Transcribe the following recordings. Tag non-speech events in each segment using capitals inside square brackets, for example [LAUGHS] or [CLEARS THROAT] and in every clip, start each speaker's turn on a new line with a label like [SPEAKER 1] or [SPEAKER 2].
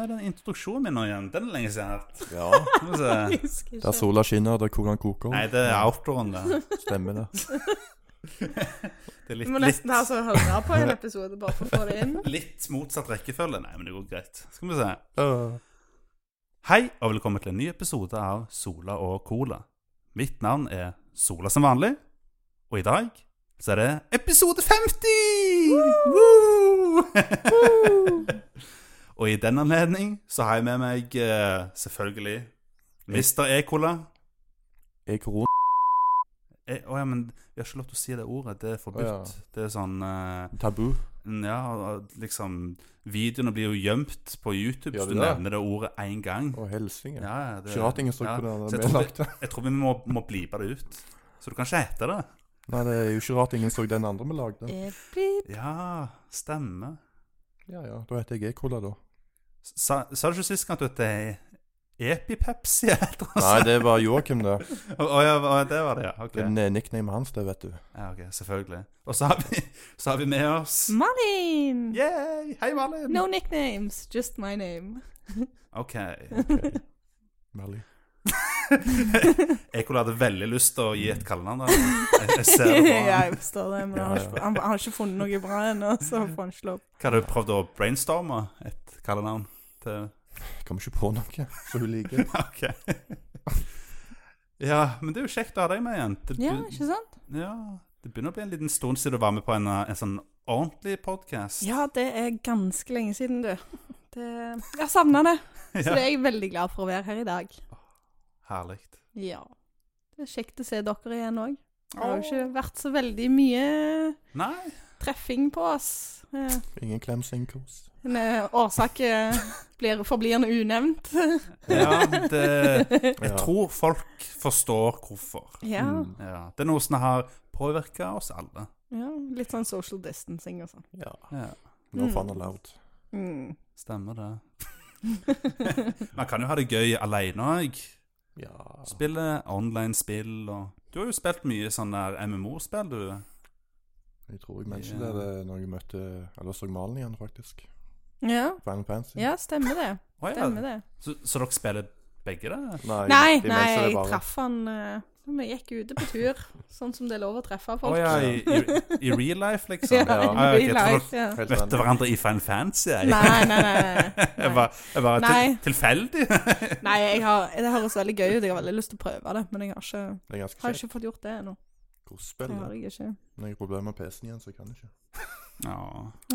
[SPEAKER 1] er den introduksjonen min nå igjen? Den er lenge siden jeg har hørt.
[SPEAKER 2] Ja.
[SPEAKER 1] Skal vi se.
[SPEAKER 3] Husker
[SPEAKER 2] Der
[SPEAKER 3] ikke.
[SPEAKER 2] sola skinner, der koran koker.
[SPEAKER 1] Altså, Nei, det er outroen, det.
[SPEAKER 2] Stemmer
[SPEAKER 1] [LAUGHS]
[SPEAKER 2] det.
[SPEAKER 1] Det er
[SPEAKER 3] Vi
[SPEAKER 1] litt,
[SPEAKER 3] må
[SPEAKER 1] litt,
[SPEAKER 3] nesten ha så høre [LAUGHS] på en episode bare for å få det [LAUGHS] inn.
[SPEAKER 1] litt motsatt rekkefølge. Nei, men det går greit. Skal vi se. Hei, og velkommen til en ny episode av Sola og Cola. Mitt navn er Sola som vanlig, og i dag så er det episode 50! Woo! [LAUGHS] og i den anledning så har jeg med meg eh, selvfølgelig E. Mr. E-Cola.
[SPEAKER 2] Er koron
[SPEAKER 1] E, Å ja, men vi har ikke lov til å si det ordet. Det er forbudt.
[SPEAKER 2] Å,
[SPEAKER 1] Det er sånn eh,
[SPEAKER 2] tabu?
[SPEAKER 1] Ja, liksom Videoene blir jo gjemt på YouTube
[SPEAKER 2] Gjør
[SPEAKER 1] hvis du
[SPEAKER 2] de det?
[SPEAKER 1] nevner det ordet én gang.
[SPEAKER 2] Å, helsike.
[SPEAKER 1] Ja, ja, det-
[SPEAKER 2] Piratingen står
[SPEAKER 1] ja,
[SPEAKER 2] på den.
[SPEAKER 1] så jeg
[SPEAKER 2] Vi
[SPEAKER 1] tror,
[SPEAKER 2] lagde.
[SPEAKER 1] jeg tror vi må, må blipe det ut. Så du kan ikke hete det.
[SPEAKER 2] Nei, det er jo ikke rart ingen så den andre vi lagde.
[SPEAKER 3] Epi-
[SPEAKER 1] Ja, stemmer.
[SPEAKER 2] Ja, ja. Da heter jeg E-Cola,
[SPEAKER 1] [LAUGHS]
[SPEAKER 2] da.
[SPEAKER 1] Sa, sa du ikke sist gang at du het eh, Epipepsi? [LAUGHS] eller noe
[SPEAKER 2] Nei,
[SPEAKER 1] sånt?
[SPEAKER 2] det var Joakim, det.
[SPEAKER 1] Å ja, å, det var det, ja. Ok,
[SPEAKER 2] Det er nicknamet hans, det,
[SPEAKER 1] [LAUGHS]
[SPEAKER 2] vet du.
[SPEAKER 1] ja, ok, selvfølgelig. Og så har vi, så har vi med oss
[SPEAKER 3] Malin!
[SPEAKER 1] Yay! Hei, Malin!
[SPEAKER 3] No nicknames, just my name.
[SPEAKER 1] Ok.
[SPEAKER 2] Merlig.
[SPEAKER 1] Ekol hadde veldig lyst til å gi et kallenavn. da. Jeg, jeg
[SPEAKER 3] [LAUGHS]
[SPEAKER 1] ser det på
[SPEAKER 3] [LAUGHS] ja,
[SPEAKER 1] han.
[SPEAKER 3] jeg forstår det, men han, har
[SPEAKER 2] Ja, ja.
[SPEAKER 3] ikke- han, han har ikke funnet noe bra ennå, så får han slå opp.
[SPEAKER 1] Hva har du prøvd å brainstorme et kallenavn til
[SPEAKER 2] Kommer ikke på noe som hun liker.
[SPEAKER 1] Ok. [LAUGHS] ja, men det er jo kjekt å ha deg med igjen. Det,
[SPEAKER 3] Ja,
[SPEAKER 1] be-
[SPEAKER 3] ikke sant?
[SPEAKER 1] ja, det begynner å bli en liten stund siden du var med på en, uh, en sånn ordentlig podkast.
[SPEAKER 3] Ja, det er ganske lenge siden, du. Det, jeg savna [LAUGHS] det, så det er jeg veldig glad for å være her i dag.
[SPEAKER 1] Herlig.
[SPEAKER 3] Ja. Det er kjekt å se dere igjen òg. Det har jo ikke vært så veldig mye [LAUGHS]
[SPEAKER 1] Nei,
[SPEAKER 3] treffing på oss. Eh,
[SPEAKER 2] Ingen klems, ingen kos.
[SPEAKER 3] En eh, årsak eh, blir forblirende unevnt. [LAUGHS]
[SPEAKER 1] ja, det Jeg
[SPEAKER 2] Ja.
[SPEAKER 1] tror folk forstår hvorfor.
[SPEAKER 3] ja.
[SPEAKER 2] Mm.
[SPEAKER 1] Ja, det er noe som har påvirka oss alle.
[SPEAKER 3] ja. Litt sånn social distancing og sånn.
[SPEAKER 2] Ja.
[SPEAKER 1] Ja,
[SPEAKER 2] No
[SPEAKER 3] Mm.
[SPEAKER 2] fun allowed.
[SPEAKER 3] Mm.
[SPEAKER 1] stemmer det.
[SPEAKER 3] [LAUGHS]
[SPEAKER 1] Man kan jo ha det gøy aleine òg.
[SPEAKER 2] Ja.
[SPEAKER 1] Spille online-spill og Du har jo spilt mye sånn der MMO-spill, du.
[SPEAKER 2] Jeg tror jeg mentioned
[SPEAKER 1] Ja.
[SPEAKER 2] det det når jeg møtte Eller så Malen igjen, faktisk.
[SPEAKER 3] Ja.
[SPEAKER 2] Final Fantasy.
[SPEAKER 3] ja, stemmer det.
[SPEAKER 1] Å ja.
[SPEAKER 3] Stemmer det.
[SPEAKER 1] Så, så dere spiller begge, da?
[SPEAKER 2] Nei,
[SPEAKER 3] Nei,
[SPEAKER 2] de
[SPEAKER 3] nei,
[SPEAKER 2] mentioned det
[SPEAKER 3] jeg
[SPEAKER 2] bare.
[SPEAKER 3] traff han eh, Vi gikk ute på tur, sånn som det er lov å treffe
[SPEAKER 1] Å
[SPEAKER 3] folk. [LAUGHS]
[SPEAKER 1] ja, i, i, i real life, liksom?
[SPEAKER 3] Ja,
[SPEAKER 2] Ja.
[SPEAKER 1] Ah, ok,
[SPEAKER 3] i
[SPEAKER 1] jeg tror
[SPEAKER 3] life, ja.
[SPEAKER 2] Helt
[SPEAKER 1] dere møtte
[SPEAKER 2] enig.
[SPEAKER 1] hverandre i Final Fantasy? Jeg.
[SPEAKER 3] Nei, nei,
[SPEAKER 1] [LAUGHS]
[SPEAKER 3] nei.
[SPEAKER 1] Jeg
[SPEAKER 3] Nei,
[SPEAKER 1] var, jeg var til,
[SPEAKER 3] Nei.
[SPEAKER 1] tilfeldig.
[SPEAKER 3] nei jeg har, det høres veldig gøy ut. Jeg har veldig lyst til å prøve det, men jeg har ikke,
[SPEAKER 2] Det er ganske
[SPEAKER 3] har
[SPEAKER 2] kjekt.
[SPEAKER 3] ikke fått gjort det ennå.
[SPEAKER 2] Kortspill.
[SPEAKER 3] Det
[SPEAKER 2] det.
[SPEAKER 3] har jeg ikke.
[SPEAKER 2] Når jeg har problemer med PC-en igjen, så kan jeg ikke.
[SPEAKER 1] Ja,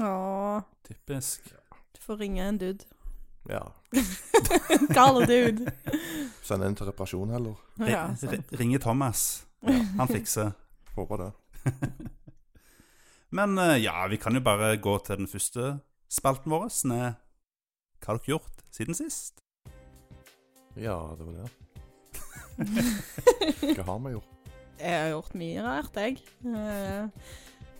[SPEAKER 3] Åh,
[SPEAKER 1] typisk.
[SPEAKER 3] du får ringe en dude.
[SPEAKER 2] Ja.
[SPEAKER 3] [LAUGHS] Gale dude.
[SPEAKER 2] Sende den til reparasjon heller.
[SPEAKER 3] Ja,
[SPEAKER 1] Ri-
[SPEAKER 2] [LAUGHS]
[SPEAKER 3] sant. [LAUGHS]
[SPEAKER 1] ri- Ringe Thomas. Han fikser.
[SPEAKER 2] Håper det.
[SPEAKER 1] Men eh, ja, vi kan jo bare gå til den første spalten vår, som er Hva har dere gjort siden
[SPEAKER 3] [LAUGHS]
[SPEAKER 1] sist?
[SPEAKER 2] Ja, det var det. Hva har vi gjort?
[SPEAKER 3] Jeg har gjort mye rart, jeg. Eh,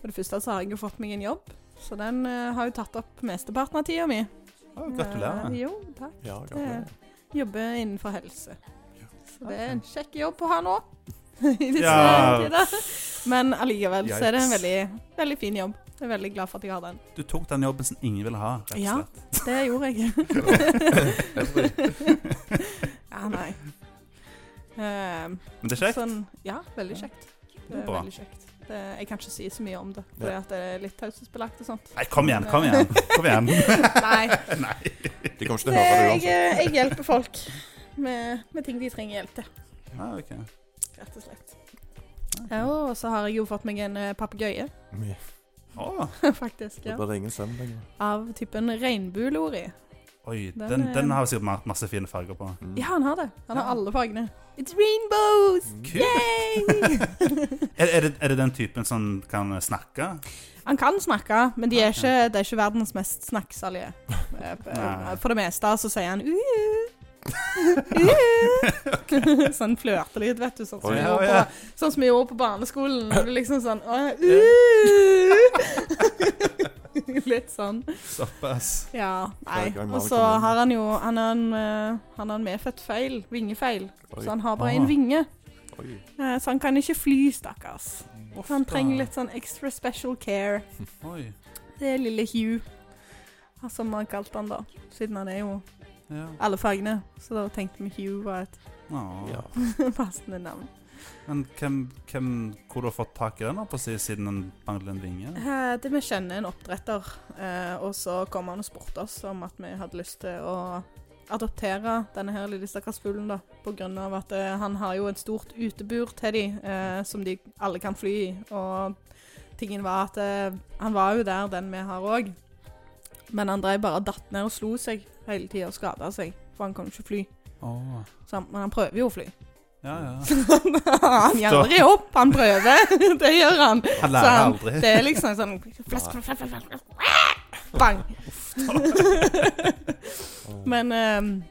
[SPEAKER 3] For det første så har jeg jo fått meg en jobb, så den eh, har jo tatt opp mesteparten av tida mi.
[SPEAKER 1] Å, gratulerer.
[SPEAKER 3] Eh, Jo, takk.
[SPEAKER 2] Ja, gratulerer.
[SPEAKER 3] Jobber innenfor helse. Så det er en kjekk jobb å ha nå. [LAUGHS] I disse
[SPEAKER 1] Ja.
[SPEAKER 3] tider. Men allikevel så er det en
[SPEAKER 1] Yikes.
[SPEAKER 3] veldig, veldig fin jobb. Jeg er veldig glad for at jeg har den.
[SPEAKER 1] Du tok den jobben som ingen ville ha, rett og
[SPEAKER 3] Ja.
[SPEAKER 1] slett.
[SPEAKER 3] Det
[SPEAKER 1] [LAUGHS]
[SPEAKER 3] gjorde jeg. [LAUGHS] ja, nei. Eh,
[SPEAKER 1] Men det er kjekt.
[SPEAKER 3] Sånn, ja, veldig kjekt. Det er
[SPEAKER 1] Bra.
[SPEAKER 3] veldig kjekt. Det, jeg kan ikke si så mye om det,
[SPEAKER 2] Ja.
[SPEAKER 3] fordi at det er litt taushetsbelagt og sånt.
[SPEAKER 1] Nei, kom igjen, kom igjen. Kom igjen.
[SPEAKER 3] [LAUGHS]
[SPEAKER 1] [LAUGHS]
[SPEAKER 3] Nei,
[SPEAKER 2] De kommer ikke til å
[SPEAKER 3] det,
[SPEAKER 2] høre det
[SPEAKER 3] jeg,
[SPEAKER 2] uansett.
[SPEAKER 3] jeg hjelper folk med, med ting de trenger hjelp til,
[SPEAKER 1] Ja, Ah, ok.
[SPEAKER 3] rett og slett. Ja, og så har jeg jo fått meg en eh, papegøye, [LAUGHS]
[SPEAKER 2] Ja,
[SPEAKER 1] Å,
[SPEAKER 3] faktisk.
[SPEAKER 2] Da
[SPEAKER 3] Ja.
[SPEAKER 2] blir det ingen søvn lenger.
[SPEAKER 3] Av typen regnbuelori.
[SPEAKER 1] Mm. oi,
[SPEAKER 3] Den
[SPEAKER 1] den,
[SPEAKER 3] er-
[SPEAKER 1] den har sikkert ma- masse fine farger på.
[SPEAKER 2] Mm.
[SPEAKER 3] Ja, han har det. Han har
[SPEAKER 1] Ja.
[SPEAKER 3] alle fargene. It's rainbows!
[SPEAKER 1] Kult.
[SPEAKER 3] Yay!
[SPEAKER 1] [LAUGHS] Er, er, det, er det den typen som kan snakke?
[SPEAKER 3] [LAUGHS]
[SPEAKER 1] [LAUGHS]
[SPEAKER 3] Han kan snakke, men de er
[SPEAKER 1] Ok.
[SPEAKER 3] ikke, det er ikke verdens mest
[SPEAKER 1] [LAUGHS]
[SPEAKER 3] snakksalige. Eh,
[SPEAKER 1] Nei.
[SPEAKER 3] For det meste så sier han uh, uh. [LAUGHS] Sånn flørtelyd, vet du. Sånn som
[SPEAKER 2] Oi,
[SPEAKER 3] vi
[SPEAKER 1] ja,
[SPEAKER 3] gjorde
[SPEAKER 1] ja.
[SPEAKER 3] på, sånn som vi gjorde på barneskolen. når du Liksom sånn uh. [LAUGHS] Litt sånn.
[SPEAKER 1] Såpass.
[SPEAKER 3] Ja, nei.
[SPEAKER 2] Hver gang
[SPEAKER 3] Og
[SPEAKER 2] Mari
[SPEAKER 3] så
[SPEAKER 2] kommer inn.
[SPEAKER 3] har han jo Han har en, eh, han har en medfødt feil. Vingefeil.
[SPEAKER 2] Oi.
[SPEAKER 3] Så han har bare
[SPEAKER 1] Ah.
[SPEAKER 3] én vinge.
[SPEAKER 2] Oi.
[SPEAKER 3] Eh, Så han kan ikke fly, stakkars. Så han
[SPEAKER 1] Ofte.
[SPEAKER 3] trenger litt sånn extra special care.
[SPEAKER 1] Oi.
[SPEAKER 3] Det er lille Hugh, som vi har kalt han da. Siden han er jo
[SPEAKER 1] Ja.
[SPEAKER 3] Alle fargene. Så da tenkte vi Hue var et [LAUGHS]
[SPEAKER 1] Nå.
[SPEAKER 2] Ja.
[SPEAKER 3] passende navn.
[SPEAKER 1] Men hvem, hvem, hvor du har fått tak i den, holdt på å si, siden den mangler en vinge?
[SPEAKER 3] Eh, Det vi kjenner en oppdretter, eh, og så kom han og spurte oss om at vi hadde lyst til å adoptere denne her lille stakkars fuglen, da. På grunn av at eh, han har jo et stort utebur til de, eh, som de alle kan fly i. Og tingen var at eh, han var jo der, den vi har òg. Men han drev bare og datt ned og slo seg hele tida og skada seg, for han kan jo ikke fly.
[SPEAKER 1] Åh.
[SPEAKER 3] Så han, men han prøver jo å fly. [LAUGHS]
[SPEAKER 1] Ja, ja.
[SPEAKER 3] han gjør aldri opp, han prøver. [LAUGHS] det gjør han.
[SPEAKER 1] Han
[SPEAKER 3] Så
[SPEAKER 1] lærer
[SPEAKER 3] han-
[SPEAKER 1] aldri.
[SPEAKER 3] Det er liksom sånn flask, flask, flask, flask, flask, Bang! Men ehm,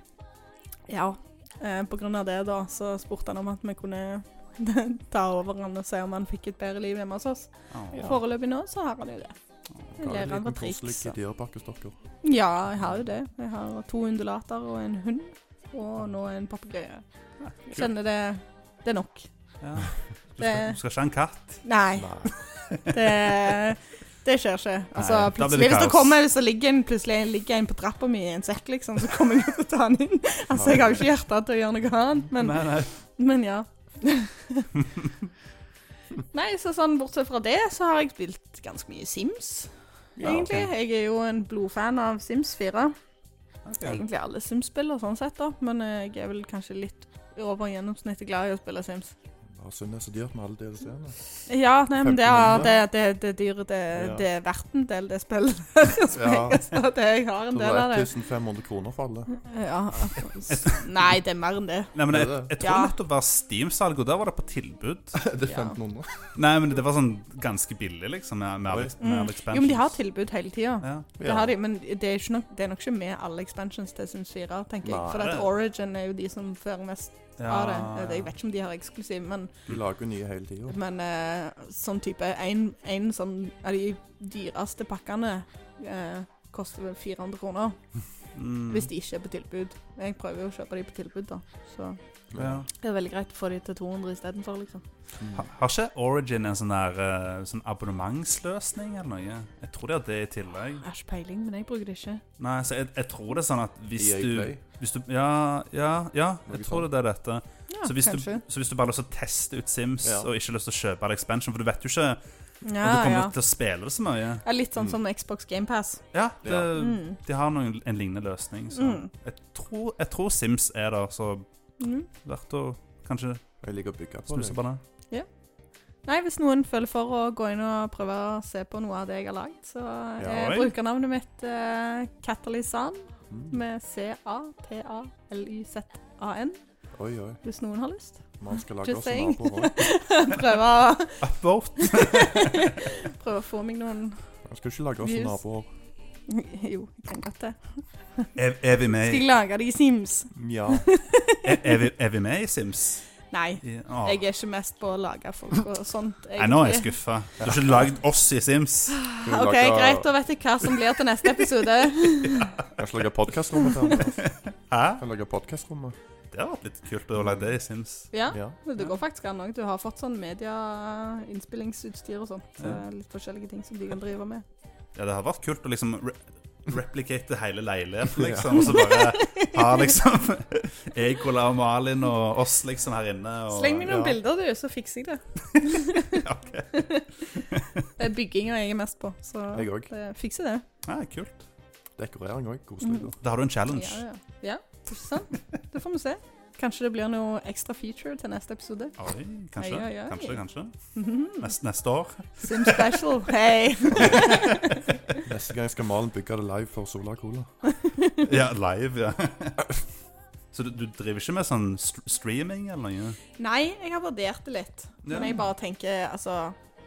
[SPEAKER 3] ja. eh, På grunn av det, da, så spurte han om at vi kunne [LAUGHS] ta over han og se om han fikk et bedre liv hjemme hos oss.
[SPEAKER 1] Åh.
[SPEAKER 2] Ja.
[SPEAKER 3] Foreløpig nå så har han jo det. Jeg
[SPEAKER 2] Ga en
[SPEAKER 3] ler han på
[SPEAKER 2] liten koselig
[SPEAKER 3] triks.
[SPEAKER 2] dyreparkestokker.
[SPEAKER 3] Ja, jeg har jo det. Jeg har to undulater og en hund, og nå en papegøye. Jeg Kjenner det Det er nok.
[SPEAKER 1] Ja. Du, skal,
[SPEAKER 3] Det-
[SPEAKER 1] du skal ikke ha en katt?
[SPEAKER 3] Nei,
[SPEAKER 2] Nei.
[SPEAKER 3] det det skjer ikke. Altså,
[SPEAKER 1] Nei, da blir det
[SPEAKER 3] plutselig, hvis det
[SPEAKER 1] kaos.
[SPEAKER 3] kommer, hvis det ligger en, plutselig ligger en på trappa mi i en sekk, liksom, så kommer jeg til å ta han inn. Altså, jeg har jo ikke hjerte til å gjøre noe annet, men,
[SPEAKER 1] nei, nei.
[SPEAKER 3] men ja. [LAUGHS] Nei, så sånn bortsett fra det, så har jeg spilt ganske mye Sims,
[SPEAKER 2] Ja,
[SPEAKER 3] egentlig.
[SPEAKER 2] ok.
[SPEAKER 3] Jeg er jo en blodfan av Sims 4.
[SPEAKER 1] Ok.
[SPEAKER 3] Egentlig alle Sims-spiller, sånn sett, da, men eh, jeg er vel kanskje litt over gjennomsnittet glad i å spille Sims.
[SPEAKER 2] Ja, Synd det er så dyrt med alle
[SPEAKER 3] Sånn,
[SPEAKER 2] DLC-ene.
[SPEAKER 3] Ja, nei, men det er,
[SPEAKER 2] 1500.
[SPEAKER 3] det, det, det er dyre. Det,
[SPEAKER 2] Ja.
[SPEAKER 3] det er verdt en del, det spillet. [LAUGHS]
[SPEAKER 2] Ja.
[SPEAKER 3] Så det, jeg har en
[SPEAKER 2] Det
[SPEAKER 3] del av
[SPEAKER 2] var
[SPEAKER 3] det.
[SPEAKER 2] 1500 kroner for alle.
[SPEAKER 3] Ja, altså, nei, det er mer enn det.
[SPEAKER 1] Nei, men jeg, jeg tror
[SPEAKER 3] Ja.
[SPEAKER 1] nettopp det var Steam-salg, og der var det på tilbud.
[SPEAKER 2] [LAUGHS] Det
[SPEAKER 3] Ja.
[SPEAKER 2] er 1500.
[SPEAKER 1] Nei, men det var sånn ganske billig, liksom, med, med, alle- med
[SPEAKER 3] Mm.
[SPEAKER 1] alle expansions.
[SPEAKER 3] Jo, men de har tilbud hele tida.
[SPEAKER 1] Ja.
[SPEAKER 3] Det har de, men det er, ikke nok, det er nok ikke med alle expansions til Sims 4, tenker jeg.
[SPEAKER 2] Nei.
[SPEAKER 3] For at Origin er jo de som fører mest av det.
[SPEAKER 1] Ja,
[SPEAKER 3] Jeg vet ikke om de har eksklusiv, men,
[SPEAKER 2] De lager jo nye hele tida.
[SPEAKER 3] men eh, sånn type En, en sånn av de dyreste pakkene eh, koster vel 400 kroner.
[SPEAKER 1] Mm.
[SPEAKER 3] Hvis de ikke er på tilbud. Jeg prøver jo å kjøpe de på tilbud, da. Så
[SPEAKER 1] ja.
[SPEAKER 3] det er veldig greit å få de til 200 istedenfor, liksom.
[SPEAKER 2] Mm.
[SPEAKER 1] Ha- Har ikke Origin en sånn der eh, sånn abonnementsløsning eller noe? Jeg tror de har det i tillegg.
[SPEAKER 3] Jeg har ikke Mm, peiling, men jeg bruker det ikke.
[SPEAKER 1] Nei, så jeg, jeg tror det er sånn at hvis
[SPEAKER 2] EA
[SPEAKER 1] du,
[SPEAKER 2] E Play.
[SPEAKER 1] hvis du Ja, ja, ja jeg
[SPEAKER 2] Noe
[SPEAKER 1] tror
[SPEAKER 2] sånt.
[SPEAKER 1] det er dette.
[SPEAKER 3] Ja,
[SPEAKER 1] Så hvis, du,
[SPEAKER 3] kanskje.
[SPEAKER 1] så hvis du bare har lyst til å teste ut Sims
[SPEAKER 2] Ja.
[SPEAKER 1] og ikke har lyst til å kjøpe all expansion, for du vet jo ikke om
[SPEAKER 3] Ja,
[SPEAKER 1] du kommer
[SPEAKER 3] ja.
[SPEAKER 1] til å spille det så mye
[SPEAKER 3] Det er litt sånn
[SPEAKER 2] Mm.
[SPEAKER 3] som Xbox GamePass.
[SPEAKER 1] Ja, det,
[SPEAKER 3] Mm.
[SPEAKER 1] de har noen, en lignende løsning. Så
[SPEAKER 3] Mm.
[SPEAKER 1] jeg, tror, jeg tror Sims er der, så
[SPEAKER 3] Mm.
[SPEAKER 1] verdt å kanskje
[SPEAKER 2] Jeg liker å bygge på
[SPEAKER 1] snuse
[SPEAKER 2] det.
[SPEAKER 1] på det.
[SPEAKER 3] Nei, hvis noen føler for å gå inn og prøve å se på noe av det jeg har lagd, så er
[SPEAKER 1] oi.
[SPEAKER 3] brukernavnet mitt uh, Catalysan
[SPEAKER 2] Mm.
[SPEAKER 3] med C-A-T-A-L-Y-Z-A-N,
[SPEAKER 2] Oi, oi.
[SPEAKER 3] hvis noen har lyst. [LAUGHS]
[SPEAKER 2] Man skal lage
[SPEAKER 3] Just
[SPEAKER 2] oss en
[SPEAKER 3] saying.
[SPEAKER 2] nabo òg.
[SPEAKER 3] prøve, å,
[SPEAKER 1] Upvote.
[SPEAKER 3] prøve å få meg noen
[SPEAKER 2] Man skal ikke lage oss en
[SPEAKER 3] Views.
[SPEAKER 2] nabo òg.
[SPEAKER 3] Jo, jeg kan godt det.
[SPEAKER 1] Er, er, vi med
[SPEAKER 3] Skal
[SPEAKER 1] i-
[SPEAKER 3] jeg lage det i Sims? [LAUGHS]
[SPEAKER 2] Ja.
[SPEAKER 1] er, er, vi, er vi med i Sims?
[SPEAKER 3] Nei.
[SPEAKER 1] I, å.
[SPEAKER 3] Jeg er ikke mest på å lage folk og sånt.
[SPEAKER 1] Nei, nå er jeg
[SPEAKER 3] egentlig.
[SPEAKER 1] skuffa. Du har ikke lagd oss i Sims.
[SPEAKER 2] Skal vi
[SPEAKER 3] OK,
[SPEAKER 2] lage-
[SPEAKER 3] greit. Da vet jeg hva som blir til neste
[SPEAKER 1] [LAUGHS]
[SPEAKER 3] episode.
[SPEAKER 2] Jeg skal lage podkastrommet til han. altså.
[SPEAKER 1] Hæ?
[SPEAKER 2] Jeg Kan lage podkastrommet.
[SPEAKER 1] Det hadde vært litt kult å lage det i Sims.
[SPEAKER 3] Ja.
[SPEAKER 2] Ja.
[SPEAKER 3] Men Det går faktisk an òg. Du har fått sånn medieinnspillingsutstyr og sånt.
[SPEAKER 1] Ja.
[SPEAKER 3] eh, Litt forskjellige ting som de kan drive med.
[SPEAKER 1] Ja, det hadde vært kult å liksom re replicate hele leiligheten, liksom. Og så bare ha liksom [LAUGHS] Egola og Malin og oss liksom her inne. Og,
[SPEAKER 3] Sleng meg noen
[SPEAKER 2] ja.
[SPEAKER 3] bilder, du, så fikser jeg det.
[SPEAKER 1] Ja, [LAUGHS]
[SPEAKER 3] [LAUGHS]
[SPEAKER 1] ok.
[SPEAKER 3] Det er bygginga jeg er mest på, så
[SPEAKER 2] Jeg òg.
[SPEAKER 3] eh, fikser det.
[SPEAKER 1] Ja, kult.
[SPEAKER 2] Dekorering òg. Koselig. da.
[SPEAKER 1] Da har du en challenge.
[SPEAKER 3] Ja, ja. ja, ikke sant? Det får vi se. Kanskje det blir noe ekstra feature til neste episode.
[SPEAKER 1] Oi, kanskje.
[SPEAKER 3] Oi, oi, oi.
[SPEAKER 1] Kanskje, kanskje.
[SPEAKER 3] Mhm.
[SPEAKER 1] Neste, neste år.
[SPEAKER 3] Sim special, hei! Mm.
[SPEAKER 2] Neste gang skal Malen bygge det live for Sola Cola.
[SPEAKER 1] Ja, live, ja. [LAUGHS] Så du, du driver ikke med sånn st streaming eller noe?
[SPEAKER 3] Nei, jeg har vurdert det litt. Men
[SPEAKER 1] Ja.
[SPEAKER 3] jeg bare tenker, altså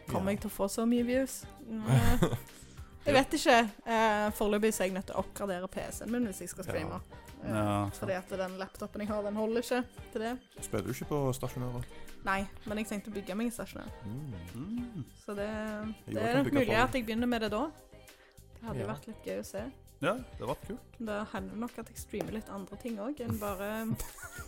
[SPEAKER 3] Kommer
[SPEAKER 2] Ja.
[SPEAKER 3] jeg til å få så mye views?
[SPEAKER 2] [LAUGHS]
[SPEAKER 3] Nei. Jeg vet ikke. Eh, Foreløpig så er jeg nødt til å oppgradere PC-en min hvis jeg skal streame. Eh,
[SPEAKER 1] Ja,
[SPEAKER 3] Fordi at den laptopen jeg har, den holder ikke til det.
[SPEAKER 2] Spiller du ikke på stasjonære?
[SPEAKER 3] Nei, men jeg tenkte å bygge meg en stasjonær.
[SPEAKER 2] Mm.
[SPEAKER 1] Mm.
[SPEAKER 3] Så det,
[SPEAKER 2] Jo,
[SPEAKER 3] det
[SPEAKER 2] jeg
[SPEAKER 3] er
[SPEAKER 2] kan
[SPEAKER 3] nok
[SPEAKER 2] bygge på
[SPEAKER 3] mulig
[SPEAKER 2] det.
[SPEAKER 3] at jeg begynner med det da. Det hadde jo
[SPEAKER 2] Ja.
[SPEAKER 3] vært litt gøy å se.
[SPEAKER 1] ja det hadde vært kult.
[SPEAKER 3] Men Det hender nok at jeg streamer litt andre ting òg enn bare
[SPEAKER 2] [LAUGHS]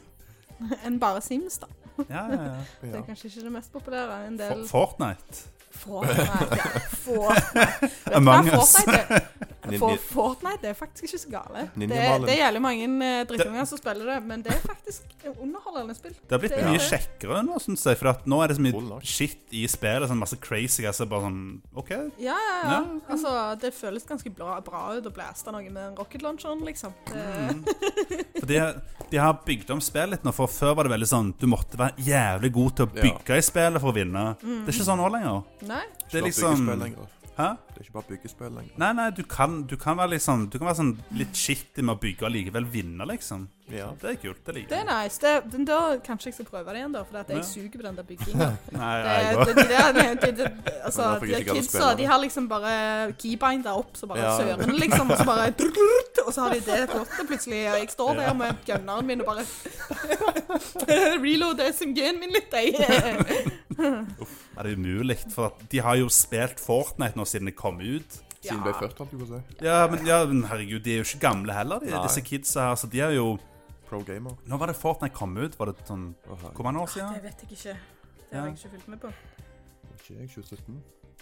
[SPEAKER 3] enn bare Sims, da.
[SPEAKER 1] Ja, ja, ja.
[SPEAKER 3] Det
[SPEAKER 2] Ja.
[SPEAKER 3] er kanskje ikke [LAUGHS] det mest populære. En
[SPEAKER 1] For
[SPEAKER 3] del
[SPEAKER 1] Fortnite. [LAUGHS]
[SPEAKER 3] Fortnite. Fortnite. Vet du hva
[SPEAKER 1] Among us.
[SPEAKER 3] Fortnite er?
[SPEAKER 2] Nin-
[SPEAKER 3] For
[SPEAKER 2] nin-
[SPEAKER 3] Fortnite er faktisk ikke så gale. Det,
[SPEAKER 2] Ninjamalen.
[SPEAKER 3] det er jævlig mange eh, drittunger som spiller det, men det er faktisk underholdende spill.
[SPEAKER 1] Det har blitt
[SPEAKER 3] Det er
[SPEAKER 1] mye
[SPEAKER 3] det.
[SPEAKER 1] kjekkere nå, syns jeg. For at nå er det så
[SPEAKER 2] Cool
[SPEAKER 1] mye
[SPEAKER 2] nok.
[SPEAKER 1] shit i spillet. Sånn masse crazy altså bare sånn OK.
[SPEAKER 3] Ja, ja, ja.
[SPEAKER 1] Ja.
[SPEAKER 3] Altså, det føles ganske bra, bra ut å blaste noe med en rocket launcheren, liksom. Det,
[SPEAKER 1] Mm. For de, de har bygd om spillet litt nå. For før var det veldig sånn du måtte være jævlig god til å bygge i spillet for å vinne. Det er ikke sånn nå lenger.
[SPEAKER 3] nei.
[SPEAKER 1] Det er
[SPEAKER 2] bare
[SPEAKER 1] liksom
[SPEAKER 2] byggespill lenger.
[SPEAKER 1] Hæ?
[SPEAKER 2] Det er ikke bare byggespill lenger.
[SPEAKER 1] Nei, nei, du kan, du kan være liksom Du kan være sånn litt shitty med å bygge og likevel vinne, liksom.
[SPEAKER 2] Ja.
[SPEAKER 1] Det er kult. Det liker
[SPEAKER 3] Det er
[SPEAKER 1] jeg.
[SPEAKER 3] nice. Det, men da kanskje jeg skal prøve det igjen, da, for at jeg
[SPEAKER 1] Ja.
[SPEAKER 3] suger på den der bygginga.
[SPEAKER 1] Nei,
[SPEAKER 3] Det,
[SPEAKER 1] jeg
[SPEAKER 3] det,
[SPEAKER 1] går.
[SPEAKER 3] det, der- det, det, det, altså,
[SPEAKER 2] Men derfor
[SPEAKER 3] de
[SPEAKER 2] gidder jeg
[SPEAKER 3] der
[SPEAKER 2] ikke alle
[SPEAKER 3] kidsa
[SPEAKER 2] spille
[SPEAKER 3] de
[SPEAKER 2] det.
[SPEAKER 3] har liksom bare keybinda opp, så bare
[SPEAKER 2] Ja.
[SPEAKER 3] søren, liksom. Og så
[SPEAKER 2] [LAUGHS]
[SPEAKER 3] bare drrrt, Og så har de det plottet plutselig, og jeg står der med gunneren min og bare [LAUGHS] Reload SMG-en min litt, jeg.
[SPEAKER 1] Nei, det er umulig. For at de har jo spilt Fortnite nå siden det kom ut.
[SPEAKER 2] Siden det ble ført, holdt jeg på å si.
[SPEAKER 1] Ja, men, ja, men herregud, de er jo ikke gamle heller, de,
[SPEAKER 2] Nei.
[SPEAKER 1] disse kidsa her. Så de er jo
[SPEAKER 2] Pro gamer.
[SPEAKER 1] Nå var det Fortnite kom ut, var det sånn
[SPEAKER 2] Å, herregud.
[SPEAKER 1] Hvor mange år
[SPEAKER 3] Det
[SPEAKER 1] siden?
[SPEAKER 3] vet jeg ikke. Det
[SPEAKER 1] Ja.
[SPEAKER 3] har jeg ikke fulgt med på.
[SPEAKER 2] Ikke jeg, 2017.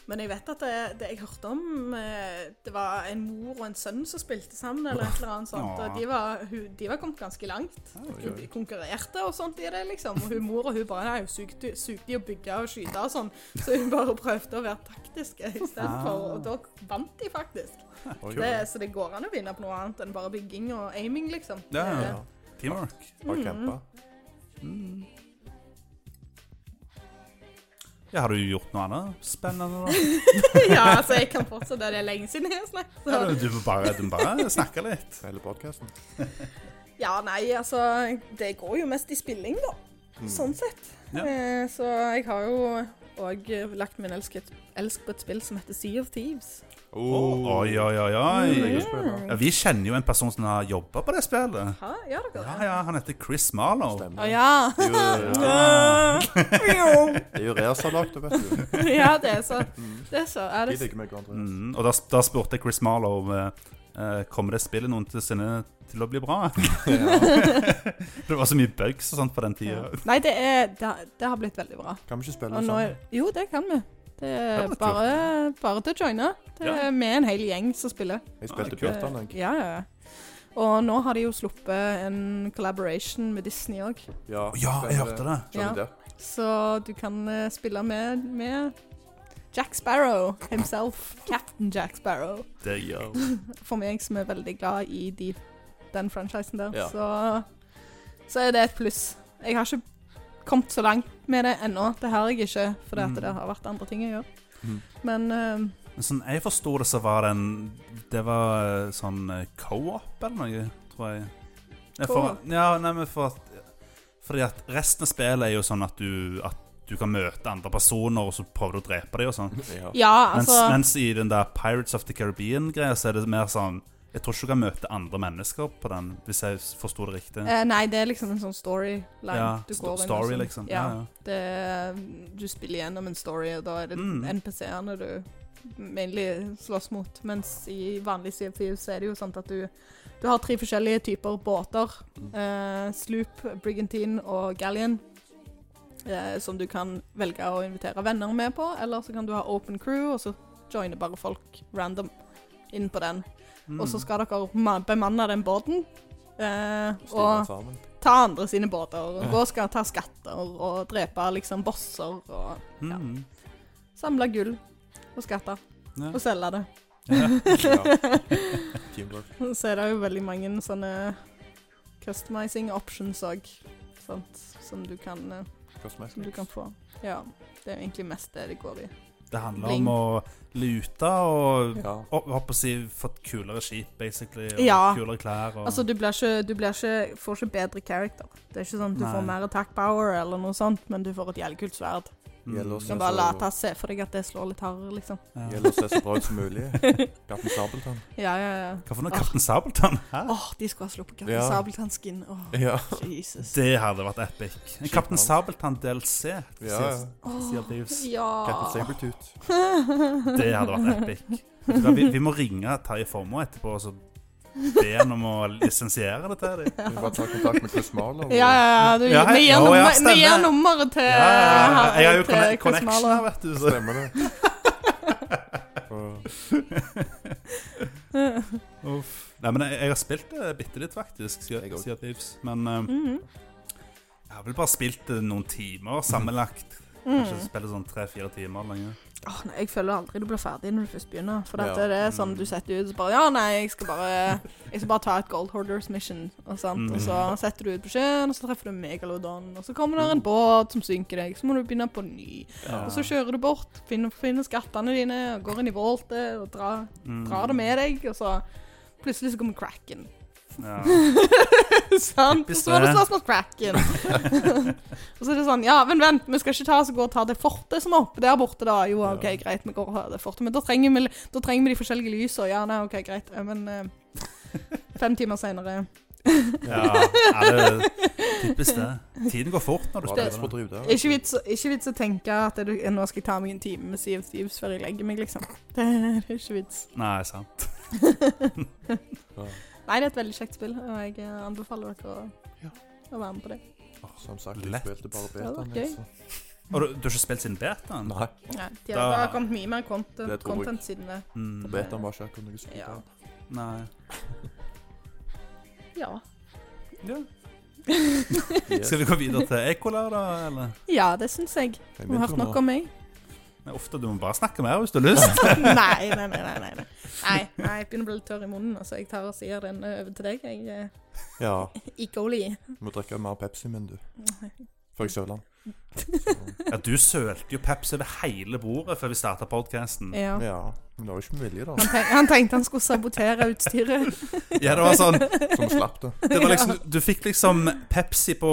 [SPEAKER 3] Men jeg vet at det, det jeg hørte om eh, Det var en mor og en sønn som spilte sammen, eller et eller annet sånt. Og de var, hun- de var kommet ganske langt.
[SPEAKER 2] Oi,
[SPEAKER 3] De
[SPEAKER 2] oi.
[SPEAKER 3] konkurrerte og sånt i det, liksom. Og hun mor og hun bare Nei, hun sugde sugde i å bygge og skyte og sånn. Så hun bare prøvde å være taktisk
[SPEAKER 2] Ah.
[SPEAKER 3] istedenfor. Og da vant de faktisk.
[SPEAKER 2] Oi,
[SPEAKER 3] Det,
[SPEAKER 2] oi.
[SPEAKER 3] så det går an å vinne på noe annet enn bare bygging og aiming, liksom.
[SPEAKER 1] Ja, ja,
[SPEAKER 3] Det-
[SPEAKER 1] ja. Teamwork.
[SPEAKER 3] Mm.
[SPEAKER 2] Bare campa.
[SPEAKER 1] Ja, har du gjort noe annet spennende,
[SPEAKER 3] [LAUGHS]
[SPEAKER 1] da?
[SPEAKER 3] [LAUGHS] ja, altså, jeg kan fortsette. Det er lenge siden jeg har snakket.
[SPEAKER 1] Ja,
[SPEAKER 3] så-
[SPEAKER 1] men Du må bare, du må bare snakke litt.
[SPEAKER 2] Hele podcasten.
[SPEAKER 3] Ja, nei, altså Det går jo mest i spilling, da. Sånn sett.
[SPEAKER 1] Ja.
[SPEAKER 3] Eh, så jeg har jo òg lagt min elsk, elsk på et spill som heter Sea of Thieves.
[SPEAKER 2] Oh.
[SPEAKER 1] Å, Oh, Oi, oi, oi,
[SPEAKER 3] Mm.
[SPEAKER 1] oi.
[SPEAKER 2] Byggespill, ja.
[SPEAKER 1] Ja, vi kjenner jo en person som har jobba på det spillet.
[SPEAKER 3] Hæ? Ja, dere?
[SPEAKER 1] Ja, ja, Han heter Chris Marlow.
[SPEAKER 2] Stemmer.
[SPEAKER 3] Å ja.
[SPEAKER 2] Det er jo-
[SPEAKER 3] [LAUGHS] ja,
[SPEAKER 2] Det er jo Reasa-lag, det
[SPEAKER 3] [LAUGHS]
[SPEAKER 2] vet du.
[SPEAKER 3] det er så. Det er så. Er
[SPEAKER 2] De
[SPEAKER 3] det,
[SPEAKER 2] digger meg, hverandre.
[SPEAKER 1] Mm, og da, da spurte jeg Chris Marlow om eh, kommer det spillet noen til sinne til å bli
[SPEAKER 2] [LAUGHS]
[SPEAKER 1] bra. [LAUGHS] det var så mye bugs og sånt på den tida.
[SPEAKER 3] nei, det, er, det, har- det har blitt veldig bra.
[SPEAKER 2] Kan vi ikke spille
[SPEAKER 3] Og nå,
[SPEAKER 2] sammen?
[SPEAKER 3] jo, det kan vi. sånn. Det
[SPEAKER 1] Ja,
[SPEAKER 3] er
[SPEAKER 1] det er
[SPEAKER 3] bare, bare til å joine. Det
[SPEAKER 1] Ja.
[SPEAKER 3] er med en hel gjeng som spiller.
[SPEAKER 2] Jeg
[SPEAKER 1] Ah,
[SPEAKER 2] spilte
[SPEAKER 1] kult.
[SPEAKER 2] Bjørtan, jeg.
[SPEAKER 3] Eh, Ja, ja. ja. Og nå har de jo sluppet en collaboration med Disney òg.
[SPEAKER 2] Ja,
[SPEAKER 1] Ja, jeg hørte det.
[SPEAKER 2] Johnny
[SPEAKER 3] Ja.
[SPEAKER 2] Depp.
[SPEAKER 3] Så du kan eh, spille med, med Jack Sparrow himself. Captain Jack Sparrow.
[SPEAKER 1] Det,
[SPEAKER 3] For meg som er veldig glad i de, den franchisen der,
[SPEAKER 2] Ja.
[SPEAKER 3] så, så er det et pluss. Jeg har ikke kommet så langt med det ennå. Det har jeg ikke, fordi at
[SPEAKER 1] Mm.
[SPEAKER 3] det har vært andre ting jeg gjør.
[SPEAKER 2] Mm.
[SPEAKER 3] Men eh,
[SPEAKER 1] Men sånn jeg forsto det, så var den Det var eh, sånn eh, co-op eller noe, tror jeg. Nei, for,
[SPEAKER 3] Co-op?
[SPEAKER 1] ja, nei, men for at Fordi at resten av spillet er jo sånn at du, at du kan møte andre personer, og så prøver du å drepe dem og sånn.
[SPEAKER 2] Ja.
[SPEAKER 3] ja, altså
[SPEAKER 1] mens, mens i den der Pirates of the Caribbean-greia, så er det mer sånn Jeg tror ikke du kan møte andre mennesker på den, hvis jeg forsto det riktig.
[SPEAKER 3] eh, Nei, det er liksom en sånn storyline.
[SPEAKER 1] ja,
[SPEAKER 3] du
[SPEAKER 1] sto-
[SPEAKER 3] går inn og
[SPEAKER 1] story,
[SPEAKER 3] sånn.
[SPEAKER 1] liksom.
[SPEAKER 3] Ja,
[SPEAKER 1] Ja, ja.
[SPEAKER 3] det, eh, du spiller gjennom en story, og da er det
[SPEAKER 1] Mm.
[SPEAKER 3] NPC-ene du mainly slåss mot. Mens i vanlig CFU så er det jo sånn at du, du har tre forskjellige typer båter.
[SPEAKER 1] Mm.
[SPEAKER 3] Eh, sloop, brigantine og galleon. Eh, som du kan velge å invitere venner med på, eller så kan du ha open crew, og så joiner bare folk random inn på den.
[SPEAKER 1] Mm.
[SPEAKER 3] Og så skal dere ma- bemanne den båten. Eh, og
[SPEAKER 2] Stiger
[SPEAKER 3] [LAUGHS]
[SPEAKER 2] sammen.
[SPEAKER 3] ta andre sine båter, og gå og skal ta skatter og drepe liksom bosser og ja.
[SPEAKER 1] Mm.
[SPEAKER 3] samle gull og skatter
[SPEAKER 1] Ja.
[SPEAKER 3] og selge det.
[SPEAKER 2] Ja. Teamwork.
[SPEAKER 3] [LAUGHS] Så er det jo veldig mange sånne customizing options òg, som du kan eh,
[SPEAKER 2] Hva som
[SPEAKER 3] som du kan få. Ja. Det er jo egentlig mest det det går i.
[SPEAKER 1] Det handler
[SPEAKER 3] Bling.
[SPEAKER 1] om å lute og
[SPEAKER 2] Ja.
[SPEAKER 1] Å, jeg håper å si fått kulere skip, basically. Og
[SPEAKER 3] Ja.
[SPEAKER 1] Kulere klær. Og...
[SPEAKER 3] Altså, du, blir ikke, du blir ikke, får ikke bedre character. Det er ikke sånn at du
[SPEAKER 1] Nei.
[SPEAKER 3] får mer attack power eller noe sånt, men du får et jævlig kult sverd.
[SPEAKER 1] Mm.
[SPEAKER 2] Yellow
[SPEAKER 3] Du
[SPEAKER 2] Ja,
[SPEAKER 3] kan bare
[SPEAKER 2] så-
[SPEAKER 3] late se for deg at det slår litt hardere, liksom. [LAUGHS]
[SPEAKER 1] ja.
[SPEAKER 2] Gjelder å se så bra ut som mulig. Kaptein Sabeltann.
[SPEAKER 3] Ja, ja, ja.
[SPEAKER 1] Hva for noe?
[SPEAKER 3] Ah.
[SPEAKER 1] Kaptein Sabeltann? Hæ?
[SPEAKER 3] Åh, de skulle ha sluppet Kaptein
[SPEAKER 2] Ja.
[SPEAKER 3] Sabeltann-skin. Åh,
[SPEAKER 2] Ja.
[SPEAKER 3] Jesus.
[SPEAKER 1] Det hadde vært epic. En Kaptein Sabeltann DLC.
[SPEAKER 2] ja.
[SPEAKER 1] Sea of Thieves.
[SPEAKER 2] Captain
[SPEAKER 3] Ja. [LAUGHS]
[SPEAKER 2] Sabeltooth.
[SPEAKER 1] Det hadde vært epic. Vet du hva, Vi, vi må ringe Terje Formoe etterpå og så be han om å lisensiere det til dem.
[SPEAKER 2] Vi bare tar kontakt med Chris Marlow. og-
[SPEAKER 3] Ja, ja, ja. Du,
[SPEAKER 1] Ja, hei.
[SPEAKER 3] vi, gir
[SPEAKER 1] Å, ja,
[SPEAKER 3] nummer, vi
[SPEAKER 1] stemmer.
[SPEAKER 3] gir nummeret til
[SPEAKER 1] Ja, ja, ja.
[SPEAKER 3] her-
[SPEAKER 1] Jeg har jo
[SPEAKER 3] til
[SPEAKER 1] conne-
[SPEAKER 3] Chris
[SPEAKER 1] connection
[SPEAKER 3] [LAUGHS] Marlowe.
[SPEAKER 1] her, vet du. Så.
[SPEAKER 2] Stemmer det. Og-
[SPEAKER 1] Uff. Nei, men jeg, jeg har spilt det bitte litt, faktisk,
[SPEAKER 2] Jeg
[SPEAKER 1] Sea
[SPEAKER 2] også.
[SPEAKER 1] Sea of Thieves. Men eh,
[SPEAKER 3] Mhm.
[SPEAKER 1] jeg har vel bare spilt det noen timer sammenlagt. Kanskje
[SPEAKER 3] Mm.
[SPEAKER 1] spille sånn tre-fire timer lenge.
[SPEAKER 3] Åh, nei, jeg føler aldri du blir ferdig når du først begynner. For dette
[SPEAKER 2] Ja.
[SPEAKER 3] det
[SPEAKER 1] mm.
[SPEAKER 3] er sånn du setter ut så bare Ja, nei, jeg skal bare Jeg skal bare ta et Gold Hoarders mission. Og, sant?
[SPEAKER 1] Mm. Mm.
[SPEAKER 3] og så setter du ut på sjøen, og så treffer du en megalodon. Og så kommer det en båt som synker deg. Så må du begynne på ny. Og
[SPEAKER 1] Ah.
[SPEAKER 3] så kjører du bort, finner, finner skattene dine, og går inn i voltet og drar,
[SPEAKER 1] Mm.
[SPEAKER 3] drar det med deg. Og så plutselig så kommer cracken. [LAUGHS]
[SPEAKER 1] Ja.
[SPEAKER 3] Sant? Og så er det
[SPEAKER 1] Typisk
[SPEAKER 3] spørsmål cracken. [LAUGHS] og så er det sånn Ja, men vent, vi skal ikke ta oss og gå og ta det fortet som er oppe der borte, da. Jo, OK,
[SPEAKER 2] Ja.
[SPEAKER 3] greit, vi går og har det fortet. Men da trenger vi, da trenger vi de forskjellige lysene. Ja, nei, OK, greit. Eh, Men eh, fem timer
[SPEAKER 2] [LAUGHS]
[SPEAKER 3] seinere
[SPEAKER 1] Ja, er det typisk det. Tiden går fort når du
[SPEAKER 2] Bra
[SPEAKER 1] spiller.
[SPEAKER 2] lest på driv der.
[SPEAKER 3] Ikke vits ikke vits å tenke at det, eh, nå skal jeg ta meg en time med Siv Thieves før jeg legger meg, liksom. [LAUGHS] Det er ikke vits.
[SPEAKER 1] Nei, sant.
[SPEAKER 3] Nei, det er et veldig kjekt spill, og jeg eh, anbefaler dere å,
[SPEAKER 2] Ja.
[SPEAKER 3] å være med på det.
[SPEAKER 2] Som sagt, jeg
[SPEAKER 1] Lett.
[SPEAKER 2] spilte bare
[SPEAKER 3] Ja,
[SPEAKER 2] betaen.
[SPEAKER 3] ok.
[SPEAKER 2] liksom.
[SPEAKER 1] Og du, du har ikke spilt siden betaen?
[SPEAKER 2] Nei,
[SPEAKER 3] Ja, de har,
[SPEAKER 1] Da-
[SPEAKER 3] det har kommet mye mer content,
[SPEAKER 2] Det tror jeg.
[SPEAKER 3] content siden det.
[SPEAKER 1] Mm,
[SPEAKER 2] betaen var ikke akkurat noe sånt.
[SPEAKER 3] Ja.
[SPEAKER 1] nei.
[SPEAKER 3] Ja.
[SPEAKER 1] Ja.
[SPEAKER 2] Yes.
[SPEAKER 1] Skal vi gå videre til Ekola, da? Eller?
[SPEAKER 3] ja, det syns jeg.
[SPEAKER 2] Jeg
[SPEAKER 3] Du har hørt
[SPEAKER 2] begynte
[SPEAKER 3] nok om meg?
[SPEAKER 1] Nei, ofte du må bare snakke mer hvis du har lyst.
[SPEAKER 3] nei, [LAUGHS] nei, nei. nei, nei, nei. nei, nei Jeg begynner å bli litt tørr i munnen, så jeg tar og sier den eh, over til deg. Jeg
[SPEAKER 2] Ja,
[SPEAKER 3] eh, ikke oli.
[SPEAKER 2] du må drikke mer Pepsi, men du. For jeg søler den. Så-
[SPEAKER 1] Ja, du sølte jo Pepsi over hele bordet før vi starta podkasten.
[SPEAKER 3] Ja.
[SPEAKER 2] Ja, men det var jo ikke med vilje, da.
[SPEAKER 3] Han, tenk, han tenkte han skulle sabotere
[SPEAKER 2] [LAUGHS]
[SPEAKER 3] utstyret.
[SPEAKER 1] Ja, det var sånn
[SPEAKER 2] Så vi slapp det.
[SPEAKER 1] det var liksom, Du fikk liksom Pepsi på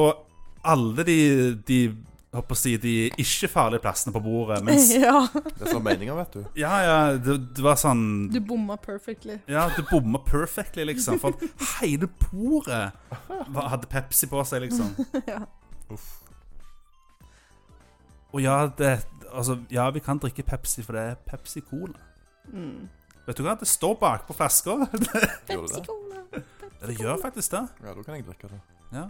[SPEAKER 1] alle de, de jeg Håper å si de ikke-farlige plassene på bordet. Mens
[SPEAKER 3] [LAUGHS] ja.
[SPEAKER 2] Det er sånn meninger, vet du.
[SPEAKER 1] Ja, ja, det, det var sånn
[SPEAKER 3] Du bomma perfectly. [LAUGHS]
[SPEAKER 1] Ja, du bomma perfectly, liksom. For at hele bordet var- hadde Pepsi på seg, liksom.
[SPEAKER 3] ja.
[SPEAKER 1] Og ja, det Altså, ja, vi kan drikke Pepsi, for det er Pepsi Cola.
[SPEAKER 3] Mm.
[SPEAKER 1] Vet du hva? Det står bakpå flaska.
[SPEAKER 2] Gjorde
[SPEAKER 3] Pepsi
[SPEAKER 2] det?
[SPEAKER 3] Cola.
[SPEAKER 1] Ja, det gjør faktisk det.
[SPEAKER 2] Ja, da kan jeg drikke det.
[SPEAKER 1] Ja.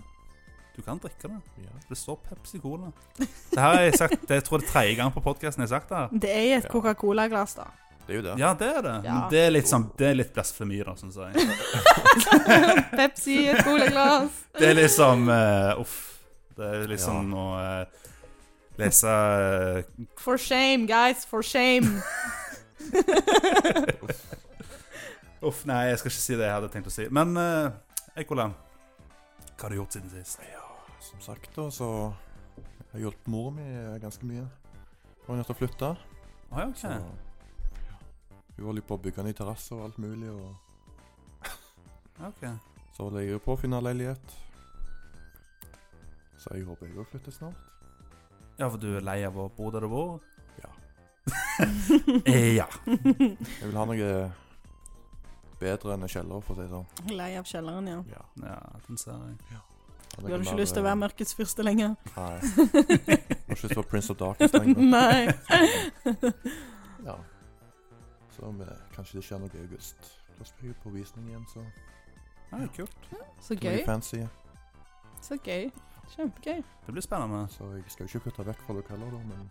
[SPEAKER 1] Du kan drikke det.
[SPEAKER 2] Ja.
[SPEAKER 1] Det står Pepsi Cola. Det her har jeg sagt, jeg tror det er tredje gang på podkasten jeg har sagt det. her.
[SPEAKER 3] Det er i et
[SPEAKER 2] Ja.
[SPEAKER 3] Coca-Cola-glass, da.
[SPEAKER 2] Det er jo det.
[SPEAKER 1] Ja, det er det.
[SPEAKER 3] Ja.
[SPEAKER 1] Men det er litt, sånn, det er litt blasfemi, da, syns jeg.
[SPEAKER 3] Pepsi i et colaglass.
[SPEAKER 1] Det er liksom eh, Uff. Det er liksom å eh, lese eh,
[SPEAKER 3] For shame, guys. For shame.
[SPEAKER 1] Uff, nei, jeg skal ikke si det jeg hadde tenkt å si. Men uh, Eikola, hva har du gjort siden sist?
[SPEAKER 2] Som sagt, da, så Jeg har hjulpet mor mi eh, ganske mye. Hun er nødt til å flytte.
[SPEAKER 1] Å ja,
[SPEAKER 2] Så
[SPEAKER 1] ok.
[SPEAKER 2] Hun holder jo på å bygge ny terrasse og alt mulig, og
[SPEAKER 1] ok.
[SPEAKER 2] så holder jeg jo på å finne leilighet. Så jeg håper jeg òg flytter snart.
[SPEAKER 1] Ja, for du er lei av å bo der du bor? [LAUGHS]
[SPEAKER 2] Ja.
[SPEAKER 1] Eh, ja.
[SPEAKER 2] Jeg vil ha noe bedre enn en kjeller, for å si det sånn.
[SPEAKER 3] Lei av kjelleren, ja.
[SPEAKER 2] Ja.
[SPEAKER 1] ja. Den ser jeg.
[SPEAKER 3] Du hadde ikke lyst
[SPEAKER 2] eh,
[SPEAKER 3] til å være mørkets fyrste lenger.
[SPEAKER 2] Nei. [LAUGHS] Jeg har ikke lyst til å være Prince of Darkness lenger.
[SPEAKER 3] [LAUGHS] Nei.
[SPEAKER 2] Ja. Så om, eh, kanskje det skjer noe i august. Da spiller jeg på visning igjen, så
[SPEAKER 1] Ja, kult.
[SPEAKER 3] Så
[SPEAKER 2] det er
[SPEAKER 3] gøy.
[SPEAKER 2] noe fancy.
[SPEAKER 3] Så gøy. Kjempegøy.
[SPEAKER 1] Det blir spennende.
[SPEAKER 2] Så jeg skal jo ikke flytte vekk fra lokaler, da, men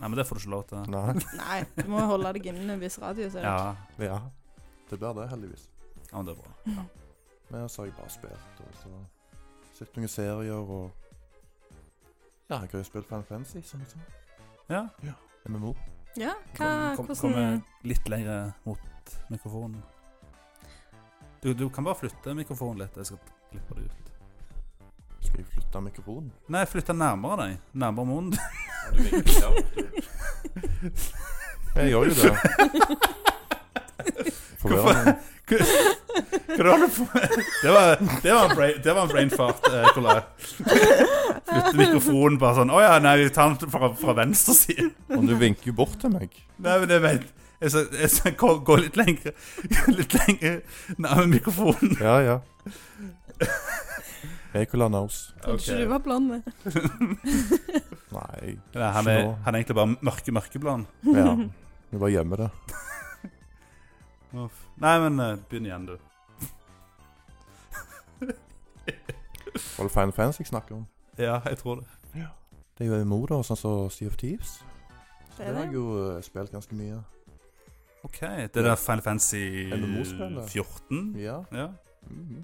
[SPEAKER 1] Nei, men det får du ikke lov til.
[SPEAKER 2] Nei.
[SPEAKER 3] Nei, du må holde deg innen en viss radius. er det
[SPEAKER 1] Ja,
[SPEAKER 2] Ja. Det blir det, heldigvis.
[SPEAKER 1] ja men det er bra.
[SPEAKER 3] ikke?
[SPEAKER 2] Men så har jeg bare spilt, og så sett noen serier og Ja, jeg har jo spilt Final Fantasy, sånn som jeg sa.
[SPEAKER 1] Ja.
[SPEAKER 2] MMO.
[SPEAKER 3] Ja, hva,
[SPEAKER 1] Kom- kom-
[SPEAKER 3] hvordan
[SPEAKER 1] Komme litt lenger mot mikrofonen. Du, du kan bare flytte mikrofonen litt. Jeg skal klippe det ut.
[SPEAKER 2] Skal jeg flytte mikrofonen?
[SPEAKER 1] Nei, flytte nærmere deg. Nærmere munnen.
[SPEAKER 2] Jeg gjør jo [LAUGHS] det. Forvirrende.
[SPEAKER 1] Hva var det for Det var, det var en brain, det var en brain fart, eh, Nicolai. Flytte mikrofonen bare sånn Å ja, nei, vi tar den fra, fra venstre side.
[SPEAKER 2] Men du vinker jo bort til meg.
[SPEAKER 1] Nei, men jeg vet Jeg skal, jeg skal gå, gå litt lenger [LAUGHS] Litt lenger nærmere mikrofonen.
[SPEAKER 2] Ja, ja. Eikola knows.
[SPEAKER 3] Trodde ikke
[SPEAKER 1] Ok.
[SPEAKER 3] du var blond.
[SPEAKER 2] Nei,
[SPEAKER 1] Nei, han, er, han er egentlig bare mørke, mørkeblond.
[SPEAKER 2] ja. Vi bare gjemmer det.
[SPEAKER 1] Nei, men eh, begynn igjen, du.
[SPEAKER 2] Var det Final Fantasy jeg snakker om?
[SPEAKER 1] Ja, jeg tror det.
[SPEAKER 2] Det er jo mor, da, sånn som Sea of Thieves. Så det
[SPEAKER 3] Det er
[SPEAKER 2] har
[SPEAKER 3] det.
[SPEAKER 2] jeg jo eh, spilt ganske mye.
[SPEAKER 1] OK. Det der Final Fantasy
[SPEAKER 2] MMO-spillet.
[SPEAKER 1] 14?
[SPEAKER 2] Ja.
[SPEAKER 1] Ja.
[SPEAKER 2] Mhm.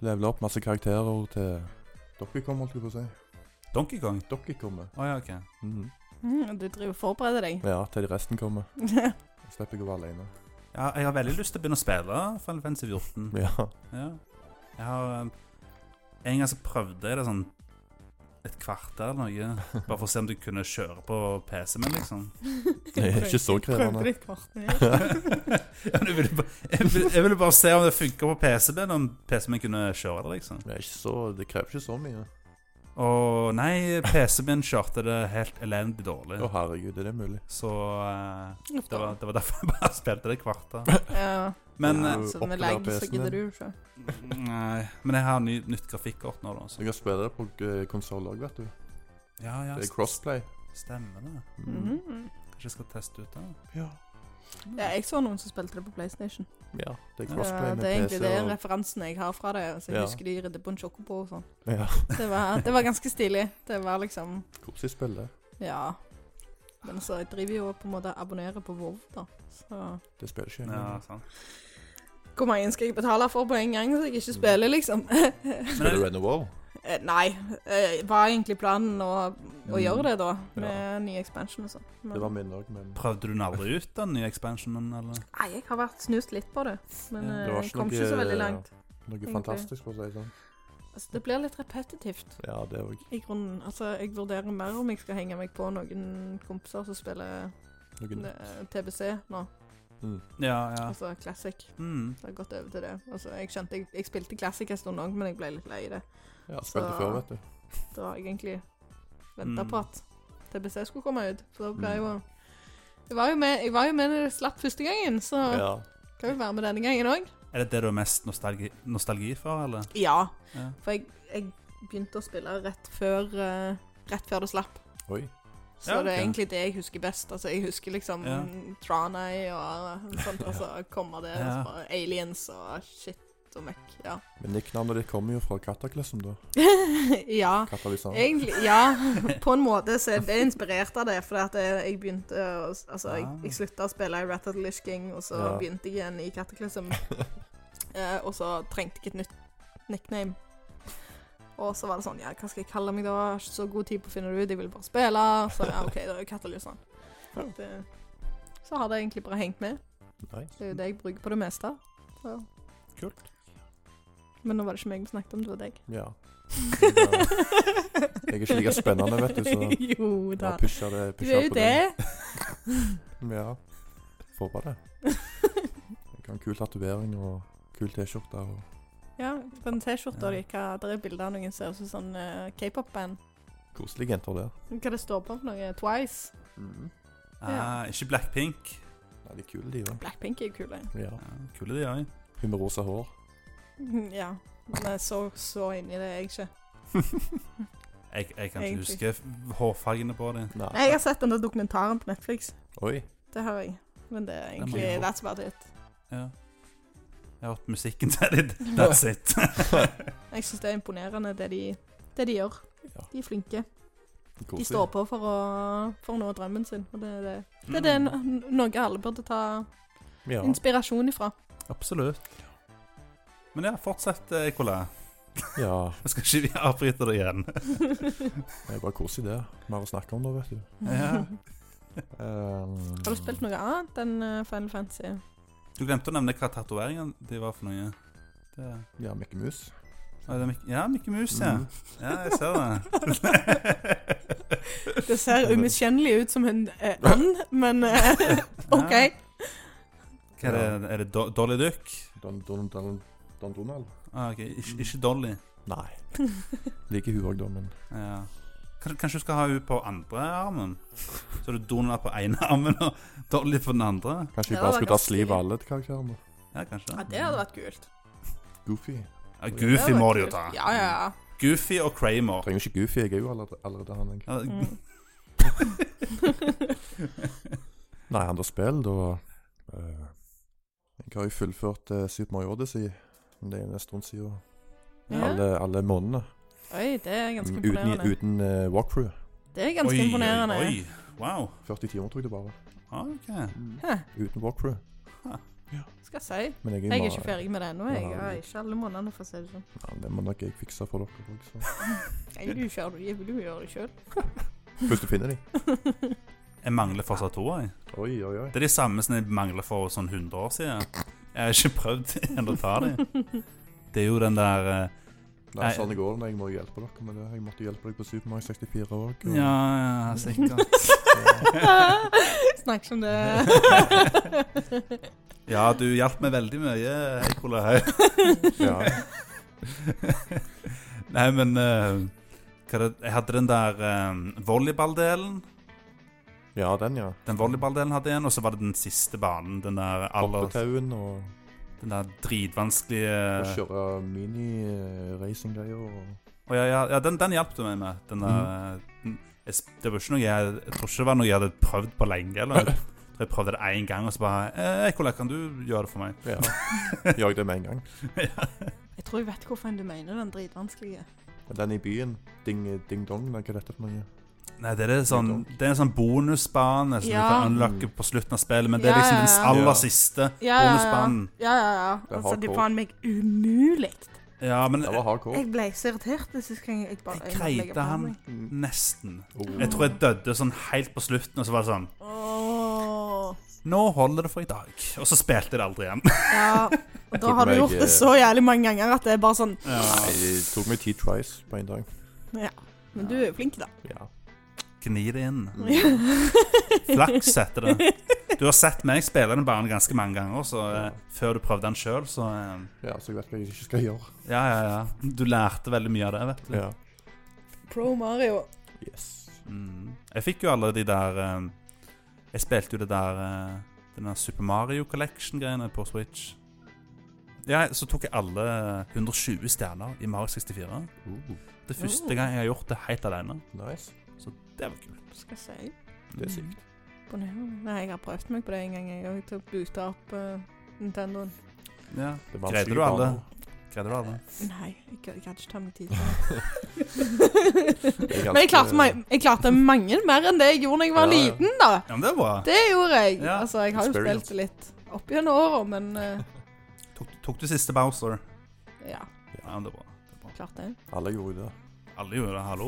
[SPEAKER 2] Leveler opp masse karakterer til Donkey Kong, holdt jeg på å si.
[SPEAKER 1] Donkey Kong?
[SPEAKER 2] Donkey kommer.
[SPEAKER 1] Å ja, OK.
[SPEAKER 2] Mhm.
[SPEAKER 3] Mm, du driver og forbereder deg.
[SPEAKER 2] Ja, til de resten [LAUGHS] kommer. Jeg slipper ikke å være alene.
[SPEAKER 1] Ja, jeg har veldig lyst til å begynne å spille Final Fantasy 14.
[SPEAKER 2] Ja.
[SPEAKER 1] Ja. Jeg har um, En gang så prøvde jeg det sånn et kvarter eller noe. Bare for å se om du kunne kjøre på PC-en min, liksom.
[SPEAKER 2] Det er ikke så krevende.
[SPEAKER 3] Prøvde litt kvartene.
[SPEAKER 1] [LAUGHS] Ja, men jeg, ville bare, jeg, ville, jeg ville bare se om det funka på PC-en min, om PC-en min kunne kjøre det, liksom.
[SPEAKER 2] Det, er ikke så, det krever ikke så mye.
[SPEAKER 1] Og nei, PC-en min kjørte det helt elendig dårlig.
[SPEAKER 2] Å, herregud, er det mulig?
[SPEAKER 1] Så eh, det, var, det var derfor jeg bare [LAUGHS] spilte det kvarter.
[SPEAKER 3] Ja,
[SPEAKER 1] Men,
[SPEAKER 2] Ja.
[SPEAKER 1] eh,
[SPEAKER 3] så med
[SPEAKER 2] Oppgradere
[SPEAKER 3] legg så
[SPEAKER 2] PC-en
[SPEAKER 3] gidder du
[SPEAKER 2] din.
[SPEAKER 3] ikke.
[SPEAKER 1] nei, men jeg har ny, nytt grafikkort nå, da.
[SPEAKER 2] Så
[SPEAKER 1] Så.
[SPEAKER 2] du kan spille det på konsoll òg, vet du.
[SPEAKER 1] Ja, ja,
[SPEAKER 2] Det er crossplay.
[SPEAKER 1] stemmer det.
[SPEAKER 2] Mhm.
[SPEAKER 3] Mhm.
[SPEAKER 1] Kanskje jeg skal teste ut det.
[SPEAKER 2] Ja.
[SPEAKER 3] Ja, jeg så noen som spilte det på PlayStation.
[SPEAKER 2] ja. Det er
[SPEAKER 1] Ja,
[SPEAKER 2] crossplay
[SPEAKER 3] Ja,
[SPEAKER 2] med
[SPEAKER 3] det er egentlig
[SPEAKER 2] PC
[SPEAKER 3] det
[SPEAKER 2] og
[SPEAKER 3] referansen jeg har fra det. Så jeg
[SPEAKER 2] Ja.
[SPEAKER 3] husker de ridde på en sjokobo og sånn.
[SPEAKER 2] Ja.
[SPEAKER 3] Det var, det var ganske stilig. Det var liksom
[SPEAKER 2] Koselig spill, det.
[SPEAKER 3] Ja. Men så jeg driver jo og på en måte abonnerer på WoW, da. Så
[SPEAKER 2] Det spiller ikke jeg.
[SPEAKER 1] Ja,
[SPEAKER 2] med.
[SPEAKER 1] sant.
[SPEAKER 3] Hvor mange skal jeg betale for på en gang, så jeg ikke
[SPEAKER 2] Mm.
[SPEAKER 3] spiller, liksom? [LAUGHS]
[SPEAKER 2] Spiller Red and War?
[SPEAKER 3] Eh, Nei. eh, Var egentlig planen å, å
[SPEAKER 2] Mm.
[SPEAKER 3] gjøre det, da?
[SPEAKER 2] Ja.
[SPEAKER 3] Med ny expansion og sånn. Men-
[SPEAKER 2] Det var min òg, men
[SPEAKER 1] Prøvde du den aldri ut, den nye expansionen, eller?
[SPEAKER 3] Nei, jeg har vært snust litt på det. Men
[SPEAKER 1] Ja,
[SPEAKER 3] eh,
[SPEAKER 2] det var
[SPEAKER 3] jeg
[SPEAKER 2] ikke
[SPEAKER 3] kom
[SPEAKER 2] noe-
[SPEAKER 3] ikke så veldig langt.
[SPEAKER 2] noe fantastisk, for å si det sånn.
[SPEAKER 3] Altså, det blir litt repetitivt.
[SPEAKER 2] Ja, det òg.
[SPEAKER 3] I grunnen, altså, Jeg vurderer mer om jeg skal henge meg på noen kompiser som spiller
[SPEAKER 2] Noe
[SPEAKER 3] eh, TBC nå.
[SPEAKER 2] mm.
[SPEAKER 1] Ja, ja.
[SPEAKER 3] Altså Classic.
[SPEAKER 1] Mm.
[SPEAKER 3] Så jeg har gått over til det. Altså, jeg skjønte, jeg, jeg spilte Classic en stund òg, men jeg ble litt lei det.
[SPEAKER 2] Ja, spilte
[SPEAKER 3] Så-
[SPEAKER 2] før, vet du.
[SPEAKER 3] Da har jeg egentlig venta
[SPEAKER 1] Mm.
[SPEAKER 3] på at TBC skulle komme ut. For da ble jeg jo
[SPEAKER 2] Mm.
[SPEAKER 3] jeg var jo, med, jeg var jo med når det slapp første gangen, så
[SPEAKER 2] Ja.
[SPEAKER 3] kan vi være med denne gangen òg.
[SPEAKER 1] Er det det du har mest nostalgi, nostalgi for, eller?
[SPEAKER 3] Ja,
[SPEAKER 1] Ja.
[SPEAKER 3] for jeg, jeg begynte å spille rett før, eh, rett før det slapp.
[SPEAKER 2] Oi.
[SPEAKER 3] Så
[SPEAKER 1] Ja,
[SPEAKER 3] det
[SPEAKER 1] ok.
[SPEAKER 3] er egentlig det jeg husker best. Altså, jeg husker liksom
[SPEAKER 1] Ja.
[SPEAKER 3] Tranøy og sånt, og så kommer det og
[SPEAKER 1] Ja.
[SPEAKER 3] så bare aliens og shit og møkk. Ja.
[SPEAKER 2] Men nicknavnet ditt kommer jo fra Cataclysm, da.
[SPEAKER 3] [LAUGHS] ja.
[SPEAKER 2] Katalysator.
[SPEAKER 3] Egentlig, ja. [LAUGHS] På en måte så er det inspirert av det, for at jeg jeg begynte å Altså, jeg, jeg slutta å spille i Rat of the Lish King, og så
[SPEAKER 2] Ja.
[SPEAKER 3] begynte jeg igjen i Cataclysm. Eh, og så trengte jeg et nytt nickname. Og så var det sånn Ja, hva skal jeg kalle meg da? Jeg har Ikke så god tid på å finne det ut, jeg vil bare spille. Så ja, OK, da er Catalysan. eh, Så har det egentlig bare hengt med.
[SPEAKER 2] Nice.
[SPEAKER 3] Det er jo det jeg bruker på det meste. Så.
[SPEAKER 1] Kult.
[SPEAKER 3] Men nå var det ikke meg vi snakket om, det var deg. [LAUGHS]
[SPEAKER 2] Ja. Jeg er ikke like spennende, vet du, så
[SPEAKER 3] [LAUGHS] Jo da.
[SPEAKER 2] jeg pusha det.
[SPEAKER 3] Du
[SPEAKER 2] pusha
[SPEAKER 3] er jo
[SPEAKER 2] på
[SPEAKER 3] det.
[SPEAKER 2] [LAUGHS] Ja. Får bare det. Jeg kan kul tatovering og kul T-skjorte og
[SPEAKER 3] Ja, på en T-skjorte
[SPEAKER 1] Ja.
[SPEAKER 3] og de hva- der er bilder av noen ser ut som sånn eh, K-pop-band.
[SPEAKER 2] koselige jenter der.
[SPEAKER 3] Hva det står på for noe? Twice? Mm.
[SPEAKER 1] Ah, ikke Blackpink.
[SPEAKER 2] Nei, de er kule, de òg.
[SPEAKER 3] Blackpink er jo kule.
[SPEAKER 2] Ja.
[SPEAKER 1] Ja, kule de òg.
[SPEAKER 2] Hun med rosa hår.
[SPEAKER 3] Mm, ja. Men jeg så, så inn i det, jeg ikke.
[SPEAKER 1] Jeg, jeg kan ikke
[SPEAKER 3] Egentlig.
[SPEAKER 1] huske f- hårfargene på dem.
[SPEAKER 2] Nei.
[SPEAKER 3] Nei, jeg har sett den der dokumentaren på Netflix.
[SPEAKER 2] Oi.
[SPEAKER 3] Det har jeg. Men det er
[SPEAKER 1] må
[SPEAKER 3] egentlig
[SPEAKER 1] jeg få.
[SPEAKER 3] That's about it.
[SPEAKER 1] Ja. Jeg har hørt musikken [LAUGHS] til dem. That's it.
[SPEAKER 3] Jeg syns det er imponerende, det de, det de gjør.
[SPEAKER 2] Ja.
[SPEAKER 3] De er flinke.
[SPEAKER 2] Koselig. Mm.
[SPEAKER 3] De står på for å, for å nå drømmen sin. Og det er det, [LAUGHS] det, er det no- noe alle burde ta
[SPEAKER 2] Ja.
[SPEAKER 3] inspirasjon ifra.
[SPEAKER 1] Absolutt. Men ja, fortsett, eh, Nicolai.
[SPEAKER 2] ja.
[SPEAKER 1] Jeg skal ikke [LAUGHS] vi avbryte det igjen.
[SPEAKER 2] Det er bare koselig, det. Mer å snakke om da, vet du.
[SPEAKER 1] Ja.
[SPEAKER 2] Um,
[SPEAKER 3] [LAUGHS] Har du spilt noe annet enn eh, Final Fantasy?
[SPEAKER 1] Du glemte å nevne hva tatoveringene de var for noe. Det,
[SPEAKER 2] Ja, Mikke Mus.
[SPEAKER 1] Å, er det Mik ja, Mikke Mus, ja.
[SPEAKER 2] Mm.
[SPEAKER 1] Ja, jeg ser [LAUGHS] det.
[SPEAKER 3] [LAUGHS] Det ser umiskjennelig ut som en eh, and, men
[SPEAKER 1] [LAUGHS]
[SPEAKER 3] eh, [LAUGHS] OK.
[SPEAKER 1] Hva er det? Er det Do Dolly Duck?
[SPEAKER 2] Don, don, don, don Donald?
[SPEAKER 1] Ah, ok, ikke, ikke Dolly.
[SPEAKER 3] [LAUGHS]
[SPEAKER 2] Nei. Liker hun òg, da, men
[SPEAKER 1] Ja. Kanskje, kanskje du skal ha henne på andre armen? Så er det Donald på ene armen og Dolly på den andre?
[SPEAKER 2] Kanskje vi
[SPEAKER 3] Ja, det
[SPEAKER 2] bare
[SPEAKER 3] var
[SPEAKER 2] skulle ta
[SPEAKER 3] ganske
[SPEAKER 2] sliv av
[SPEAKER 3] stilig.
[SPEAKER 2] alle til karakterene?
[SPEAKER 1] Ja, kanskje
[SPEAKER 3] Ja,
[SPEAKER 1] det.
[SPEAKER 3] det hadde vært kult.
[SPEAKER 2] Goofy.
[SPEAKER 1] Ja, Goofy må du jo ta.
[SPEAKER 3] Ja, ja, ja.
[SPEAKER 1] Goofy og Kramer.
[SPEAKER 2] Trenger jo ikke Goofy, jeg er jo allerede, allerede han,
[SPEAKER 1] Ja,
[SPEAKER 2] egentlig.
[SPEAKER 1] [LAUGHS]
[SPEAKER 3] Mm.
[SPEAKER 2] Nei, han har spilt, og eh, Jeg har jo fullført eh, Super Mario Odyssey. Men det er jo en stund siden.
[SPEAKER 3] ja.
[SPEAKER 2] Alle, alle månedene.
[SPEAKER 3] Oi, det er ganske
[SPEAKER 2] Mm, Uten,
[SPEAKER 3] imponerende.
[SPEAKER 2] uten eh, walkthrough.
[SPEAKER 3] Det er ganske imponerende.
[SPEAKER 1] Oi, oi, wow. Ah,
[SPEAKER 2] 40 timer, tror jeg det bare var.
[SPEAKER 1] OK.
[SPEAKER 3] Hæ,
[SPEAKER 2] Uten walkthrough.
[SPEAKER 3] skal jeg si.
[SPEAKER 2] Men jeg er,
[SPEAKER 3] Jeg er
[SPEAKER 2] ma-
[SPEAKER 3] ikke ferdig med det ennå. Jeg
[SPEAKER 2] Ja.
[SPEAKER 3] har ikke alle månedene, for å si det sånn.
[SPEAKER 2] Ja, det må nok jeg fikse for dere òg, så
[SPEAKER 3] Nei, du kjører, jeg vil jo gjøre det sjøl.
[SPEAKER 2] Først du finner de.
[SPEAKER 1] Jeg mangler fortsatt to. Jeg.
[SPEAKER 2] Oi, oi, oi.
[SPEAKER 1] Det er de samme som jeg mangler for sånn 100 år siden. Jeg har ikke prøvd [LAUGHS] ennå å ta
[SPEAKER 3] [LAUGHS]
[SPEAKER 1] dem. Det er jo den der eh,
[SPEAKER 2] Det er sånn det går når jeg må hjelpe dere med det. Jeg måtte hjelpe deg på Super Mario 64 òg.
[SPEAKER 1] Ja, ja, sikkert.
[SPEAKER 3] [LAUGHS] Snakk
[SPEAKER 1] [LAUGHS]
[SPEAKER 3] som det.
[SPEAKER 1] Ja, du hjalp meg veldig mye, Eikola Høy.
[SPEAKER 2] Ja.
[SPEAKER 1] [LAUGHS] Nei, men eh, hva er det? Jeg hadde den der eh, volleyballdelen.
[SPEAKER 2] ja, den, ja.
[SPEAKER 1] Den volleyballdelen hadde jeg en, og så var det den siste banen. Den der, aller,
[SPEAKER 2] Hoppeklauen og
[SPEAKER 1] den der
[SPEAKER 2] å
[SPEAKER 1] dritvanskelige
[SPEAKER 2] kjøre mini-racing-greier
[SPEAKER 1] [LAUGHS]
[SPEAKER 2] og
[SPEAKER 1] Å, ja, ja, ja, den, den hjalp du meg med. Den der,
[SPEAKER 2] Mhm.
[SPEAKER 1] den- jeg, sp- det var ikke noe jeg, jeg tror ikke det var noe jeg hadde prøvd på lenge. Eller. Jeg tror jeg prøvde det én gang, og så bare eh, Eikola, kan du gjøre det for meg?
[SPEAKER 2] Ja. Gjør jeg det med en gang.
[SPEAKER 3] [LAUGHS] jeg tror jeg vet hvorfor du mener den dritvanskelige.
[SPEAKER 2] Men den i byen, ding-dong, ding dong, hva er dette for noe?
[SPEAKER 1] Nei, det er, det sånn, det er en sånn bonusbane som
[SPEAKER 3] Ja.
[SPEAKER 1] du kan unlocke på slutten av spillet, men det er
[SPEAKER 3] Ja,
[SPEAKER 1] liksom
[SPEAKER 3] ja,
[SPEAKER 1] den
[SPEAKER 3] ja.
[SPEAKER 1] aller
[SPEAKER 2] Ja.
[SPEAKER 1] siste
[SPEAKER 3] Ja, ja, ja.
[SPEAKER 1] bonusbanen.
[SPEAKER 3] Ja, ja, ja.
[SPEAKER 2] er
[SPEAKER 3] Altså, det
[SPEAKER 2] hardcore.
[SPEAKER 3] er faen meg umulig.
[SPEAKER 1] Ja, men
[SPEAKER 2] Det var hardcore.
[SPEAKER 3] Jeg ble så irritert sist gang jeg bare
[SPEAKER 1] Jeg
[SPEAKER 3] jeg måtte legge
[SPEAKER 1] kreide
[SPEAKER 3] fra
[SPEAKER 1] han.
[SPEAKER 3] meg.
[SPEAKER 2] Mm.
[SPEAKER 1] nesten.
[SPEAKER 2] Oh.
[SPEAKER 1] Jeg tror jeg døde sånn helt på slutten, og så var det sånn
[SPEAKER 3] Åh.
[SPEAKER 1] Nå holder det for i dag. Og så spilte jeg det aldri igjen.
[SPEAKER 3] Ja. Og da
[SPEAKER 2] tok
[SPEAKER 3] har du
[SPEAKER 2] meg,
[SPEAKER 3] gjort
[SPEAKER 2] eh,
[SPEAKER 3] det så jævlig mange ganger at det er bare sånn
[SPEAKER 1] [LAUGHS] Ja.
[SPEAKER 2] Nei, det tok meg ti tries på en dag.
[SPEAKER 3] Ja. Men du er jo flink,
[SPEAKER 2] [LAUGHS]
[SPEAKER 3] da.
[SPEAKER 2] Ja.
[SPEAKER 1] Gni det inn. Flaks heter det. Du har sett meg spille den banen ganske mange ganger, så eh, før du prøvde den sjøl, så eh,
[SPEAKER 2] ja, så jeg vet hva jeg ikke skal gjøre.
[SPEAKER 1] Ja, ja, ja. Du lærte veldig mye av det, vet du.
[SPEAKER 2] Ja.
[SPEAKER 3] Pro Mario.
[SPEAKER 2] Yes.
[SPEAKER 1] Mm. Jeg fikk jo alle de der eh, Jeg spilte jo det der eh, Den der Super Mario Collection-greiene på Switch. Ja, så tok jeg alle eh, 120 stjerner i Mario 64.
[SPEAKER 2] Uh,
[SPEAKER 1] Det er første gang jeg har gjort det helt alene.
[SPEAKER 2] nice.
[SPEAKER 1] Det var kult.
[SPEAKER 3] Skal jeg si.
[SPEAKER 2] Det er sykt.
[SPEAKER 3] Imponerende. Nei, jeg har prøvd meg på det en gang. Jeg har til å boote opp eh, Nintendoen.
[SPEAKER 1] Ja.
[SPEAKER 2] Det
[SPEAKER 1] Greide du alle? Greide du det?
[SPEAKER 3] Nei, jeg kan jeg kan ikke ta meg tid.
[SPEAKER 2] [LAUGHS] Det er ganske-
[SPEAKER 3] Men jeg klarte, meg, jeg klarte mange mer enn det jeg gjorde da jeg var
[SPEAKER 2] Ja, ja.
[SPEAKER 3] liten, da.
[SPEAKER 1] Ja, men det er bra.
[SPEAKER 3] Det gjorde jeg.
[SPEAKER 1] Ja,
[SPEAKER 3] altså, jeg har jo
[SPEAKER 2] experience.
[SPEAKER 3] spilt det litt opp gjennom åra, men eh,
[SPEAKER 1] Tok, tok du siste Bowser?
[SPEAKER 3] ja,
[SPEAKER 1] Ja, men det er bra.
[SPEAKER 3] klart det.
[SPEAKER 2] Alle gjorde det.
[SPEAKER 1] Alle gjør det, hallo.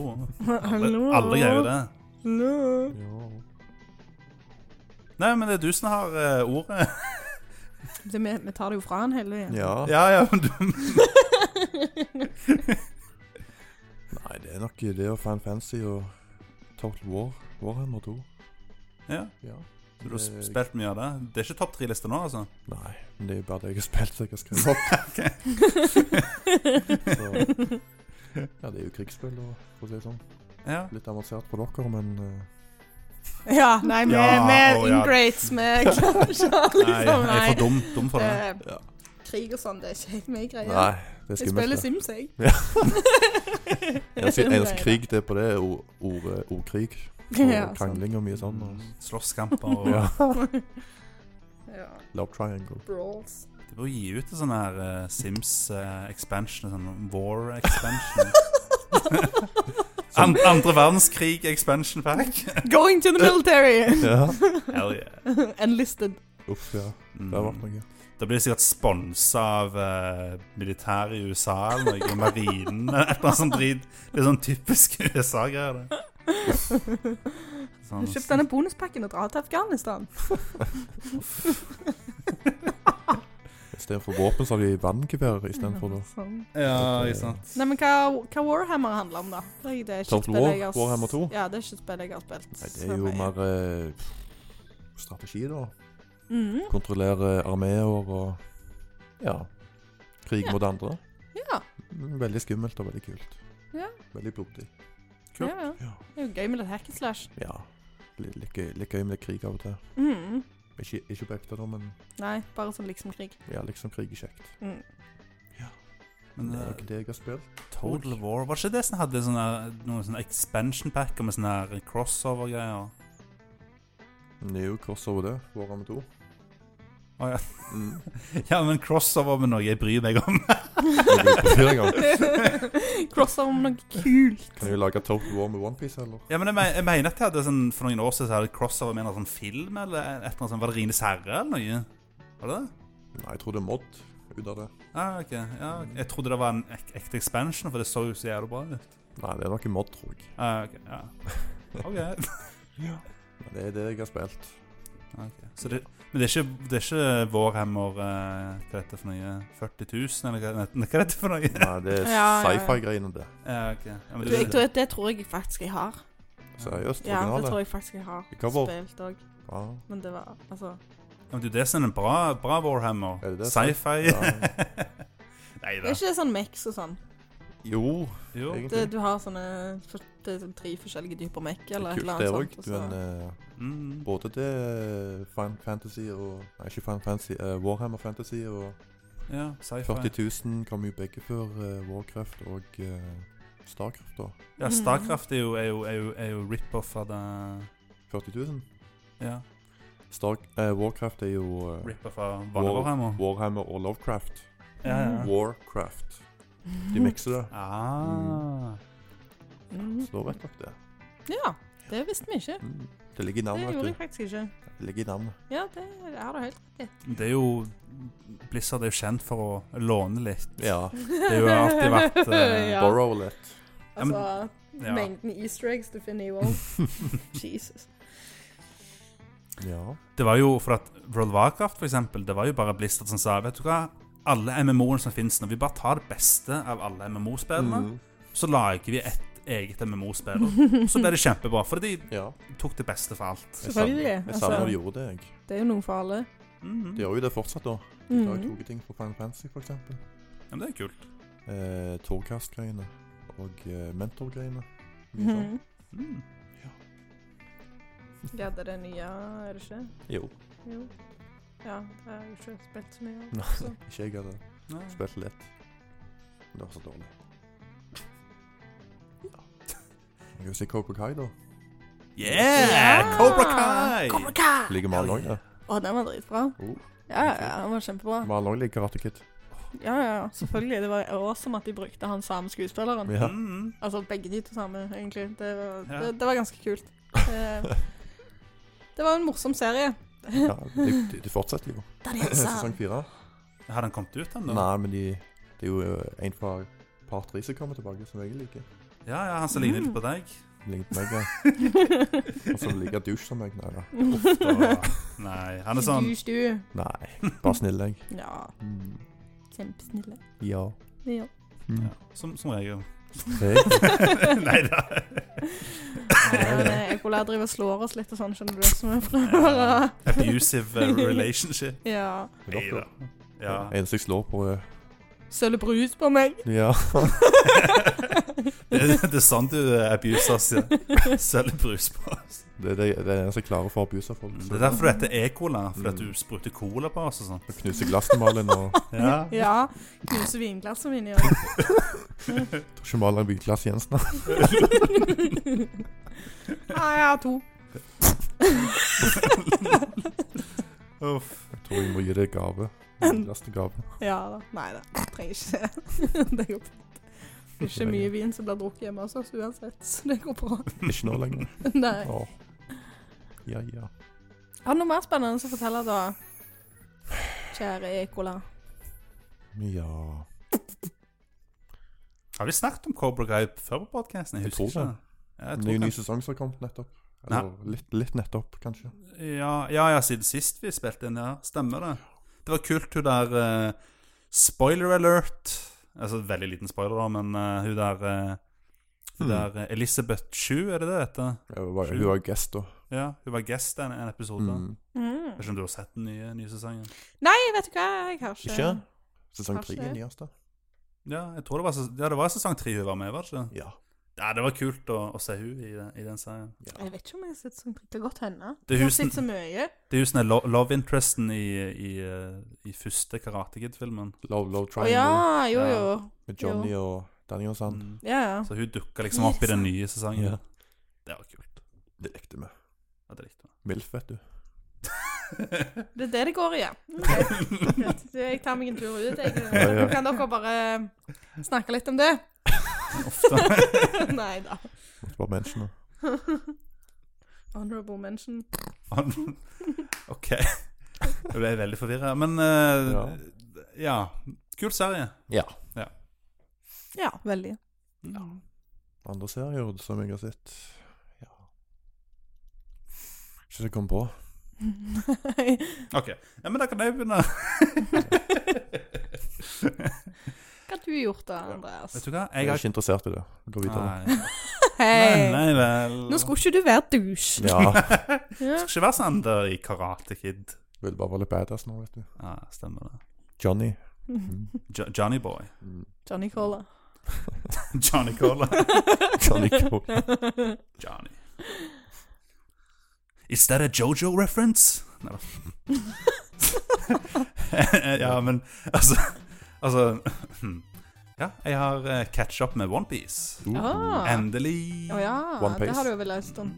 [SPEAKER 1] Alle,
[SPEAKER 3] Hallo.
[SPEAKER 1] alle gjør jo det.
[SPEAKER 3] Hallo.
[SPEAKER 2] Ja.
[SPEAKER 1] Nei, men det er du som har eh, ordet.
[SPEAKER 3] Det, vi, vi tar det jo fra han hele veien.
[SPEAKER 2] ja.
[SPEAKER 1] Ja, ja, men du [LAUGHS]
[SPEAKER 2] Nei, det er nok det og Fan Fancy og Total War. Warhammer 2.
[SPEAKER 1] Ja,
[SPEAKER 2] Ja.
[SPEAKER 1] så du har sp-
[SPEAKER 2] Det-
[SPEAKER 1] spilt mye av det. Det er ikke topp tre-liste nå, altså.
[SPEAKER 2] Nei, men det er jo bare det jeg har spilt, så jeg har skrevet [LAUGHS] opp. så, ja, det er jo krigsspill, og, for å si det sånn.
[SPEAKER 1] Ja.
[SPEAKER 2] Litt avansert for dere, men eh,
[SPEAKER 3] Ja, nei, vi
[SPEAKER 1] Ja,
[SPEAKER 3] vi er
[SPEAKER 1] å, ja.
[SPEAKER 3] ingrates. Vi klarer
[SPEAKER 1] [LAUGHS]
[SPEAKER 3] ikke å
[SPEAKER 1] Nei, jeg
[SPEAKER 3] [LAUGHS] liksom
[SPEAKER 1] er for dum, dum for det.
[SPEAKER 3] Eh, Krig og sånn, det er ikke helt min greie.
[SPEAKER 2] Nei, det er
[SPEAKER 3] jeg spiller
[SPEAKER 2] skummelt. det.
[SPEAKER 3] Sims, jeg. [LAUGHS]
[SPEAKER 2] Ja. Eneste,
[SPEAKER 3] Nei,
[SPEAKER 2] eneste
[SPEAKER 3] [LAUGHS] da.
[SPEAKER 2] krig det er på det, er o- ord- ordkrig. Og
[SPEAKER 3] Ja, sant.
[SPEAKER 2] krangling og mye sånn.
[SPEAKER 3] mm.
[SPEAKER 2] Og,
[SPEAKER 1] Slåsskamper og
[SPEAKER 2] ja. [LAUGHS]
[SPEAKER 3] Ja.
[SPEAKER 2] Love triangle.
[SPEAKER 3] Brawls.
[SPEAKER 1] De bør gi ut en sånn her eh, Sims eh, expansion, en sånn War
[SPEAKER 3] [LAUGHS]
[SPEAKER 1] expansion. An andre verdenskrig expansion pack.
[SPEAKER 3] Going to the military! [LAUGHS]
[SPEAKER 2] Ja.
[SPEAKER 1] Hell yeah.
[SPEAKER 3] Enlisted.
[SPEAKER 2] Uff, ja.
[SPEAKER 1] Mm.
[SPEAKER 2] Det har vært noe.
[SPEAKER 1] Da blir det sikkert sponsa av eh, militæret i USA eller noe, marinen eller et eller annet sånt drit. Det er sånn typisk USA-greier. det. Sånn,
[SPEAKER 3] Kjøp denne bonuspakken og dra til Afghanistan.
[SPEAKER 2] Istedenfor våpen, så har de vanngevær istedenfor det.
[SPEAKER 3] Sånn.
[SPEAKER 1] Ja, ikke sant.
[SPEAKER 3] Nei, men hva, hva Warhammer handler om, da? Det er- det er ikke
[SPEAKER 2] Total
[SPEAKER 3] et spill
[SPEAKER 2] War?
[SPEAKER 3] jeg har s-
[SPEAKER 2] Warhammer 2?
[SPEAKER 3] Ja, det er ikke et spill jeg har spilt.
[SPEAKER 2] Nei, det er jo mer eh, strategi, da.
[SPEAKER 3] Mhm.
[SPEAKER 2] Kontrollere armeer og ja, krig
[SPEAKER 3] Ja.
[SPEAKER 2] mot andre.
[SPEAKER 3] Ja.
[SPEAKER 2] Mm, Veldig skummelt og veldig kult.
[SPEAKER 3] Ja.
[SPEAKER 2] Veldig blodig.
[SPEAKER 1] Kult.
[SPEAKER 3] ja, ja.
[SPEAKER 2] Ja.
[SPEAKER 3] Det er jo gøy med litt hack and slash.
[SPEAKER 2] ja. Litt, litt, gøy, litt gøy med litt krig av og til.
[SPEAKER 3] Mhm.
[SPEAKER 2] Ikke, ikke på ekte, da, men
[SPEAKER 3] Nei, bare
[SPEAKER 2] [LAUGHS]
[SPEAKER 3] sånn liksom-krig.
[SPEAKER 2] ja, liksom krig er kjekt.
[SPEAKER 3] Mm.
[SPEAKER 1] Men
[SPEAKER 2] det er
[SPEAKER 1] eh,
[SPEAKER 2] nok det jeg har spilt.
[SPEAKER 1] Total War, var ikke det som hadde sånne, noen sånne expansion packer med sånne her crossover-greier?
[SPEAKER 2] New crossover, det. Warhammer 2.
[SPEAKER 1] Å, ja.
[SPEAKER 2] Mm.
[SPEAKER 1] ja, men crossover med noe jeg bryr meg
[SPEAKER 2] [LAUGHS]
[SPEAKER 1] om.
[SPEAKER 2] Jeg lurer på fyr en gang.
[SPEAKER 3] [LAUGHS] Crosser om noe kult.
[SPEAKER 2] Kan jeg lage Total War med OnePiece, eller?
[SPEAKER 1] Ja, men jeg, me- jeg mener at jeg hadde sånn, For noen år siden så hadde jeg crossover med en eller annen sånn film eller et eller annet sånt. Var det Rines herre eller noe? Var det det?
[SPEAKER 2] Nei, jeg tror det er Mod ut av det.
[SPEAKER 1] Ah, ok. ja, ok. Jeg trodde det var en ek ekte expansion, for det så jo så jævlig bra ut.
[SPEAKER 2] Nei, det er nok en Mod, tror jeg.
[SPEAKER 1] Ah, ok, ja. Ok.
[SPEAKER 2] [LAUGHS]
[SPEAKER 1] Ah,
[SPEAKER 2] Men det er det jeg har spilt.
[SPEAKER 1] Ok. Så det, men det er ikke, det er ikke Warhammer eh, Hva heter det for noe? 40 000, eller hva, nei, hva heter det for noe?
[SPEAKER 2] Nei, det er
[SPEAKER 3] Ja, ja, ja.
[SPEAKER 2] sci-fi-greiene, det.
[SPEAKER 1] Ja, ok. Ja, men
[SPEAKER 3] Du,
[SPEAKER 1] det-
[SPEAKER 3] jeg tror, det tror jeg faktisk jeg har.
[SPEAKER 2] Seriøst,
[SPEAKER 3] Ja, det tror
[SPEAKER 2] originale.
[SPEAKER 3] jeg faktisk jeg har
[SPEAKER 2] I cover.
[SPEAKER 3] spilt òg.
[SPEAKER 2] Ja,
[SPEAKER 3] Men det var altså
[SPEAKER 1] Ja, men du, det er sånn en bra, bra Warhammer.
[SPEAKER 2] Er det det?
[SPEAKER 1] Sci-fi. [LAUGHS]
[SPEAKER 2] ja.
[SPEAKER 1] Nei
[SPEAKER 3] Det
[SPEAKER 1] da.
[SPEAKER 3] er ikke det sånn mix og sånn?
[SPEAKER 2] Jo,
[SPEAKER 1] Jo.
[SPEAKER 3] Det,
[SPEAKER 2] egentlig.
[SPEAKER 3] du har sånne for, det er sånn tre forskjellige dyper mekk
[SPEAKER 2] Det er
[SPEAKER 3] eller et
[SPEAKER 2] kult,
[SPEAKER 3] eller
[SPEAKER 2] det
[SPEAKER 3] annet
[SPEAKER 2] òg.
[SPEAKER 3] sånt. og så-
[SPEAKER 2] Men eh,
[SPEAKER 1] Mm.
[SPEAKER 2] både det eh, Final Fantasy og Nei, ikke Final Fantasy. eh, Warhammer Fantasy og
[SPEAKER 1] Ja, sci-fi.
[SPEAKER 2] 40 000 kom jo begge før eh, Warcraft og eh, Starcraft, da.
[SPEAKER 3] Mhm.
[SPEAKER 1] Ja, Starcraft er jo, er jo, er jo, er jo rip-off av det
[SPEAKER 2] 40 000.
[SPEAKER 1] Ja,
[SPEAKER 2] Stark, eh, Warcraft er jo eh,
[SPEAKER 1] rip-off av vanlig
[SPEAKER 2] War-
[SPEAKER 1] Warhammer.
[SPEAKER 2] Warhammer og Lovecraft.
[SPEAKER 1] Ja, ja.
[SPEAKER 2] Warcraft.
[SPEAKER 1] [LAUGHS]
[SPEAKER 2] De mikser det.
[SPEAKER 1] Ah.
[SPEAKER 3] Mm.
[SPEAKER 2] Så da vet dere det.
[SPEAKER 3] Ja, det visste vi ikke.
[SPEAKER 2] Mm. Det ligger i
[SPEAKER 3] Det
[SPEAKER 2] navnet,
[SPEAKER 3] gjorde jeg
[SPEAKER 2] vet du.
[SPEAKER 3] faktisk ikke.
[SPEAKER 2] Det ligger i navnet.
[SPEAKER 3] Ja, det har du helt rett i.
[SPEAKER 1] Det er jo Blizzard er jo kjent for å låne litt.
[SPEAKER 2] Ja.
[SPEAKER 1] Det har jo alltid vært,
[SPEAKER 3] [LAUGHS]
[SPEAKER 1] eh,
[SPEAKER 3] ja.
[SPEAKER 2] Borrow litt.
[SPEAKER 1] Ja, men-
[SPEAKER 3] Altså,
[SPEAKER 1] Ja.
[SPEAKER 3] mengden easter eggs du finner i
[SPEAKER 1] [LAUGHS]
[SPEAKER 3] WoW. Jesus.
[SPEAKER 2] Ja.
[SPEAKER 1] Det var jo for at World of Warcraft, for eksempel, det var jo bare Blizzard som sa Vet du hva, alle MMO-ene som finnes nå, vi bare tar det beste av alle MMO-spillene,
[SPEAKER 2] Mm.
[SPEAKER 1] så lager vi et eget MMO-spill.
[SPEAKER 3] [LAUGHS]
[SPEAKER 1] Så ble det kjempebra, for de
[SPEAKER 2] ja.
[SPEAKER 1] tok det beste for
[SPEAKER 3] [LAUGHS]
[SPEAKER 1] alt.
[SPEAKER 2] Jeg
[SPEAKER 3] Selvfølgelig,
[SPEAKER 2] savner, jeg
[SPEAKER 3] altså.
[SPEAKER 2] savner de gjorde det, jeg.
[SPEAKER 3] Det er jo noe for alle.
[SPEAKER 1] Mhm.
[SPEAKER 2] De gjør jo det fortsatt, da. De har jo
[SPEAKER 3] Mm.
[SPEAKER 2] tatt ting fra Final Fantasy, for eksempel.
[SPEAKER 1] Ja, men det er kult.
[SPEAKER 2] Eh, Torcast-greiene og eh, mentor-greiene. Mye sånn.
[SPEAKER 3] Mhm.
[SPEAKER 1] Mm.
[SPEAKER 3] Ja, det er det nye, er det ikke?
[SPEAKER 2] Jo.
[SPEAKER 3] Jo. Ja, jeg har jo ikke spilt så mye.
[SPEAKER 2] Nei.
[SPEAKER 3] [LAUGHS] Så.
[SPEAKER 2] [LAUGHS] Ikke jeg hadde
[SPEAKER 1] Ja.
[SPEAKER 2] spilt litt. Men det var så dårlig. Ja. Jeg kan jo si Cobra Kai, da.
[SPEAKER 1] Yeah!
[SPEAKER 3] Ja!
[SPEAKER 1] Cobra Kai!
[SPEAKER 3] Cobra Kai!
[SPEAKER 2] Ligger Malen òg
[SPEAKER 1] Ja,
[SPEAKER 2] der.
[SPEAKER 3] Å, den var dritbra.
[SPEAKER 2] Oh.
[SPEAKER 3] Ja, ja, den var kjempebra.
[SPEAKER 2] Malen òg liker Karate Kid.
[SPEAKER 3] Ja, ja, selvfølgelig. Det var awesome at de brukte han samme skuespilleren. [LAUGHS]
[SPEAKER 2] Ja.
[SPEAKER 1] Mhm.
[SPEAKER 3] Altså begge de to samme, egentlig. Det var,
[SPEAKER 1] Ja.
[SPEAKER 3] det, det var ganske kult. Det, det var en morsom serie.
[SPEAKER 2] ja de, de, de fortsetter jo. [LAUGHS] Sesong fire.
[SPEAKER 1] Har den kommet ut ennå?
[SPEAKER 2] Nei, men de, det er jo eh, en fra par tre som kommer tilbake, som jeg liker.
[SPEAKER 1] Ja, ja, han som ligner litt på
[SPEAKER 2] [LAUGHS]
[SPEAKER 1] deg.
[SPEAKER 2] Ligner på meg, ja. Og som liker dusj som meg. Nei da.
[SPEAKER 1] Åh, Nei, han er sånn
[SPEAKER 3] Dusj, du.
[SPEAKER 2] Nei, bare snill, jeg.
[SPEAKER 3] Ja,
[SPEAKER 2] Mm.
[SPEAKER 3] kjempesnille.
[SPEAKER 2] Ja.
[SPEAKER 3] Ja.
[SPEAKER 1] ja, som, som
[SPEAKER 2] [LAUGHS]
[SPEAKER 1] regel.
[SPEAKER 2] Hey.
[SPEAKER 1] Nei da.
[SPEAKER 3] Nei, men Jeg Ekola driver og Eh, slår oss litt og sånn, skjønner du, så vi prøver å
[SPEAKER 1] Abusive
[SPEAKER 2] uh,
[SPEAKER 3] [LAUGHS]
[SPEAKER 1] eh, relationship.
[SPEAKER 3] Ja.
[SPEAKER 1] Nei da. Ja.
[SPEAKER 2] Eneste jeg slår på eh, er
[SPEAKER 3] Søle brus på meg.
[SPEAKER 2] Ja.
[SPEAKER 1] Det, det er sånn du eh, abuser oss.
[SPEAKER 3] [LAUGHS]
[SPEAKER 1] Ja. Selger brus på oss.
[SPEAKER 2] Det er det, det er eneste jeg klarer for å abuse folk.
[SPEAKER 1] Mm, Det
[SPEAKER 2] Så
[SPEAKER 1] er derfor du heter E-cola, fordi
[SPEAKER 2] Mm.
[SPEAKER 1] at du spruter cola på oss og sånn.
[SPEAKER 2] Knuse glassene, Malin. Og jeg
[SPEAKER 1] Ja.
[SPEAKER 3] Ja. Knuse vinglassene mine.
[SPEAKER 1] [LAUGHS]
[SPEAKER 3] Ja.
[SPEAKER 2] tror ikke Malin bygde glass Jensen.
[SPEAKER 3] Nei, Ah, jeg har to.
[SPEAKER 1] Uff.
[SPEAKER 2] Jeg tror jeg må gi deg gave. Glass til gave.
[SPEAKER 3] Ja da. Nei [LAUGHS] da, trenger ikke det. [LAUGHS] Det går fint. Det er ikke mye vin som blir drukket hjemme hos oss uansett, så det går bra. [LAUGHS]
[SPEAKER 2] Ikke nå lenger.
[SPEAKER 3] Nei.
[SPEAKER 2] Åh. Ja, ja.
[SPEAKER 3] Har du noe mer spennende å fortelle, da? Kjære Ekola.
[SPEAKER 2] Ja
[SPEAKER 1] Har vi snakket om Cobra Guy før på podkasten? Jeg
[SPEAKER 2] Jeg
[SPEAKER 1] husker
[SPEAKER 2] tror
[SPEAKER 1] ikke.
[SPEAKER 2] det.
[SPEAKER 1] Ja, jeg
[SPEAKER 2] Ny,
[SPEAKER 1] tror
[SPEAKER 2] ny
[SPEAKER 1] kanskje-
[SPEAKER 2] sesong som har kommet nettopp. Eller litt, litt nettopp, kanskje.
[SPEAKER 1] ja, ja, ja, siden sist vi spilte inn, ja. Stemmer det. Det var kult, hun der eh, Spoiler alert. Altså veldig liten spoiler, da, men eh, hun der, eh, hun
[SPEAKER 2] Hmm.
[SPEAKER 1] der eh, Elisabeth Chu, er det det heter?
[SPEAKER 2] Jeg var, hun var guest, da.
[SPEAKER 1] Ja, hun var guest i en, en episode.
[SPEAKER 2] Mm.
[SPEAKER 1] Jeg vet ikke om du har sett den nye, nye sesongen?
[SPEAKER 3] Nei, vet du hva, jeg har ikke
[SPEAKER 2] Ikke? Sesong
[SPEAKER 3] Kanskje.
[SPEAKER 2] tre i nyeste.
[SPEAKER 1] Ja, jeg tror det var, ses- ja, det var sesong tre hun var med, var det ikke?
[SPEAKER 2] Ja.
[SPEAKER 1] Ja, det var kult å, å se hun i, den- i den serien.
[SPEAKER 3] Jeg vet ikke om jeg har sett sånn riktig godt henne.
[SPEAKER 1] Det er
[SPEAKER 3] Jeg har
[SPEAKER 1] husen-
[SPEAKER 3] sett så mye.
[SPEAKER 1] Det er jo sånn lo love interesten i, i, eh, i første Karate Kid-filmen.
[SPEAKER 2] Love, love
[SPEAKER 3] Å
[SPEAKER 2] Triangle
[SPEAKER 3] ja, jo jo.
[SPEAKER 2] med Johnny og Daniel og sånn.
[SPEAKER 1] Mm.
[SPEAKER 3] Ja, ja.
[SPEAKER 1] Så hun dukka liksom opp i den nye sesongen.
[SPEAKER 2] Ja.
[SPEAKER 1] Det var kult.
[SPEAKER 2] Det likte vi.
[SPEAKER 1] Ja, det likte jeg.
[SPEAKER 2] Milf, vet du.
[SPEAKER 3] Det er det det går i, [LAUGHS] ja. Ok, greit. Du, Jeg tar meg en tur
[SPEAKER 1] [LAUGHS]
[SPEAKER 3] ut. Jeg.
[SPEAKER 2] Ja, ja.
[SPEAKER 3] Nå Kan dere bare snakke litt om det?
[SPEAKER 1] Ofte.
[SPEAKER 3] [LAUGHS] Nei da.
[SPEAKER 2] Måtte bare mentionne.
[SPEAKER 3] Honorable mention.
[SPEAKER 1] Han- OK. Jeg ble veldig forvirra. Men eh, ja. Kul serie.
[SPEAKER 2] Ja.
[SPEAKER 3] Ja, veldig.
[SPEAKER 2] Andre serier som jeg har sett Ja. Ikke det jeg kom på.
[SPEAKER 3] [LAUGHS]
[SPEAKER 1] OK. Ja, men da kan jeg
[SPEAKER 2] [LAUGHS]
[SPEAKER 1] begynne.
[SPEAKER 3] Hva har du gjort da, Andreas?
[SPEAKER 1] Vet du hva?
[SPEAKER 2] Jeg
[SPEAKER 1] Jeg
[SPEAKER 2] er
[SPEAKER 1] har
[SPEAKER 2] ikke interessert i det. Gå videre.
[SPEAKER 1] Nei. Nei,
[SPEAKER 3] [LAUGHS] Hei!
[SPEAKER 1] nei vel.
[SPEAKER 3] Eh, Nå skulle ikke du være douche.
[SPEAKER 2] Ja.
[SPEAKER 3] Ja.
[SPEAKER 1] Skal ikke være sånn der i Karate Kid.
[SPEAKER 2] Vil bare være litt badass nå, vet du.
[SPEAKER 1] Ja, stemmer det.
[SPEAKER 2] Johnny.
[SPEAKER 1] Jo Johnny Boy.
[SPEAKER 3] [LAUGHS]
[SPEAKER 1] [LAUGHS]
[SPEAKER 3] Johnny [LAUGHS] Cola.
[SPEAKER 1] Johnny Cola.
[SPEAKER 2] Johnny
[SPEAKER 3] [LAUGHS]
[SPEAKER 2] Cola.
[SPEAKER 1] Johnny. Is that a Jojo reference? Nei da. [LAUGHS] ja, men altså Altså Ja, jeg har eh, catch up med OnePiece.
[SPEAKER 3] Ah.
[SPEAKER 1] Endelig.
[SPEAKER 3] Å ja,
[SPEAKER 2] One Piece.
[SPEAKER 3] det har du vel lest om.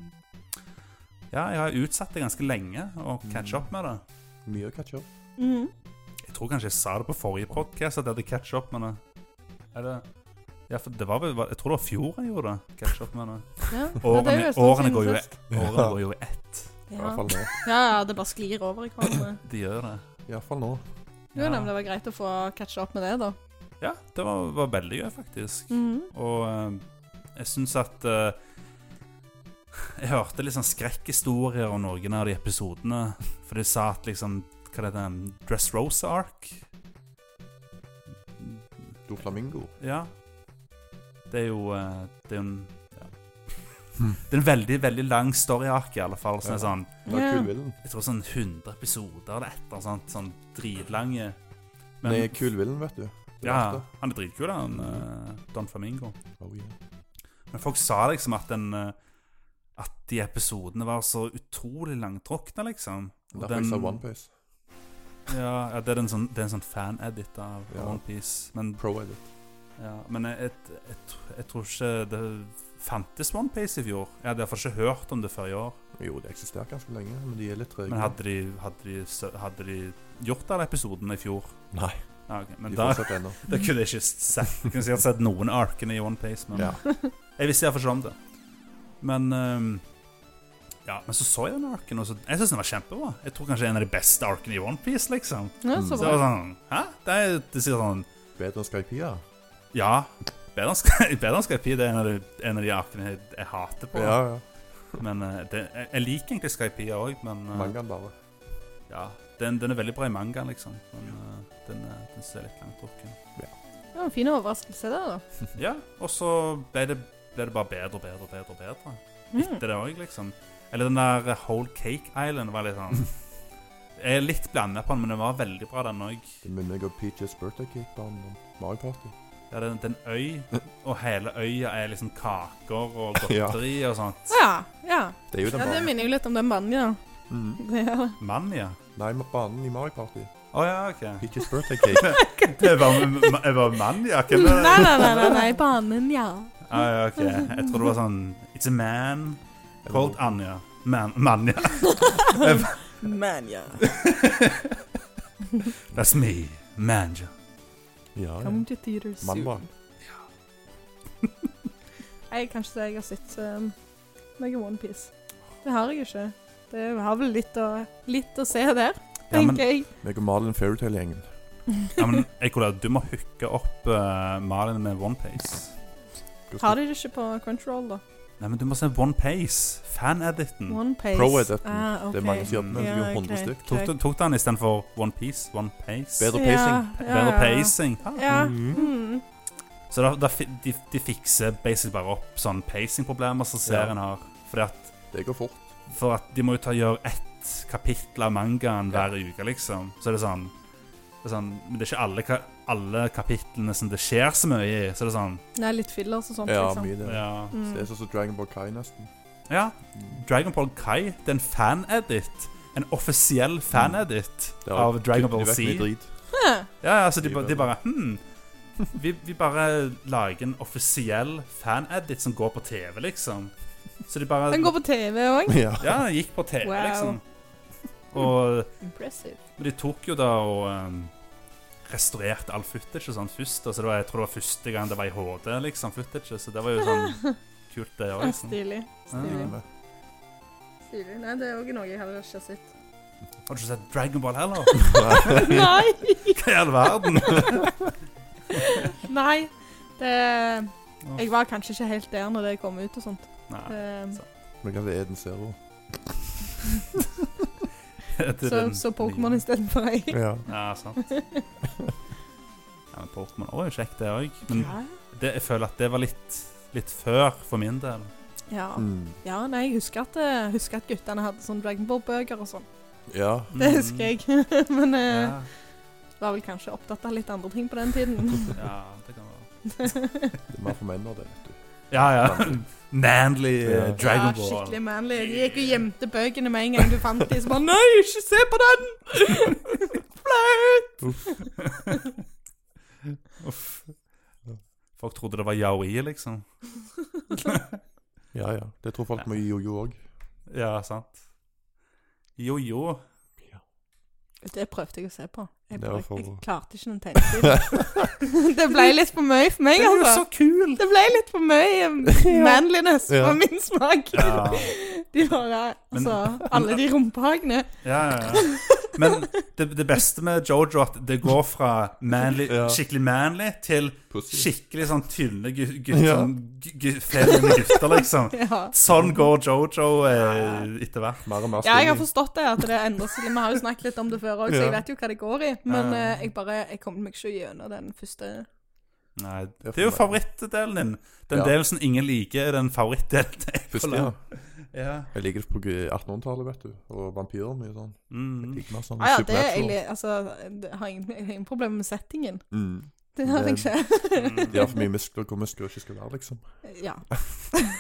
[SPEAKER 1] Ja, jeg har utsatt det ganske lenge å catch up med det.
[SPEAKER 2] Mye å catche opp.
[SPEAKER 3] Mhm.
[SPEAKER 1] Jeg tror kanskje jeg sa det på forrige podkast at jeg hadde catch up med det. Er det ja, for det var vel, Jeg tror det var fjor jeg gjorde det. catch up med det.
[SPEAKER 3] Ja. Ja, det
[SPEAKER 1] Årene,
[SPEAKER 3] er jo en stund
[SPEAKER 1] årene
[SPEAKER 3] siden
[SPEAKER 1] går jo i-
[SPEAKER 3] sist.
[SPEAKER 1] årene
[SPEAKER 2] Ja.
[SPEAKER 1] går jo i ett.
[SPEAKER 2] I
[SPEAKER 3] Ja.
[SPEAKER 2] hvert fall nå.
[SPEAKER 3] ja, ja, det bare sklir over i
[SPEAKER 2] [CLEARS THROAT]
[SPEAKER 3] hverandre.
[SPEAKER 1] De gjør det.
[SPEAKER 2] I hvert fall nå.
[SPEAKER 3] Jo, nei, men det var greit å få catcha opp med det, da.
[SPEAKER 1] Ja, det var, var veldig gøy, faktisk.
[SPEAKER 3] Mhm.
[SPEAKER 1] Og eh, jeg syns at eh, [LAUGHS] Jeg hørte litt sånn skrekkhistorier om noen av de episodene. For de sa at liksom Hva det heter det? Dress Rose Ark?
[SPEAKER 2] Do Flamingo.
[SPEAKER 1] Ja. Det er jo eh, Det er jo en ja. Det er en veldig, veldig lang story-ark, i alle fall. Sånn, sånn
[SPEAKER 2] Hmm. Ja. Det er
[SPEAKER 3] Ja.
[SPEAKER 2] Kul Villen.
[SPEAKER 1] Jeg tror sånn 100 episoder eller et eller annet sånt. Sånn dritlange. Men-
[SPEAKER 2] Det er Kul Villen, vet du. Det er
[SPEAKER 1] Ja,
[SPEAKER 2] verdt
[SPEAKER 1] han er dritkul, han eh, Don Flamingo.
[SPEAKER 2] det. Oh, yeah.
[SPEAKER 1] Men folk sa liksom at den eh, At de episodene var så utrolig langtrukne, liksom. Og
[SPEAKER 2] Derfor jeg sa
[SPEAKER 1] den-
[SPEAKER 2] OnePiece.
[SPEAKER 1] Ja, ja, det er en sånn, det er en sånn fan-edit av
[SPEAKER 2] Ja.
[SPEAKER 1] OnePiece. Men,
[SPEAKER 2] Pro-edit.
[SPEAKER 1] ja, men jeg, jeg, jeg, tr- jeg tror ikke det fantes OnePiece i fjor. Jeg hadde iallfall ikke hørt om det før i år.
[SPEAKER 2] Jo, det eksisterer ganske lenge, men de er litt trege.
[SPEAKER 1] Men hadde de, hadde de, sø- hadde de gjort alle episodene i fjor?
[SPEAKER 2] Nei,
[SPEAKER 1] Ja, ok,
[SPEAKER 2] de
[SPEAKER 1] Men da,
[SPEAKER 2] fortsetter
[SPEAKER 1] [LAUGHS]
[SPEAKER 2] ennå.
[SPEAKER 1] da kunne jeg ikke sett, jeg kunne sikkert sett noen av arkene i OnePiece. Men
[SPEAKER 2] Ja.
[SPEAKER 1] Jeg visste iallfall ikke om det. Men ehm, Ja, men så så jeg den arken, og så, jeg syns den var kjempebra. Jeg tror kanskje en av de beste arkene i OnePiece, liksom.
[SPEAKER 2] Mm.
[SPEAKER 3] Ja,
[SPEAKER 1] Så
[SPEAKER 3] så
[SPEAKER 1] det var
[SPEAKER 3] bra.
[SPEAKER 1] sånn Hæ? Det er det sier sånn
[SPEAKER 2] Bedre enn Skypia.
[SPEAKER 1] Ja, bedre enn [LAUGHS] Sky- bedre enn Skype det er en av de, en av de arkene jeg, jeg hater på.
[SPEAKER 2] Ja, ja.
[SPEAKER 1] Men eh, det, jeg, jeg liker egentlig Skype òg, men eh,
[SPEAKER 2] Mangaen bare.
[SPEAKER 1] ja, den, den er veldig bra i manga, liksom. Men eh, den, eh, den ser litt langtrukken
[SPEAKER 3] Det var en fin overraskelse, det, da.
[SPEAKER 1] Ja, og så ble det, ble det bare bedre og bedre og bedre. og bedre.
[SPEAKER 3] Mhm.
[SPEAKER 1] etter det òg, liksom. Eller den der Whole Cake Island var litt [LAUGHS] sånn Jeg er litt blanda på den, men den var veldig bra, den òg.
[SPEAKER 2] Det minner meg om Peaches Birthday Cake på Mario Party.
[SPEAKER 1] Ja, det er en øy, og hele øya er liksom kaker [LAUGHS] og
[SPEAKER 2] Ja.
[SPEAKER 1] godteri og sånt.
[SPEAKER 3] Ja, ja.
[SPEAKER 2] Det er jo den
[SPEAKER 3] ja, det
[SPEAKER 2] banen.
[SPEAKER 3] minner jo litt om den mannen, ja.
[SPEAKER 2] Mm.
[SPEAKER 3] Det er det.
[SPEAKER 1] Mann, ja.
[SPEAKER 2] Nei, men banen i Mario Party.
[SPEAKER 1] Å ja, OK.
[SPEAKER 2] Peaches Birthday Cake.
[SPEAKER 1] [LAUGHS] Jeg var, jeg var mann, ja. Hvem
[SPEAKER 3] Mm. Nei,
[SPEAKER 1] er det?
[SPEAKER 3] nei, nei, nei, nei, banen, ja.
[SPEAKER 1] [LAUGHS] Ah, ja, OK. Jeg tror det var sånn It's a man called Anja. Man,
[SPEAKER 3] [LAUGHS]
[SPEAKER 1] Manja.
[SPEAKER 3] Men, ja.
[SPEAKER 1] [LAUGHS] That's me. Manja.
[SPEAKER 2] Ja, ja.
[SPEAKER 3] Come to theater soon.
[SPEAKER 2] Mandag.
[SPEAKER 3] Jeg kan ikke si jeg har sett um, noe OnePiece. Det har jeg ikke. Det har vel litt å, litt å se der,
[SPEAKER 1] Ja, men-
[SPEAKER 3] tenker jeg.
[SPEAKER 2] Meg og Malin Fairytale-gjengen.
[SPEAKER 1] Ja, men Ekola, du må hooke opp eh, Malin med OnePace.
[SPEAKER 3] Har de det ikke på Crunchyroll, da?
[SPEAKER 1] Nei, men du må se One Pace.
[SPEAKER 2] Mm.
[SPEAKER 1] Fan-editen.
[SPEAKER 3] OnePace.
[SPEAKER 2] Pro-editen.
[SPEAKER 3] Ah, ok.
[SPEAKER 2] Det er mange som gjør den, men det er jo
[SPEAKER 3] Ja,
[SPEAKER 2] 100
[SPEAKER 3] greit,
[SPEAKER 2] stykk.
[SPEAKER 1] Tok,
[SPEAKER 3] greit.
[SPEAKER 1] du- tok du den istedenfor One Piece? One Pace?
[SPEAKER 2] Bedre
[SPEAKER 3] Ja,
[SPEAKER 2] pacing.
[SPEAKER 3] ja,
[SPEAKER 1] Bedre
[SPEAKER 3] ja.
[SPEAKER 1] pacing. Ah.
[SPEAKER 3] Ja.
[SPEAKER 2] Mhm.
[SPEAKER 3] Mm.
[SPEAKER 1] Så da, da, fi- de, de fikser basically bare opp sånn pacing-problemer som serien har. Fordi at,
[SPEAKER 2] Det går fort.
[SPEAKER 1] for at de må jo ta gjøre ett kapittel av mangaen
[SPEAKER 2] Ja.
[SPEAKER 1] hver uke, liksom. Så er det sånn det er sånn, Men det er ikke alle, ka- alle kapitlene som det skjer så mye i. Så det er sånn
[SPEAKER 3] Nei, litt fillers og sånt,
[SPEAKER 2] Ja,
[SPEAKER 3] liksom.
[SPEAKER 2] mye det.
[SPEAKER 1] Ja.
[SPEAKER 3] Mm.
[SPEAKER 2] Det er sånn som Dragon Ball Kai, nesten.
[SPEAKER 1] ja Dragon Ball Kai, det er en fan-edit. En offisiell fan-edit
[SPEAKER 2] Det har
[SPEAKER 1] av Dragon Ball
[SPEAKER 2] kuttet vekk
[SPEAKER 1] Z.
[SPEAKER 2] mye drit.
[SPEAKER 3] Ja.
[SPEAKER 1] Ja, ja, altså de,
[SPEAKER 2] Det
[SPEAKER 1] ba-
[SPEAKER 2] er
[SPEAKER 1] de bare hmm, vi, vi bare lager en offisiell fan-edit som går på TV, liksom. Så de bare
[SPEAKER 3] Den går på TV òg.
[SPEAKER 2] Ja.
[SPEAKER 1] Ja, gikk på TV,
[SPEAKER 3] Wow.
[SPEAKER 1] liksom. Og
[SPEAKER 3] Impressive.
[SPEAKER 1] men de tok jo da og um, restaurerte all footage og sånn først. Altså det var, jeg tror det var første gang det var i HD, liksom, footage. Så det var jo sånn
[SPEAKER 3] [LAUGHS]
[SPEAKER 1] kult, det òg. Liksom.
[SPEAKER 3] Stilig.
[SPEAKER 2] Ah.
[SPEAKER 3] Stilig.
[SPEAKER 1] Ja.
[SPEAKER 3] Stilig. Nei, det er òg noe jeg heller ikke har
[SPEAKER 2] [LAUGHS]
[SPEAKER 3] sett.
[SPEAKER 1] Har du ikke sett Dragon Ball heller?
[SPEAKER 3] [LAUGHS] Nei!
[SPEAKER 1] Hva i all verden?
[SPEAKER 3] [LAUGHS] Nei. Det Jeg var kanskje ikke helt der når det kom ut og sånt.
[SPEAKER 1] Nei,
[SPEAKER 3] Det-
[SPEAKER 2] Men hva er Eden Zero?
[SPEAKER 1] det er
[SPEAKER 3] Så,
[SPEAKER 1] den
[SPEAKER 3] så Pokémon
[SPEAKER 1] nye.
[SPEAKER 3] istedenfor jeg.
[SPEAKER 2] Ja.
[SPEAKER 1] Ja,
[SPEAKER 3] [LAUGHS]
[SPEAKER 1] sant. Ja, men Pokémon også er jo kjekt, det òg. Men det, jeg føler at det var litt, litt før for min del.
[SPEAKER 3] Ja.
[SPEAKER 2] Mm.
[SPEAKER 3] ja, nei, jeg husker at, eh, husker at guttene hadde sånn Dragonball-bøker og sånn.
[SPEAKER 2] ja.
[SPEAKER 3] Det husker jeg. [LAUGHS] Men eh,
[SPEAKER 1] Mm. Ja,
[SPEAKER 3] var vel kanskje opptatt av litt andre ting på den tiden.
[SPEAKER 1] ja, det kan være.
[SPEAKER 2] Det er mer for menn nå, det, vet du.
[SPEAKER 1] Ja, [LAUGHS] ja. Manly eh,
[SPEAKER 2] Ja.
[SPEAKER 1] [LAUGHS] Dragon
[SPEAKER 3] Ja,
[SPEAKER 1] Ball. [LAUGHS]
[SPEAKER 3] skikkelig manly. De gikk og gjemte bøkene med en gang du fant dem. Så bare Nei, ikke se på den! [LAUGHS] Flaut!
[SPEAKER 1] Uff. Folk trodde det var yaoi,
[SPEAKER 3] [LAUGHS]
[SPEAKER 1] liksom. [LAUGHS]
[SPEAKER 2] Ja, ja. Det tror folk med jojo òg.
[SPEAKER 1] Ja, sant. Jojo.
[SPEAKER 3] Det prøvde jeg å se på. Jeg,
[SPEAKER 2] Det var
[SPEAKER 3] prøvde-
[SPEAKER 2] for-
[SPEAKER 3] jeg klarte ikke den tegneserien. [LAUGHS] det ble litt for mye for meg, altså.
[SPEAKER 1] kul!
[SPEAKER 3] Det ble litt for
[SPEAKER 1] [LAUGHS]
[SPEAKER 3] mye um, manliness
[SPEAKER 2] Ja.
[SPEAKER 3] for min smak.
[SPEAKER 1] Ja,
[SPEAKER 3] [LAUGHS] De bare
[SPEAKER 1] Men-
[SPEAKER 3] Altså, alle de rumpehagene.
[SPEAKER 1] ja, ja. Men det, det beste med Jojo er at det går fra manly,
[SPEAKER 2] Ja.
[SPEAKER 1] skikkelig manly til
[SPEAKER 2] Pussy.
[SPEAKER 1] skikkelig sånn tynne gutter,
[SPEAKER 2] Ja.
[SPEAKER 1] sånn, gu- gu- feminine gutter, liksom.
[SPEAKER 3] Ja.
[SPEAKER 1] Sånn går Jojo eh, etter hvert.
[SPEAKER 2] Mer og mer
[SPEAKER 3] Ja, jeg har
[SPEAKER 2] stilling.
[SPEAKER 3] forstått det, at det endrer seg. Vi har jo snakket litt om det før òg, så jeg vet jo hva det går i. Men eh, jeg bare Jeg kom meg ikke gjennom den første
[SPEAKER 1] Nei,
[SPEAKER 2] Det er
[SPEAKER 1] det er jo
[SPEAKER 2] for
[SPEAKER 1] favorittdelen din. Den
[SPEAKER 2] Ja.
[SPEAKER 1] delen som ingen liker, er den favorittdelen til
[SPEAKER 2] Først, ja.
[SPEAKER 1] Ja.
[SPEAKER 2] Jeg liker det på 1800-tallet, vet du. Og vampyrer mye sånn.
[SPEAKER 1] Mm.
[SPEAKER 2] Ikke mer sånn
[SPEAKER 3] Ah, Ja, ja, det er
[SPEAKER 2] supernatural.
[SPEAKER 3] egentlig Altså, det har ingen, jeg har ingen problemer med settingen.
[SPEAKER 2] Mm.
[SPEAKER 3] Det har
[SPEAKER 2] Men-
[SPEAKER 3] jeg ikke. [LAUGHS]
[SPEAKER 2] De har for mye muskler hvor muskler ikke skal være, liksom.
[SPEAKER 3] Ja. [LAUGHS]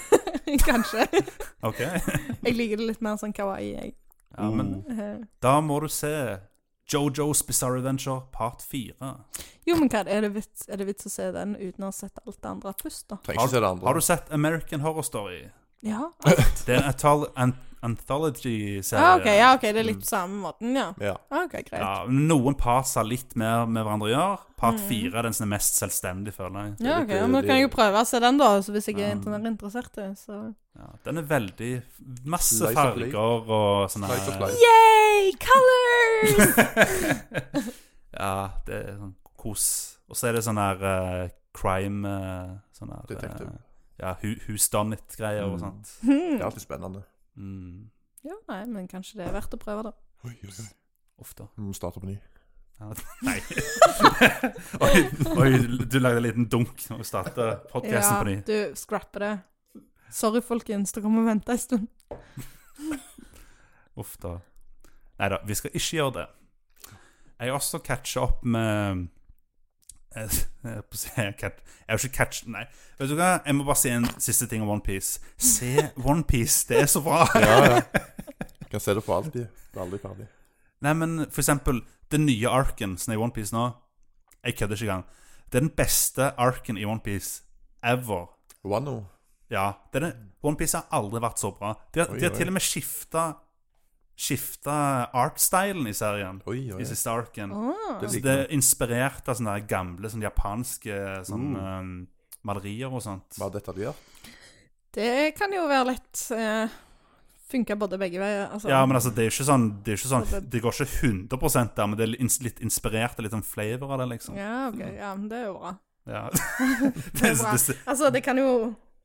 [SPEAKER 3] Kanskje.
[SPEAKER 2] [LAUGHS]
[SPEAKER 1] OK.
[SPEAKER 3] Jeg liker det litt mer sånn kawaii, jeg.
[SPEAKER 1] Ja, men
[SPEAKER 3] Eh,
[SPEAKER 1] Mm. Da må du se Jojo's Bizarre Adventure part 4.
[SPEAKER 3] Jo, men hva er det vits, er det vits å se den uten å ha sett alt det andre først, da?
[SPEAKER 2] Trenger ikke se det andre. [LAUGHS]
[SPEAKER 1] Har du sett American Horror Story?
[SPEAKER 3] Ja.
[SPEAKER 1] Det er en anthol- an anthology-serie.
[SPEAKER 3] Ah, ok, ja, ok, det er litt på samme måten, ja.
[SPEAKER 2] Ja.
[SPEAKER 3] Ah, Ok, greit.
[SPEAKER 1] Ja, noen parts har litt mer med hverandre å gjøre. Part 4 er den som er mest selvstendig, føler jeg.
[SPEAKER 3] Ja, ok, ja, Men da kan jeg jo prøve å se den, da, så hvis jeg er inter- interessert i det, så
[SPEAKER 1] Ja, den er veldig Masse
[SPEAKER 2] Slice of life.
[SPEAKER 1] farger og sånne
[SPEAKER 2] Slice of
[SPEAKER 1] her-
[SPEAKER 2] life.
[SPEAKER 3] Yay! Colors!
[SPEAKER 1] [LAUGHS] Ja, det er sånn kos. Og så er det sånn her eh, crime eh, Sånn her eh,
[SPEAKER 2] Detective.
[SPEAKER 1] Ja, hu husdannet-greier og
[SPEAKER 2] Mm.
[SPEAKER 1] sånt.
[SPEAKER 2] Det er
[SPEAKER 3] Hmm.
[SPEAKER 2] alltid spennende.
[SPEAKER 1] Mm.
[SPEAKER 3] Ja, nei, men kanskje det er verdt å prøve, da.
[SPEAKER 2] Oi, oi, oi.
[SPEAKER 1] Ofte.
[SPEAKER 2] Vi må starte på ny.
[SPEAKER 1] Ja, Nei. [LAUGHS] oi, oi, du lagde en liten dunk når vi starta podkasten på ny.
[SPEAKER 3] Ja, du scrapper det. Sorry, folkens, dere må vente en stund.
[SPEAKER 1] Uff da. Nei da, vi skal ikke gjøre det. Jeg har også catcha opp med eh, [LAUGHS] jeg, jeg, på å si- jeg, cat- jeg har ikke catch... Nei. Vet du hva? Jeg må bare si en siste ting om OnePiece. Se OnePiece, det er så bra!
[SPEAKER 2] [LAUGHS] Ja, ja. Kan se det for alltid. Det er aldri ferdig.
[SPEAKER 1] Nei, men for eksempel den nye arken som er i OnePiece nå Jeg kødder ikke engang. Det er den beste arken i OnePiece ever.
[SPEAKER 2] Wano.
[SPEAKER 1] Ja, det er det. One Piece har aldri vært så bra. De har,
[SPEAKER 2] Oi,
[SPEAKER 1] de har
[SPEAKER 2] oi.
[SPEAKER 1] til og med skifta Skifta art-stylen i serien.
[SPEAKER 2] Oi, oi.
[SPEAKER 1] I siste arken. Så
[SPEAKER 3] Ah,
[SPEAKER 2] liker
[SPEAKER 1] Altså, det
[SPEAKER 2] jeg.
[SPEAKER 1] er inspirert av sånne der gamle sånne japanske sånn,
[SPEAKER 2] Mm.
[SPEAKER 1] um, malerier og sånt.
[SPEAKER 2] Mer detaljert.
[SPEAKER 3] det kan jo være lett eh, Funker både begge veier. Altså.
[SPEAKER 1] Ja, men altså, det er jo ikke sånn Det, er ikke
[SPEAKER 3] Så
[SPEAKER 1] sånn,
[SPEAKER 3] det-
[SPEAKER 1] det går ikke 100 der, men det er ins- litt inspirert og litt sånn flavor av det, liksom. Ja.
[SPEAKER 3] Ja, ok, ja, men det er jo bra. [LAUGHS]
[SPEAKER 1] det,
[SPEAKER 3] bra.
[SPEAKER 1] det,
[SPEAKER 3] Altså, det kan jo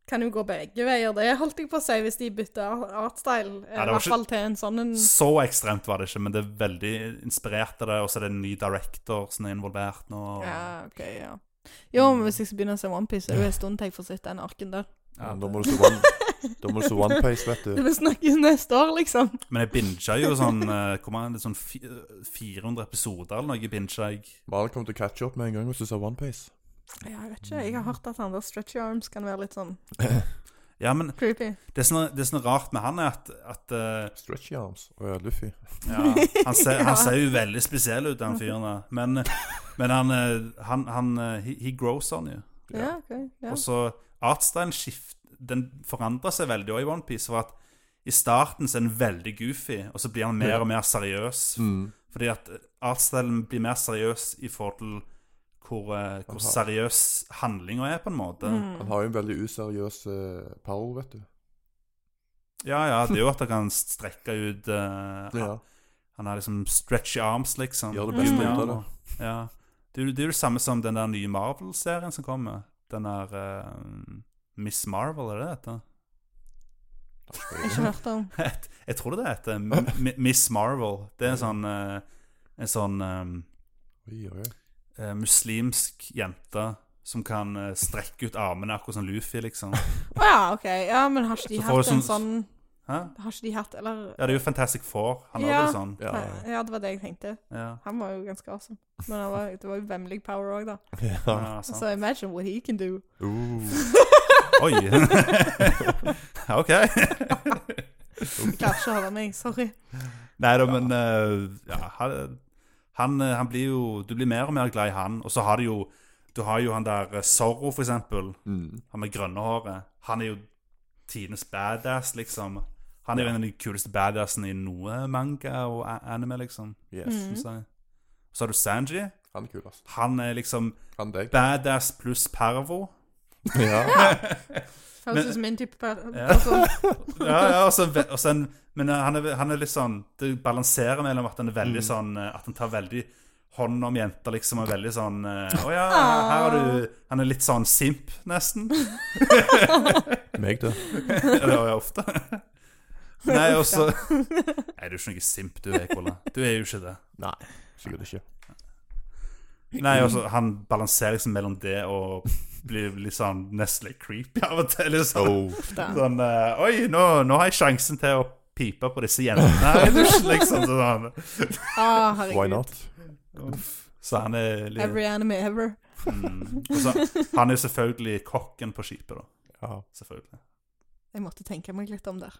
[SPEAKER 3] kan jo gå begge veier, det holdt jeg på å si, hvis de bytter artstyle. eh, I
[SPEAKER 1] Ja, det var
[SPEAKER 3] hvert
[SPEAKER 1] ikke-
[SPEAKER 3] fall til en sånn en
[SPEAKER 1] så ekstremt var det ikke, men det er veldig inspirert av det. Og så er det en ny director som er involvert nå. og-
[SPEAKER 3] Ja, OK, ja. Jo, men hvis jeg skal begynne å se OnePiece, er det jo en stund til jeg får sett den arken der.
[SPEAKER 1] Ja,
[SPEAKER 2] Da må du se [LAUGHS] One, da må du se one Piece,
[SPEAKER 3] [LAUGHS]
[SPEAKER 2] vet
[SPEAKER 3] Det
[SPEAKER 2] du.
[SPEAKER 3] vil snakkes neste år, liksom.
[SPEAKER 1] Men jeg binga jo sånn eh, Hvor mange? er det, Sånn fi- 400 episoder eller noe binga jeg.
[SPEAKER 2] Maren kommer til å catche opp med en gang hvis du ser One Piece.
[SPEAKER 3] Ja, jeg vet ikke. Jeg har hørt at han der stretchy arms kan være litt sånn
[SPEAKER 1] Ja, men
[SPEAKER 3] creepy.
[SPEAKER 1] det som er, det som er rart med han, er at, at eh,
[SPEAKER 2] Stretchy arms. Å ja, Luffy.
[SPEAKER 1] ja, han, ser, han ser jo veldig spesiell ut, den fyren der. Men, men han, eh, han, han eh, he, he grows on you.
[SPEAKER 3] Ja, OK. Ja.
[SPEAKER 1] Og så artstylen skift, den forandra seg veldig òg i OnePiece. For at I starten så er han veldig goofy, og så blir han mer og mer seriøs.
[SPEAKER 2] Mm.
[SPEAKER 1] Fordi at artsstilen blir mer seriøs i forhold til hvor, eh, hvor
[SPEAKER 2] Aha. Mm.
[SPEAKER 1] seriøs handlinga er, på en måte.
[SPEAKER 3] Hmm.
[SPEAKER 2] Han har jo en veldig useriøs eh, parol, vet du.
[SPEAKER 1] Ja, ja, det er jo at han kan strekke ut eh,
[SPEAKER 2] Det, ja.
[SPEAKER 1] Han har liksom stretchy arms, liksom.
[SPEAKER 2] Gjør det
[SPEAKER 3] beste
[SPEAKER 1] Gummi
[SPEAKER 3] ut av
[SPEAKER 1] armer.
[SPEAKER 2] det.
[SPEAKER 1] Ja. Det, er jo- det er jo det samme som den der nye Marvel-serien som kommer. Den der eh, Miss Marvel, er det det heter?
[SPEAKER 3] Ikke hørt om.
[SPEAKER 1] Et- Jeg tror det heter
[SPEAKER 2] [LAUGHS]
[SPEAKER 1] M- M- Miss Marvel. Det er en sånn, eh, en sånn
[SPEAKER 2] Oi, oi, oi.
[SPEAKER 1] eh, eh, muslimsk jente som kan eh, strekke ut armene akkurat som Luffy, liksom.
[SPEAKER 3] Å ja, OK. Ja, men har ikke de
[SPEAKER 1] Så får
[SPEAKER 3] hatt
[SPEAKER 1] du
[SPEAKER 3] en sånn
[SPEAKER 1] sånn- Hæ?
[SPEAKER 3] Har ikke de hatt Eller
[SPEAKER 1] Ja, det er jo Fantastic Four. Han har
[SPEAKER 3] Ja.
[SPEAKER 1] det sånn.
[SPEAKER 2] Ja,
[SPEAKER 3] Nei, ja, det var det jeg tenkte.
[SPEAKER 1] Ja.
[SPEAKER 3] Han var jo ganske awesome. Men han var, det var jo vemmelig power òg, da.
[SPEAKER 2] ja.
[SPEAKER 1] Ja, sånn. sant.
[SPEAKER 3] Så imagine what he can [LAUGHS] do.
[SPEAKER 2] Uh,
[SPEAKER 1] Oi! [LAUGHS] OK.
[SPEAKER 3] Jeg klarer ikke å holde meg. Sorry.
[SPEAKER 1] Nei da, men eh, ja, han, han, eh, han blir jo Du blir mer og mer glad i han. Og så har du jo Du har jo han der eh, Zorro, for eksempel.
[SPEAKER 2] mm.
[SPEAKER 1] Han med grønne håret. Han er jo tidenes badass, liksom. Han er jo en av de kuleste badassene i noe manga og a- anime, liksom.
[SPEAKER 2] Yes.
[SPEAKER 3] Mm.
[SPEAKER 1] synes jeg. Så har du Sanji.
[SPEAKER 2] Han er kul, altså.
[SPEAKER 1] Han er liksom
[SPEAKER 2] Han deg.
[SPEAKER 1] badass pluss pervo.
[SPEAKER 2] Ja.
[SPEAKER 3] Høres ut som min type per-
[SPEAKER 1] Ja.
[SPEAKER 3] person.
[SPEAKER 1] Ja, ja, og så, og så en, men eh, han er, han er litt sånn Det balanserer mellom at han er veldig sånn eh, At han tar veldig hånd om jenter, liksom, og veldig sånn eh, Å ja, her har du Han er litt sånn simp, nesten.
[SPEAKER 2] Meg, det.
[SPEAKER 1] Eller det var jeg ofte. Nei, og så Nei, du er ikke noe simp, du, Ekola. Du er jo ikke det.
[SPEAKER 2] Nei, sikkert ikke.
[SPEAKER 1] Nei, og så han balanserer liksom mellom det og blir litt sånn nesten litt creepy av og til. Liksom.
[SPEAKER 2] Oh,
[SPEAKER 1] Sånn eh, Oi, nå, nå har jeg sjansen til å pipe på disse jentene her i dusjen, liksom. Sånn.
[SPEAKER 3] Å,
[SPEAKER 2] Why
[SPEAKER 3] Ah, herregud.
[SPEAKER 2] not?
[SPEAKER 1] Uff. Så han er litt
[SPEAKER 3] Every anime ever.
[SPEAKER 1] [LAUGHS] mm. Og så- Han er jo selvfølgelig kokken på skipet, da.
[SPEAKER 2] Ja.
[SPEAKER 1] Selvfølgelig.
[SPEAKER 3] Jeg måtte tenke meg litt om der.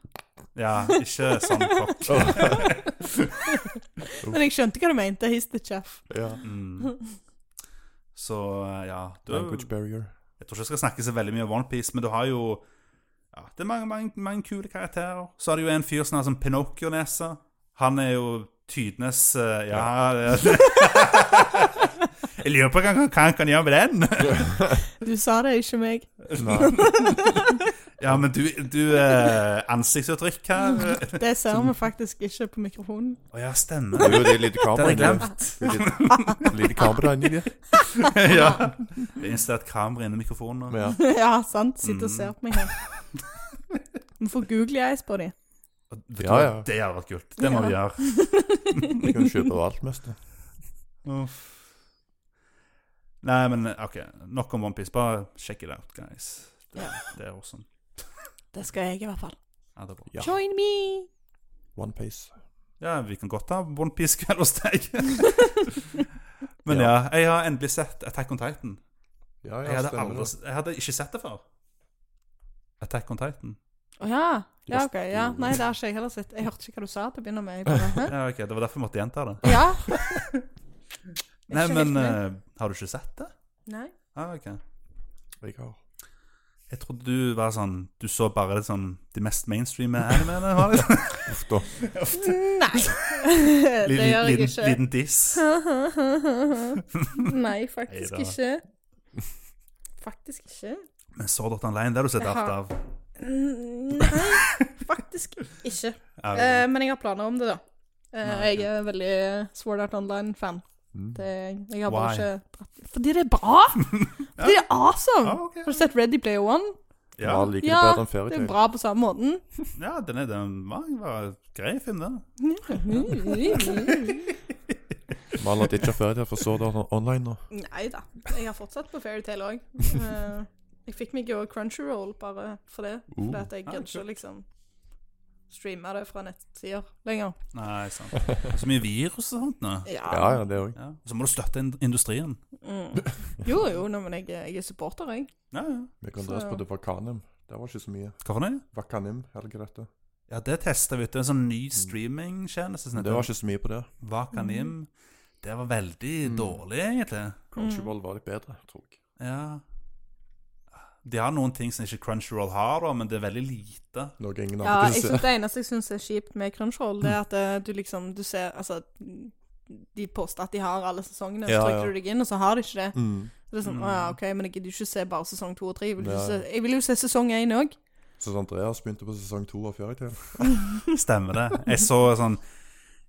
[SPEAKER 1] Ja, ikke sånn [LAUGHS] kokk.
[SPEAKER 3] Men jeg skjønte hva du mente. He's the chef.
[SPEAKER 2] ja.
[SPEAKER 1] [LAUGHS] Mm. Så eh, ja du,
[SPEAKER 2] Language barrier.
[SPEAKER 1] Jeg tror ikke jeg skal snakke så veldig mye om OnePiece, men du har jo ja, Det er mange, mange, mange kule karakterer. Så er det jo en fyr som har sånn Pinocchio-nese. Han er jo tidenes eh, Ja [LAUGHS] Jeg lurer på hva han kan, kan gjøre med den.
[SPEAKER 3] Du sa det, ikke meg.
[SPEAKER 2] [LAUGHS] Nei.
[SPEAKER 1] Ja, men du, du eh, Ansiktsuttrykk her
[SPEAKER 3] Det ser vi faktisk ikke på mikrofonen. [LAUGHS]
[SPEAKER 1] Å ja, stemmer.
[SPEAKER 2] Det er jo det lille
[SPEAKER 1] Den er
[SPEAKER 2] kameraet inni.
[SPEAKER 1] glemt.
[SPEAKER 2] Det er lille- Lille kameraet inni det.
[SPEAKER 1] [LAUGHS] ja. Det er installert kamera inni mikrofonen. nå.
[SPEAKER 2] Men ja.
[SPEAKER 3] ja, sant. Sitter og
[SPEAKER 1] Mm.
[SPEAKER 3] ser på meg her. Vi får Google Eyes på dem.
[SPEAKER 1] Og vet du
[SPEAKER 2] Ja,
[SPEAKER 1] hva?
[SPEAKER 2] ja.
[SPEAKER 1] Det hadde vært kult. Det må vi gjøre.
[SPEAKER 2] Vi kan kjøpe overalt mest. da.
[SPEAKER 1] Nei, men OK. Nok om OnePiece. Bare check it out, guys. Det,
[SPEAKER 3] Ja.
[SPEAKER 1] det er awesome.
[SPEAKER 3] Det skal jeg i hvert fall.
[SPEAKER 1] Ja, det er bra.
[SPEAKER 2] Ja.
[SPEAKER 3] Join me!
[SPEAKER 2] One Piece.
[SPEAKER 1] ja, vi kan godt ha OnePiece-kveld hos deg. men ja. jeg har endelig sett Attack on Titan.
[SPEAKER 2] Ja,
[SPEAKER 1] Jeg
[SPEAKER 2] ja,
[SPEAKER 1] hadde,
[SPEAKER 2] stemmer
[SPEAKER 1] aldri,
[SPEAKER 2] det.
[SPEAKER 1] jeg hadde ikke sett det før. Attack on Titan.
[SPEAKER 3] Å ja. Ja, OK. Ja. Nei, det har ikke jeg heller sett. Jeg hørte ikke hva du sa til å begynne
[SPEAKER 1] [LAUGHS]
[SPEAKER 3] med. Jeg bare, Hæ?
[SPEAKER 1] Ja, ok, Det var derfor jeg måtte gjenta det.
[SPEAKER 3] Ja.
[SPEAKER 1] Nei,
[SPEAKER 3] Ikke helt
[SPEAKER 1] men
[SPEAKER 3] med.
[SPEAKER 1] eh, har du ikke sett det?
[SPEAKER 3] Nei.
[SPEAKER 1] Ja, ok.
[SPEAKER 2] Jeg har.
[SPEAKER 1] Jeg trodde du var sånn Du så bare det sånn de mest mainstreame animene. var liksom. det?
[SPEAKER 2] Uff da.
[SPEAKER 3] Nei. [LAUGHS] Det gjør jeg
[SPEAKER 1] liten,
[SPEAKER 3] ikke.
[SPEAKER 1] liten
[SPEAKER 3] [LAUGHS]
[SPEAKER 1] diss.
[SPEAKER 3] Nei, faktisk
[SPEAKER 1] Neida.
[SPEAKER 3] ikke. Faktisk ikke.
[SPEAKER 1] Men Sword Art Online, det har du sett
[SPEAKER 3] Jeg
[SPEAKER 1] alt
[SPEAKER 3] har-
[SPEAKER 1] av.
[SPEAKER 3] Nei,
[SPEAKER 1] [LAUGHS]
[SPEAKER 3] faktisk ikke.
[SPEAKER 1] Ja, ok.
[SPEAKER 3] Eh, men jeg har planer om det, da. Eh,
[SPEAKER 1] Nei,
[SPEAKER 3] jeg er veldig Sword Art Online-fan.
[SPEAKER 2] Mm.
[SPEAKER 3] Det, jeg har bare
[SPEAKER 1] Why?
[SPEAKER 3] ikke dratt Fordi det
[SPEAKER 1] [LAUGHS]
[SPEAKER 3] er bra! Fordi det er awesome!
[SPEAKER 1] Ja, Ah, ok.
[SPEAKER 3] Har du sett Ready Player One?
[SPEAKER 1] ja.
[SPEAKER 2] Hva liker
[SPEAKER 3] Ja,
[SPEAKER 2] du bedre enn
[SPEAKER 3] Det er
[SPEAKER 2] fairytale?
[SPEAKER 3] bra på samme måten.
[SPEAKER 1] ja, den, er, den var, var grei film, den.
[SPEAKER 3] Nei
[SPEAKER 2] Malen har ditcha fairytale for så det online nå.
[SPEAKER 3] da. Jeg har fortsatt på Fairytale
[SPEAKER 1] [LAUGHS]
[SPEAKER 3] òg. jeg fikk meg jo Crunchyroll bare for det.
[SPEAKER 2] Uh. Mm.
[SPEAKER 3] Fordi at jeg
[SPEAKER 1] Ah,
[SPEAKER 3] gadd ikke
[SPEAKER 1] kult.
[SPEAKER 3] liksom streame det fra nettsider lenger.
[SPEAKER 1] Nei, sant. Det er Så mye virus og sånt nå.
[SPEAKER 2] Ja, ja, det òg.
[SPEAKER 1] Ja. og Så må du støtte ind- industrien.
[SPEAKER 3] Mm. Jo, jo, nei, men jeg, jeg er supporter, jeg.
[SPEAKER 1] Ja, ja.
[SPEAKER 2] Vi kan
[SPEAKER 3] Så-
[SPEAKER 2] dra oss på det Vakanim. Det var ikke så mye.
[SPEAKER 1] Hva for noe?
[SPEAKER 2] Vakanim, eller hva dette?
[SPEAKER 1] Ja, det testa vi ut. Det er en sånn ny streamingtjeneste. som
[SPEAKER 2] Mm. Det var Mm.
[SPEAKER 1] heter
[SPEAKER 2] ikke så mye på det.
[SPEAKER 1] Vakanim. Det var
[SPEAKER 2] Mm.
[SPEAKER 1] veldig dårlig, egentlig.
[SPEAKER 3] Mm.
[SPEAKER 2] Crunchyroll var litt bedre, tror jeg.
[SPEAKER 1] Ja. De har noen ting som ikke Crunchyroll har, da, men det er veldig lite.
[SPEAKER 2] Noe ingen andre
[SPEAKER 3] Ja, jeg
[SPEAKER 2] kunne se.
[SPEAKER 3] synes det eneste jeg syns er kjipt med Crunchyroll, det er at eh, du liksom Du ser Altså, de påstår at de har alle sesongene, så
[SPEAKER 2] Ja, ja.
[SPEAKER 3] trykker du deg inn, og så har de ikke det.
[SPEAKER 2] Mm.
[SPEAKER 3] Så det er sånn,
[SPEAKER 1] Mm.
[SPEAKER 3] å ja, ok, Men jeg gidder jo ikke se bare sesong to og tre. Jeg vil, jo
[SPEAKER 2] Nei.
[SPEAKER 3] se, jeg vil jo se sesong én òg.
[SPEAKER 2] Så Andreas begynte på sesong to av Fairytale.
[SPEAKER 1] Stemmer det. Jeg så sånn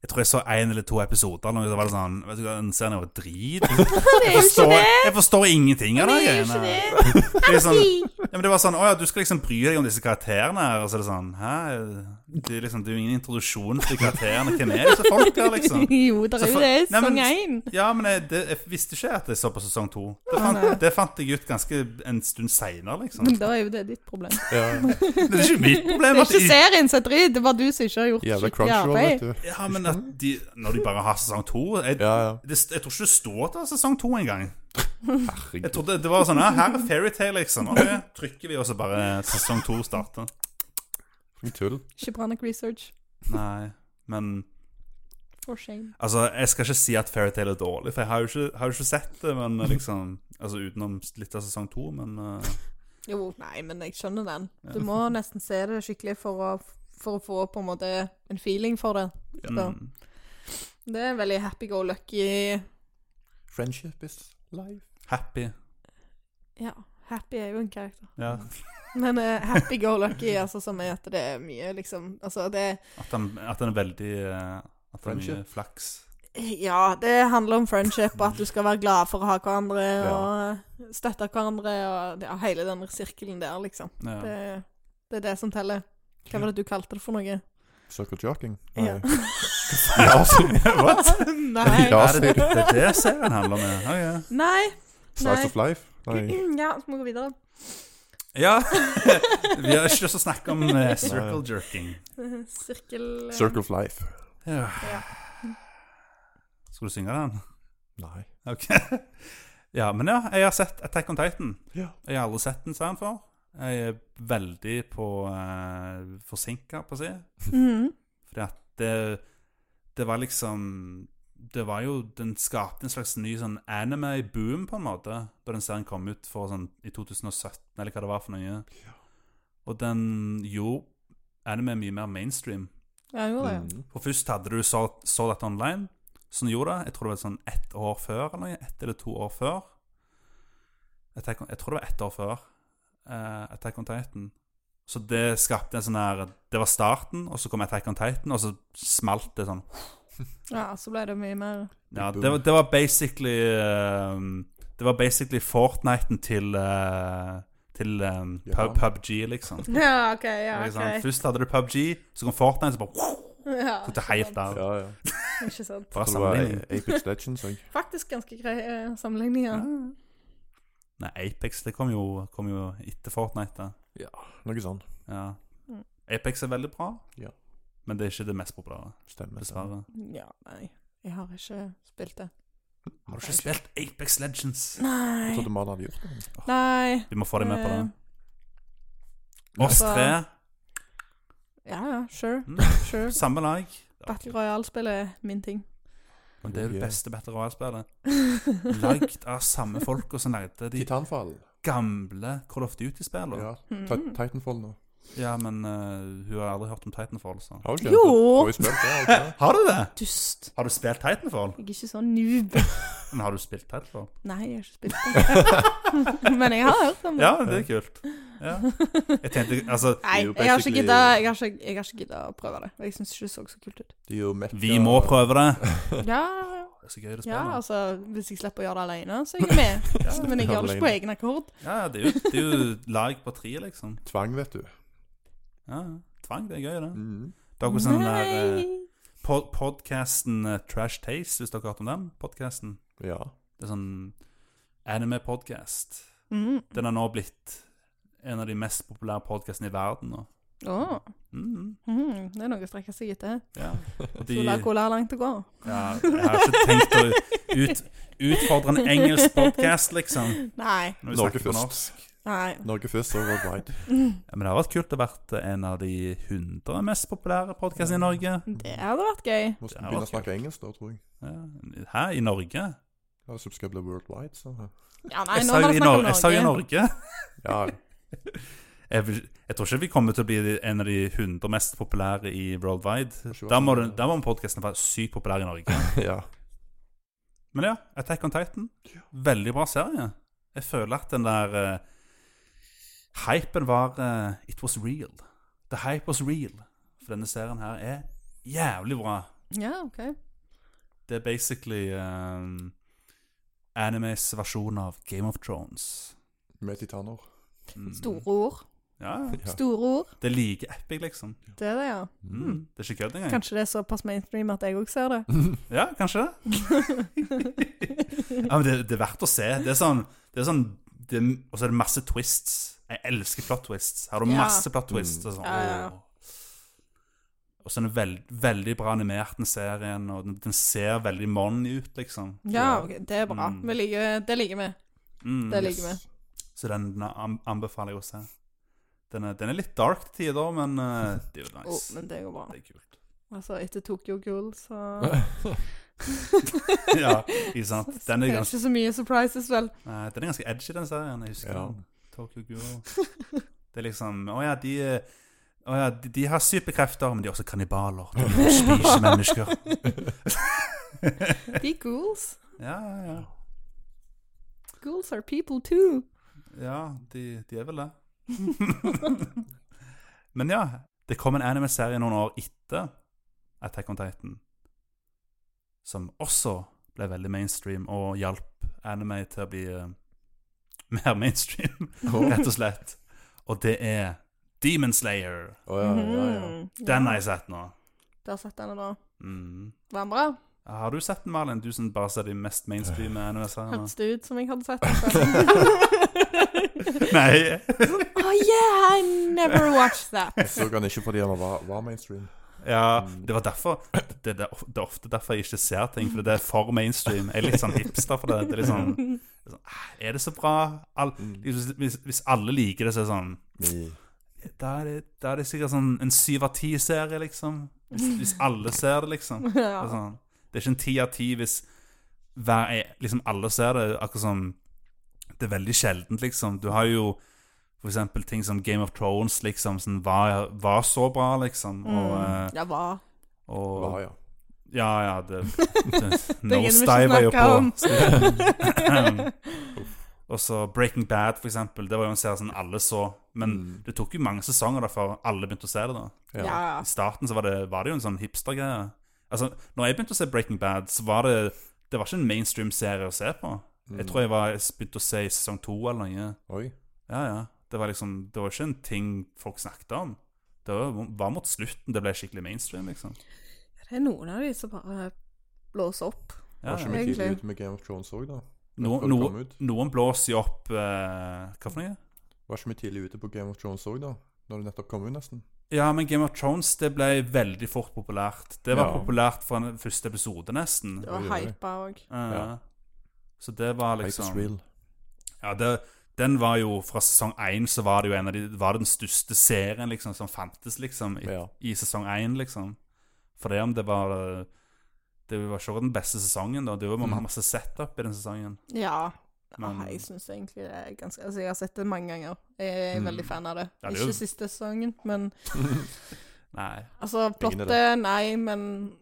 [SPEAKER 1] Jeg tror jeg så én eller to episoder, og så var det sånn vet du hva, Den serien var drit.
[SPEAKER 3] Det er jo ikke det!
[SPEAKER 1] jeg forstår ingenting av
[SPEAKER 3] Det
[SPEAKER 1] det
[SPEAKER 3] er jo
[SPEAKER 1] greiene.
[SPEAKER 3] ikke det!
[SPEAKER 1] Det er sånn, ja, men det var sånn Å ja, du skal liksom bry deg om disse karakterene her. Og så er det sånn Hæ? Det er liksom det er jo ingen introduksjon til karakterene. Hvem er disse folka, liksom?
[SPEAKER 3] [LAUGHS] Jo, det er
[SPEAKER 1] Så
[SPEAKER 3] jo
[SPEAKER 1] for-
[SPEAKER 3] det.
[SPEAKER 1] Nei, men-
[SPEAKER 3] Sesong
[SPEAKER 2] [LAUGHS]
[SPEAKER 3] én.
[SPEAKER 1] Ja, men jeg, det, jeg visste ikke at jeg så på sesong to. Det
[SPEAKER 3] Å, nei.
[SPEAKER 1] fant, det fant jeg ut ganske en stund seinere,
[SPEAKER 3] [LAUGHS]
[SPEAKER 1] liksom.
[SPEAKER 3] Men da er jo det ditt problem. [LAUGHS]
[SPEAKER 2] Ja,
[SPEAKER 1] Det er ikke mitt
[SPEAKER 3] Det
[SPEAKER 1] problem
[SPEAKER 2] [LAUGHS]
[SPEAKER 3] er
[SPEAKER 1] at
[SPEAKER 3] ikke
[SPEAKER 1] de,
[SPEAKER 3] serien som er dritt, det er bare du som ikke har gjort
[SPEAKER 2] Jævla
[SPEAKER 3] skikkelig
[SPEAKER 2] Crunchyroll, vet
[SPEAKER 3] arbeid.
[SPEAKER 2] du.
[SPEAKER 1] Ja, men at de Når de bare har sesong to jeg,
[SPEAKER 2] Ja, ja.
[SPEAKER 1] det, jeg tror ikke det står at det er sesong to engang. Jeg
[SPEAKER 2] Herregud.
[SPEAKER 1] trodde det var sånn ja, Her er Fairytale, liksom. Og det trykker vi, og så bare sesong to starter.
[SPEAKER 2] For en tull.
[SPEAKER 3] Ikke bra nok research.
[SPEAKER 1] Nei, men
[SPEAKER 3] For shame.
[SPEAKER 1] Altså, jeg skal ikke si at Fairytale er dårlig, for jeg har jo ikke, har jo ikke sett det, men eh, liksom Altså utenom litt av sesong to, men eh,
[SPEAKER 3] Jo, nei, men jeg skjønner den. Du må nesten se det skikkelig for å, for å få på en måte en feeling for det. Så,
[SPEAKER 1] mm.
[SPEAKER 3] det er veldig happy go lucky
[SPEAKER 2] Friendship is life.
[SPEAKER 1] Happy.
[SPEAKER 3] Ja, happy er jo en karakter.
[SPEAKER 1] Ja.
[SPEAKER 3] Men eh, happy go
[SPEAKER 2] [LAUGHS]
[SPEAKER 3] lucky, altså, som er at det er mye, liksom Altså, det er
[SPEAKER 1] At han, at han er veldig eh, At det er mye
[SPEAKER 2] Friendship.
[SPEAKER 1] flaks.
[SPEAKER 3] Ja, det handler om friendship, og at du skal være glad for å ha hverandre,
[SPEAKER 2] Ja.
[SPEAKER 3] og støtte hverandre, og ja, hele den sirkelen der, liksom.
[SPEAKER 1] Ja.
[SPEAKER 3] Det, det er det som teller. Hva var det du kalte det for noe?
[SPEAKER 2] Circle joking.
[SPEAKER 3] [LAUGHS] Ja.
[SPEAKER 2] Nei. Ja, altså.
[SPEAKER 1] [LAUGHS] What?
[SPEAKER 3] [LAUGHS] Nei.
[SPEAKER 2] Ja,
[SPEAKER 1] Er det det er det serien handler om? ja? Ja,
[SPEAKER 3] Nei. Mm,
[SPEAKER 2] Slice of life. Nei.
[SPEAKER 3] Ja, så må vi gå videre. [LAUGHS]
[SPEAKER 1] ja. [LAUGHS] ja. Vi har ikke lyst til å snakke om eh, circle jerking.
[SPEAKER 3] Sirkel eh.
[SPEAKER 2] Circle of life.
[SPEAKER 1] Ja.
[SPEAKER 3] Ja.
[SPEAKER 1] Skal du synge den?
[SPEAKER 2] Nei.
[SPEAKER 1] Ok. Ja, men ja, jeg har sett Attack on Titan.
[SPEAKER 2] Ja.
[SPEAKER 1] Jeg har aldri sett den serien før. Jeg er veldig på eh, forsinka, på å si.
[SPEAKER 3] Mhm.
[SPEAKER 1] Fordi at det, det var liksom Det var jo Den skapte en slags ny sånn anime-boom, på en måte, da den serien kom ut for, sånn, i 2017, eller hva det var for noe. Og den gjorde anime mye mer mainstream.
[SPEAKER 3] Ja, jo det.
[SPEAKER 2] Mm.
[SPEAKER 1] For først hadde du så, så dette online, som gjorde det. Jeg tror det var sånn ett år før, eller noe, ett eller to år før. Jeg, tenker, jeg tror det var ett år før eh, Attack on Titan. Så det skapte en sånn her Det var starten, og så kom Attack on Titan, og så smalt det sånn.
[SPEAKER 3] Ja, så ble det mye mer
[SPEAKER 1] Ja, det, var, det var basically ehm, Det var basically Fortniten til eh, Til ehm,
[SPEAKER 2] Ja.
[SPEAKER 1] pub, PubG, liksom.
[SPEAKER 3] [LAUGHS] Ja, OK, ja,
[SPEAKER 1] Ikke sant?
[SPEAKER 3] OK.
[SPEAKER 1] Først hadde du PubG, så kom Fortnite, så bare
[SPEAKER 3] [LAUGHS] Ja,
[SPEAKER 1] tok det helt av.
[SPEAKER 2] Ja, ja.
[SPEAKER 3] Ikke sant.
[SPEAKER 1] Bra
[SPEAKER 2] Så det var
[SPEAKER 1] sammenligning.
[SPEAKER 2] Apex Legends òg.
[SPEAKER 3] Faktisk ganske grei eh, sammenligning, ja.
[SPEAKER 1] Nei, Apex det kom jo, kom jo etter Fortnite. da.
[SPEAKER 2] Noe sånn.
[SPEAKER 1] Ja.
[SPEAKER 3] Mm.
[SPEAKER 1] Apex er veldig bra,
[SPEAKER 2] Ja.
[SPEAKER 1] men det er ikke det mest populære.
[SPEAKER 2] Stemmer. stemmer.
[SPEAKER 1] Dessverre.
[SPEAKER 3] Ja, nei. Jeg har ikke spilt det.
[SPEAKER 1] Har du ikke spilt Apex Legends?
[SPEAKER 2] Jeg
[SPEAKER 3] Nei.
[SPEAKER 2] trodde mannen hadde gjort det.
[SPEAKER 3] Nei.
[SPEAKER 1] Vi må få deg med på det.
[SPEAKER 3] Eh,
[SPEAKER 1] Oss
[SPEAKER 3] altså-
[SPEAKER 1] tre,
[SPEAKER 3] Ja, ja, sure.
[SPEAKER 1] Mm. [LAUGHS]
[SPEAKER 3] Sure.
[SPEAKER 1] samme lag.
[SPEAKER 3] Battle Royale-spill er min ting.
[SPEAKER 1] Men det er jo det
[SPEAKER 2] Ja.
[SPEAKER 1] beste Battle
[SPEAKER 3] [LAUGHS]
[SPEAKER 1] Royale-spillet. Lagd av samme folk og sånn som lagde de
[SPEAKER 2] Titanfall.
[SPEAKER 1] gamle Call of Duty-spillene. Ja.
[SPEAKER 2] Ja.
[SPEAKER 3] Mm.
[SPEAKER 2] Ti- Titanfall nå.
[SPEAKER 1] men eh, hun har aldri hørt om Titanfall. Så.
[SPEAKER 2] Har du ikke?
[SPEAKER 3] Jo.
[SPEAKER 2] Du har jo spilt det, [LAUGHS] har du ikke?
[SPEAKER 1] Har du det?
[SPEAKER 3] Dust.
[SPEAKER 1] Har du spilt Titanfall?
[SPEAKER 3] Jeg er ikke sånn noob.
[SPEAKER 1] [LAUGHS] Men har du spilt Titanfall?
[SPEAKER 3] Nei, jeg har ikke spilt det. Men jeg har hørt om det. [LAUGHS]
[SPEAKER 1] Ja, det er kult. Ja. Jeg tenkte, altså
[SPEAKER 3] Nei,
[SPEAKER 2] Det er jo
[SPEAKER 3] jeg har ikke
[SPEAKER 2] basically-
[SPEAKER 3] gidda jeg har ikke, jeg har ikke gidda å prøve det. Jeg syns ikke det så så kult ut.
[SPEAKER 2] Det er jo mekka.
[SPEAKER 1] Vi må prøve det.
[SPEAKER 3] Ja,
[SPEAKER 1] [LAUGHS] Det er så gøy det
[SPEAKER 3] ja,
[SPEAKER 1] spillet.
[SPEAKER 3] altså Hvis jeg slipper å gjøre det alene, så er jeg med.
[SPEAKER 1] [LAUGHS] Ja,
[SPEAKER 3] Men jeg gjør det ikke på egen akkord.
[SPEAKER 1] ja, ja, det er jo, det er jo lag på tre, liksom.
[SPEAKER 2] Tvang, vet du.
[SPEAKER 1] Ja, ja. tvang, det er gøy, det.
[SPEAKER 2] Mm.
[SPEAKER 1] Det er akkurat sånn den der eh,
[SPEAKER 3] Nei.
[SPEAKER 1] pod podcasten eh, Trash Taste, hvis dere har hørt om den podcasten.
[SPEAKER 2] Ja.
[SPEAKER 1] Det er sånn anime-podcast.
[SPEAKER 3] Mm.
[SPEAKER 1] Den har nå blitt en av de mest populære podcastene i verden nå.
[SPEAKER 3] Åh.
[SPEAKER 1] Mm,
[SPEAKER 3] Mm. Det er noe å strekke seg etter.
[SPEAKER 1] ja. Og de,
[SPEAKER 3] [LAUGHS] Sola
[SPEAKER 1] ja,
[SPEAKER 3] cola er langt å gå.
[SPEAKER 1] jeg har ikke tenkt å ut, utfordre en engelsk podcast, liksom.
[SPEAKER 3] Nei.
[SPEAKER 1] Når vi
[SPEAKER 2] Norge
[SPEAKER 1] snakker på
[SPEAKER 2] først.
[SPEAKER 1] norsk.
[SPEAKER 3] Nei.
[SPEAKER 2] Norge først og
[SPEAKER 1] [LAUGHS]
[SPEAKER 2] worldwide.
[SPEAKER 1] Ja, men det har vært kult å være en av de 100 mest populære podcastene i Norge.
[SPEAKER 3] Det hadde vært gøy.
[SPEAKER 2] Må
[SPEAKER 1] Det er
[SPEAKER 2] begynne å
[SPEAKER 1] vakkert.
[SPEAKER 2] snakke engelsk da, tror jeg.
[SPEAKER 1] Ja. Hæ, i Norge?
[SPEAKER 2] Ja, så skal det bli worldwide, så
[SPEAKER 1] [LAUGHS]
[SPEAKER 3] Ja, nei,
[SPEAKER 1] jeg
[SPEAKER 3] nå
[SPEAKER 1] sa
[SPEAKER 3] var
[SPEAKER 1] jo
[SPEAKER 3] det
[SPEAKER 1] i
[SPEAKER 3] snakk om
[SPEAKER 1] Nor- jeg sa jo i
[SPEAKER 3] Norge.
[SPEAKER 1] Norge.
[SPEAKER 2] Ja, ja.
[SPEAKER 1] Jeg, vil- jeg tror ikke vi kommer til å bli en av de 100 mest populære i worldwide.
[SPEAKER 2] Kanskje
[SPEAKER 1] Da må,
[SPEAKER 2] være-
[SPEAKER 1] den- da må podkasten være sykt populær i Norge.
[SPEAKER 2] [LAUGHS] ja.
[SPEAKER 1] Men ja, Attack on Titan. Veldig bra serie. Jeg føler at den der eh, hypen var eh, It was real. The hype was real. For denne serien her er jævlig bra.
[SPEAKER 3] Ja, OK.
[SPEAKER 1] Det er basically eh, animes versjon av Game of Thrones.
[SPEAKER 2] Med titaner.
[SPEAKER 1] Mm.
[SPEAKER 3] Store ord.
[SPEAKER 1] Ja, ja.
[SPEAKER 2] Ja.
[SPEAKER 3] Store ord.
[SPEAKER 1] det er like epic, liksom.
[SPEAKER 3] Det er det, ja.
[SPEAKER 2] Mhm.
[SPEAKER 1] [LAUGHS] Mm. Det er ikke kødd engang.
[SPEAKER 3] Kanskje det er såpass mainstream at jeg òg ser det.
[SPEAKER 1] Ja, kanskje det. ja, men det, det er verdt å se. Det er sånn, det er sånn det, Og så er det masse twists. Jeg elsker plot twists. Her har du
[SPEAKER 3] Ja.
[SPEAKER 1] masse plot twists. Og sånn.
[SPEAKER 3] Ja, ja, ja.
[SPEAKER 1] åh. Og så er den veld, veldig bra animert, den serien. Og den, den ser veldig money ut, liksom.
[SPEAKER 3] [LAUGHS] Ja, ok, det er bra.
[SPEAKER 1] Mm.
[SPEAKER 3] Vi liker, det liker vi.
[SPEAKER 1] Mm.
[SPEAKER 3] Det liker vi.
[SPEAKER 2] [LAUGHS]
[SPEAKER 1] Så den den an- anbefaler jeg å se. Den er, den er litt dark til tider, men eh, det er
[SPEAKER 3] [LAUGHS]
[SPEAKER 1] jo
[SPEAKER 3] Oh,
[SPEAKER 1] nice.
[SPEAKER 3] men det går bra.
[SPEAKER 1] Det er kult. [LAUGHS]
[SPEAKER 3] Altså, etter Tokyo Ghoul, så
[SPEAKER 1] Ja, ikke sant. Den
[SPEAKER 3] [LAUGHS] Det
[SPEAKER 1] er
[SPEAKER 3] er
[SPEAKER 1] ganske,
[SPEAKER 3] ikke så mye surprises, vel.
[SPEAKER 1] nei, den er ganske edgy, den serien. Jeg husker
[SPEAKER 2] Ja.
[SPEAKER 1] den. Tokyo Ghoul. Det er liksom Å ja, de, å ja, de, de har superkrefter, men de er også kannibaler. De spiser mennesker.
[SPEAKER 3] [LAUGHS]
[SPEAKER 1] [LAUGHS]
[SPEAKER 3] De er ghouls.
[SPEAKER 1] Ja, ja, ja.
[SPEAKER 3] Ghouls are people too.
[SPEAKER 1] ja de, de er vel det. [LAUGHS] men ja, det kom en anime-serie noen år etter Attack on Titan, som også ble veldig mainstream, og hjalp anime til å bli eh, mer mainstream, [LAUGHS] rett og slett. Og det er Demon Slayer.
[SPEAKER 2] Å Oh, ja, ja, ja.
[SPEAKER 3] Mhm.
[SPEAKER 1] Den har jeg sett nå.
[SPEAKER 3] Du har sett denne nå.
[SPEAKER 1] Mm.
[SPEAKER 3] Var den bra?
[SPEAKER 1] Har du sett den, Marlin? Du som bare ser de mest mainstream anime-seriene?
[SPEAKER 3] Hørtes det ut som jeg hadde sett den? før?
[SPEAKER 1] [LAUGHS] Nei.
[SPEAKER 3] oh yeah, I never watched that.
[SPEAKER 2] Jeg så han ikke fordi han var, var mainstream.
[SPEAKER 1] Ja, det var derfor det, det, det er ofte derfor jeg ikke ser ting, for det er for mainstream. Jeg er litt sånn hipster for det. det er, litt sånn, det er sånn, "Ah, er det så bra? All,
[SPEAKER 2] Mhm.
[SPEAKER 1] hvis, hvis- hvis alle liker det, så er det sånn
[SPEAKER 2] I-
[SPEAKER 1] Da er det, da er det sikkert sånn en syv av ti-serie, liksom. Hvis, hvis alle ser det, liksom. [LAUGHS] Det er,
[SPEAKER 3] Ja.
[SPEAKER 1] sånn, det er ikke en ti av ti hvis hver, liksom alle ser det. Akkurat som Det er veldig sjeldent, liksom. Du har jo for eksempel ting som Game of Thrones, liksom, som var, var så bra, liksom. Og, eh,
[SPEAKER 3] Mm. Ja, hva?
[SPEAKER 1] og
[SPEAKER 2] Var, Oh. ja.
[SPEAKER 1] ja, ja,
[SPEAKER 3] [LAUGHS]
[SPEAKER 1] det, det
[SPEAKER 3] gidder vi ikke
[SPEAKER 1] Nosedive var jo
[SPEAKER 3] snakke om.
[SPEAKER 1] på.
[SPEAKER 3] [LAUGHS]
[SPEAKER 1] Og så Breaking Bad, for eksempel. Det var jo en serie som alle så. Men det tok jo mange sesonger da før alle begynte å se det. da
[SPEAKER 3] Ja.
[SPEAKER 1] I starten så var det, var det jo en sånn hipstergreie. Altså, når jeg begynte å se Breaking Bad, så var det Det var ikke en mainstream serie å se på.
[SPEAKER 2] Mm.
[SPEAKER 1] Jeg tror jeg, var, jeg begynte å se i sesong to eller noe.
[SPEAKER 2] Oi.
[SPEAKER 1] Ja, ja. Det var liksom Det var ikke en ting folk snakket om. Det var, var mot slutten det ble skikkelig mainstream, liksom.
[SPEAKER 3] Det er noen av de som bare blåser opp.
[SPEAKER 1] Ja,
[SPEAKER 2] Var
[SPEAKER 1] ja.
[SPEAKER 2] ikke vi tidlig
[SPEAKER 3] Egentlig.
[SPEAKER 2] ute med Game of Thrones òg, da?
[SPEAKER 1] No,
[SPEAKER 2] Før det
[SPEAKER 1] no,
[SPEAKER 2] kom ut.
[SPEAKER 1] noen blåser jo opp eh, Hva for noe?
[SPEAKER 2] Var ikke vi tidlig ute på Game of Thrones òg, da? Når det nettopp kom ut, nesten.
[SPEAKER 1] Ja, men Game of Thrones det ble veldig fort populært. Det var
[SPEAKER 2] Ja.
[SPEAKER 1] populært fra den første episode, nesten.
[SPEAKER 3] Det
[SPEAKER 1] Ja.
[SPEAKER 3] var
[SPEAKER 2] Oi, oi, oi.
[SPEAKER 3] hypa òg.
[SPEAKER 2] Ja.
[SPEAKER 1] Så det var
[SPEAKER 2] Hype is
[SPEAKER 1] liksom
[SPEAKER 2] real.
[SPEAKER 1] Ja, det, Den var jo fra sesong én, så var det jo en av de Var det den største serien liksom som fantes, liksom, i,
[SPEAKER 2] Ja.
[SPEAKER 1] i sesong én, liksom. For det om det var Det var ikke den beste sesongen, da. Det var
[SPEAKER 2] Mhm.
[SPEAKER 1] masse setup i den sesongen.
[SPEAKER 3] Ja.
[SPEAKER 1] Men-
[SPEAKER 3] Ah, jeg syns egentlig det er ganske Altså, jeg har sett det mange ganger. Jeg er
[SPEAKER 2] Mm.
[SPEAKER 3] veldig fan av det.
[SPEAKER 1] Ja, det er jo-
[SPEAKER 3] Ikke siste sesongen, men
[SPEAKER 1] Nei.
[SPEAKER 3] Altså,
[SPEAKER 2] Ingen av
[SPEAKER 3] plottet, nei, men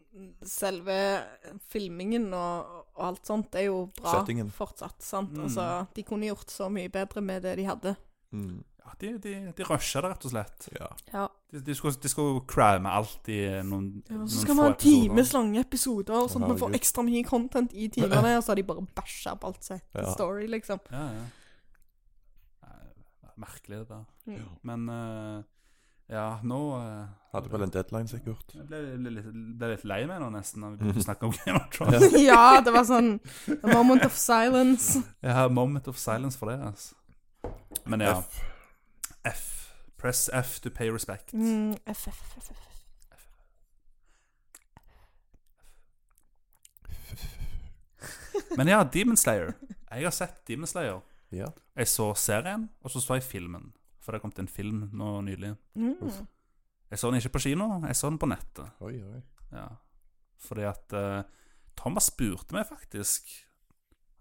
[SPEAKER 3] selve filmingen og, og alt sånt er jo bra
[SPEAKER 2] Settingen.
[SPEAKER 3] fortsatt, sant?
[SPEAKER 1] Mm.
[SPEAKER 3] Altså, de kunne gjort så mye bedre med det de hadde.
[SPEAKER 2] Mm.
[SPEAKER 1] Ja, de, de, de rusha det, rett og slett.
[SPEAKER 2] Ja.
[SPEAKER 3] Ja.
[SPEAKER 1] De, de skulle, de skulle cramme alt i noen, noen
[SPEAKER 3] Og så skal man ha times lange episoder, sånn at man får
[SPEAKER 2] Herregud.
[SPEAKER 3] ekstra mye content i timene, og så har de bare bæsja opp alt sitt
[SPEAKER 2] Ja.
[SPEAKER 3] story, liksom.
[SPEAKER 1] Ja, ja. Nei, Merkelig, det der.
[SPEAKER 3] Mm.
[SPEAKER 1] Men eh, ja, nå eh,
[SPEAKER 2] Hadde vel en
[SPEAKER 1] [LAUGHS]
[SPEAKER 2] deadline, sikkert.
[SPEAKER 1] Jeg ble, ble, litt, ble litt lei meg nå, nesten, når vi begynte å snakke om Game of Thrones.
[SPEAKER 3] [LAUGHS] ja, det var sånn A moment of silence.
[SPEAKER 1] Jeg har moment of silence for det, altså. Men ja.
[SPEAKER 2] F.
[SPEAKER 1] F. Press F to pay respect.
[SPEAKER 3] Mm, F, F, F, F.
[SPEAKER 1] Men ja, Demon Slayer. Jeg har sett Demon Slayer.
[SPEAKER 2] Ja.
[SPEAKER 1] Jeg så serien, og så så jeg filmen. For det har kommet en film nå nylig.
[SPEAKER 3] Mm.
[SPEAKER 1] Jeg så den ikke på kino, jeg så den på nettet.
[SPEAKER 2] Oi, oi.
[SPEAKER 1] Ja. Fordi at eh, Thomas spurte meg faktisk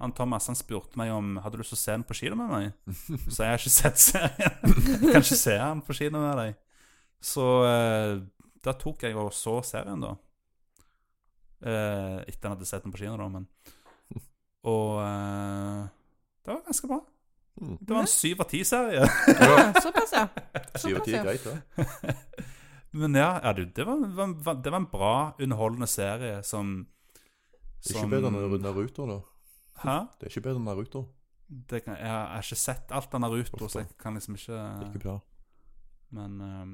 [SPEAKER 1] Han Thomas han spurte meg om hadde du lyst til å se den på kino med meg.
[SPEAKER 2] [LAUGHS]
[SPEAKER 1] Så jeg har ikke sett serien. Jeg kan ikke se den på kino med deg. Så eh, da tok jeg og så serien, da. Eh, etter han hadde sett den på kino, da, men Og eh, det var ganske bra.
[SPEAKER 2] Mm.
[SPEAKER 1] Det var en syv av ti-serie.
[SPEAKER 3] Ja, Såpass, ja.
[SPEAKER 2] Syv av ti er greit, det.
[SPEAKER 1] Men ja, ja du, det, var, var, det var en bra, underholdende serie som,
[SPEAKER 2] Det er ikke bedre enn Naruto, da.
[SPEAKER 1] Hæ?
[SPEAKER 2] Det er ikke bedre enn Naruto.
[SPEAKER 1] Det kan, jeg har ikke sett alt av Naruto, så jeg kan liksom ikke
[SPEAKER 2] Ikke bra.
[SPEAKER 1] Men ehm,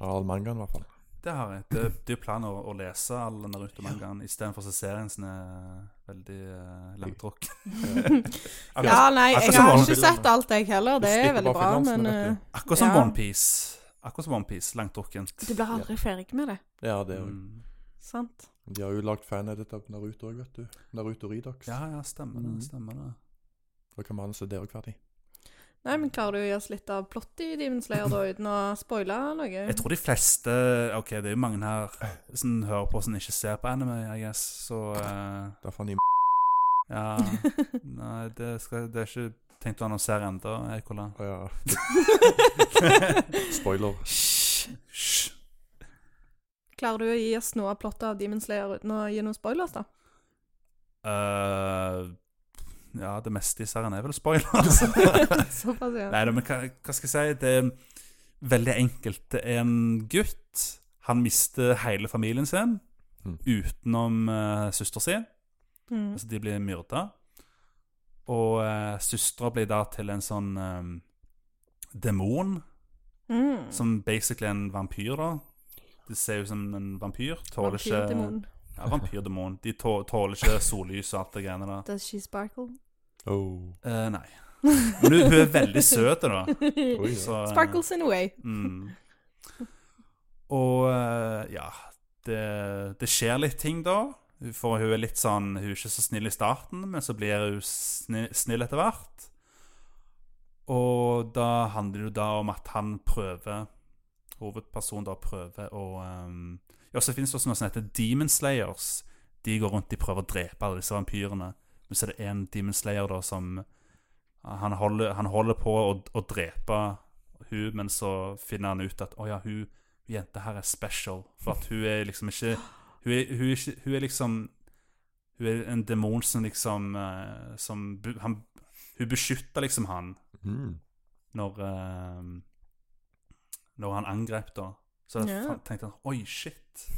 [SPEAKER 2] Harald Mangan, i hvert fall.
[SPEAKER 1] det har jeg. Det, det er jo planen å, å lese alle Naruto-mangaen istedenfor å se serien som er veldig uh,
[SPEAKER 2] [LAUGHS]
[SPEAKER 1] langtråkk.
[SPEAKER 3] Ja, nei,
[SPEAKER 1] akkurat
[SPEAKER 3] jeg
[SPEAKER 1] som
[SPEAKER 3] har
[SPEAKER 1] vanlig.
[SPEAKER 3] ikke sett alt, jeg heller. Det
[SPEAKER 2] Du
[SPEAKER 3] er
[SPEAKER 2] slipper
[SPEAKER 3] veldig
[SPEAKER 2] bare
[SPEAKER 3] bra,
[SPEAKER 2] finansene,
[SPEAKER 3] men
[SPEAKER 2] vet du.
[SPEAKER 3] eh,
[SPEAKER 1] Akkurat som
[SPEAKER 3] Ja.
[SPEAKER 1] OnePiece. Akkurat som OnePiece. Langtrukkent.
[SPEAKER 3] du blir aldri ferdig med det.
[SPEAKER 2] Ja, det er jo.
[SPEAKER 1] Mm.
[SPEAKER 3] Sant?
[SPEAKER 2] De har jo lagd fanedit av Naruto òg, vet du. Naruto Redox.
[SPEAKER 1] Ja, ja, stemmer
[SPEAKER 2] Mm.
[SPEAKER 1] det. Stemmer det.
[SPEAKER 2] Da kan manuset der òg ferdig.
[SPEAKER 3] Nei, men klarer du å gi oss litt av plottet i Demon Slayer, da, uten å spoile noe?
[SPEAKER 1] Jeg tror de fleste Ok, det er jo mange her som hører på som ikke ser på anime, I guess, så eh,
[SPEAKER 2] Derfor han i
[SPEAKER 3] [LAUGHS]
[SPEAKER 1] Ja. Nei, det, skal, det er ikke tenkt å annonsere ennå,
[SPEAKER 3] [LAUGHS]
[SPEAKER 1] Ekola.
[SPEAKER 2] ja. Spoiler.
[SPEAKER 1] Hysj.
[SPEAKER 3] Klarer du å gi oss noe av plottet av Demon Slayer uten å gi noen spoilers, da?
[SPEAKER 1] Eh, ja, det meste i serien er vel spoilers.
[SPEAKER 3] [LAUGHS] Såpass, ja.
[SPEAKER 1] Nei da, men hva, hva skal jeg si? Det er veldig enkelt. Det er en gutt. Han mister hele familien sin,
[SPEAKER 2] Mm.
[SPEAKER 1] utenom uh, søster sin.
[SPEAKER 3] Mm.
[SPEAKER 1] Altså, de blir myrda. Og uh, søstera blir da til en sånn eh, demon,
[SPEAKER 3] Mm.
[SPEAKER 1] som basically er en vampyr, da. De ser ut som en vampyr. Tåler ikke
[SPEAKER 3] Vampyrdemon.
[SPEAKER 1] Ja, vampyrdemon. De tå- tåler ikke sollys og alt det greiene der.
[SPEAKER 3] Does she sparkle?
[SPEAKER 2] Oh.
[SPEAKER 1] Eh, nei. Men hun, hun er veldig søt, da.
[SPEAKER 3] [LAUGHS]
[SPEAKER 2] Oi, ja.
[SPEAKER 1] Så, eh,
[SPEAKER 3] Sparkles in a way. [LAUGHS]
[SPEAKER 1] Mm. Og eh, ja det, det skjer litt ting da. For hun er litt sånn Hun er ikke så snill i starten, men så blir hun snill, snill etter hvert. Og da handler det jo da om at han prøver Hovedpersonen da prøver å eh, Ja, så finnes det også noe som heter Demon Slayers. De går rundt de prøver å drepe alle disse vampyrene. Men så er det en Demon Slayer da som Han holder, han holder på å, å drepe hun, men så finner han ut at å ja, hun jenta her er special. For at hun er liksom ikke Hun er, hun er, ikke, hun er liksom Hun er en demon som liksom eh, Som bu- han, Hun beskytter liksom han
[SPEAKER 2] Mm.
[SPEAKER 1] når eh, Når han angrep, da. Så jeg
[SPEAKER 3] Ja.
[SPEAKER 1] fa- tenkte han Oi, shit.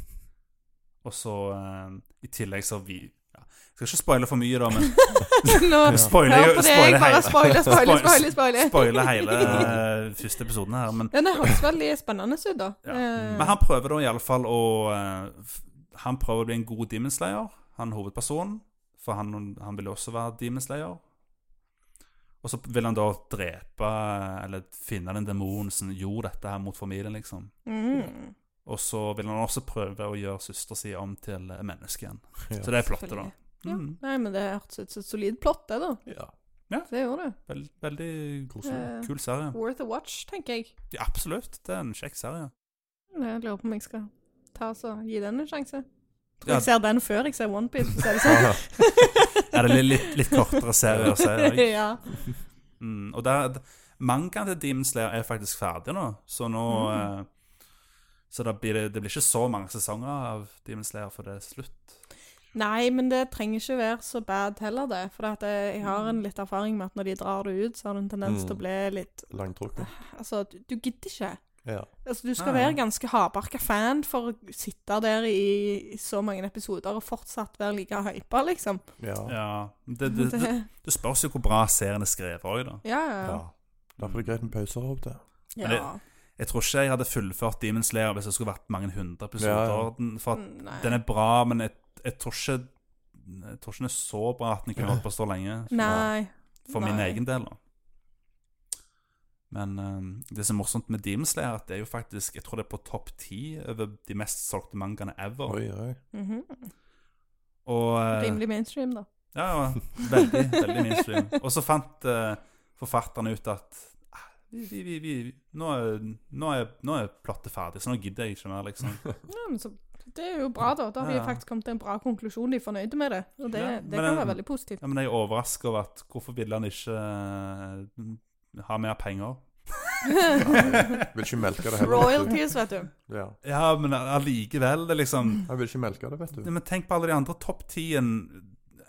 [SPEAKER 1] Og så eh, I tillegg så vi ja, Jeg skal ikke spoile for mye, da,
[SPEAKER 3] [LAUGHS]
[SPEAKER 1] men
[SPEAKER 3] Nå,
[SPEAKER 2] Ja.
[SPEAKER 1] spoiler,
[SPEAKER 3] hør på det, jeg bare
[SPEAKER 1] hele- [LAUGHS]
[SPEAKER 3] spoiler, spoiler, spoiler. spoiler.
[SPEAKER 1] spoiler
[SPEAKER 3] [LAUGHS]
[SPEAKER 1] hele eh, første episoden her. Men,
[SPEAKER 3] Den høres veldig spennende ut, da.
[SPEAKER 1] Ja.
[SPEAKER 3] Eh,
[SPEAKER 1] men han prøver da i alle fall å eh, f- Han prøver å bli en god Demon Slayer, han hovedpersonen. For han, han vil også være Demon Slayer. Og så vil han da drepe eh, eller finne den demonen som gjorde dette her mot familien, liksom.
[SPEAKER 3] mm.
[SPEAKER 1] Og så vil han også prøve å gjøre søstera si om til eh, menneske igjen.
[SPEAKER 2] Ja.
[SPEAKER 1] Så det er plottet, da.
[SPEAKER 3] selvfølgelig. Ja.
[SPEAKER 1] Mm,
[SPEAKER 3] Nei, men det hørtes ut som et solid plott, det, da.
[SPEAKER 2] ja.
[SPEAKER 3] Det gjorde det.
[SPEAKER 1] veld, veldig
[SPEAKER 3] Eh,
[SPEAKER 1] kul serie.
[SPEAKER 3] worth a watch, tenker jeg.
[SPEAKER 1] Ja, absolutt. Det er en kjekk serie.
[SPEAKER 3] Jeg lurer på om jeg skal ta oss og gi den en sjanse. Tror
[SPEAKER 1] Ja.
[SPEAKER 3] jeg ser den før jeg ser OnePiece, for å si det
[SPEAKER 2] Ah,
[SPEAKER 3] sånn.
[SPEAKER 1] Er det litt- litt- litt kortere serie å
[SPEAKER 3] [LAUGHS]
[SPEAKER 1] se, ikke?
[SPEAKER 3] ja.
[SPEAKER 1] Mm, og der, d- mangaen til Demon Slayer er faktisk ferdig nå, så nå
[SPEAKER 3] Mm.
[SPEAKER 1] eh, Så da blir det, det blir ikke så mange sesonger av Demon Slayer før det er slutt.
[SPEAKER 3] Nei, men det trenger ikke være så bad heller, det. For at jeg jeg har en litt erfaring med at når de drar det ut, så har du en tendens til å
[SPEAKER 2] Mm.
[SPEAKER 3] bli litt
[SPEAKER 2] Langtrukken.
[SPEAKER 3] Altså, du, du gidder ikke.
[SPEAKER 2] Ja.
[SPEAKER 3] Altså, du skal
[SPEAKER 1] Nei.
[SPEAKER 3] være ganske hardbarka fan for å sitte der i, i så mange episoder og fortsatt være like hypa, liksom.
[SPEAKER 2] Ja. ja.
[SPEAKER 1] Ja, Det, det,
[SPEAKER 3] Det,
[SPEAKER 1] det, det spørs jo hvor bra serien er skrevet òg, da.
[SPEAKER 3] [LAUGHS] ja, ja.
[SPEAKER 2] Derfor er det greit med pauser av og til.
[SPEAKER 1] Men
[SPEAKER 3] ja.
[SPEAKER 1] Jeg tror ikke jeg hadde fullført Demon Slayer hvis det skulle vært mange hundre episoder.
[SPEAKER 2] Ja, ja.
[SPEAKER 1] Den- For at
[SPEAKER 3] Mm, Nei.
[SPEAKER 1] den er bra, men jeg, jeg tror ikke Jeg tror ikke den er så bra at den kunne holdt på så lenge.
[SPEAKER 3] Nei.
[SPEAKER 1] For min
[SPEAKER 3] Nei.
[SPEAKER 1] egen del, da. Men eh, det som er morsomt med Demon Slayer, er at det er jo faktisk Jeg tror det er på topp ti over de mest solgte mangaene ever.
[SPEAKER 2] Oi, oi.
[SPEAKER 3] Mhm.
[SPEAKER 1] Og eh,
[SPEAKER 3] Rimelig mainstream, da.
[SPEAKER 1] ja, ja, veldig, veldig
[SPEAKER 3] [LAUGHS]
[SPEAKER 1] mainstream. Og så fant eh, forfatterne ut at ah, vi, vi,
[SPEAKER 3] [LAUGHS]
[SPEAKER 1] vi, vi, nå, er, nå, er, nå er plottet ferdig, så nå gidder jeg ikke mer, liksom.
[SPEAKER 3] Ja, men så Det er jo bra, da. Da har
[SPEAKER 1] Ja.
[SPEAKER 3] de faktisk kommet til en bra konklusjon. De er fornøyde med det. Og det,
[SPEAKER 1] Ja,
[SPEAKER 3] det
[SPEAKER 1] men
[SPEAKER 3] kan
[SPEAKER 1] den-
[SPEAKER 3] være veldig positivt.
[SPEAKER 1] Ja, men jeg er overrasket over at hvorfor ville han ikke eh, ha mer
[SPEAKER 3] [LAUGHS]
[SPEAKER 1] penger?
[SPEAKER 2] Vil ikke melke det heller. vet
[SPEAKER 3] Royalties, vet du.
[SPEAKER 2] du. Ja.
[SPEAKER 1] Ja, men allikevel, det er liksom
[SPEAKER 2] Han vil ikke melke det, vet du.
[SPEAKER 1] Ja, Men tenk på alle de andre topp 10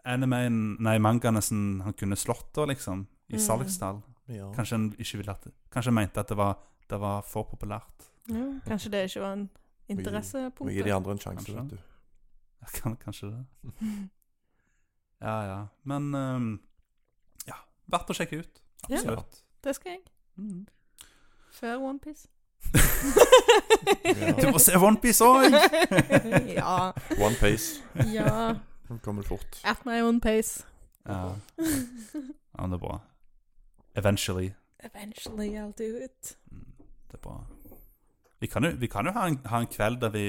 [SPEAKER 1] animeen, nei, mangaene som han kunne slått da, liksom, i
[SPEAKER 3] Mm.
[SPEAKER 1] salgstall.
[SPEAKER 2] Ja.
[SPEAKER 1] Kanskje han ikke ville at Kanskje han mente at det var, det var for populært. [LAUGHS]
[SPEAKER 3] Ja, kanskje det ikke var en interessepunkt.
[SPEAKER 2] Vi gir de andre en sjanse,
[SPEAKER 1] Kanskje.
[SPEAKER 2] vet du.
[SPEAKER 1] Ja, Kan, kanskje
[SPEAKER 3] [LAUGHS]
[SPEAKER 1] det. Ja, ja. Men ehm, ja, verdt å sjekke ut.
[SPEAKER 3] Ja.
[SPEAKER 1] Absolutt.
[SPEAKER 3] Det skal jeg.
[SPEAKER 1] Mm.
[SPEAKER 3] Før
[SPEAKER 1] [LAUGHS]
[SPEAKER 3] OnePiece.
[SPEAKER 2] Ja.
[SPEAKER 1] Du må se OnePiece òg!
[SPEAKER 3] [LAUGHS] ja.
[SPEAKER 2] One Pace.
[SPEAKER 3] [LAUGHS] Ja.
[SPEAKER 2] Den kommer fort.
[SPEAKER 3] At my own pace.
[SPEAKER 1] Ja. ja, men det er bra. Eventually.
[SPEAKER 3] [LAUGHS] Eventually I'll do it.
[SPEAKER 1] Mm, Det er bra. Vi kan jo, vi kan jo ha, en, ha en kveld der vi,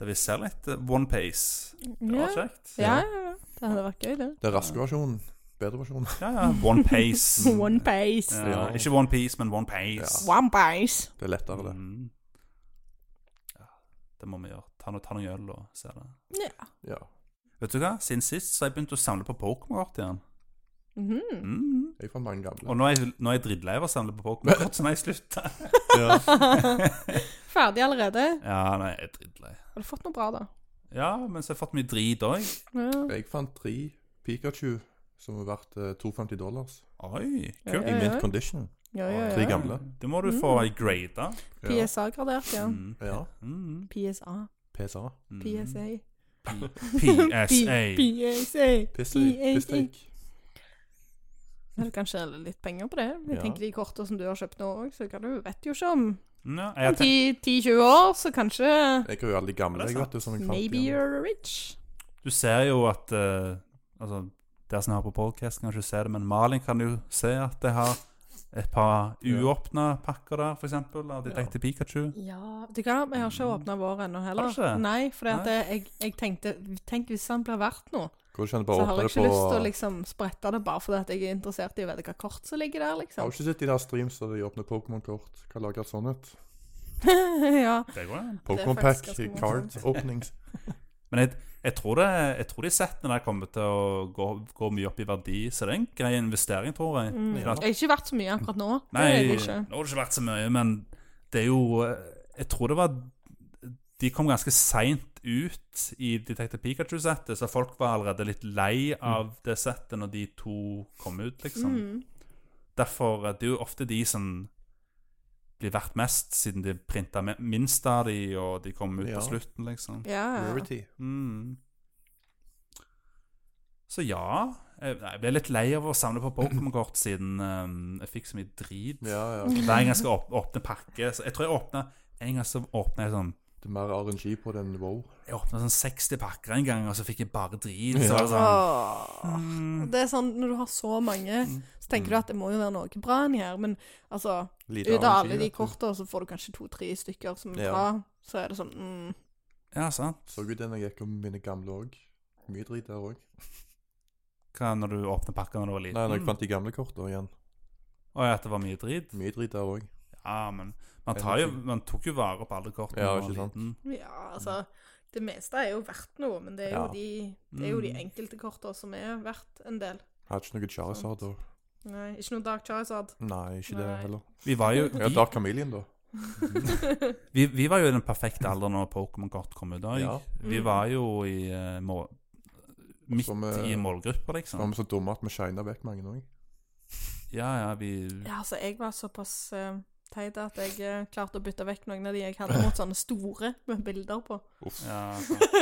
[SPEAKER 1] der vi ser litt eh, One Piece. Det
[SPEAKER 3] Ja.
[SPEAKER 1] var kjekt.
[SPEAKER 3] Ja, ja, ja. Det hadde vært gøy, det.
[SPEAKER 2] Det er raske versjonen. Bedre versjonen.
[SPEAKER 1] Ja, ja. One Piece.
[SPEAKER 3] [LAUGHS] One Piece.
[SPEAKER 1] Ja, ikke One Piece, men One Piece.
[SPEAKER 3] One Piece.
[SPEAKER 2] Det er lettere, det.
[SPEAKER 1] Mm. Ja, det må vi gjøre. Ta, no, ta noe øl og se det.
[SPEAKER 3] Ja.
[SPEAKER 2] Ja.
[SPEAKER 1] Vet du hva? Siden sist så har jeg begynt å samle på Pokémon-kort igjen. [LAUGHS]
[SPEAKER 3] Mhm.
[SPEAKER 1] Mm.
[SPEAKER 2] Jeg fant mange gamle.
[SPEAKER 1] Og nå er jeg, nå er jeg drittlei av å samle på Pokémon-kort, så nå har jeg slutta.
[SPEAKER 2] [LAUGHS] Ja.
[SPEAKER 3] Ferdig allerede.
[SPEAKER 1] Ja, nei, jeg er drittlei.
[SPEAKER 3] Har du fått noe bra, da?
[SPEAKER 1] Ja, men så har jeg fått mye drit òg.
[SPEAKER 3] Ja.
[SPEAKER 2] Jeg fant tre Pikachu som var verdt eh, 250 dollars.
[SPEAKER 1] Oi, kult.
[SPEAKER 2] I mint condition.
[SPEAKER 3] Ja, ja,
[SPEAKER 2] Tre
[SPEAKER 3] ja.
[SPEAKER 2] gamle.
[SPEAKER 1] Det må du få grada.
[SPEAKER 2] Ja.
[SPEAKER 3] PSA-gradert, ja.
[SPEAKER 1] Mm.
[SPEAKER 2] Ja.
[SPEAKER 1] Mm.
[SPEAKER 3] PSA.
[SPEAKER 2] PSA.
[SPEAKER 1] Mm.
[SPEAKER 3] PSA. [LAUGHS]
[SPEAKER 1] PSA.
[SPEAKER 3] PSA.
[SPEAKER 2] Pissy. Pissteik.
[SPEAKER 3] Men du kan tjene litt penger på det. Jeg
[SPEAKER 2] Ja.
[SPEAKER 3] tenker De kortene som du har kjøpt nå òg, så kan du vet jo ikke om
[SPEAKER 1] Ja,
[SPEAKER 3] om
[SPEAKER 1] jeg, tenk-
[SPEAKER 3] 10 10-20 år, så kanskje
[SPEAKER 2] Jeg har jo alle de gamle, jeg, vet du, som jeg fant.
[SPEAKER 3] Maybe
[SPEAKER 2] igjen.
[SPEAKER 3] you're rich.
[SPEAKER 1] du ser jo at eh, Altså, dere som hører på podkast, kan ikke se det, men Malin kan jo se at jeg har et par uåpna pakker der, f.eks. Av Detektiv Pikachu.
[SPEAKER 3] Ja Vet du hva, jeg har ikke åpna vår ennå heller.
[SPEAKER 1] Har du ikke?
[SPEAKER 3] Nei, for jeg, jeg tenkte Tenk hvis han blir verdt noe,
[SPEAKER 2] Går det ikke an å
[SPEAKER 3] så
[SPEAKER 2] bare
[SPEAKER 3] har
[SPEAKER 2] åpne
[SPEAKER 3] jeg
[SPEAKER 2] det
[SPEAKER 3] ikke
[SPEAKER 2] på
[SPEAKER 3] lyst til å liksom sprette det bare fordi at jeg er interessert i å vite hva kort som ligger der,
[SPEAKER 2] Har
[SPEAKER 3] liksom.
[SPEAKER 2] du ikke sett de der streams der de åpner Pokémon-kort? Hva lager et sånt ut?
[SPEAKER 3] [LAUGHS] ja.
[SPEAKER 1] Det går an.
[SPEAKER 2] Pokémon Pack
[SPEAKER 3] faktisk ganske morsomt. [LAUGHS]
[SPEAKER 2] Card Openings.
[SPEAKER 1] Men jeg, jeg tror, det, jeg tror de settene der kommer til å gå, gå mye opp i verdi, så det er en grei investering, tror jeg.
[SPEAKER 3] Mm.
[SPEAKER 1] Ja.
[SPEAKER 3] Jeg har ikke vært så mye akkurat nå.
[SPEAKER 1] Nei,
[SPEAKER 3] det er jeg
[SPEAKER 1] nå
[SPEAKER 3] ikke.
[SPEAKER 1] har det ikke vært så mye, men det er jo eh, Jeg tror det var De kom ganske seint ut i Detective Pikachu-settet, så folk var allerede litt lei av det settet når de to kom ut, liksom.
[SPEAKER 3] Mm.
[SPEAKER 1] Derfor eh, Det er jo ofte de som blir verdt mest, siden de printa me- minst av de, og de kom ut
[SPEAKER 2] Ja.
[SPEAKER 1] på slutten, liksom.
[SPEAKER 3] Ja.
[SPEAKER 2] Rarity.
[SPEAKER 1] Mm. Så ja Jeg jeg ble litt lei av å samle på Pokémon-kort siden eh, jeg fikk så mye drit.
[SPEAKER 2] Ja,
[SPEAKER 3] [LAUGHS]
[SPEAKER 2] ja.
[SPEAKER 1] Hver gang jeg skal åp åpne pakke så Jeg tror jeg åpna En gang så åpna jeg sånn
[SPEAKER 2] Det er mer RNG på den wow.
[SPEAKER 1] Jeg åpna sånn 60 pakker en gang Og så fikk jeg bare drit Så
[SPEAKER 2] Ja.
[SPEAKER 1] var det sånn
[SPEAKER 3] Åh.
[SPEAKER 1] mm,
[SPEAKER 3] Det er sånn, Når du har så mange, så tenker du at det må jo være noe bra inni her. Men altså,
[SPEAKER 2] Lite
[SPEAKER 3] ut
[SPEAKER 2] RNG,
[SPEAKER 3] av alle de
[SPEAKER 2] vet du.
[SPEAKER 3] korta, så får du kanskje to-tre stykker som er
[SPEAKER 2] Ja.
[SPEAKER 3] bra. Så er det sånn mm,
[SPEAKER 1] Ja, sant
[SPEAKER 2] Så ut den jeg gikk om mine gamle òg. Mye drit der òg.
[SPEAKER 1] Hva når du åpner pakker når du var
[SPEAKER 2] Nei,
[SPEAKER 1] liten?
[SPEAKER 2] når
[SPEAKER 3] Mm.
[SPEAKER 2] jeg fant de gamle kortene igjen.
[SPEAKER 1] Åja, at det var mye drit
[SPEAKER 2] Mye drit der òg.
[SPEAKER 1] Ja, men man, tar jo, man tok jo vare på alle kortene når
[SPEAKER 2] Ja,
[SPEAKER 1] man
[SPEAKER 2] ikke
[SPEAKER 1] var
[SPEAKER 2] sant.
[SPEAKER 1] liten.
[SPEAKER 3] Ja, altså Det meste er jo verdt noe, men det er jo,
[SPEAKER 2] Ja.
[SPEAKER 3] de, det er jo de
[SPEAKER 1] Mm.
[SPEAKER 3] enkelte korta som er verdt en del.
[SPEAKER 2] Hadde ikke noe Charizard da.
[SPEAKER 3] Nei, ikke noe Dark Charizard.
[SPEAKER 2] Nei, ikke det
[SPEAKER 3] Nei.
[SPEAKER 2] heller.
[SPEAKER 1] Vi var jo
[SPEAKER 2] Ja,
[SPEAKER 1] vi,
[SPEAKER 2] Dark Chameleon, da.
[SPEAKER 1] vi, vi var jo i den perfekte alderen Når Pokémon-kort kom ut da
[SPEAKER 2] Ja.
[SPEAKER 1] Vi
[SPEAKER 3] Mm.
[SPEAKER 1] var jo i eh, må, Midt
[SPEAKER 2] Som, eh,
[SPEAKER 1] i målgruppa
[SPEAKER 2] Så var
[SPEAKER 1] liksom
[SPEAKER 2] vi så dumme at vi shina vekk mange òg.
[SPEAKER 1] Ja, ja, vi
[SPEAKER 3] Ja, altså, jeg var såpass eh, teit at jeg eh, klarte å bytte vekk noen av de jeg hadde mot sånne store med bilder på. [LAUGHS]
[SPEAKER 1] ja,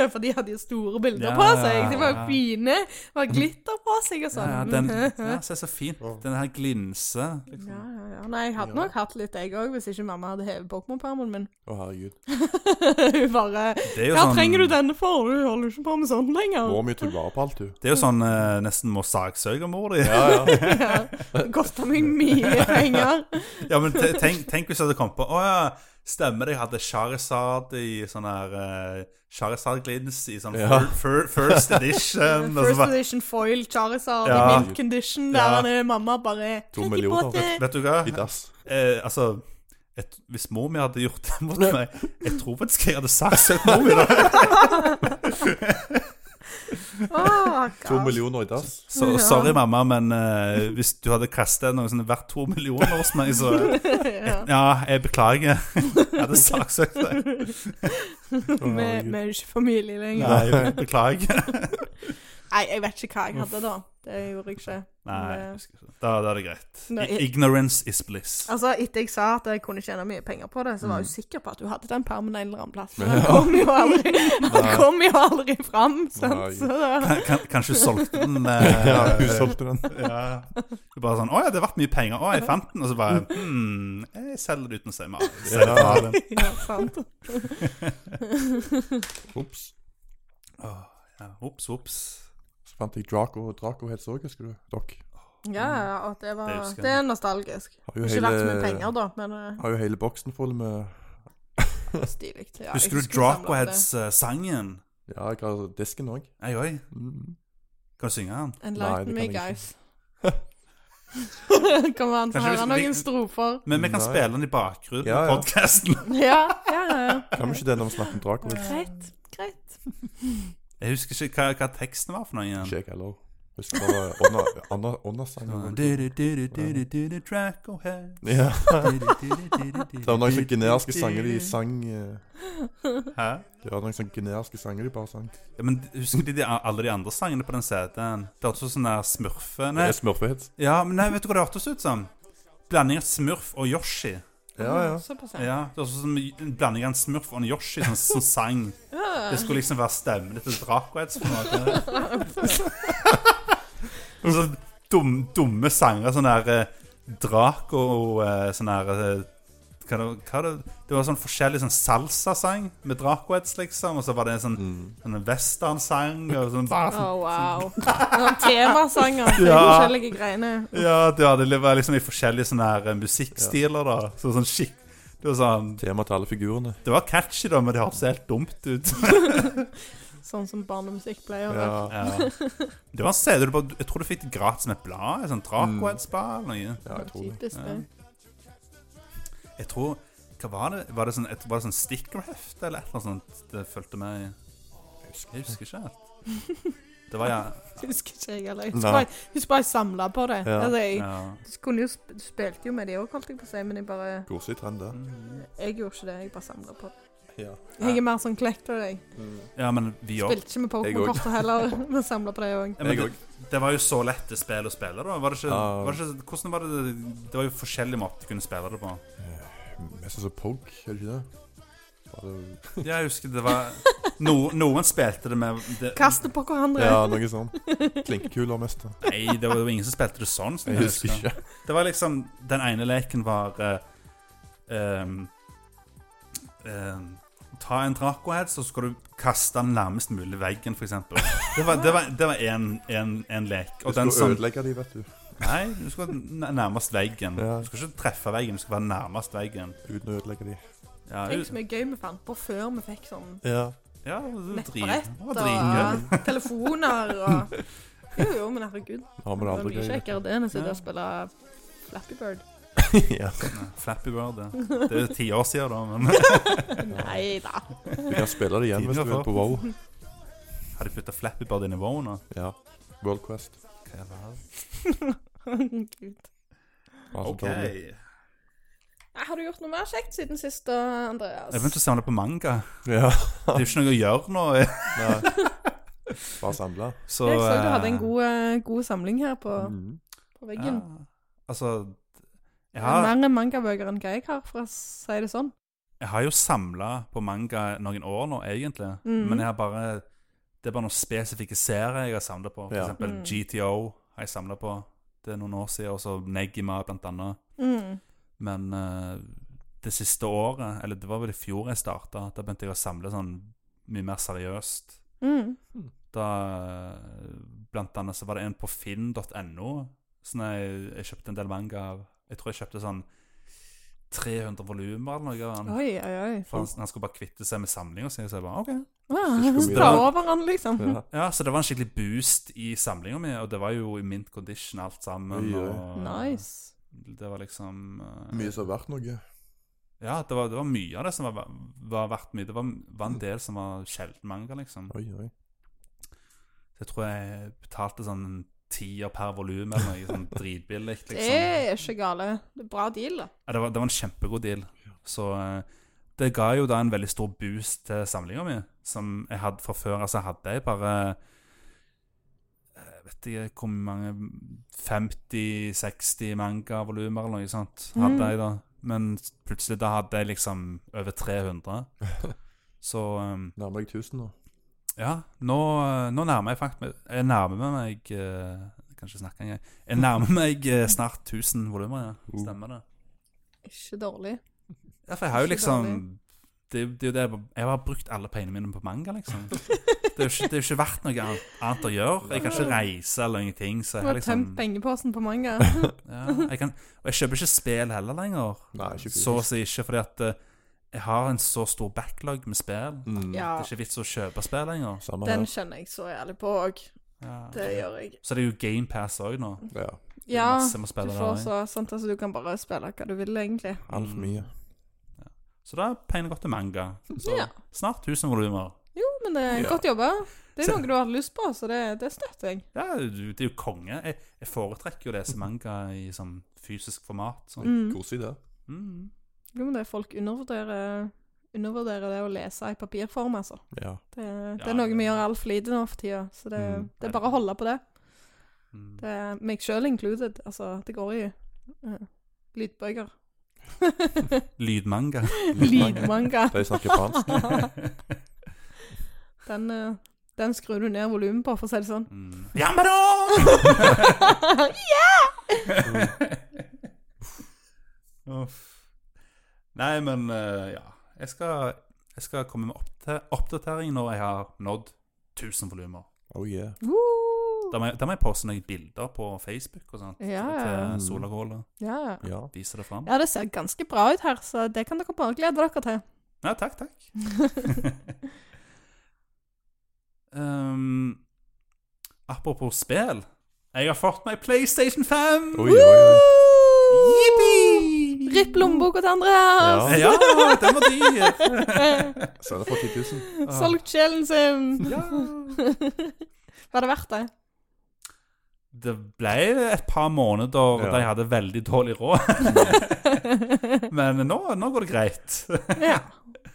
[SPEAKER 3] For de hadde jo store bilder
[SPEAKER 1] Ja,
[SPEAKER 3] på seg. De var jo
[SPEAKER 1] ja.
[SPEAKER 3] fine. Det var glitter på seg og
[SPEAKER 1] ja,
[SPEAKER 3] sånn.
[SPEAKER 1] ja,
[SPEAKER 3] [LAUGHS]
[SPEAKER 1] den, ja, se så fint
[SPEAKER 2] Åh.
[SPEAKER 1] Den her glinser [LAUGHS] liksom.
[SPEAKER 3] ja, ja, ja. Nei, jeg
[SPEAKER 2] Ja.
[SPEAKER 3] hadde nok hatt litt, jeg òg, hvis ikke mamma hadde hevet Pokémon-permen min. [LAUGHS]
[SPEAKER 2] Å, herregud.
[SPEAKER 3] Hun bare
[SPEAKER 1] Det er jo
[SPEAKER 3] Hva
[SPEAKER 1] sånn,
[SPEAKER 3] trenger du denne for? Du holder jo ikke på med sånn lenger.
[SPEAKER 2] Mor mi tok vare på alt, du.
[SPEAKER 1] Det er jo sånn eh, nesten må saksøke mor di. Ja.
[SPEAKER 2] Ja,
[SPEAKER 1] [LAUGHS]
[SPEAKER 2] ja.
[SPEAKER 3] Ja. Det kosta meg mye penger.
[SPEAKER 1] men te- tenk, tenk hvis jeg hadde kommet på Å ja, stemmer det, jeg hadde Charizard i sånn her eh, Charizard-glins i sånn
[SPEAKER 2] Ja.
[SPEAKER 1] fir, fir, first
[SPEAKER 3] [LAUGHS]
[SPEAKER 1] edition. og så
[SPEAKER 3] First
[SPEAKER 1] bare,
[SPEAKER 3] edition foil Charizard
[SPEAKER 1] altså,
[SPEAKER 3] i
[SPEAKER 1] Ja.
[SPEAKER 3] mint condition,
[SPEAKER 1] Ja.
[SPEAKER 3] der han er mamma bare
[SPEAKER 2] To
[SPEAKER 3] «Tenk i
[SPEAKER 1] [LAUGHS]
[SPEAKER 2] millioner,
[SPEAKER 3] båten».
[SPEAKER 1] vet du hva?
[SPEAKER 2] I dass.
[SPEAKER 1] Eh, altså jeg, t- Hvis mor mi hadde gjort det mot meg Jeg tror faktisk jeg hadde sagt det til mor
[SPEAKER 3] [LAUGHS]
[SPEAKER 1] mi. da.
[SPEAKER 3] Åh,
[SPEAKER 2] To
[SPEAKER 3] gass.
[SPEAKER 2] millioner i dass.
[SPEAKER 1] Så
[SPEAKER 3] Ja.
[SPEAKER 1] sorry, mamma, men eh, hvis du hadde kastet noe sånn verdt to millioner hos meg, så
[SPEAKER 3] [LAUGHS] [LAUGHS] ja.
[SPEAKER 1] Ja, jeg beklager. [LAUGHS] Jeg hadde saksøkt deg.
[SPEAKER 3] Vi vi er jo ikke familie lenger.
[SPEAKER 1] Nei, jeg beklager.
[SPEAKER 3] Nei, jeg vet ikke hva jeg hadde da. Det gjorde jeg ikke.
[SPEAKER 1] Nei, jeg husker ikke. da, da er det greit.
[SPEAKER 3] Nå,
[SPEAKER 1] I-
[SPEAKER 3] eh, jeg-
[SPEAKER 1] Ignorance is bliss.
[SPEAKER 3] [LAUGHS] Altså, Etter jeg sa at jeg kunne tjene mye penger på det, så var jeg jo sikker på at du hadde den permen en eller annen plass. Men han
[SPEAKER 2] Ja.
[SPEAKER 3] kom jo aldri, han
[SPEAKER 2] Nei.
[SPEAKER 3] kom jo aldri fram. Sant?
[SPEAKER 2] Nei.
[SPEAKER 3] Så da, [LAUGHS]
[SPEAKER 1] Kan, kan- kanskje hun solgte
[SPEAKER 2] [LAUGHS]
[SPEAKER 1] den? eh,
[SPEAKER 2] Ja, hun solgte den.
[SPEAKER 1] Ja. Det er Bare sånn 'Å ja, det er verdt mye penger.' 'Å, jeg fant den.' Og så
[SPEAKER 2] Mm.
[SPEAKER 1] bare hmm, 'Jeg selger det uten å si mer.' Selger
[SPEAKER 2] Ja.
[SPEAKER 1] den av den.
[SPEAKER 3] ja, sant.
[SPEAKER 2] Ops.
[SPEAKER 1] Åh, ja. Ops, ops.
[SPEAKER 2] Så fant jeg Draco. Draco het så, husker du? Dere.
[SPEAKER 3] Ja, ja, og det,
[SPEAKER 1] Det
[SPEAKER 3] var,
[SPEAKER 1] husker jeg.
[SPEAKER 3] det er nostalgisk.
[SPEAKER 2] Har
[SPEAKER 3] Det
[SPEAKER 2] jo
[SPEAKER 3] har ikke vært så mye
[SPEAKER 2] hele,
[SPEAKER 3] penger, da, men
[SPEAKER 2] [LAUGHS]
[SPEAKER 3] eh,
[SPEAKER 2] har jo hele boksen full med
[SPEAKER 3] stilig. Ja, jeg
[SPEAKER 1] Husker du
[SPEAKER 3] jeg samlet det.
[SPEAKER 1] Dracoheads-sangen?
[SPEAKER 2] Ja, jeg har disken òg.
[SPEAKER 1] Ei oi.
[SPEAKER 2] Mm.
[SPEAKER 1] Kan du synge den?
[SPEAKER 2] Nei,
[SPEAKER 3] Enlighten
[SPEAKER 2] det
[SPEAKER 3] me,
[SPEAKER 2] kan [LAUGHS] jeg
[SPEAKER 3] guys. Kommer han til å
[SPEAKER 1] Kanskje
[SPEAKER 3] høre
[SPEAKER 1] vi-
[SPEAKER 3] noen strofer?
[SPEAKER 1] Men vi kan
[SPEAKER 2] Nei.
[SPEAKER 1] spille den i bakgrunnen
[SPEAKER 2] Ja,
[SPEAKER 1] av
[SPEAKER 2] [LAUGHS] ja.
[SPEAKER 1] podkasten.
[SPEAKER 3] Ja, ja, ja.
[SPEAKER 2] Kan vi ikke det når vi snakker om Draco?
[SPEAKER 3] Greit. Greit.
[SPEAKER 1] [LAUGHS] Jeg husker ikke hva, hva teksten var for noe igjen.
[SPEAKER 2] Ikke jeg heller. Husker bare ånda- ånda- åndasangen.
[SPEAKER 1] Du-du-du-du-du-du-du,
[SPEAKER 2] [LAUGHS]
[SPEAKER 1] Dracohead.
[SPEAKER 2] Ja.
[SPEAKER 1] Du-du-du-du-du-du-du.
[SPEAKER 2] Det var noen sånne generiske sanger de sang eh,
[SPEAKER 1] Hæ?
[SPEAKER 2] Det var noen sånne generiske sanger de bare sang.
[SPEAKER 1] Ja, men Husker du de, alle de andre sangene på den CD-en? Det hørtes ut som den der smurfe...
[SPEAKER 2] Det
[SPEAKER 1] Nei,
[SPEAKER 2] er smurfehets.
[SPEAKER 1] Ja, men nei, vet du hva det hørtes ut som? Blanding av Smurf og Yoshi.
[SPEAKER 2] Ja, ja.
[SPEAKER 3] Såpass, ja.
[SPEAKER 1] Ja, det hørtes ut som en blanding av en Smurf og en Yoshi som, som sang. Det skulle liksom være stemmen til Dracoheads på en måte. Og så dum, dumme sanger, sånn der eh, Draco eh, Sånn der eh, hva det, hva det, det var sånn forskjellig sånn salsasang med Dracoheads, liksom. Og så var det en sånn,
[SPEAKER 2] Mm.
[SPEAKER 1] sånn westernsang. og Sånn, bare sånn
[SPEAKER 3] Oh, wow. Noen
[SPEAKER 2] [LAUGHS]
[SPEAKER 3] temasanger til
[SPEAKER 1] Ja.
[SPEAKER 3] forskjellige greiene.
[SPEAKER 1] Ja, det hadde det var liksom i forskjellige sånne her eh, musikkstiler, da. Så sånn skikk Det var sånn
[SPEAKER 2] Tema til alle figurene.
[SPEAKER 1] Det var catchy, da, men det hørtes helt dumt ut.
[SPEAKER 3] Sånn som barnemusikk pleier å være.
[SPEAKER 2] Ja.
[SPEAKER 1] Ja. [LAUGHS] Det var en CD du bare Jeg tror du fikk det gratis med et blad. Et sånt Dracoheads-blad eller noe.
[SPEAKER 2] ja, jeg tror det.
[SPEAKER 3] Typisk det.
[SPEAKER 1] Jeg tror Hva var det? Var det sånn, et, var det sånn stickerheft eller et eller annet sånt det fulgte med i Jeg husker ikke helt. Det var ja,
[SPEAKER 3] Husker ikke jeg heller.
[SPEAKER 2] Nei.
[SPEAKER 3] Husker bare, husker bare jeg samla på det.
[SPEAKER 2] Ja.
[SPEAKER 3] Altså, jeg
[SPEAKER 1] ja.
[SPEAKER 3] du kunne jo sp du spilte jo med de òg, holdt jeg på å si, men jeg bare
[SPEAKER 2] Koselig trend, det.
[SPEAKER 3] Jeg gjorde ikke det. Jeg bare samla på det.
[SPEAKER 2] Ja.
[SPEAKER 3] Jeg er mer sånn collector, jeg.
[SPEAKER 1] ja, men vi òg.
[SPEAKER 3] Spilte ikke med
[SPEAKER 2] Jeg
[SPEAKER 3] Pokémon-kortet
[SPEAKER 2] [LAUGHS]
[SPEAKER 3] heller, men samla på det òg.
[SPEAKER 1] Ja, men
[SPEAKER 2] Jeg
[SPEAKER 1] det, det var jo så lette spill å spille, da. Var det ikke,
[SPEAKER 2] Ja.
[SPEAKER 1] var det ikke, hvordan var det Det var jo forskjellige måter du kunne spille det på.
[SPEAKER 2] Mest som Pog, er det ikke det? Var det-
[SPEAKER 1] Ja, jeg husker det var no, Noen spilte det med det,
[SPEAKER 3] Kaste på hverandre.
[SPEAKER 2] Ja, noe sånt. Klinkekuler mest. da.
[SPEAKER 1] Nei, det var jo ingen som spilte det sånn. som
[SPEAKER 2] Jeg husker ikke.
[SPEAKER 1] Det var liksom Den ene leken var eh, ehm, ehm, Ta en dracohead, så skal du kaste den nærmest mulig veggen, f.eks. Det var- det var- det var én lek.
[SPEAKER 2] Du
[SPEAKER 1] Og
[SPEAKER 2] skal
[SPEAKER 1] den som
[SPEAKER 2] ødelegge de, vet du.
[SPEAKER 1] Nei, du skal n- nærmest veggen.
[SPEAKER 2] Ja.
[SPEAKER 1] Du skal ikke treffe veggen, du skal være nærmest veggen.
[SPEAKER 2] Uten å ødelegge de.
[SPEAKER 1] Ja,
[SPEAKER 3] Tenk så mye gøy vi fant på før vi fikk sånn
[SPEAKER 2] Ja.
[SPEAKER 1] ja det var drit.
[SPEAKER 3] nettbrett
[SPEAKER 1] det var
[SPEAKER 3] og
[SPEAKER 1] dritgøy.
[SPEAKER 3] telefoner og Jo, jo, men herregud.
[SPEAKER 2] Har vi det
[SPEAKER 3] Det var
[SPEAKER 2] andre
[SPEAKER 3] mye
[SPEAKER 2] gøy?
[SPEAKER 3] kjekkere det enn å sitte
[SPEAKER 1] Ja.
[SPEAKER 3] og spille Flappy Bird.
[SPEAKER 2] [LAUGHS] ja.
[SPEAKER 1] Nei, Flappy Bird, det. Det er jo ti år siden, da. Men
[SPEAKER 3] Nei da.
[SPEAKER 2] Du kan spille det igjen hvis du vil på WoW.
[SPEAKER 1] har de putta Flappy Bird inn i Wow nå?
[SPEAKER 2] Ja. World Quest.
[SPEAKER 1] Hva er det her?
[SPEAKER 3] Herregud.
[SPEAKER 2] Bare så
[SPEAKER 1] OK.
[SPEAKER 2] dårlig.
[SPEAKER 1] Jeg
[SPEAKER 3] Nei, Har du gjort noe mer kjekt siden sist, da, Andreas?
[SPEAKER 1] begynte å samle på manga.
[SPEAKER 2] Ja.
[SPEAKER 1] Det er jo ikke noe å gjøre nå. eh,
[SPEAKER 2] Nei. [LAUGHS] Bare samle.
[SPEAKER 1] Så,
[SPEAKER 3] jeg så du hadde
[SPEAKER 1] eh,
[SPEAKER 3] en god, eh, god samling her på,
[SPEAKER 2] Mm.
[SPEAKER 3] på veggen.
[SPEAKER 1] Ja, altså jeg
[SPEAKER 3] Det er
[SPEAKER 1] har,
[SPEAKER 3] Mer mangabøker enn hva jeg har, for å si det sånn.
[SPEAKER 1] jeg har jo samla på manga noen år nå, egentlig.
[SPEAKER 3] Mhm.
[SPEAKER 1] Men jeg har bare det er bare noen spesifikke serier jeg har samla på. For
[SPEAKER 2] Ja.
[SPEAKER 1] eksempel
[SPEAKER 3] Mm.
[SPEAKER 1] GTO har jeg samla på. Det er noen år siden. Og så Negima, blant annet.
[SPEAKER 3] Mm.
[SPEAKER 1] Men eh, det siste året, eller det var vel i fjor jeg starta, da begynte jeg å samle sånn mye mer seriøst.
[SPEAKER 3] Mm.
[SPEAKER 1] Da eh, Blant annet så var det en på finn.no. Sånn jeg, jeg kjøpte en del manga av Jeg tror jeg kjøpte sånn 300 volumer eller noe.
[SPEAKER 2] Sånn.
[SPEAKER 1] av den.
[SPEAKER 3] Oi, oi, oi.
[SPEAKER 1] For han, han skulle bare kvitte seg med samlinga si. Så jeg bare, ok.
[SPEAKER 3] Ah,
[SPEAKER 2] Husker du
[SPEAKER 3] Ta
[SPEAKER 2] det?
[SPEAKER 3] over han, liksom.
[SPEAKER 2] Ja.
[SPEAKER 1] Ja, så det var en skikkelig boost i samlinga mi, og det var jo i mint condition alt sammen.
[SPEAKER 2] Oi, oi.
[SPEAKER 1] Og
[SPEAKER 3] Nice.
[SPEAKER 1] Det var liksom eh,
[SPEAKER 2] Mye som er verdt noe.
[SPEAKER 1] Ja, det var, det var mye av det som var, var verdt mye. Det var, var en del som var sjelden manga, liksom.
[SPEAKER 2] Oi, oi.
[SPEAKER 1] Så jeg tror jeg betalte sånn en tier per volum eller noe sånn dritbillig,
[SPEAKER 3] [LAUGHS] Det
[SPEAKER 1] liksom.
[SPEAKER 3] er ikke gale. Det er bra deal, da.
[SPEAKER 1] Ja, det, var, det var en kjempegod deal. Så eh, det ga jo da en veldig stor boost til samlinga mi, som jeg hadde fra før. Altså hadde jeg bare jeg vet ikke hvor mange 50-60 manga-volumer eller noe sånt hadde
[SPEAKER 3] Mm.
[SPEAKER 1] jeg da. Men plutselig da hadde jeg liksom over 300. Så eh,
[SPEAKER 2] Nærmer deg 1000 nå.
[SPEAKER 1] ja, nå, eh, nå nærmer jeg faktisk Jeg nærmer meg eh, Jeg kan ikke snakke engang. Jeg nærmer meg eh, snart 1000 volumer, ja. Stemmer det.
[SPEAKER 3] Ikke dårlig.
[SPEAKER 1] Ja, for jeg har jo
[SPEAKER 3] Ikke
[SPEAKER 1] liksom
[SPEAKER 3] dårlig.
[SPEAKER 1] det, det er jo det jeg bare- Jeg har brukt alle pengene mine på manga,
[SPEAKER 3] [LAUGHS]
[SPEAKER 1] liksom. Det er jo ikke, det er jo ikke verdt noe annet, annet å gjøre. Jeg kan ikke reise eller ingenting. Så
[SPEAKER 3] Du
[SPEAKER 1] jeg har
[SPEAKER 3] har tømt
[SPEAKER 1] liksom
[SPEAKER 3] pengeposen på manga.
[SPEAKER 1] [LAUGHS] ja, jeg kan, Og jeg kjøper ikke spill heller lenger.
[SPEAKER 2] Nei, ikke fysisk.
[SPEAKER 1] Så å si ikke, fordi at eh, jeg har en så stor backlog med spill.
[SPEAKER 2] Mm.
[SPEAKER 3] Ja,
[SPEAKER 1] Det er ikke vits å kjøpe spill lenger.
[SPEAKER 2] Samme
[SPEAKER 3] den
[SPEAKER 2] her.
[SPEAKER 3] kjenner jeg så jævlig på òg.
[SPEAKER 1] Ja.
[SPEAKER 3] Det gjør jeg.
[SPEAKER 1] Så det er jo GamePass òg nå.
[SPEAKER 2] Ja.
[SPEAKER 1] Det er
[SPEAKER 3] Ja,
[SPEAKER 1] masse med
[SPEAKER 3] du
[SPEAKER 1] spillere
[SPEAKER 3] får
[SPEAKER 1] der,
[SPEAKER 3] så sant, altså du kan bare spille hva du vil, egentlig.
[SPEAKER 2] Altfor mye.
[SPEAKER 1] Så da er pengene gått til manga. Så
[SPEAKER 3] Ja.
[SPEAKER 1] snart 1000 volumer.
[SPEAKER 3] Jo, men det er
[SPEAKER 2] Ja.
[SPEAKER 3] godt jobba. Det er
[SPEAKER 1] Så-
[SPEAKER 3] noe du har hatt lyst på, så det, det støtter jeg.
[SPEAKER 1] Ja, du- det er jo konge. Jeg, jeg foretrekker jo å lese manga i sånn fysisk format. Sånn.
[SPEAKER 3] Mm.
[SPEAKER 2] Koselig, det.
[SPEAKER 1] Mm.
[SPEAKER 3] Jo, men det er folk undervurderer, undervurderer det å lese i papirform, altså.
[SPEAKER 2] Ja.
[SPEAKER 3] Det, det
[SPEAKER 1] Ja,
[SPEAKER 3] er noe
[SPEAKER 1] det-
[SPEAKER 3] vi gjør altfor lite nå for tida, så det,
[SPEAKER 2] Mm.
[SPEAKER 3] det er bare å holde på det.
[SPEAKER 1] Mm.
[SPEAKER 3] det er meg sjøl included. Altså, det går i uh,
[SPEAKER 1] [LAUGHS]
[SPEAKER 3] lydbøker. [LAUGHS]
[SPEAKER 1] Lydmanga.
[SPEAKER 2] [LAUGHS]
[SPEAKER 3] Lydmanga.
[SPEAKER 2] De snakker
[SPEAKER 3] [LAUGHS]
[SPEAKER 2] fransk.
[SPEAKER 3] Den, eh, den skrur du ned volumet på, for å si
[SPEAKER 2] [LAUGHS]
[SPEAKER 3] det sånn.
[SPEAKER 1] Mm. Jammedo!
[SPEAKER 3] [LAUGHS]
[SPEAKER 1] Uff. Nei, men eh, ja. Jeg skal, jeg skal komme med oppda- oppdatering når jeg har nådd 1000 volumer.
[SPEAKER 2] Oh yeah.
[SPEAKER 3] Woo!
[SPEAKER 1] Da må jeg, da må jeg poste noen bilder på Facebook og sånt
[SPEAKER 3] Ja, ja.
[SPEAKER 1] til Solakåla.
[SPEAKER 3] Ja.
[SPEAKER 2] Ja.
[SPEAKER 1] Vise det fram.
[SPEAKER 3] ja, det ser ganske bra ut her, så det kan dere bare glede dere til.
[SPEAKER 1] Ja, takk, [LAUGHS] takk. um, apropos spill. Jeg har fått meg PlayStation 5!
[SPEAKER 2] Oi, oi, oi.
[SPEAKER 1] Yippee!
[SPEAKER 3] Ripp lommeboka til Andreas!
[SPEAKER 2] Ja.
[SPEAKER 1] Ja, den var dyr!
[SPEAKER 2] Så er det for 10 000.
[SPEAKER 3] [LAUGHS] Solgt sjelen sin! [LAUGHS]
[SPEAKER 1] Ja.
[SPEAKER 3] Var det verdt det?
[SPEAKER 1] Det ble et par måneder
[SPEAKER 2] Ja.
[SPEAKER 1] da jeg hadde veldig dårlig råd, [LAUGHS] men nå, nå går det greit.
[SPEAKER 3] ja.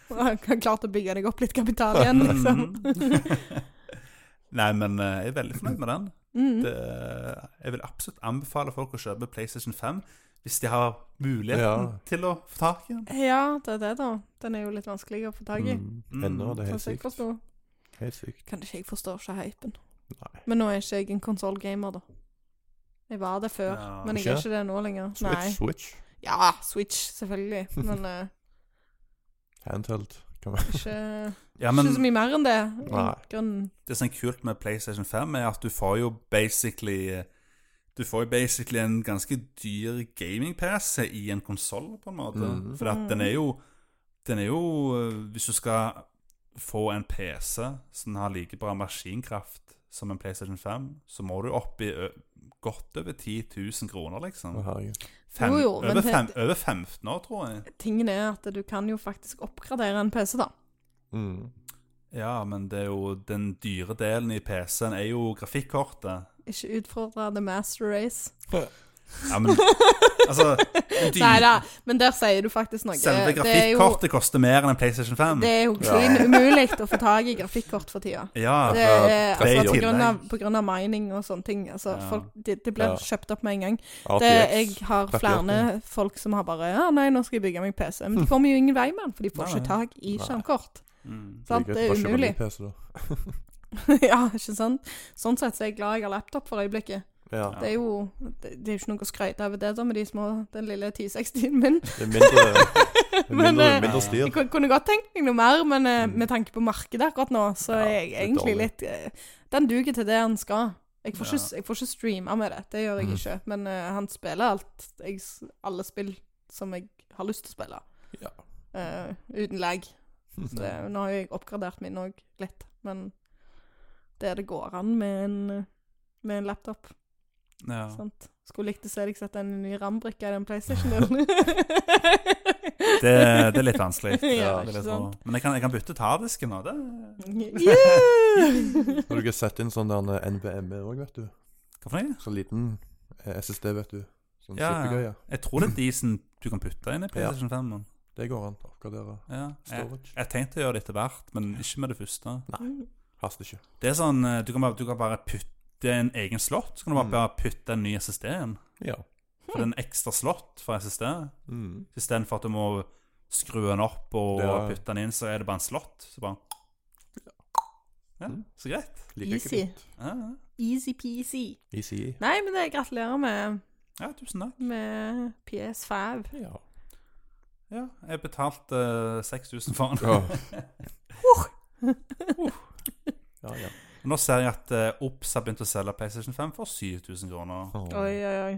[SPEAKER 3] Og jeg har klart å bygge deg opp litt
[SPEAKER 1] [LAUGHS]
[SPEAKER 3] kapital
[SPEAKER 2] [LAUGHS]
[SPEAKER 3] igjen, liksom.
[SPEAKER 1] Mhm. Nei, men eh, jeg er veldig fornøyd med den.
[SPEAKER 3] Mm.
[SPEAKER 1] det, eh, jeg vil absolutt anbefale folk å kjøpe PlayStation 5 hvis de har muligheten
[SPEAKER 2] Ja.
[SPEAKER 1] til å få tak i den.
[SPEAKER 3] Ja, det er det, da. Den er jo litt vanskelig å få tak i.
[SPEAKER 2] Mm. Ennå, det er helt
[SPEAKER 3] Sånn som jeg
[SPEAKER 2] sykt.
[SPEAKER 3] forsto.
[SPEAKER 2] Helt sykt.
[SPEAKER 3] Kan ikke jeg forstår ikke hypen.
[SPEAKER 2] Nei.
[SPEAKER 3] Men nå er ikke jeg en konsollgamer, da. Jeg var det før,
[SPEAKER 1] Ja.
[SPEAKER 3] men jeg er
[SPEAKER 2] Ikke?
[SPEAKER 3] ikke det nå lenger.
[SPEAKER 2] Switch,
[SPEAKER 3] Nei.
[SPEAKER 2] Switch.
[SPEAKER 3] Ja, Switch, selvfølgelig. Men eh,
[SPEAKER 2] Handheld. Kan man.
[SPEAKER 3] ikke,
[SPEAKER 1] Ja, men
[SPEAKER 3] ikke så mye mer enn det. i
[SPEAKER 2] Nei.
[SPEAKER 3] grunnen.
[SPEAKER 1] det som er kult med PlayStation 5, er at du får jo basically eh, Du får jo basically en ganske dyr gaming-PC i en konsoll, på en måte.
[SPEAKER 2] Mhm.
[SPEAKER 1] For at den er jo Den er jo øh, Hvis du skal få en PC som har like bra maskinkraft som en PlayStation 5, så må du opp i ø- godt over 10 000 kroner, liksom.
[SPEAKER 3] Mm.
[SPEAKER 2] Å, herregud.
[SPEAKER 1] Fem,
[SPEAKER 3] Jo, jo,
[SPEAKER 1] over,
[SPEAKER 3] men
[SPEAKER 1] fem,
[SPEAKER 3] det-
[SPEAKER 1] over 15 år, tror jeg.
[SPEAKER 3] Tingen er at du kan jo faktisk oppgradere en PC, da.
[SPEAKER 2] Mm.
[SPEAKER 1] Ja, men det er jo den dyre delen i PC-en er jo grafikkortet.
[SPEAKER 3] Ikke utfordre The Master Race.
[SPEAKER 1] Ja,
[SPEAKER 3] [LAUGHS]
[SPEAKER 1] men altså dyr,
[SPEAKER 3] Nei da, men der sier du faktisk noe.
[SPEAKER 1] Selve
[SPEAKER 3] Det er jo-
[SPEAKER 1] grafikkortet koster mer enn en PlayStation 5.
[SPEAKER 3] Det er jo klin umulig å få tak i grafikkort for tida.
[SPEAKER 1] ja,
[SPEAKER 3] Det er,
[SPEAKER 2] det er
[SPEAKER 1] i
[SPEAKER 3] altså, på, grunn av,
[SPEAKER 1] tillegg.
[SPEAKER 3] på grunn av mining og sånne ting. Altså,
[SPEAKER 1] Ja.
[SPEAKER 3] folk, det, det blir
[SPEAKER 2] Ja.
[SPEAKER 3] kjøpt opp med en gang. Det, jeg
[SPEAKER 2] RTX.
[SPEAKER 3] har flere folk som har bare Ja, nei, nå skal jeg bygge meg PC. Men
[SPEAKER 2] [LAUGHS]
[SPEAKER 3] de kommer jo ingen vei med den, for de får
[SPEAKER 1] Nei,
[SPEAKER 3] ikke tak i
[SPEAKER 2] Nei.
[SPEAKER 3] skjermkort. [LAUGHS]
[SPEAKER 1] Mm.
[SPEAKER 3] Sant? Det er
[SPEAKER 2] greit, bare kjøper en ny
[SPEAKER 3] umulig.
[SPEAKER 2] PC, da.
[SPEAKER 3] ja, ikke sant? Sånn sett så er jeg glad jeg har laptop for øyeblikket.
[SPEAKER 1] Ja.
[SPEAKER 2] Ja.
[SPEAKER 3] Det er jo det, det er jo ikke noe å skryte av det, da, med de små, den lille 1060-en min.
[SPEAKER 2] Det er
[SPEAKER 3] [LAUGHS]
[SPEAKER 2] mindre, det er
[SPEAKER 3] Men,
[SPEAKER 2] mindre,
[SPEAKER 3] eh,
[SPEAKER 2] mindre stil.
[SPEAKER 3] Jeg ku- kunne godt tenkt meg noe mer, men eh, med tanke på markedet akkurat nå, så
[SPEAKER 2] Ja,
[SPEAKER 3] er jeg
[SPEAKER 2] det er
[SPEAKER 3] egentlig
[SPEAKER 2] dårlig.
[SPEAKER 3] litt eh, Den duger til det han skal. Jeg får,
[SPEAKER 1] Ja.
[SPEAKER 3] ikke, jeg får ikke streama med det, det gjør jeg
[SPEAKER 2] Mm.
[SPEAKER 3] ikke. Men eh, han spiller alt, jeg, s- alle spill som jeg har lyst til å spille.
[SPEAKER 2] Ja.
[SPEAKER 3] Eh, uten lag. Så det, nå har jo jeg oppgradert min òg litt, men det det går an med en, eh, med en laptop.
[SPEAKER 1] Ja.
[SPEAKER 3] sånn. Sant? Skulle likt å se deg sette en ny rambrikke i den PlayStation-delen.
[SPEAKER 1] Det, det er litt
[SPEAKER 3] [LAUGHS]
[SPEAKER 1] vanskelig.
[SPEAKER 3] Ja,
[SPEAKER 1] Det er
[SPEAKER 3] ikke
[SPEAKER 1] litt
[SPEAKER 3] sant?
[SPEAKER 1] rå. Men jeg kan, jeg kan bytte harddisken nå. Det.
[SPEAKER 3] Yeah!
[SPEAKER 2] Og
[SPEAKER 3] [LAUGHS]
[SPEAKER 2] du kan sette inn sånn der NBME òg, vet du.
[SPEAKER 1] Hva for noe?
[SPEAKER 2] Sånn liten eh, SSD, vet du.
[SPEAKER 1] Ja,
[SPEAKER 2] Sånn
[SPEAKER 1] ja.
[SPEAKER 2] supergøye.
[SPEAKER 1] Jeg tror det er de som du kan putte inn i PlayStation 5. -en.
[SPEAKER 2] Det går an å oppgradere
[SPEAKER 1] Ja. Jeg,
[SPEAKER 2] storage.
[SPEAKER 1] jeg tenkte å gjøre det etter hvert, men ikke med det første.
[SPEAKER 2] Haster ikke.
[SPEAKER 1] Det er sånn, eh, Du kan bare, du kan bare putte en egen slott. Så kan du bare,
[SPEAKER 2] Mm.
[SPEAKER 1] bare putte en ny SSD inn.
[SPEAKER 2] Ja.
[SPEAKER 1] For det er en ekstra slott for SSD.
[SPEAKER 2] Mm.
[SPEAKER 1] Istedenfor at du må skru den opp og
[SPEAKER 2] Ja.
[SPEAKER 1] putte den inn, så er det bare en slott. Så bare Ja,
[SPEAKER 2] Mm.
[SPEAKER 1] så greit.
[SPEAKER 2] Liker ikke
[SPEAKER 3] Easy.
[SPEAKER 2] fint.
[SPEAKER 1] Ja, ja.
[SPEAKER 3] Easy peasy.
[SPEAKER 2] Easy.
[SPEAKER 3] Nei, men det gratulerer med,
[SPEAKER 1] ja tusen takk.
[SPEAKER 3] med PS5.
[SPEAKER 2] Ja.
[SPEAKER 1] Ja, jeg betalte eh, 6000 for [LAUGHS] den.
[SPEAKER 2] Ja. ja, ja.
[SPEAKER 1] Nå ser jeg at eh, Ops har begynt å selge PlayStation 5 for 7000 kroner.
[SPEAKER 2] Åh.
[SPEAKER 3] Oi, oi, oi.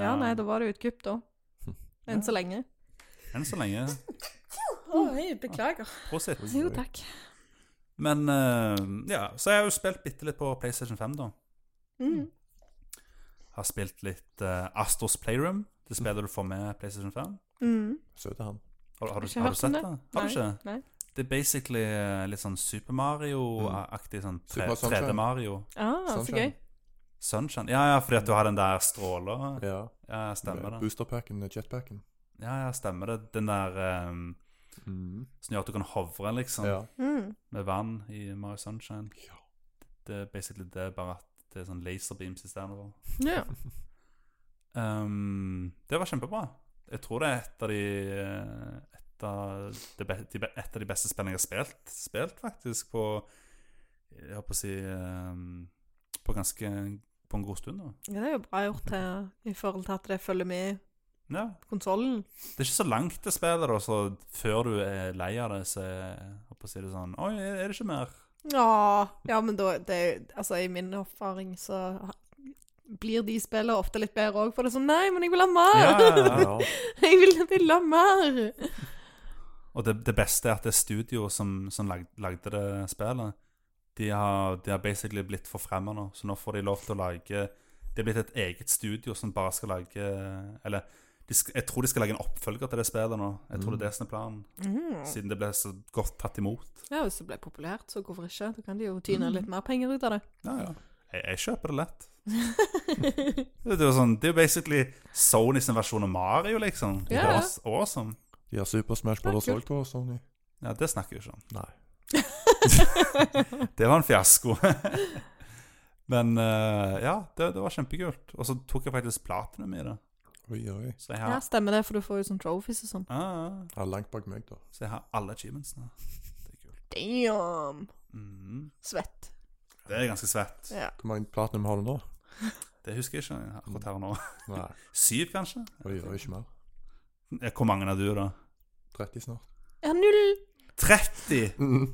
[SPEAKER 3] Ja, nei, da var det utkupp, da. Enn
[SPEAKER 1] Ja.
[SPEAKER 3] så lenge.
[SPEAKER 1] Enn så lenge.
[SPEAKER 3] Oi, beklager.
[SPEAKER 1] Prosit.
[SPEAKER 2] Oi,
[SPEAKER 3] Jo,
[SPEAKER 2] oi.
[SPEAKER 3] takk.
[SPEAKER 1] Men eh, ja, så jeg har jo spilt bitte litt på PlayStation 5, da.
[SPEAKER 3] Mm.
[SPEAKER 1] Har spilt litt eh, Astros Playroom. Det
[SPEAKER 2] Mm.
[SPEAKER 1] spiller du får med PlayStation 5.
[SPEAKER 3] Mm.
[SPEAKER 2] Søte han.
[SPEAKER 1] Har, har, du,
[SPEAKER 3] Ikke
[SPEAKER 1] har
[SPEAKER 3] hørt
[SPEAKER 1] du sett
[SPEAKER 3] om
[SPEAKER 1] det?
[SPEAKER 3] det.
[SPEAKER 1] Har du ikke?
[SPEAKER 3] Nei.
[SPEAKER 1] Det er basically eh, litt sånn Super Mario-aktig. Sånn
[SPEAKER 2] Mm. Super Mario Sunshine.
[SPEAKER 1] 3D-Mario.
[SPEAKER 3] Ah, så gøy.
[SPEAKER 2] Sunshine.
[SPEAKER 1] Sunshine. Ja, ja, fordi at du har den der stråla.
[SPEAKER 2] Ja.
[SPEAKER 1] Ja, stemmer det.
[SPEAKER 2] Boosterpacken, eh, jetpacken.
[SPEAKER 1] Ja, ja, stemmer det. Den der eh, som gjør at du kan hovre, liksom.
[SPEAKER 2] Ja.
[SPEAKER 3] Mm.
[SPEAKER 1] med vann i Mario Sunshine.
[SPEAKER 2] Ja.
[SPEAKER 1] Det er basically det, bare at det er sånn laserbeams istedenfor.
[SPEAKER 3] Ja.
[SPEAKER 1] Um, det var kjempebra. Jeg tror det er et av de eh, Et av de, be, de, be- et av de beste spillene jeg har spilt, spilt faktisk, på Jeg holdt på å si um, På ganske På en god stund, da.
[SPEAKER 3] ja, det er jo bra gjort eh, i forhold til at det følger med
[SPEAKER 1] Ja.
[SPEAKER 3] konsollen.
[SPEAKER 1] Det er ikke så langt det spillet, da, så før du er lei av det, så er holdt på å si det sånn Oi, er det ikke mer?
[SPEAKER 3] Ja, ja men da det, er jo- Altså, i min erfaring så ha- blir de spillene ofte litt bedre òg, for det er sånn Nei, men jeg vil ha
[SPEAKER 1] Ja,
[SPEAKER 3] mer!
[SPEAKER 1] ja, ja.
[SPEAKER 2] ja.
[SPEAKER 3] [LAUGHS] jeg vil, jeg vil ha mer!
[SPEAKER 1] Og det, det beste er at det er studio som, som lag, lagde det spillet. De har, de har basically blitt forfremma nå, så nå får de lov til å lage Det er blitt et eget studio som bare skal lage Eller de skal, jeg tror de skal lage en oppfølger til det spillet nå. Jeg tror det er det som er planen,
[SPEAKER 3] Mm.
[SPEAKER 1] siden det ble så godt tatt imot.
[SPEAKER 3] Ja, hvis det ble populært, så hvorfor ikke? Da kan de jo tyne
[SPEAKER 1] Mm.
[SPEAKER 3] litt mer penger ut av det.
[SPEAKER 1] Ja, ja. Jeg, jeg kjøper det lett. Det er jo sånn, det er jo basically Sonys versjon av Mario, liksom.
[SPEAKER 3] Ja, ja.
[SPEAKER 1] Aws- Awesome.
[SPEAKER 2] De har Super Smash Brothers
[SPEAKER 3] Ja, kult.
[SPEAKER 2] òg på Sony.
[SPEAKER 1] Ja, det snakker vi ikke om.
[SPEAKER 2] Nei.
[SPEAKER 1] [LAUGHS] Det var en fiasko. [LAUGHS] Men eh, ja, det, det var kjempekult. Og så tok jeg faktisk platinum i det.
[SPEAKER 2] Oi, oi.
[SPEAKER 1] Så jeg
[SPEAKER 3] Ja,
[SPEAKER 1] har,
[SPEAKER 3] stemmer det, for du får jo sånn trophies og sånn.
[SPEAKER 1] ah, ah.
[SPEAKER 2] Ja, langt bak meg, da.
[SPEAKER 1] så jeg har alle achievementsene. Det er kult.
[SPEAKER 3] Damn!
[SPEAKER 1] Mhm.
[SPEAKER 3] Svett.
[SPEAKER 1] Det er ganske svett.
[SPEAKER 3] Ja.
[SPEAKER 2] Hvor mange platinum har du nå?
[SPEAKER 1] Det husker jeg ikke akkurat her og nå. [LAUGHS]
[SPEAKER 2] Nei.
[SPEAKER 1] Syv, kanskje?
[SPEAKER 2] Oi, oi, ikke mer.
[SPEAKER 1] Ja, Hvor mange har du, da?
[SPEAKER 2] 30
[SPEAKER 1] [LAUGHS]
[SPEAKER 2] snart.
[SPEAKER 3] Ja, null!
[SPEAKER 1] 30!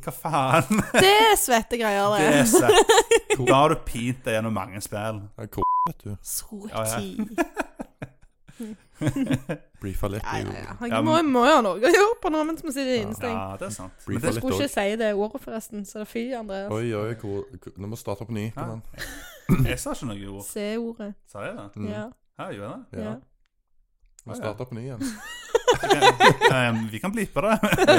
[SPEAKER 1] Hva
[SPEAKER 2] [LAUGHS]
[SPEAKER 1] faen?
[SPEAKER 3] Det er svette greier,
[SPEAKER 1] Det
[SPEAKER 3] det.
[SPEAKER 1] er svett. Da har du pint deg gjennom mange spill.
[SPEAKER 2] Ja, K, [LAUGHS] vet du.
[SPEAKER 3] [LAUGHS] Så
[SPEAKER 1] Ja, ja.
[SPEAKER 3] tid.
[SPEAKER 2] Briefa litt.
[SPEAKER 3] Ja,
[SPEAKER 2] i
[SPEAKER 3] ja, ja. Han
[SPEAKER 1] Ja,
[SPEAKER 3] må, må jo ha noe å gjøre på nå mens vi sitter
[SPEAKER 2] Ja.
[SPEAKER 3] innestengt.
[SPEAKER 1] Ja, det er sant. Men
[SPEAKER 2] Briefa
[SPEAKER 1] det,
[SPEAKER 2] litt
[SPEAKER 3] Skulle
[SPEAKER 2] òg.
[SPEAKER 3] ikke si det ordet, forresten, så fy, Andreas.
[SPEAKER 2] Oi, oi, hvor, hvor- nå må vi starte på ny. Kom an.
[SPEAKER 1] jeg sa ikke noe ord.
[SPEAKER 3] C-ordet.
[SPEAKER 1] Sa jeg det?
[SPEAKER 2] Mm.
[SPEAKER 3] Ja.
[SPEAKER 1] Ja, jeg gjorde jeg det?
[SPEAKER 2] Ja.
[SPEAKER 3] ja. [LAUGHS]
[SPEAKER 2] Vi må starte på ny
[SPEAKER 1] [LAUGHS]
[SPEAKER 2] igjen.
[SPEAKER 1] Ok. Eh, vi kan blipe det.
[SPEAKER 2] [LAUGHS]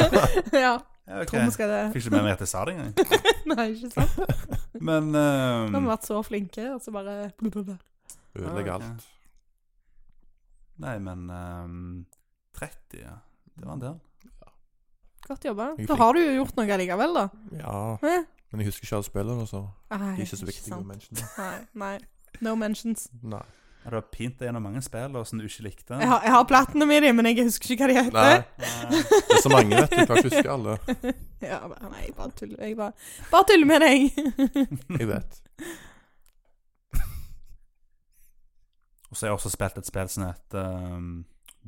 [SPEAKER 1] Ja,
[SPEAKER 3] ja.
[SPEAKER 1] Mm. ok.
[SPEAKER 3] Tror vi skal det.
[SPEAKER 1] Fikk ikke med meg at jeg sa det engang.
[SPEAKER 3] Nei, ikke sant?
[SPEAKER 1] Men
[SPEAKER 3] Vi har
[SPEAKER 1] ehm,
[SPEAKER 3] vært så flinke, og så bare
[SPEAKER 2] Ødelegge
[SPEAKER 1] Ah, ok.
[SPEAKER 2] alt.
[SPEAKER 1] Nei, men ehm, 30, ja. Det var en del.
[SPEAKER 3] Godt jobba.
[SPEAKER 2] Jeg er
[SPEAKER 3] Da
[SPEAKER 2] flink.
[SPEAKER 3] har du jo gjort noe likevel, da.
[SPEAKER 2] Ja,
[SPEAKER 3] Hæ?
[SPEAKER 2] men jeg husker ikke alle spillene, så
[SPEAKER 3] Nei,
[SPEAKER 2] de er ikke så viktige å
[SPEAKER 3] sant.
[SPEAKER 2] mentionere.
[SPEAKER 3] Nei, nei. No mentions.
[SPEAKER 2] Nei.
[SPEAKER 1] Ja, Du har pint deg gjennom mange spill og sånn som du ikke likte.
[SPEAKER 3] Jeg har, jeg har platene mine, men jeg husker ikke hva de
[SPEAKER 2] Nei,
[SPEAKER 3] heter.
[SPEAKER 1] Ah. Nei.
[SPEAKER 2] det er så mange, vet du. Jeg klarer ikke å huske alle.
[SPEAKER 3] Ja, bare- nei, jeg bare tuller. Jeg bare, bare tuller med
[SPEAKER 4] [LAUGHS]
[SPEAKER 3] deg.
[SPEAKER 2] Jeg vet.
[SPEAKER 1] Og så har jeg også spilt et spill som heter ehm,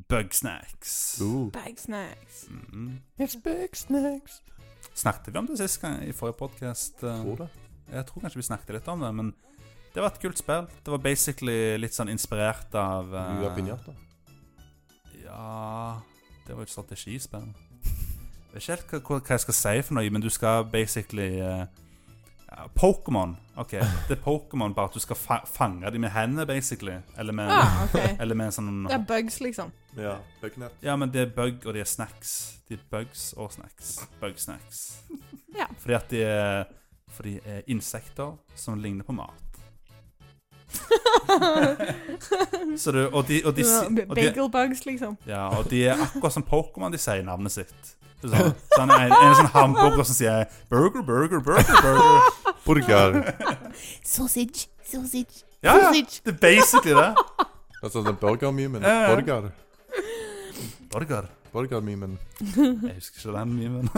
[SPEAKER 1] Bugsnacks.
[SPEAKER 2] Uh.
[SPEAKER 3] Bag snacks.
[SPEAKER 1] Mhm.
[SPEAKER 2] It's big snacks.
[SPEAKER 1] Snakket vi om det sist gang i forrige podkast?
[SPEAKER 2] Tror det.
[SPEAKER 1] Jeg tror kanskje vi snakket litt om det, men det var et kult spill. Det var basically litt sånn inspirert av eh,
[SPEAKER 2] Du har pinjata.
[SPEAKER 1] Ja Det var jo et strategispill. Jeg vet ikke helt hva, hva jeg skal si for noe, men du skal basically eh, Ja, Pokémon. Ok, det er Pokémon, bare at du skal fa fange dem med hendene, basically. Eller med,
[SPEAKER 3] Ah,
[SPEAKER 1] [LAUGHS]
[SPEAKER 3] ok.
[SPEAKER 1] eller med en sånn
[SPEAKER 3] Det er bugs, liksom.
[SPEAKER 2] Ja. Bøknett.
[SPEAKER 1] Ja, men det er bug, og det er snacks. De er bugs og snacks. Bug-snacks.
[SPEAKER 3] [LAUGHS] Ja.
[SPEAKER 1] Fordi at de er, for de er insekter som ligner på
[SPEAKER 3] [LAUGHS]
[SPEAKER 1] mat. Så du, og de, og de, si- og de,
[SPEAKER 3] Bagel bugs, liksom.
[SPEAKER 1] ja, og de er akkurat som Pokémon de sier navnet sitt. Det er Sånn, sånn en, en sånn hamburger som sier burger, burger, burger, burger.
[SPEAKER 2] Burger.
[SPEAKER 4] Sausage, sausage,
[SPEAKER 1] Ja, ja, det er basically det.
[SPEAKER 2] Altså den burger-memen.
[SPEAKER 1] Ja, ja.
[SPEAKER 2] Burger.
[SPEAKER 1] Burger.
[SPEAKER 2] Burger-memen.
[SPEAKER 1] Jeg husker ikke den memen.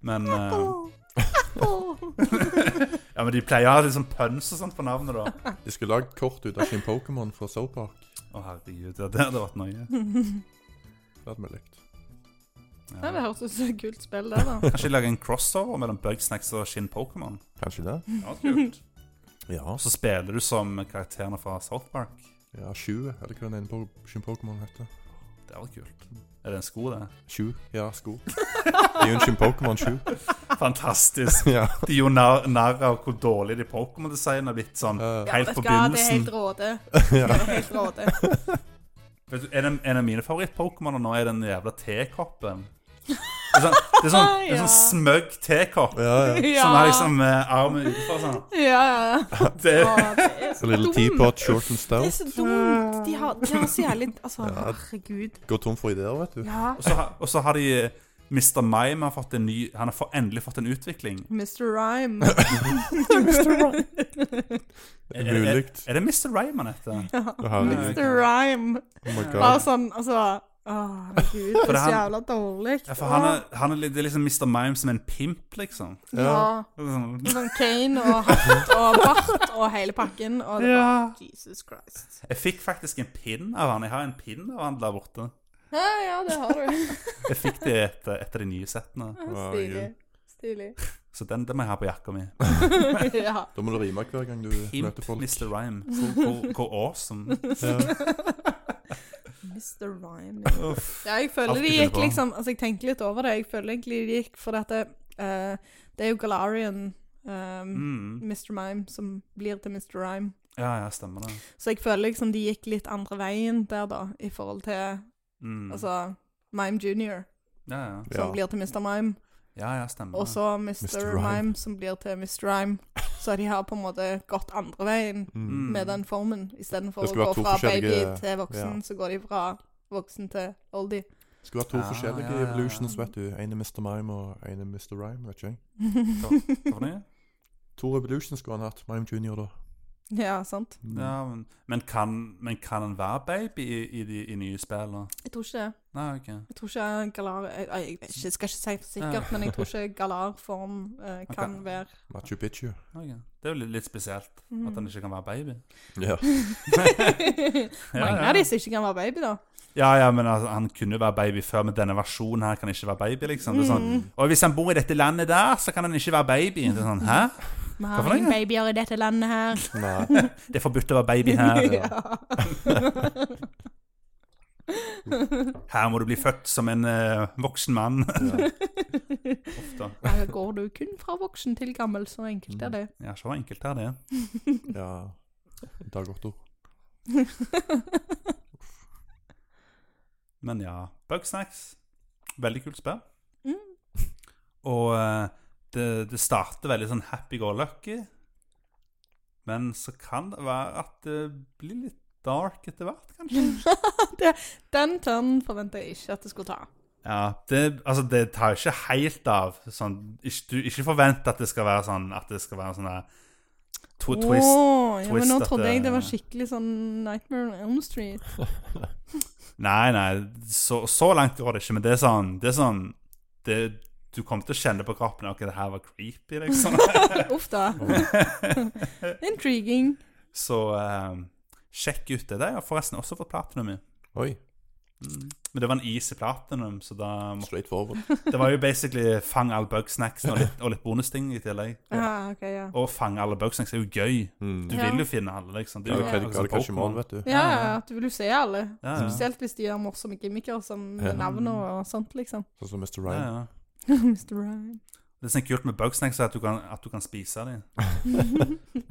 [SPEAKER 1] Men
[SPEAKER 3] [LAUGHS]
[SPEAKER 1] eh,
[SPEAKER 4] Apple, apple.
[SPEAKER 1] Ja, men de pleier å ha litt sånn pønsk og sånt på navnet, da.
[SPEAKER 2] De skulle lagd kort ut av sin Pokémon fra South Park.
[SPEAKER 1] Å, herregud. Det det hadde vært nøye.
[SPEAKER 2] Det hadde vi likt.
[SPEAKER 3] Ja, det
[SPEAKER 1] Ja.
[SPEAKER 3] høres ut som et kult spill, det, da.
[SPEAKER 1] Kanskje de lager en crossover mellom Bugsnacks og Shin Pokémon?
[SPEAKER 2] Kanskje det?
[SPEAKER 1] Det hadde vært kult.
[SPEAKER 2] Ja.
[SPEAKER 1] Og så spiller du som karakterene fra South Park.
[SPEAKER 2] Ja, 20, eller hva den ene po- sin Pokémon heter.
[SPEAKER 1] Det hadde vært kult. Er det en sko, det?
[SPEAKER 2] 20, ja,
[SPEAKER 1] [LAUGHS]
[SPEAKER 2] sko. Det er jo en sin Pokémon 20.
[SPEAKER 1] Fantastisk.
[SPEAKER 2] Ja.
[SPEAKER 1] De gjorde narr narr av hvor dårlig de Pokémon-designet har blitt sånn
[SPEAKER 2] Eh,
[SPEAKER 1] helt
[SPEAKER 3] vet
[SPEAKER 1] på
[SPEAKER 3] du hva, Det er
[SPEAKER 1] begynnelsen.
[SPEAKER 3] helt
[SPEAKER 1] [LAUGHS]
[SPEAKER 3] råde. Det er helt råde.
[SPEAKER 1] Vet du, en, av- en av mine favoritt-Pokémoner nå er den jævla tekoppen. Det er sånn, det er sånn, det er
[SPEAKER 3] [LAUGHS] Ja.
[SPEAKER 1] sånn smøgg tekopp
[SPEAKER 2] ja, ja.
[SPEAKER 3] Ja,
[SPEAKER 1] som har liksom eh, armen utenfor sånn.
[SPEAKER 3] ja,
[SPEAKER 1] [LAUGHS]
[SPEAKER 3] ja.
[SPEAKER 1] Det,
[SPEAKER 3] Å, det er
[SPEAKER 2] A
[SPEAKER 3] så
[SPEAKER 1] Sånn
[SPEAKER 2] little
[SPEAKER 3] dumt.
[SPEAKER 2] teapot, short and
[SPEAKER 3] Det er
[SPEAKER 2] stout.
[SPEAKER 3] så dumt. De har, de har så jævlig Altså, herregud.
[SPEAKER 2] Går tom for ideer, vet du.
[SPEAKER 3] Ja.
[SPEAKER 1] og, så, har- og så har de eh, Mr. Mime har fått en ny Han har få, endelig fått en utvikling.
[SPEAKER 3] Mr. Rhyme.
[SPEAKER 1] Er, er, er,
[SPEAKER 2] Muligt.
[SPEAKER 1] er det Mr. Rhyme han heter?
[SPEAKER 2] Og herlig.
[SPEAKER 3] Mr. Rhyme.
[SPEAKER 2] Oh my
[SPEAKER 3] Bare
[SPEAKER 2] god.
[SPEAKER 3] sånn, altså Å, herregud, det
[SPEAKER 1] For
[SPEAKER 3] er så
[SPEAKER 1] han-
[SPEAKER 3] jævla dårlig.
[SPEAKER 1] Ja, for han er, han er, litt- det er liksom Mr. Mime som en pimp, liksom.
[SPEAKER 3] Ja.
[SPEAKER 1] Sånn-
[SPEAKER 3] Sånn Kane og hatt og bart og hele pakken. Og det var
[SPEAKER 1] Ja.
[SPEAKER 3] Jesus Christ.
[SPEAKER 1] Jeg fikk faktisk en pin av han. Jeg har en pin av han der borte.
[SPEAKER 3] Ja, ja, det har du.
[SPEAKER 1] Jeg fikk det etter, etter de nye
[SPEAKER 3] [LAUGHS]
[SPEAKER 1] settene.
[SPEAKER 3] Stilig. Stilig.
[SPEAKER 1] [LAUGHS] Så den, den må jeg ha på jakka mi.
[SPEAKER 3] Ja.
[SPEAKER 2] Da må du rime hver gang du
[SPEAKER 1] Pimp
[SPEAKER 2] møter folk.
[SPEAKER 1] Mr.
[SPEAKER 3] [LAUGHS]
[SPEAKER 1] Rhyme. Hvor- Hvor hvor awesome.
[SPEAKER 2] Ja.
[SPEAKER 3] Mr. Rhyme.
[SPEAKER 1] Uff.
[SPEAKER 3] Ja, jeg føler
[SPEAKER 1] Alltid
[SPEAKER 3] de
[SPEAKER 1] funnet
[SPEAKER 3] gikk
[SPEAKER 1] på.
[SPEAKER 3] liksom Altså, jeg tenker litt over det. Jeg føler egentlig de gikk for dette eh, Det er jo Galarian um,
[SPEAKER 1] Mm.
[SPEAKER 3] Mr. Mime som blir til Mr. Rhyme.
[SPEAKER 1] Ja, ja, stemmer det.
[SPEAKER 3] Så jeg føler liksom de gikk litt andre veien der, da, i forhold til
[SPEAKER 1] Mm.
[SPEAKER 3] altså Mime Junior,
[SPEAKER 1] Ja, ja.
[SPEAKER 2] Ja.
[SPEAKER 3] som blir til Mr. Mime,
[SPEAKER 1] ja, ja, stemmer
[SPEAKER 3] og
[SPEAKER 1] det.
[SPEAKER 3] så Mr.
[SPEAKER 2] Mr. Rhyme.
[SPEAKER 3] Mime, som blir til Mr. Rhyme. Så de har på en måte gått andre veien
[SPEAKER 2] Mm.
[SPEAKER 1] Mm.
[SPEAKER 3] med den formen, istedenfor
[SPEAKER 2] Det
[SPEAKER 3] å
[SPEAKER 2] skulle
[SPEAKER 3] gå
[SPEAKER 2] vært to
[SPEAKER 3] fra baby
[SPEAKER 2] forskjellige-
[SPEAKER 3] til voksen,
[SPEAKER 2] ja.
[SPEAKER 3] så går de fra voksen til oldie.
[SPEAKER 2] Skulle vært to
[SPEAKER 3] Ah.
[SPEAKER 1] Ja,
[SPEAKER 2] forskjellige
[SPEAKER 1] ja, ja, ja.
[SPEAKER 2] evolutions, vet du. En er Mr. Mime og en er Mr. Rhyme, vet ikke jeg.
[SPEAKER 1] Hva for noe?
[SPEAKER 2] To evolutions skulle han hatt. Mime Junior, da.
[SPEAKER 3] [LAUGHS] ja, sant.
[SPEAKER 2] Mm.
[SPEAKER 1] Ja, men, men, kan, men kan en være baby i, i de i nye spillene?
[SPEAKER 3] Jeg tror ikke det.
[SPEAKER 1] Nei, ok.
[SPEAKER 3] Jeg tror ikke Galar jeg, jeg, vet ikke, jeg skal ikke si for sikkert, men jeg tror ikke Galar-form
[SPEAKER 2] [LAUGHS]
[SPEAKER 3] eh, kan
[SPEAKER 1] Ok.
[SPEAKER 3] være
[SPEAKER 2] Machu Picchu.
[SPEAKER 1] ok. Det er jo litt, litt spesielt at
[SPEAKER 3] Mm.
[SPEAKER 1] han ikke kan være
[SPEAKER 3] [LAUGHS]
[SPEAKER 1] baby.
[SPEAKER 2] Ja.
[SPEAKER 1] Ja,
[SPEAKER 3] Mange
[SPEAKER 1] ja.
[SPEAKER 3] av disse ikke kan være baby, da.
[SPEAKER 1] Ja, ja, men altså, han kunne jo være baby før, men denne versjonen her kan ikke være baby, liksom. Det er
[SPEAKER 3] Mm.
[SPEAKER 1] sånn, og hvis han bor i dette landet der, så kan han ikke være baby. Det er sånn, hæ?
[SPEAKER 3] Vi
[SPEAKER 1] Hva
[SPEAKER 3] har
[SPEAKER 1] for
[SPEAKER 3] ingen
[SPEAKER 1] noe?
[SPEAKER 3] babyer i dette landet
[SPEAKER 1] [LAUGHS]
[SPEAKER 3] her.
[SPEAKER 2] Nei.
[SPEAKER 1] Det er forbudt å være baby
[SPEAKER 3] [LAUGHS]
[SPEAKER 1] her. Her må du bli født som en eh, voksen mann. [LAUGHS] Ofte.
[SPEAKER 3] Her går du kun fra voksen til gammel, så enkelt er det.
[SPEAKER 1] Ja, så enkelt er det.
[SPEAKER 2] Ja. Dag Otto.
[SPEAKER 1] Men ja, Bugsnacks. Veldig kult spill.
[SPEAKER 3] Mm.
[SPEAKER 1] Og eh, det, det starter veldig sånn happy go lucky. Men så kan det være at det blir litt dark etter hvert, kanskje.
[SPEAKER 3] det, den tønnen forventa jeg ikke at det skulle ta.
[SPEAKER 1] Ja, det, altså det tar ikke helt av. Sånn, ikke, du ikke forvent at det skal være sånn At det skal være sånn der tw twist.
[SPEAKER 3] Åh, ja, men
[SPEAKER 1] twist
[SPEAKER 3] nå
[SPEAKER 1] at
[SPEAKER 3] trodde jeg det var
[SPEAKER 1] det-
[SPEAKER 3] skikkelig sånn Nightmare on Elm Street.
[SPEAKER 1] Nei, nei, så, så langt går det ikke. Men det er sånn, det er sånn det, Du kommer til å kjenne på kroppen at det her var creepy, liksom. [LAUGHS]
[SPEAKER 3] Uff da. Intriguing.
[SPEAKER 1] så eh, sjekk ut det. Det har jeg forresten også fått platinum i.
[SPEAKER 2] Oi.
[SPEAKER 1] Mm. Men det var en easy platinum, så da må-
[SPEAKER 2] Straight forward.
[SPEAKER 1] Det var jo basically fang all bugsnacksen og litt, og litt bonusting i tillegg.
[SPEAKER 3] Ja, ok, ja.
[SPEAKER 1] Og fange alle bugsnacks er jo gøy.
[SPEAKER 2] Mm.
[SPEAKER 1] Du
[SPEAKER 3] Ja.
[SPEAKER 1] vil jo finne alle, liksom. Det
[SPEAKER 2] Ja,
[SPEAKER 1] er jo
[SPEAKER 2] du kan-
[SPEAKER 1] akkurat
[SPEAKER 2] kan
[SPEAKER 1] som
[SPEAKER 2] du kanskje
[SPEAKER 1] Pokémon.
[SPEAKER 2] mål, vet du.
[SPEAKER 3] Ja, ja, at du vil jo se alle.
[SPEAKER 1] Ja, ja.
[SPEAKER 3] Spesielt hvis de gjør morsomme gimmicker som med
[SPEAKER 2] Ja.
[SPEAKER 3] navn og sånt, liksom. [LAUGHS]
[SPEAKER 2] Sånn som Mr.
[SPEAKER 1] Ja,
[SPEAKER 2] Rhyme.
[SPEAKER 1] ja. [LAUGHS]
[SPEAKER 3] Mr. Ryan.
[SPEAKER 1] Det som er sånn kult med bugsnacks, er at du kan, at du kan spise dem.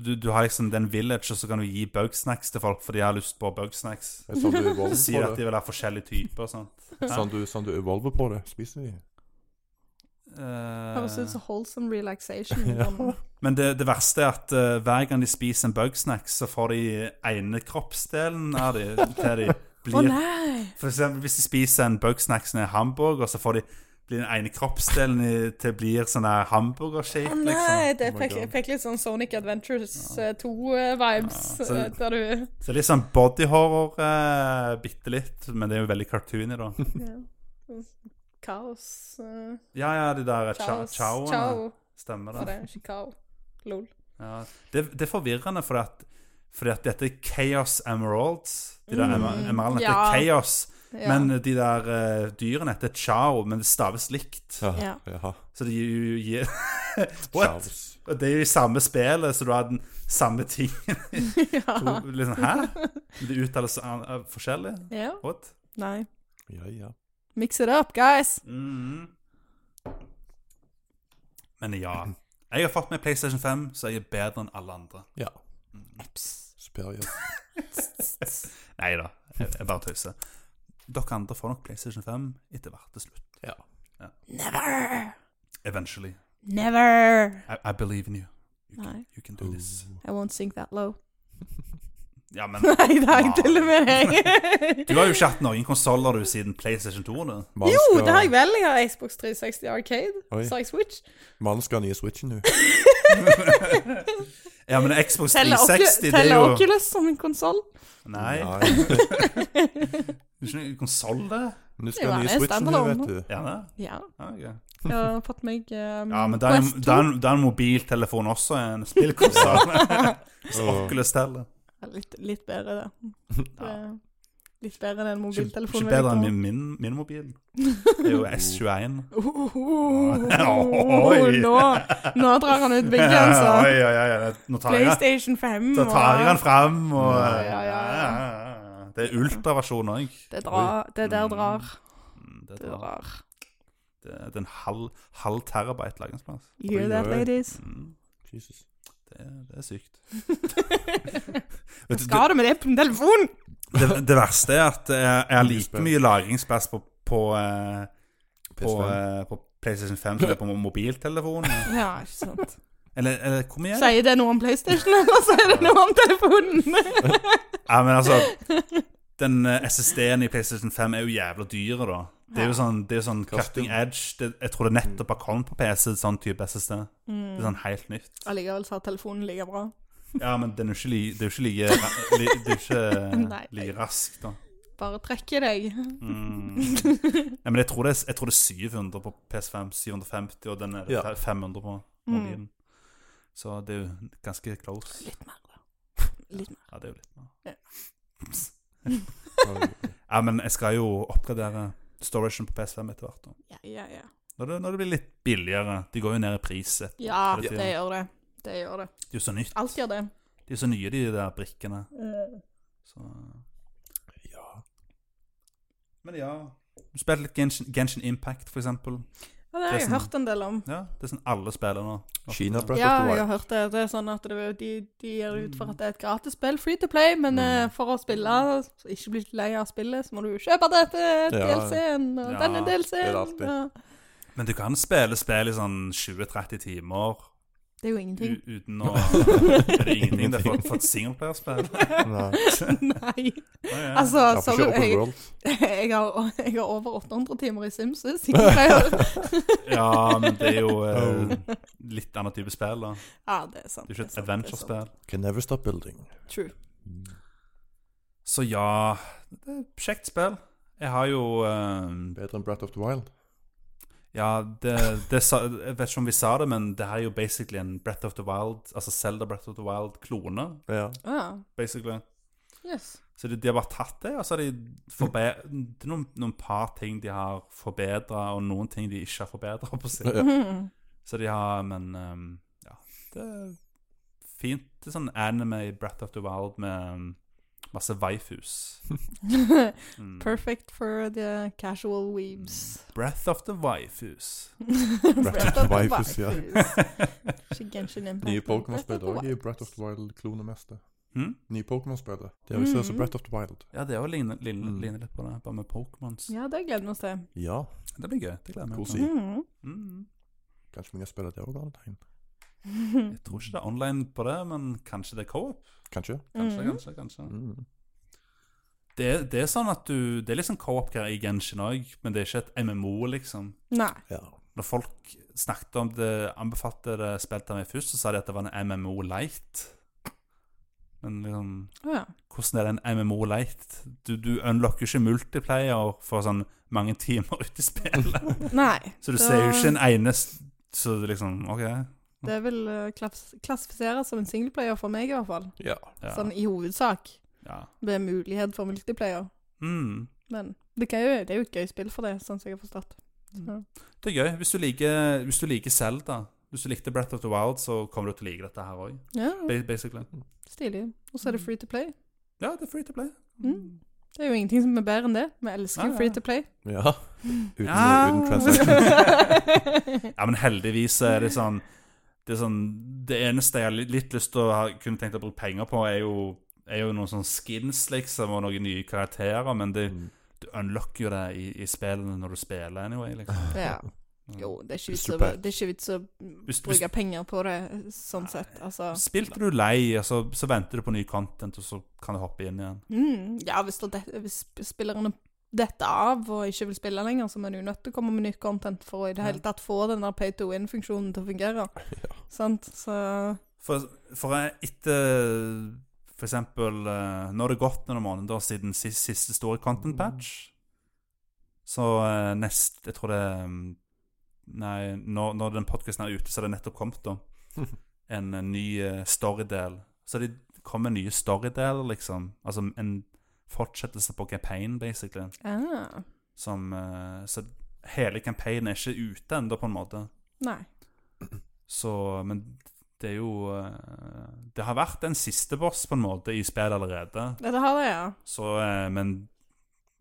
[SPEAKER 1] Du, du har liksom den village, og så kan du gi bugsnacks til folk, for de har lyst på bugsnacks.
[SPEAKER 2] Det er Sånn du
[SPEAKER 1] Så sier de
[SPEAKER 2] evolver på
[SPEAKER 1] at
[SPEAKER 2] det.
[SPEAKER 1] de vil ha forskjellige typer og sånt.
[SPEAKER 2] Sånn du, sånn du evolver på det. Spiser de.
[SPEAKER 1] Eh,
[SPEAKER 3] Høres ut som wholesome relaxation.
[SPEAKER 2] Ja.
[SPEAKER 3] sånn.
[SPEAKER 1] men det, det verste er at eh, hver gang de spiser en bugsnacks, så får de ene kroppsdelen av de til de
[SPEAKER 3] [LAUGHS] Å
[SPEAKER 1] blir
[SPEAKER 3] nei!
[SPEAKER 1] For eksempel hvis de spiser en bugsnacks med hamburger, så får de blir den ene kroppsdelen i- til blir sånn der
[SPEAKER 3] Å
[SPEAKER 1] hamburger-shape, liksom.
[SPEAKER 3] nei, det
[SPEAKER 2] Oh my
[SPEAKER 3] fikk,
[SPEAKER 2] God.
[SPEAKER 3] jeg fikk litt sånn Sonic Adventures øh, 2-vibes.
[SPEAKER 1] Ja, så-
[SPEAKER 3] der du
[SPEAKER 1] Så det er litt sånn body horror, eh, bitte litt, men det er jo veldig cartoony, da.
[SPEAKER 3] ja. Kaos. eh,
[SPEAKER 1] Ja, ja, de der cha- er
[SPEAKER 3] Kaos.
[SPEAKER 1] chow-ene.
[SPEAKER 3] Ciao.
[SPEAKER 1] Stemmer
[SPEAKER 3] Var
[SPEAKER 1] er det.
[SPEAKER 3] det ikke kao? Lol.
[SPEAKER 1] Ja. Det, det er forvirrende, fordi at, fordi at dette er Chaos Emeralds. De der
[SPEAKER 3] Mm.
[SPEAKER 1] emer- emeraldene
[SPEAKER 3] Ja.
[SPEAKER 1] heter Chaos,
[SPEAKER 3] Ja. [LAUGHS]
[SPEAKER 1] men de der eh, dyrene heter Chao, men det staves likt.
[SPEAKER 2] Ja.
[SPEAKER 3] Ja.
[SPEAKER 2] ja.
[SPEAKER 1] Så de gir gir- What?
[SPEAKER 2] Charles.
[SPEAKER 1] Og det er jo i samme spillet, så du har den samme ting.
[SPEAKER 3] ja.
[SPEAKER 1] To- Liksom,
[SPEAKER 3] [LAUGHS]
[SPEAKER 1] Hæ? Men Det uttales an- av forskjellig?
[SPEAKER 3] ja.
[SPEAKER 1] What?
[SPEAKER 3] Nei.
[SPEAKER 2] Ja, ja.
[SPEAKER 3] Mix it up, guys!
[SPEAKER 1] Mhm. Men ja. Jeg har fått meg PlayStation 5, så jeg er bedre enn alle andre.
[SPEAKER 2] Ja.
[SPEAKER 3] Eps.
[SPEAKER 2] Superior.
[SPEAKER 1] Nei da, jeg, jeg bare tøyser. Dere andre får nok PlayStation 5 etter hvert til slutt.
[SPEAKER 2] Ja.
[SPEAKER 3] [LAUGHS] Never!
[SPEAKER 1] Eventually.
[SPEAKER 3] Never!
[SPEAKER 1] I, I believe in you. You can,
[SPEAKER 3] Nei.
[SPEAKER 1] you can do this.
[SPEAKER 3] I won't sink that low.
[SPEAKER 1] Ja,
[SPEAKER 3] [LAUGHS]
[SPEAKER 1] men
[SPEAKER 3] Nei, det har jeg
[SPEAKER 1] Wow.
[SPEAKER 3] tuller med
[SPEAKER 1] [LAUGHS]
[SPEAKER 3] deg.
[SPEAKER 1] du har
[SPEAKER 3] [LAUGHS]
[SPEAKER 1] jo ikke hatt noen konsoller du siden PlayStation 2 nå.
[SPEAKER 2] Malen
[SPEAKER 3] Jo, er
[SPEAKER 2] skal-
[SPEAKER 3] det har jeg vel. Jeg har Xbox 360 Arcade.
[SPEAKER 2] Oi.
[SPEAKER 3] Så har jeg Switch.
[SPEAKER 2] Malen skal ha nye Switchen nå.
[SPEAKER 1] Ja, men Xbox 360,
[SPEAKER 3] Teller Ocu-
[SPEAKER 1] det er
[SPEAKER 3] teller
[SPEAKER 1] jo
[SPEAKER 3] Oculus som en konsoll?
[SPEAKER 1] Nei, det
[SPEAKER 2] Nei.
[SPEAKER 1] er ikke noen konsoll, det.
[SPEAKER 2] Men Du
[SPEAKER 3] Det
[SPEAKER 2] skal ha nye
[SPEAKER 3] var en
[SPEAKER 2] Switchen nå,
[SPEAKER 3] standalone.
[SPEAKER 2] vet du.
[SPEAKER 1] Ja, det.
[SPEAKER 3] [LAUGHS] Ja.
[SPEAKER 1] Ja, ok.
[SPEAKER 3] Jeg har fått meg um,
[SPEAKER 1] Ja, men det er, en-
[SPEAKER 3] Quest
[SPEAKER 1] det, er,
[SPEAKER 3] 2.
[SPEAKER 1] en- det er en mobiltelefon også, en
[SPEAKER 3] [LAUGHS]
[SPEAKER 1] spillkonsol. Oculus teller.
[SPEAKER 3] Ja, Litt, litt bedre, det. det
[SPEAKER 1] [LAUGHS] Ja.
[SPEAKER 3] er litt bedre enn en
[SPEAKER 1] Ikke,
[SPEAKER 3] mobiltelefon.
[SPEAKER 1] ikke
[SPEAKER 3] vil jeg
[SPEAKER 1] bedre enn [LAUGHS]
[SPEAKER 3] ta.
[SPEAKER 1] min, min, min
[SPEAKER 3] [LAUGHS]
[SPEAKER 1] mobil. Det er jo S21.
[SPEAKER 3] Ohohoho,
[SPEAKER 1] Oi.
[SPEAKER 3] nå, [LAUGHS] nå drar han ut
[SPEAKER 1] [LAUGHS] Ja,
[SPEAKER 3] bygget,
[SPEAKER 1] ja,
[SPEAKER 3] altså.
[SPEAKER 1] ja, ja. Nå tar jeg,
[SPEAKER 3] PlayStation 5.
[SPEAKER 1] så tar jeg den
[SPEAKER 3] og-
[SPEAKER 1] fram, og
[SPEAKER 3] Ja, ja, ja,
[SPEAKER 1] ja. Det er ultraversjon òg.
[SPEAKER 3] Det, drar, det der drar.
[SPEAKER 1] Mm. Det,
[SPEAKER 3] Det
[SPEAKER 1] drar-
[SPEAKER 3] drar.
[SPEAKER 1] det er en halv, halv terabyte lagringsplass.
[SPEAKER 3] You hear
[SPEAKER 2] Oi,
[SPEAKER 3] that,
[SPEAKER 2] oi.
[SPEAKER 3] ladies?
[SPEAKER 1] Mm,
[SPEAKER 2] Jesus.
[SPEAKER 1] det, er- det er sykt.
[SPEAKER 3] Hva
[SPEAKER 1] [LAUGHS] Vet du,
[SPEAKER 3] skal du med det på en telefon?
[SPEAKER 1] det, det verste er at jeg, jeg har like
[SPEAKER 2] Nysprø.
[SPEAKER 1] mye lagringsplass på, på eh, på,
[SPEAKER 2] PS5.
[SPEAKER 1] eh, på PlayStation 5 som er på
[SPEAKER 3] [LAUGHS]
[SPEAKER 1] mobiltelefonen.
[SPEAKER 3] Ja, ikke sant.
[SPEAKER 1] Eller, eller hvor mye? er det?
[SPEAKER 3] Sier det noe om PlayStation, eller sier det noe om telefonen?
[SPEAKER 1] Ja, men
[SPEAKER 3] [LAUGHS]
[SPEAKER 1] altså Den eh, SSD-en i PlayStation 5 er jo jævla dyr, da. Det er jo sånn, det er jo sånn
[SPEAKER 2] Custom.
[SPEAKER 1] cutting edge. Det, jeg tror det nettopp har kommet på PC, sånn type SSD. Det
[SPEAKER 3] Mm.
[SPEAKER 1] er sånn helt nytt.
[SPEAKER 3] Allikevel så er telefonen like bra.
[SPEAKER 1] Ja, men den er jo ikke li- det er jo ikke
[SPEAKER 3] [LAUGHS]
[SPEAKER 1] like ra- li, Det er jo
[SPEAKER 3] Nei.
[SPEAKER 1] ikke like raskt, da.
[SPEAKER 3] Bare trekker deg.
[SPEAKER 1] Mm. Ja, men jeg tror, det er, jeg tror det er 700 på PS5, 750, og den er det
[SPEAKER 2] Ja.
[SPEAKER 1] 500 på
[SPEAKER 3] Mm.
[SPEAKER 1] mobilen. Så det er jo ganske close.
[SPEAKER 3] Litt mer, da. Litt mer.
[SPEAKER 1] Ja, det er jo litt mer.
[SPEAKER 2] Oi.
[SPEAKER 1] Ja, men jeg skal jo oppgradere storagen på PS5 etter hvert. da.
[SPEAKER 3] Ja, ja, ja.
[SPEAKER 1] Når det, når det blir litt billigere. De går jo ned i pris. Det
[SPEAKER 3] Ja,
[SPEAKER 1] Er det
[SPEAKER 3] det
[SPEAKER 1] tiden?
[SPEAKER 3] gjør det. Det gjør det.
[SPEAKER 1] er jo så nytt.
[SPEAKER 3] Alt gjør det.
[SPEAKER 1] De er så nye, de der brikkene. Eh. Så. eh.
[SPEAKER 2] Ja.
[SPEAKER 1] Men ja. Du spilte litt Genshin, Genshin Impact, for eksempel.
[SPEAKER 3] Ja, det har
[SPEAKER 1] Det er
[SPEAKER 3] jeg
[SPEAKER 1] sånn-
[SPEAKER 3] hørt en del om.
[SPEAKER 1] Ja, det er sånn alle spiller nå.
[SPEAKER 2] Kina Breath
[SPEAKER 3] Ja,
[SPEAKER 2] of the
[SPEAKER 3] jeg har
[SPEAKER 2] Wild.
[SPEAKER 3] hørt det. Det er sånn at det, de, de gir ut for at det er et gratis spill, free to play,
[SPEAKER 1] Mm.
[SPEAKER 3] men eh, for å spille, så ikke bli lei av spillet, så må du kjøpe dette DLC-en, og
[SPEAKER 1] Ja,
[SPEAKER 3] denne
[SPEAKER 1] det
[SPEAKER 2] er det
[SPEAKER 3] DLC-en.
[SPEAKER 2] alltid.
[SPEAKER 3] og-
[SPEAKER 1] Men du kan spille spill i sånn 20-30 timer
[SPEAKER 3] Det er jo
[SPEAKER 1] u
[SPEAKER 3] ingenting.
[SPEAKER 1] uten å
[SPEAKER 3] [LAUGHS]
[SPEAKER 1] Er det ingenting? Det er for, for et singleplayerspill.
[SPEAKER 2] Nei.
[SPEAKER 3] Nei.
[SPEAKER 1] Ja, ja.
[SPEAKER 3] Altså,
[SPEAKER 2] Jeg får
[SPEAKER 3] sorry,
[SPEAKER 2] kjøre på
[SPEAKER 3] jeg,
[SPEAKER 2] World.
[SPEAKER 3] [LAUGHS] jeg, har, jeg har over 800 timer i Sims. så sikkert
[SPEAKER 1] [LAUGHS]
[SPEAKER 3] jeg-
[SPEAKER 1] ja, men det er jo eh, litt annen type spill, da.
[SPEAKER 3] Ja, det er sant.
[SPEAKER 1] Det er jo ikke et
[SPEAKER 3] sant, det er sant.
[SPEAKER 1] adventure-spill.
[SPEAKER 2] Can never stop building.
[SPEAKER 3] True.
[SPEAKER 1] Så ja, det er et kjekt spill. Jeg har jo eh,
[SPEAKER 2] Bedre enn Breath of the Wild.
[SPEAKER 1] Ja, det, det sa, jeg vet ikke om vi sa det, men det her er jo basically en Breath of the Wild, altså Zelda Breath of the Wild-klone,
[SPEAKER 2] Ja.
[SPEAKER 3] Ah,
[SPEAKER 1] basically.
[SPEAKER 3] yes.
[SPEAKER 1] Så de, de har bare tatt det, og så har de forbe det er noen, noen par ting de har forbedra, og noen ting de ikke har forbedra på seg.
[SPEAKER 3] [LAUGHS]
[SPEAKER 2] Ja. Mm.
[SPEAKER 3] Mhm.
[SPEAKER 1] Så de har Men ehm, ja, det er fint. Det er sånn anime Breath of the Wild med, Masse waifus.
[SPEAKER 3] [LAUGHS]
[SPEAKER 1] Mm.
[SPEAKER 3] Perfect for the casual weebs.
[SPEAKER 1] Breath of the waifus. [LAUGHS] Hm?
[SPEAKER 3] Breath of the
[SPEAKER 2] Waifus,
[SPEAKER 3] [LAUGHS]
[SPEAKER 2] ja.
[SPEAKER 3] Waifus. Ikke Genshin Impact.
[SPEAKER 2] Nye
[SPEAKER 3] men
[SPEAKER 2] Pokémon-spill
[SPEAKER 3] Breath of
[SPEAKER 2] òg
[SPEAKER 3] the
[SPEAKER 2] i Breath of the Wild-klonemester.
[SPEAKER 1] Hm?
[SPEAKER 2] Nye Pokémon-spillet. Det er jo sånn som
[SPEAKER 3] Mhm.
[SPEAKER 2] Breath of the Wild.
[SPEAKER 1] Ja, det er jo ligner, ligner,
[SPEAKER 2] Mm.
[SPEAKER 1] ligner litt på det, bare med Pokémons.
[SPEAKER 3] Ja, det gleder vi oss til.
[SPEAKER 2] Ja.
[SPEAKER 1] Det blir gøy. Det gleder jeg meg
[SPEAKER 2] Koselig.
[SPEAKER 1] til.
[SPEAKER 3] Mm.
[SPEAKER 1] Mm.
[SPEAKER 2] Kanskje vi kan spille det òg, Valentine.
[SPEAKER 1] Jeg tror ikke det er online på det, men kanskje det er co-op?
[SPEAKER 2] Kanskje.
[SPEAKER 1] Kanskje,
[SPEAKER 3] Mhm.
[SPEAKER 1] kanskje, kanskje.
[SPEAKER 2] Mm.
[SPEAKER 1] Det, det er sånn at du Det er liksom co-op her i Genshin òg, men det er ikke et MMO, liksom.
[SPEAKER 3] Nei.
[SPEAKER 2] Ja.
[SPEAKER 1] Når folk snakket om det, anbefalte det spilt av meg først, så sa de at det var en MMO light. Men liksom
[SPEAKER 3] Å ja.
[SPEAKER 1] Hvordan er det en MMO light? Du, du unlocker ikke multiplayer for sånn mange timer ut i spillet.
[SPEAKER 3] Nei.
[SPEAKER 1] Så du
[SPEAKER 3] Da-
[SPEAKER 1] ser jo ikke en eneste Så det liksom OK.
[SPEAKER 3] Det vil eh, klass klassifiseres som en singleplayer for meg, i hvert fall.
[SPEAKER 2] ja.
[SPEAKER 1] Ja.
[SPEAKER 3] Sånn i hovedsak.
[SPEAKER 1] ja.
[SPEAKER 3] Det er mulighet for multiplayer.
[SPEAKER 1] Mm.
[SPEAKER 3] Men det, kan jo, det er jo et gøy spill for det, sånn som jeg har forstått.
[SPEAKER 2] Mm.
[SPEAKER 3] Så.
[SPEAKER 1] Det er gøy. Hvis du liker, hvis du liker Zelda, hvis du likte Breath of the Wild, så kommer du til å like dette her òg.
[SPEAKER 3] Ja,
[SPEAKER 1] Basically.
[SPEAKER 3] stilig. Og så er det free to play.
[SPEAKER 1] Ja, det er free to play.
[SPEAKER 3] Mm. Det er jo ingenting som er bedre enn det. Vi elsker
[SPEAKER 1] Ja, ja.
[SPEAKER 3] free to play.
[SPEAKER 2] ja. Uten,
[SPEAKER 1] Ja.
[SPEAKER 2] uten
[SPEAKER 3] [LAUGHS]
[SPEAKER 2] transaction.
[SPEAKER 3] ja,
[SPEAKER 1] Ja, men heldigvis så er det sånn Det, er sånn, det eneste jeg har litt- litt lyst til å ha, kunne tenkt å bruke penger på, er jo, er jo noen sånne skins, liksom, og noen nye karakterer, men det,
[SPEAKER 2] Mm.
[SPEAKER 1] du unlocker jo det i, i spillene når du spiller anyway, liksom.
[SPEAKER 3] [LAUGHS] Jo, det er ikke vits å,
[SPEAKER 2] Super.
[SPEAKER 3] det er ikke vits å
[SPEAKER 1] Hvis, hvis,
[SPEAKER 3] bruke penger på det sånn sett. Altså.
[SPEAKER 1] spilte du lei, og så, så venter du på ny content, og så kan du hoppe inn igjen.
[SPEAKER 3] Mm, ja, hvis, det, hvis spillerne detter av og ikke vil spille lenger, så er du nødt til å komme med nytt content for å i det
[SPEAKER 1] Ja.
[SPEAKER 3] hele tatt få den der pay to win-funksjonen til å fungere.
[SPEAKER 2] [LAUGHS] Ja.
[SPEAKER 3] Sant? Så
[SPEAKER 1] For, for jeg- etter for eksempel eh, Nå har det gått noen måneder siden sist, siste store content patch. Så eh, nest Jeg tror det er, mm, Nei, når, når den podkasten er ute, så er det nettopp kommet da en eh, ny eh, storydel. Så det kommer nye storydeler, liksom. Altså en fortsettelse på campaign, basically.
[SPEAKER 3] ah,
[SPEAKER 1] Som eh, Så hele campaignen er ikke ute ennå, på en måte.
[SPEAKER 3] Nei.
[SPEAKER 1] Så, men det er jo eh, Det har vært en siste boss på en måte i spillet allerede.
[SPEAKER 3] Dette har det, ja.
[SPEAKER 1] Så, eh, men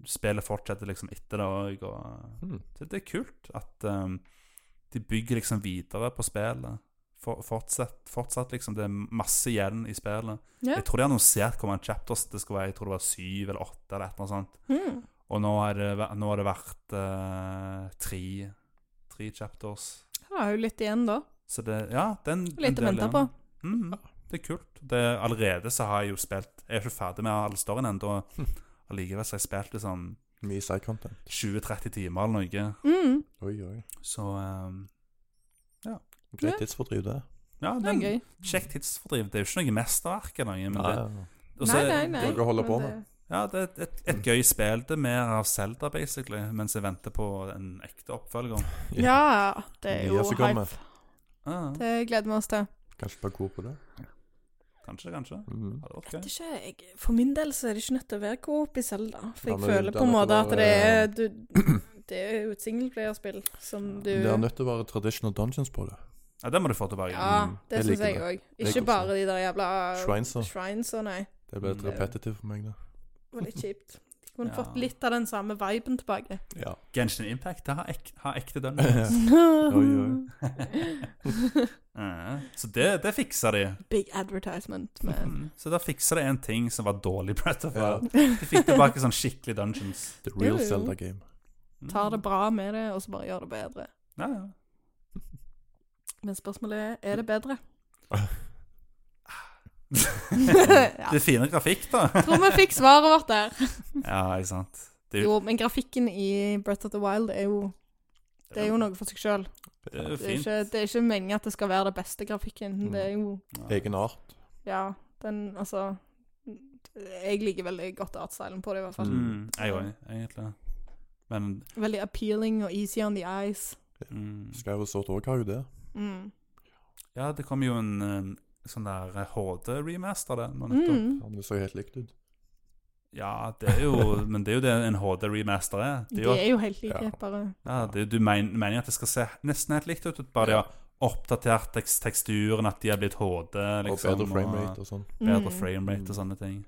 [SPEAKER 1] spillet fortsetter liksom etter det òg. Og
[SPEAKER 2] Mm.
[SPEAKER 1] det, det er kult at eh, de bygger liksom videre på spillet. For, fortsatt, fortsatt liksom, Det er masse igjen i spillet.
[SPEAKER 3] ja.
[SPEAKER 1] Jeg tror de annonserte hvor mange chapters det skulle være. Jeg tror det var syv eller åtte. eller et eller annet sånt.
[SPEAKER 3] Mm.
[SPEAKER 1] Og nå har det, væ- nå har det vært eh, tre, tre chapters.
[SPEAKER 3] Her har jeg jo litt igjen, da.
[SPEAKER 1] Så det, ja, den, den
[SPEAKER 3] Litt å
[SPEAKER 1] delen
[SPEAKER 3] vente
[SPEAKER 1] igjen.
[SPEAKER 3] på.
[SPEAKER 1] Mhm, Det er kult. Det, allerede så har jeg jo spilt Jeg er ikke ferdig med all storyen ennå.
[SPEAKER 3] Hm.
[SPEAKER 1] Allikevel så har jeg spilt i sånn
[SPEAKER 2] Mye side content.
[SPEAKER 1] 20-30 timer eller noe.
[SPEAKER 3] Mm.
[SPEAKER 2] Oi, oi.
[SPEAKER 1] Så ehm,
[SPEAKER 2] Greit
[SPEAKER 3] Ja.
[SPEAKER 2] tidsfordriv, det.
[SPEAKER 1] ja,
[SPEAKER 3] Det er
[SPEAKER 1] den,
[SPEAKER 3] gøy.
[SPEAKER 1] kjekk tidsfordriv. Det er jo ikke noe mesterverk eller noe. Men det,
[SPEAKER 2] ja.
[SPEAKER 1] og så-
[SPEAKER 3] Nei, nei, nei.
[SPEAKER 2] Noe å holde
[SPEAKER 3] men
[SPEAKER 2] på
[SPEAKER 3] det-
[SPEAKER 2] med.
[SPEAKER 1] Ja, det er et, et, et gøy spill. Det er mer av Zelda, basically, mens jeg venter på en ekte oppfølger.
[SPEAKER 3] Ja, det er
[SPEAKER 2] Mye
[SPEAKER 3] jo
[SPEAKER 2] som kommer.
[SPEAKER 3] hype.
[SPEAKER 1] Ah,
[SPEAKER 3] Det gleder vi oss til.
[SPEAKER 2] Kanskje bare god på det.
[SPEAKER 1] kanskje, kanskje.
[SPEAKER 2] Mm.
[SPEAKER 1] Ja, det var
[SPEAKER 3] Vet
[SPEAKER 1] gøy.
[SPEAKER 3] ikke, jeg, For min del så er det ikke nødt til å være coop i Selda. For jeg
[SPEAKER 2] Ja, men
[SPEAKER 3] føler
[SPEAKER 2] det
[SPEAKER 3] på
[SPEAKER 2] er eh, nødt til
[SPEAKER 3] en måte
[SPEAKER 2] å
[SPEAKER 3] at det er du, Det er jo et singleplayerspill som du
[SPEAKER 2] Det er nødt til å være traditional dungeons på det.
[SPEAKER 1] Ja, det må du få tilbake.
[SPEAKER 3] Ja,
[SPEAKER 2] Mm,
[SPEAKER 3] det
[SPEAKER 2] jeg
[SPEAKER 3] syns
[SPEAKER 2] liker
[SPEAKER 3] jeg
[SPEAKER 2] det.
[SPEAKER 3] òg.
[SPEAKER 2] Jeg
[SPEAKER 3] Ikke
[SPEAKER 2] også.
[SPEAKER 3] bare de der jævla
[SPEAKER 2] Shrines og
[SPEAKER 3] shrines og nei.
[SPEAKER 2] Det ble litt
[SPEAKER 1] Mm.
[SPEAKER 2] repetitivt for meg, da.
[SPEAKER 3] Det var
[SPEAKER 2] [LAUGHS]
[SPEAKER 3] litt kjipt. De kunne
[SPEAKER 1] Ja.
[SPEAKER 3] fått litt av den samme viben tilbake.
[SPEAKER 2] [LAUGHS] Ja.
[SPEAKER 1] Genshin Impact det har, ek, har ekte dønn.
[SPEAKER 3] [LAUGHS]
[SPEAKER 2] oi.
[SPEAKER 1] Ja, så det, det fikser de.
[SPEAKER 3] Big advertisement, men
[SPEAKER 1] Mm. Så da fikser det en ting som var dårlig i Breath of the
[SPEAKER 2] Ja.
[SPEAKER 1] Wild. De fikk tilbake sånn skikkelig dungeons.
[SPEAKER 3] [LAUGHS]
[SPEAKER 2] The real
[SPEAKER 3] Jo, jo.
[SPEAKER 2] Zelda game.
[SPEAKER 1] Mm.
[SPEAKER 3] tar det bra med det, og så bare gjør det bedre.
[SPEAKER 1] Ja, ja.
[SPEAKER 3] [LAUGHS] Men spørsmålet er er det
[SPEAKER 2] [LAUGHS]
[SPEAKER 3] bedre?
[SPEAKER 1] Det er finere grafikk, da.
[SPEAKER 3] [LAUGHS] Tror vi fikk svaret vårt der.
[SPEAKER 1] Ja, ikke sant. Det er jo,
[SPEAKER 3] Jo, men grafikken i Breath of the Wild er jo Det er jo noe for seg sjøl.
[SPEAKER 1] det er jo
[SPEAKER 3] Det er
[SPEAKER 1] fint.
[SPEAKER 3] ikke, det er ikke meningen at det skal være det beste grafikken.
[SPEAKER 2] Mm.
[SPEAKER 3] Det er jo
[SPEAKER 1] Ja.
[SPEAKER 2] Egen art.
[SPEAKER 3] Ja, den Altså Jeg liker veldig godt artstylen på det, i hvert fall.
[SPEAKER 1] Mm. Jeg òg, egentlig. Men
[SPEAKER 3] Veldig appealing og easy on the eyes.
[SPEAKER 1] mm.
[SPEAKER 2] Skyward Sword òg har jo det.
[SPEAKER 3] Mm.
[SPEAKER 1] Ja, det kom jo en, en sånn der HD-remaster, det. nå nettopp.
[SPEAKER 3] Mm.
[SPEAKER 2] Ja, men det så jo helt likt ut.
[SPEAKER 1] Ja, det er jo Men det er jo det en HD-remaster er. Det
[SPEAKER 3] De
[SPEAKER 1] er jo,
[SPEAKER 3] er jo helt like,
[SPEAKER 2] Ja.
[SPEAKER 3] bare
[SPEAKER 1] ja, det, du men, mener at det skal se nesten helt likt ut, bare de har oppdatert tekst teksturen, at de har blitt HD,
[SPEAKER 2] Og
[SPEAKER 1] liksom.
[SPEAKER 2] bedre framerate og sånn.
[SPEAKER 1] bedre
[SPEAKER 3] Mm.
[SPEAKER 1] framerate og sånne ting.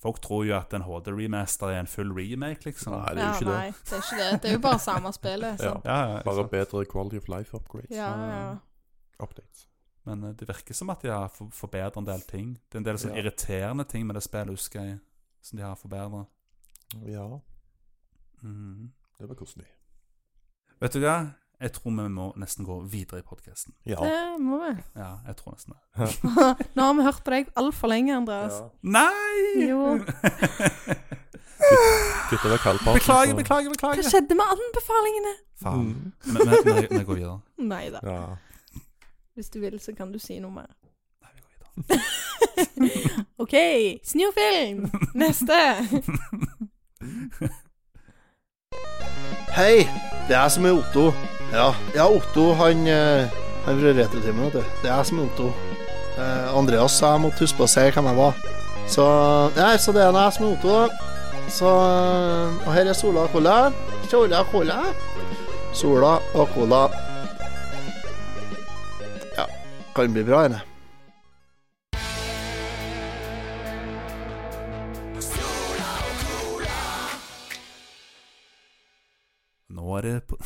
[SPEAKER 1] Folk tror jo at en HD-remaster er en full remake, liksom.
[SPEAKER 2] Nei, det er jo
[SPEAKER 3] Ja,
[SPEAKER 2] ikke
[SPEAKER 3] nei,
[SPEAKER 2] det.
[SPEAKER 3] det er ikke det. Det er jo bare samme spillet.
[SPEAKER 2] [LAUGHS] Ja.
[SPEAKER 3] sant?
[SPEAKER 1] Ja, ja, ikke
[SPEAKER 2] Bare
[SPEAKER 1] sant.
[SPEAKER 2] bedre quality of life upgrades.
[SPEAKER 3] Ja, ja.
[SPEAKER 2] Updates.
[SPEAKER 1] Men eh, det virker som at de har for- forbedret en del ting. Det er en del sånn
[SPEAKER 2] Ja.
[SPEAKER 1] irriterende ting med det spillet, husker jeg, som de har forbedret.
[SPEAKER 2] Ja,
[SPEAKER 1] Mhm.
[SPEAKER 2] det var koselig.
[SPEAKER 1] Vet du hva? Jeg tror vi må nesten gå videre i podkasten.
[SPEAKER 2] Ja.
[SPEAKER 3] Det må vi. [LAUGHS]
[SPEAKER 1] Ja, jeg tror nesten det.
[SPEAKER 3] Nå har vi hørt på deg altfor lenge, Andreas.
[SPEAKER 1] Nei!
[SPEAKER 3] Jo.
[SPEAKER 2] Kutter vekk
[SPEAKER 1] [LAUGHS]
[SPEAKER 2] halvparten.
[SPEAKER 1] beklager,
[SPEAKER 2] så-
[SPEAKER 1] beklager,
[SPEAKER 3] Hva
[SPEAKER 1] beklager.
[SPEAKER 3] skjedde med anbefalingene?
[SPEAKER 1] Faen.
[SPEAKER 2] Mm.
[SPEAKER 1] Men- men- men Vi vi går videre.
[SPEAKER 3] Nei da.
[SPEAKER 2] Ja.
[SPEAKER 3] Hvis du vil, så kan du si noe mer.
[SPEAKER 1] Nei, vi går videre.
[SPEAKER 3] [LAUGHS] OK, snurrfilm! Neste!
[SPEAKER 2] Mm.
[SPEAKER 5] Hei, det er jeg som er Otto. Ja, ja Otto han, eh, han fra Retrotimen, vet du. Det er jeg som er Otto. Eh, Andreas sa jeg måtte huske på å si hvem jeg var. Så, nei, så det er nå jeg som er Otto. da. Så, eh, og her er Sola og Cola. Sola og Cola. Sola og Cola. Ja, kan bli bra, denne.
[SPEAKER 1] Nå er det på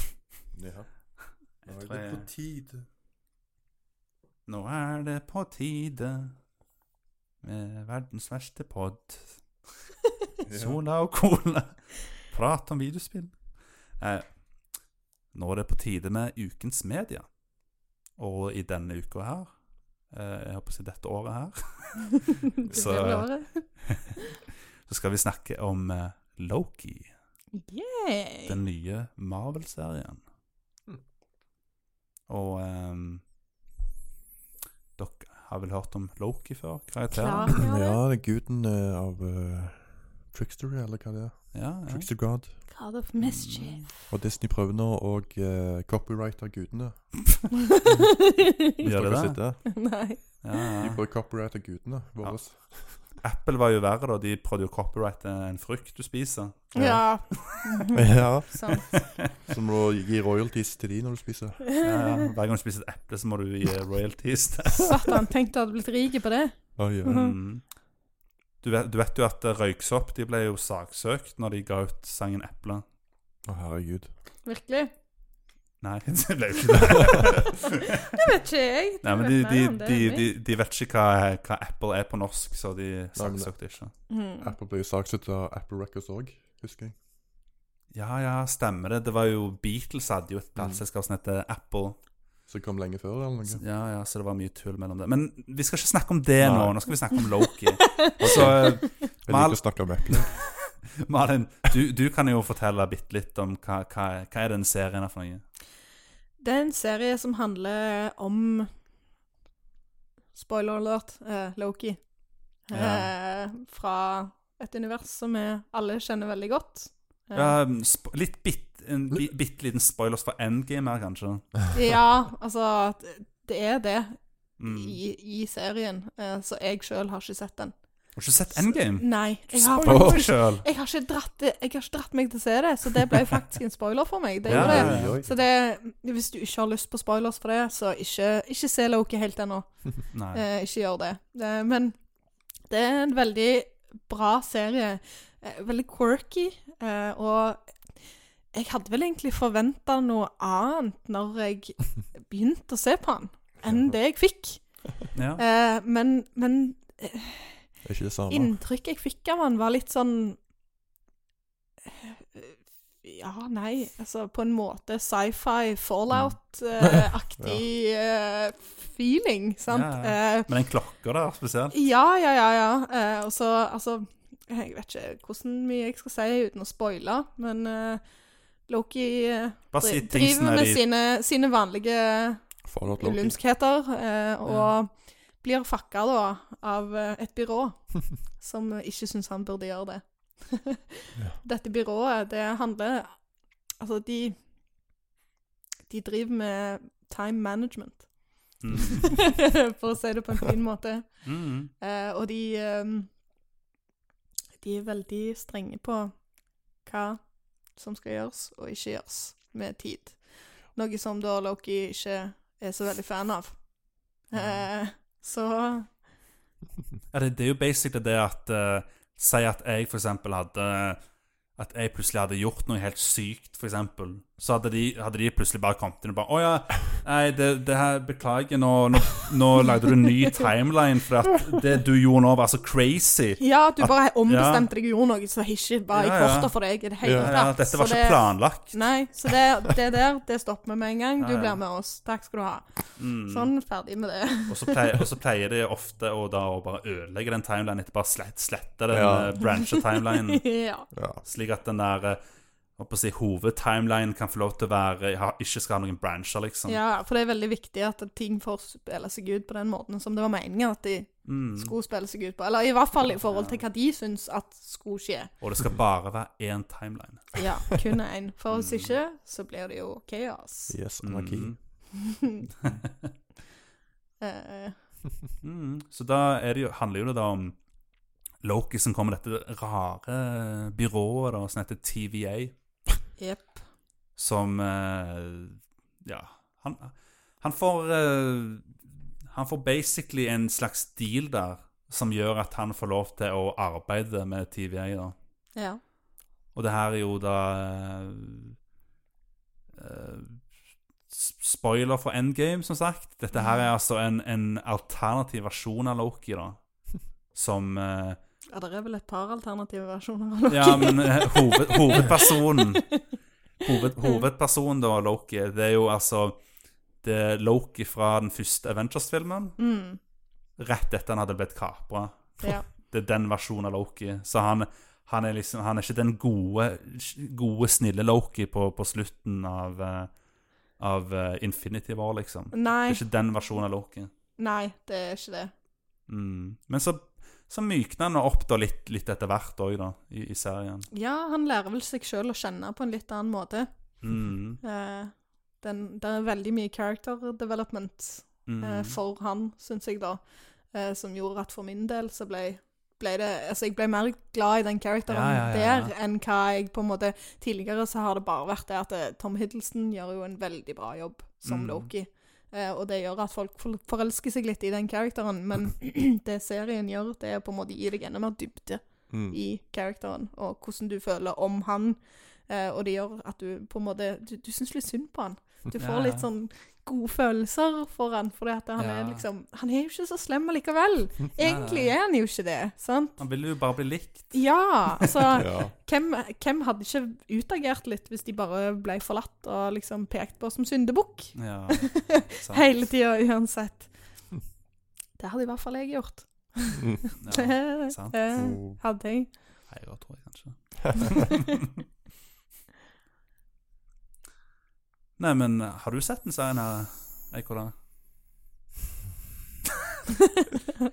[SPEAKER 2] ja. Nå
[SPEAKER 1] tror jeg-
[SPEAKER 2] tide.
[SPEAKER 1] Nå er det på tide med verdens verste pod. Sola og cola. Prat om videospill. Eh, nå er det på tide med ukens media. Og i denne uka her, eh, jeg håper å si dette året her,
[SPEAKER 3] Det
[SPEAKER 1] Så-
[SPEAKER 3] blir året.
[SPEAKER 1] så skal vi snakke om eh, Loki,
[SPEAKER 3] Yay!
[SPEAKER 1] den nye Marvel-serien.
[SPEAKER 2] Mm.
[SPEAKER 1] Og ehm, dere har vel hørt om Loki før?
[SPEAKER 3] Klar,
[SPEAKER 1] Karakteren?
[SPEAKER 3] ja.
[SPEAKER 2] Ja, det er guden eh, av eh, Trickster, eller hva det er.
[SPEAKER 1] Ja, ja.
[SPEAKER 2] Trickster God.
[SPEAKER 3] God of mischief.
[SPEAKER 2] Og Disney prøver nå å eh, copyrighte gudene.
[SPEAKER 1] [LAUGHS] Gjør
[SPEAKER 2] Hvis
[SPEAKER 1] det
[SPEAKER 2] dere
[SPEAKER 1] det?
[SPEAKER 2] sitter.
[SPEAKER 3] [LAUGHS] Nei.
[SPEAKER 1] Ja,
[SPEAKER 2] De
[SPEAKER 1] ja.
[SPEAKER 2] prøver å copyrighte gudene våre.
[SPEAKER 1] Apple var jo verre, da. De prøvde jo å copyrighte en frukt du spiser.
[SPEAKER 3] Ja,
[SPEAKER 2] [LAUGHS]
[SPEAKER 1] [LAUGHS]
[SPEAKER 2] Ja.
[SPEAKER 3] sånn.
[SPEAKER 2] Som må gi royalties til de når du spiser.
[SPEAKER 1] Ja, ja. Hver gang du spiser et eple, så må du gi royalties.
[SPEAKER 3] [LAUGHS]
[SPEAKER 1] til-
[SPEAKER 3] Satan, tenkte jeg hadde blitt rik på det.
[SPEAKER 2] Oh, ja.
[SPEAKER 1] Mm. Du, vet, du vet jo at eh, Røyksopp de ble jo saksøkt når de ga ut sangen 'Eple'.
[SPEAKER 2] Å, herregud.
[SPEAKER 1] [LAUGHS]
[SPEAKER 3] Virkelig.
[SPEAKER 1] Nei, [LAUGHS] det ble jo ikke det.
[SPEAKER 3] Det vet ikke jeg. Du
[SPEAKER 1] Nei, men de,
[SPEAKER 3] vet mer om
[SPEAKER 1] de,
[SPEAKER 3] det
[SPEAKER 1] de,
[SPEAKER 3] enn
[SPEAKER 1] de, de vet ikke hva, hva Apple er på norsk, så de saksøkte ikke.
[SPEAKER 3] meg. Mm.
[SPEAKER 2] Apple ble jo saksøkt av Apple Records òg, husker jeg.
[SPEAKER 1] Ja, ja, stemmer det. Det var jo Beatles hadde jo et plateselskap som het Apple.
[SPEAKER 2] Som kom lenge før, eller noe.
[SPEAKER 1] Ja, ja, så det var mye tull mellom det. Men vi skal ikke snakke om det
[SPEAKER 2] Nei.
[SPEAKER 1] nå. Nå skal vi snakke om
[SPEAKER 3] [LAUGHS]
[SPEAKER 1] Loki. Så eh,
[SPEAKER 2] Jeg liker å snakke om eple.
[SPEAKER 1] Malin, du, du kan jo fortelle bitte litt om hva, hva, hva er den serien er for noe.
[SPEAKER 3] Det er en serie som handler om Spoiler alert eh, Loki.
[SPEAKER 1] Ja.
[SPEAKER 3] Eh, fra et univers som vi alle kjenner veldig godt. Eh,
[SPEAKER 1] Ja, mm, sp litt bitt, en bi bitte liten spoilers for Endgame her, kanskje.
[SPEAKER 3] ja, altså det- Det er det
[SPEAKER 1] Mm. Du
[SPEAKER 3] i, i serien, eh, så jeg sjøl har ikke sett den.
[SPEAKER 1] har ikke sett Endgame?
[SPEAKER 3] Nei. Jeg har,
[SPEAKER 1] Spoiler
[SPEAKER 3] faktisk,
[SPEAKER 1] deg sjøl!
[SPEAKER 3] jeg har, ikke, dratt, det- jeg har ikke dratt meg til å se det, så det ble faktisk en spoiler for meg. Det
[SPEAKER 1] Ja,
[SPEAKER 3] gjorde det.
[SPEAKER 1] ja, ja.
[SPEAKER 3] Så det, hvis du ikke har lyst på spoilers for det, så ikke, ikke se Loki helt ennå.
[SPEAKER 1] Nei.
[SPEAKER 3] Eh, ikke gjør det. Eh, men det er en veldig bra serie. Eh, veldig quirky. Eh, og jeg hadde vel egentlig forventa noe annet når
[SPEAKER 1] [LAUGHS]
[SPEAKER 3] jeg begynte å se på den, enn det jeg fikk.
[SPEAKER 1] Ja.
[SPEAKER 3] Eh, men, men
[SPEAKER 1] Sånn
[SPEAKER 2] Det er ikke det samme.
[SPEAKER 3] inntrykket jeg fikk av han var litt sånn Ja, nei, altså på en måte sci-fi,
[SPEAKER 1] Mm. [LAUGHS]
[SPEAKER 3] fallout-aktig eh, feeling, sant?
[SPEAKER 1] Ja,
[SPEAKER 3] Eh,
[SPEAKER 1] Men den klokka der, spesielt.
[SPEAKER 3] Ja, ja, ja. ja. Eh, og så, altså Jeg vet ikke hvordan mye jeg skal si uten å spoile, men eh, Loki eh,
[SPEAKER 1] Bare si
[SPEAKER 3] dri-
[SPEAKER 1] ting som er
[SPEAKER 3] driver med
[SPEAKER 1] i
[SPEAKER 3] sine, sine vanlige
[SPEAKER 2] Fallout Loki.
[SPEAKER 3] ulumskheter eh, og blir fakka da av eh, et byrå som ikke syns han burde gjøre det. [LAUGHS] Dette byrået, det handler Altså, de De driver med time management,
[SPEAKER 1] mm.
[SPEAKER 3] for å si det på en fin måte.
[SPEAKER 1] Mm.
[SPEAKER 3] Eh, og de ehm, De er veldig strenge på hva som skal gjøres og ikke gjøres med tid. Noe som da Loki ikke er så veldig fan av. Eh, så
[SPEAKER 1] Ja, det, det er jo basically det at eh, Si at jeg for eksempel hadde At jeg plutselig hadde gjort noe helt sykt, for eksempel. Så hadde de, hadde de plutselig bare kommet inn og bare Å ja, nei, det, det her Beklager, nå, nå, nå lagde du en ny timeline, for at det du gjorde nå, var så crazy.
[SPEAKER 3] Ja, at du bare ombestemte deg og gjorde noe som ikke var i
[SPEAKER 1] Ja, ja.
[SPEAKER 3] korta for deg i det hele
[SPEAKER 1] Ja, ja,
[SPEAKER 3] tatt.
[SPEAKER 1] dette var
[SPEAKER 3] Så
[SPEAKER 1] ikke planlagt.
[SPEAKER 3] Nei, så det, det der, det stopper vi med en gang. Du
[SPEAKER 1] Ja, ja.
[SPEAKER 3] blir med oss. Takk skal du ha.
[SPEAKER 1] Mm.
[SPEAKER 3] Sånn, ferdig med det.
[SPEAKER 1] Og så pleier, og så pleier de ofte å da å bare ødelegge den timelinen etter bare slett, slette den
[SPEAKER 2] Ja.
[SPEAKER 1] eh, brancha-timelinen.
[SPEAKER 3] [LAUGHS] ja.
[SPEAKER 2] Ja.
[SPEAKER 1] Slik at den der eh, hva på å si, hovedtimelinen kan få lov til å være ha, Ikke skal ha noen brancher, liksom.
[SPEAKER 3] ja, for det er veldig viktig at ting får spille seg ut på den måten som det var meningen at de
[SPEAKER 1] Mm.
[SPEAKER 3] skulle spille seg ut på. Eller i hvert fall i forhold til hva de syns at skulle skje.
[SPEAKER 1] Og det skal bare være én timeline.
[SPEAKER 3] Ja, kun én. For hvis ikke, så blir det jo kaos.
[SPEAKER 2] Yes, anarki.
[SPEAKER 1] Mm.
[SPEAKER 3] [LAUGHS]
[SPEAKER 1] [LAUGHS]
[SPEAKER 3] Eh,
[SPEAKER 1] Mm. Så da er det jo, handler jo det da om Loki som kommer med dette rare byrået da, som heter TVA,
[SPEAKER 3] Jepp.
[SPEAKER 1] som eh, Ja, han, han får eh, Han får basically en slags deal der som gjør at han får lov til å arbeide med TVA, da.
[SPEAKER 3] Ja.
[SPEAKER 1] Og det her er jo da eh, s- Spoiler for Endgame, som sagt. Dette her er altså en, en alternativ versjon av Loki, da. Som eh,
[SPEAKER 3] ja, det er vel et par alternative versjoner av
[SPEAKER 1] Ja, men eh, hoved, hovedpersonen hoved, Hovedpersonen, da, Loki, det er jo altså det er Loki fra den første Avengers-filmen.
[SPEAKER 3] Mm,
[SPEAKER 1] Rett etter han hadde blitt kapra.
[SPEAKER 3] ja.
[SPEAKER 1] [LAUGHS] Det er den versjonen av Loki. Så han, han, er, liksom, han er ikke den gode, gode snille Loki på, på slutten av, eh, av eh, Infinity War, liksom. Det
[SPEAKER 3] Nei,
[SPEAKER 1] er ikke den versjonen av Loki.
[SPEAKER 3] nei, det er ikke det.
[SPEAKER 1] Mm. Men så, så mykner han opp da litt, litt etter hvert òg, da, i, i serien.
[SPEAKER 3] Ja, han lærer vel seg sjøl å kjenne på en litt annen måte.
[SPEAKER 1] Mm.
[SPEAKER 3] Eh, den, det er veldig mye character development
[SPEAKER 1] Mm.
[SPEAKER 3] eh, for han, syns jeg, da. Eh, som gjorde at for min del så ble, ble det Altså, jeg ble mer glad i den characteren
[SPEAKER 1] Ja, ja, ja, ja.
[SPEAKER 3] der enn hva jeg på en måte Tidligere så har det bare vært det at eh, Tom Hiddleston gjør jo en veldig bra jobb som
[SPEAKER 1] Mm.
[SPEAKER 3] Loki. Eh, og det gjør at folk for- forelsker seg litt i den characteren, men [CLEARS THROAT] det serien gjør, det er på en måte å gi deg enda mer dybde
[SPEAKER 2] Mm.
[SPEAKER 3] i karakteren, og hvordan du føler om han. Eh, og det gjør at du på en måte Du, du syns litt synd på han. Du får
[SPEAKER 1] Ja, ja.
[SPEAKER 3] litt sånn gode følelser for han, fordi at han
[SPEAKER 1] Ja.
[SPEAKER 3] er liksom Han er jo ikke så slem allikevel. Egentlig er han jo ikke det, sant?
[SPEAKER 1] Han ville jo bare bli likt.
[SPEAKER 3] Ja, altså [LAUGHS]
[SPEAKER 2] Ja.
[SPEAKER 3] hvem, hvem hadde ikke utagert litt hvis de bare ble forlatt og liksom pekt på som [LAUGHS] syndebukk?
[SPEAKER 1] Ja, sant.
[SPEAKER 3] Hele tida uansett. Det hadde i hvert fall jeg gjort.
[SPEAKER 1] Ja.
[SPEAKER 3] [LAUGHS] Det
[SPEAKER 1] sant.
[SPEAKER 3] eh,
[SPEAKER 2] Mm.
[SPEAKER 3] hadde jeg.
[SPEAKER 1] Heier, tror jeg kanskje. [LAUGHS] Nei, men eh, har du sett den serien her, Eikola?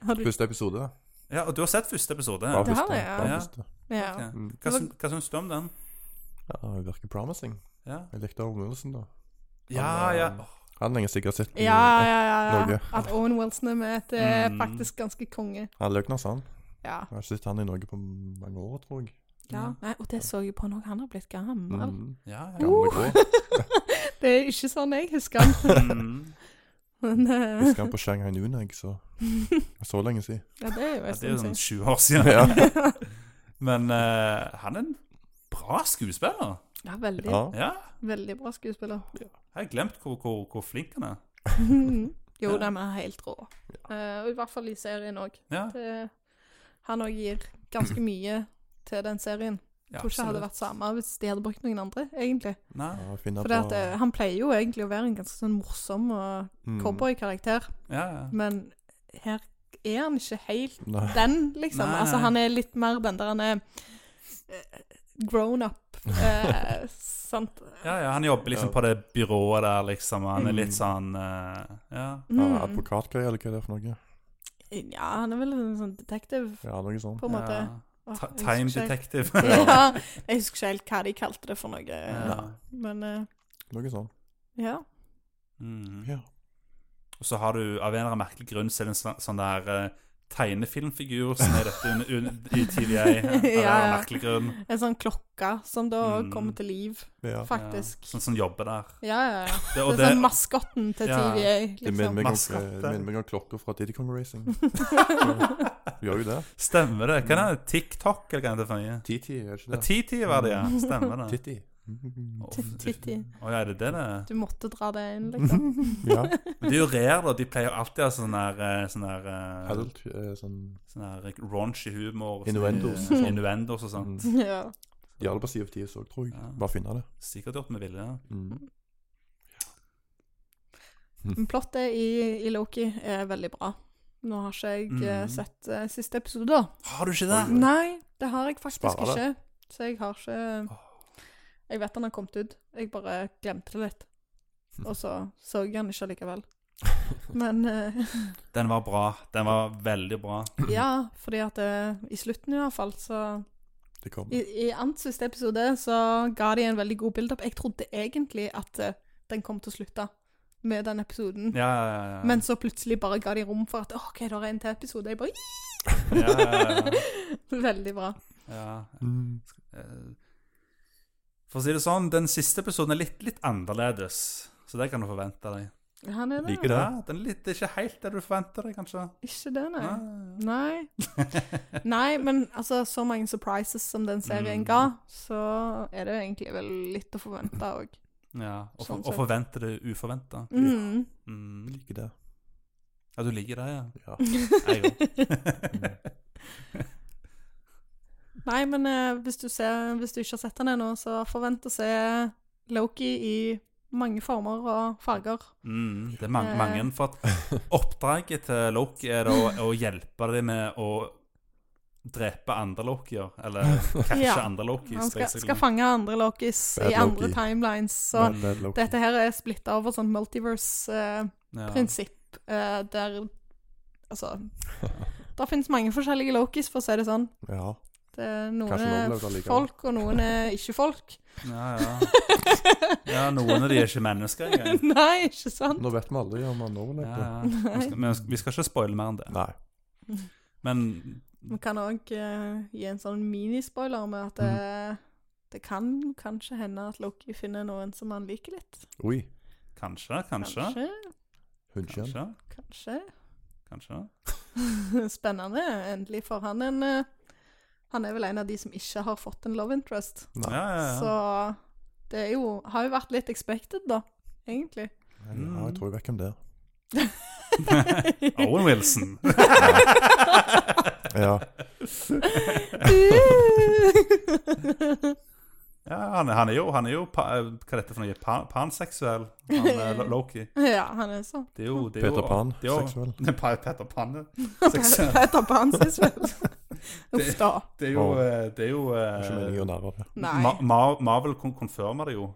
[SPEAKER 3] Har du
[SPEAKER 2] Første episode.
[SPEAKER 1] Ja, og du har sett første episode.
[SPEAKER 2] Bare
[SPEAKER 1] Ok.
[SPEAKER 3] det har
[SPEAKER 2] første.
[SPEAKER 3] jeg, ja.
[SPEAKER 2] Bare
[SPEAKER 1] Ja.
[SPEAKER 2] første.
[SPEAKER 3] Ja.
[SPEAKER 2] Mm.
[SPEAKER 1] Hva, syn, hva syns du om den?
[SPEAKER 2] Ja, det virker promising.
[SPEAKER 1] Ja,
[SPEAKER 2] Jeg likte Owen Wilson, da.
[SPEAKER 1] ja. ja. Åh,
[SPEAKER 2] Han har jeg sikkert sett i
[SPEAKER 3] Ja, ja, ja.
[SPEAKER 2] Norge.
[SPEAKER 3] ja. At Owen Wilson er med, det er
[SPEAKER 1] Mm.
[SPEAKER 3] faktisk ganske konge.
[SPEAKER 2] Han løgner, sa han.
[SPEAKER 3] Ja.
[SPEAKER 2] Jeg har ikke sett han i Norge på mange år, tror jeg.
[SPEAKER 1] Ja.
[SPEAKER 3] Nei, og det så jeg på når han har blitt gammel. [LAUGHS]
[SPEAKER 2] Mm.
[SPEAKER 1] ja, ja.
[SPEAKER 2] Gamle grå.
[SPEAKER 3] Det er ikke sånn jeg husker han. [LAUGHS]
[SPEAKER 2] [LAUGHS]
[SPEAKER 1] Mm.
[SPEAKER 3] Men eh,
[SPEAKER 2] Husker han på Shanghai Noon, jeg, så
[SPEAKER 3] [LAUGHS]
[SPEAKER 2] Så lenge siden.
[SPEAKER 3] ja, det er jo
[SPEAKER 1] ja
[SPEAKER 3] en
[SPEAKER 1] det er jo
[SPEAKER 3] stund
[SPEAKER 1] sånn
[SPEAKER 3] siden.
[SPEAKER 1] sju år siden.
[SPEAKER 2] Ja.
[SPEAKER 1] [LAUGHS] Men eh, han er en bra skuespiller.
[SPEAKER 3] Ja, veldig,
[SPEAKER 2] ja.
[SPEAKER 1] Ja,
[SPEAKER 3] veldig bra [LAUGHS] skuespiller.
[SPEAKER 1] jeg har glemt hvor, hvor, hvor flink han er.
[SPEAKER 3] jo, de er helt rå. Eh, og i hvert fall i serien òg.
[SPEAKER 1] Ja,
[SPEAKER 3] Han òg gir ganske mye til den serien.
[SPEAKER 1] ja
[SPEAKER 3] Tror ikke det hadde
[SPEAKER 1] absolutt.
[SPEAKER 3] vært samme hvis de hadde brukt noen andre, egentlig.
[SPEAKER 1] Nei,
[SPEAKER 2] Ja, finne
[SPEAKER 3] For at,
[SPEAKER 2] på-
[SPEAKER 3] eh, han pleier jo egentlig å være en ganske sånn morsom og
[SPEAKER 2] Mm.
[SPEAKER 3] cowboykarakter.
[SPEAKER 1] ja, ja.
[SPEAKER 3] Men her er han ikke
[SPEAKER 1] [LAUGHS]
[SPEAKER 3] helt [LAUGHS]
[SPEAKER 2] Nei.
[SPEAKER 3] den, liksom.
[SPEAKER 1] Nei,
[SPEAKER 3] Altså,
[SPEAKER 1] nei.
[SPEAKER 3] han er litt mer den der han er eh, grown up.
[SPEAKER 1] [LAUGHS]
[SPEAKER 3] Eh, sant?
[SPEAKER 1] ja, ja. Han jobber liksom på
[SPEAKER 2] Ja.
[SPEAKER 1] det byrået der, liksom. Han er litt
[SPEAKER 2] Mm.
[SPEAKER 1] sånn eh, Ja.
[SPEAKER 2] Ja,
[SPEAKER 3] Mm.
[SPEAKER 2] Advokatgreier, eller hva det er for noe.
[SPEAKER 3] Ja, han er vel en sånn detektiv,
[SPEAKER 2] Ja, noe sånt.
[SPEAKER 3] på en måte.
[SPEAKER 1] Ja.
[SPEAKER 3] Åh,
[SPEAKER 1] Ta-
[SPEAKER 3] jeg
[SPEAKER 1] Time
[SPEAKER 3] husker ikke
[SPEAKER 1] detective.
[SPEAKER 3] helt- [LAUGHS] Ja, jeg husker ikke helt hva de kalte det for noe.
[SPEAKER 1] Ja.
[SPEAKER 3] Men eh,
[SPEAKER 2] Noe sånt.
[SPEAKER 3] ja.
[SPEAKER 1] Mm.
[SPEAKER 2] Ja.
[SPEAKER 1] Og så har du av en eller annen merkelig grunn så er det en sånn, sånn der eh, tegnefilmfigur som er dette un, un, i
[SPEAKER 3] [LAUGHS]
[SPEAKER 1] TVA. Av en eller
[SPEAKER 3] Ja,
[SPEAKER 1] annen
[SPEAKER 3] ja.
[SPEAKER 1] merkelig grunn.
[SPEAKER 3] En sånn klokke som da
[SPEAKER 1] Mm.
[SPEAKER 3] kommer til liv,
[SPEAKER 2] Ja.
[SPEAKER 1] Ja,
[SPEAKER 3] faktisk.
[SPEAKER 1] sånn som jobber der.
[SPEAKER 3] Ja, ja, ja.
[SPEAKER 1] Det,
[SPEAKER 3] Det
[SPEAKER 1] [LAUGHS] og
[SPEAKER 3] er
[SPEAKER 1] det,
[SPEAKER 3] sånn maskotten til
[SPEAKER 1] Ja.
[SPEAKER 3] TVA,
[SPEAKER 2] Det minner
[SPEAKER 3] liksom.
[SPEAKER 2] meg om-
[SPEAKER 1] Maskotte.
[SPEAKER 3] [LAUGHS]
[SPEAKER 2] det minner meg om klokka fra Diddy Kong Racing. Gjør jo det.
[SPEAKER 1] Stemmer det. Hva er det? TikTok, eller hva er det for noe?
[SPEAKER 2] Titi, gjør
[SPEAKER 1] Mm.
[SPEAKER 2] ikke
[SPEAKER 1] Ja, Mm.
[SPEAKER 2] det?
[SPEAKER 1] Titi var det, ja. Stemmer det.
[SPEAKER 2] Titti.
[SPEAKER 1] Å,
[SPEAKER 3] Titti.
[SPEAKER 1] Å ja, er det det det er?
[SPEAKER 3] Du måtte dra
[SPEAKER 1] [LAUGHS]
[SPEAKER 3] det inn,
[SPEAKER 2] [LAUGHS]
[SPEAKER 3] liksom. [LAUGHS]
[SPEAKER 2] Ja.
[SPEAKER 1] Men det er jo rare, da. De pleier alltid å ha sånn der eh, Sånn der, eh,
[SPEAKER 2] Adult, eh, sånn
[SPEAKER 1] sånn der raunchy humor.
[SPEAKER 2] Innuendos.
[SPEAKER 1] Sånn, innuendos og sånt.
[SPEAKER 3] ja.
[SPEAKER 2] De hadde bare sier tid så, tror jeg.
[SPEAKER 1] Ja.
[SPEAKER 2] Bare finne det.
[SPEAKER 1] Sikkert gjort med vilje.
[SPEAKER 2] Mm.
[SPEAKER 3] Men Plottet i, i Loki er veldig bra. Nå har ikke jeg eh,
[SPEAKER 1] Mm.
[SPEAKER 3] sett eh, siste episode, da.
[SPEAKER 1] Har du ikke det?
[SPEAKER 3] Nei, det har jeg faktisk
[SPEAKER 2] Sparer det.
[SPEAKER 3] ikke. Så jeg har ikke Jeg vet den har kommet ut, jeg bare glemte det litt. Og så så jeg den ikke likevel. Men eh,
[SPEAKER 1] Den var bra. Den var veldig bra.
[SPEAKER 3] ja, fordi at eh, i slutten i hvert fall, så
[SPEAKER 2] Det kommer.
[SPEAKER 3] I, i Ants siste episode så ga de en veldig god build-up. Jeg trodde egentlig at eh, den kom til å slutte med den episoden.
[SPEAKER 1] Ja, ja, ja, ja.
[SPEAKER 3] Men så plutselig bare ga de rom for at «Å, OK, det er en til episode. Jeg bare
[SPEAKER 1] ja, ja, ja,
[SPEAKER 3] [LAUGHS] Veldig bra.
[SPEAKER 1] ja.
[SPEAKER 2] Mm.
[SPEAKER 1] Eh, For å si det sånn, den siste episoden er litt, litt annerledes. Så det kan du forvente deg.
[SPEAKER 3] Han er det.
[SPEAKER 2] Liker det.
[SPEAKER 1] Ja, den er litt, det er ikke helt det du forventer deg, kanskje.
[SPEAKER 3] Ikke det, nei.
[SPEAKER 1] Ja,
[SPEAKER 3] Nei. Nei, men altså, så mange surprises som den serien ga, så er det egentlig vel litt å forvente òg.
[SPEAKER 1] ja. Og, for,
[SPEAKER 3] Sånn
[SPEAKER 1] og
[SPEAKER 3] sett.
[SPEAKER 1] forvente det uforventa.
[SPEAKER 3] Mm. [LAUGHS]
[SPEAKER 1] Mm.
[SPEAKER 2] Liker det.
[SPEAKER 1] Ja, du liker det, ja.
[SPEAKER 2] Ja.
[SPEAKER 1] Jeg òg.
[SPEAKER 3] Nei, men eh, hvis, du ser, hvis du ikke har sett den ennå, så forvent å se Loki i mange former og farger.
[SPEAKER 1] Mm, det er mange,
[SPEAKER 3] Eh.
[SPEAKER 1] mange for at oppdraget til Loki er da å, å hjelpe dem med å drepe andre Lokier, eller catche
[SPEAKER 3] Ja.
[SPEAKER 1] andre Lokis,
[SPEAKER 3] Han skal,
[SPEAKER 1] basically.
[SPEAKER 3] skal fange andre Lokis
[SPEAKER 2] Bad
[SPEAKER 3] i andre
[SPEAKER 2] Loki.
[SPEAKER 3] timelines, [LAUGHS] så
[SPEAKER 2] Men det er Loki.
[SPEAKER 3] dette her er splitta over sånn eh, multiverse-prinsipp,
[SPEAKER 1] Ja.
[SPEAKER 3] eh, der Altså
[SPEAKER 1] [LAUGHS]
[SPEAKER 3] Det finnes mange forskjellige Lokis, for å si det sånn.
[SPEAKER 2] Ja.
[SPEAKER 3] Det er noen
[SPEAKER 2] Kanskje
[SPEAKER 3] er
[SPEAKER 2] noen blir glad likevel.
[SPEAKER 3] folk, og noen er ikke folk.
[SPEAKER 1] Ja, ja. ja, noen av de er ikke
[SPEAKER 3] [LAUGHS]
[SPEAKER 1] mennesker engang.
[SPEAKER 3] Nei, ikke sant?
[SPEAKER 2] Nå vet vi aldri om han
[SPEAKER 1] Ja,
[SPEAKER 2] overlevde.
[SPEAKER 1] ja. Vi skal- Men vi skal ikke spoile mer enn det.
[SPEAKER 2] Nei.
[SPEAKER 1] Men
[SPEAKER 3] Vi kan òg gi en sånn minispoiler med
[SPEAKER 1] Mm.
[SPEAKER 3] at det, det kan kanskje hende at Loki finner noen som han liker litt.
[SPEAKER 2] Oi.
[SPEAKER 1] kanskje, kanskje.
[SPEAKER 3] Kanskje.
[SPEAKER 2] Hundkjønn.
[SPEAKER 1] Kanskje.
[SPEAKER 3] Kanskje. [LAUGHS]
[SPEAKER 1] kanskje.
[SPEAKER 3] Spennende. Endelig får han en eh, Han er vel en av de som ikke har fått en love interest.
[SPEAKER 1] Ja,
[SPEAKER 2] Nei.
[SPEAKER 1] ja,
[SPEAKER 3] Så
[SPEAKER 1] ja.
[SPEAKER 3] det er jo Har jo vært litt expected, da. Egentlig.
[SPEAKER 2] Nei, Ja,
[SPEAKER 1] Mm.
[SPEAKER 2] jeg tror jeg vet hvem
[SPEAKER 1] [LAUGHS]
[SPEAKER 2] det er.
[SPEAKER 1] Owen Wilson.
[SPEAKER 2] Ja.
[SPEAKER 1] Ja, han, han er jo, han er jo pa, Hva er dette for noe? Pan, panseksuell?
[SPEAKER 3] [LAUGHS]
[SPEAKER 1] Han er Lo- Loki.
[SPEAKER 3] [LAUGHS] ja, han er sånn. [LAUGHS]
[SPEAKER 1] Det er jo, det er jo,
[SPEAKER 2] Peter Pan.
[SPEAKER 1] det er jo- [LAUGHS]
[SPEAKER 2] Seksuell.
[SPEAKER 1] Det er pa- Peter Pan er seksuell.
[SPEAKER 3] Peter Pan sin sverd. Uff da.
[SPEAKER 1] Det er jo, eh, det er jo
[SPEAKER 2] Det er Ikke meningen
[SPEAKER 1] eh,
[SPEAKER 2] å nære
[SPEAKER 1] [LAUGHS]
[SPEAKER 2] det.
[SPEAKER 3] Nei.
[SPEAKER 1] Ma Ma Marvel kon- konfirmer det jo.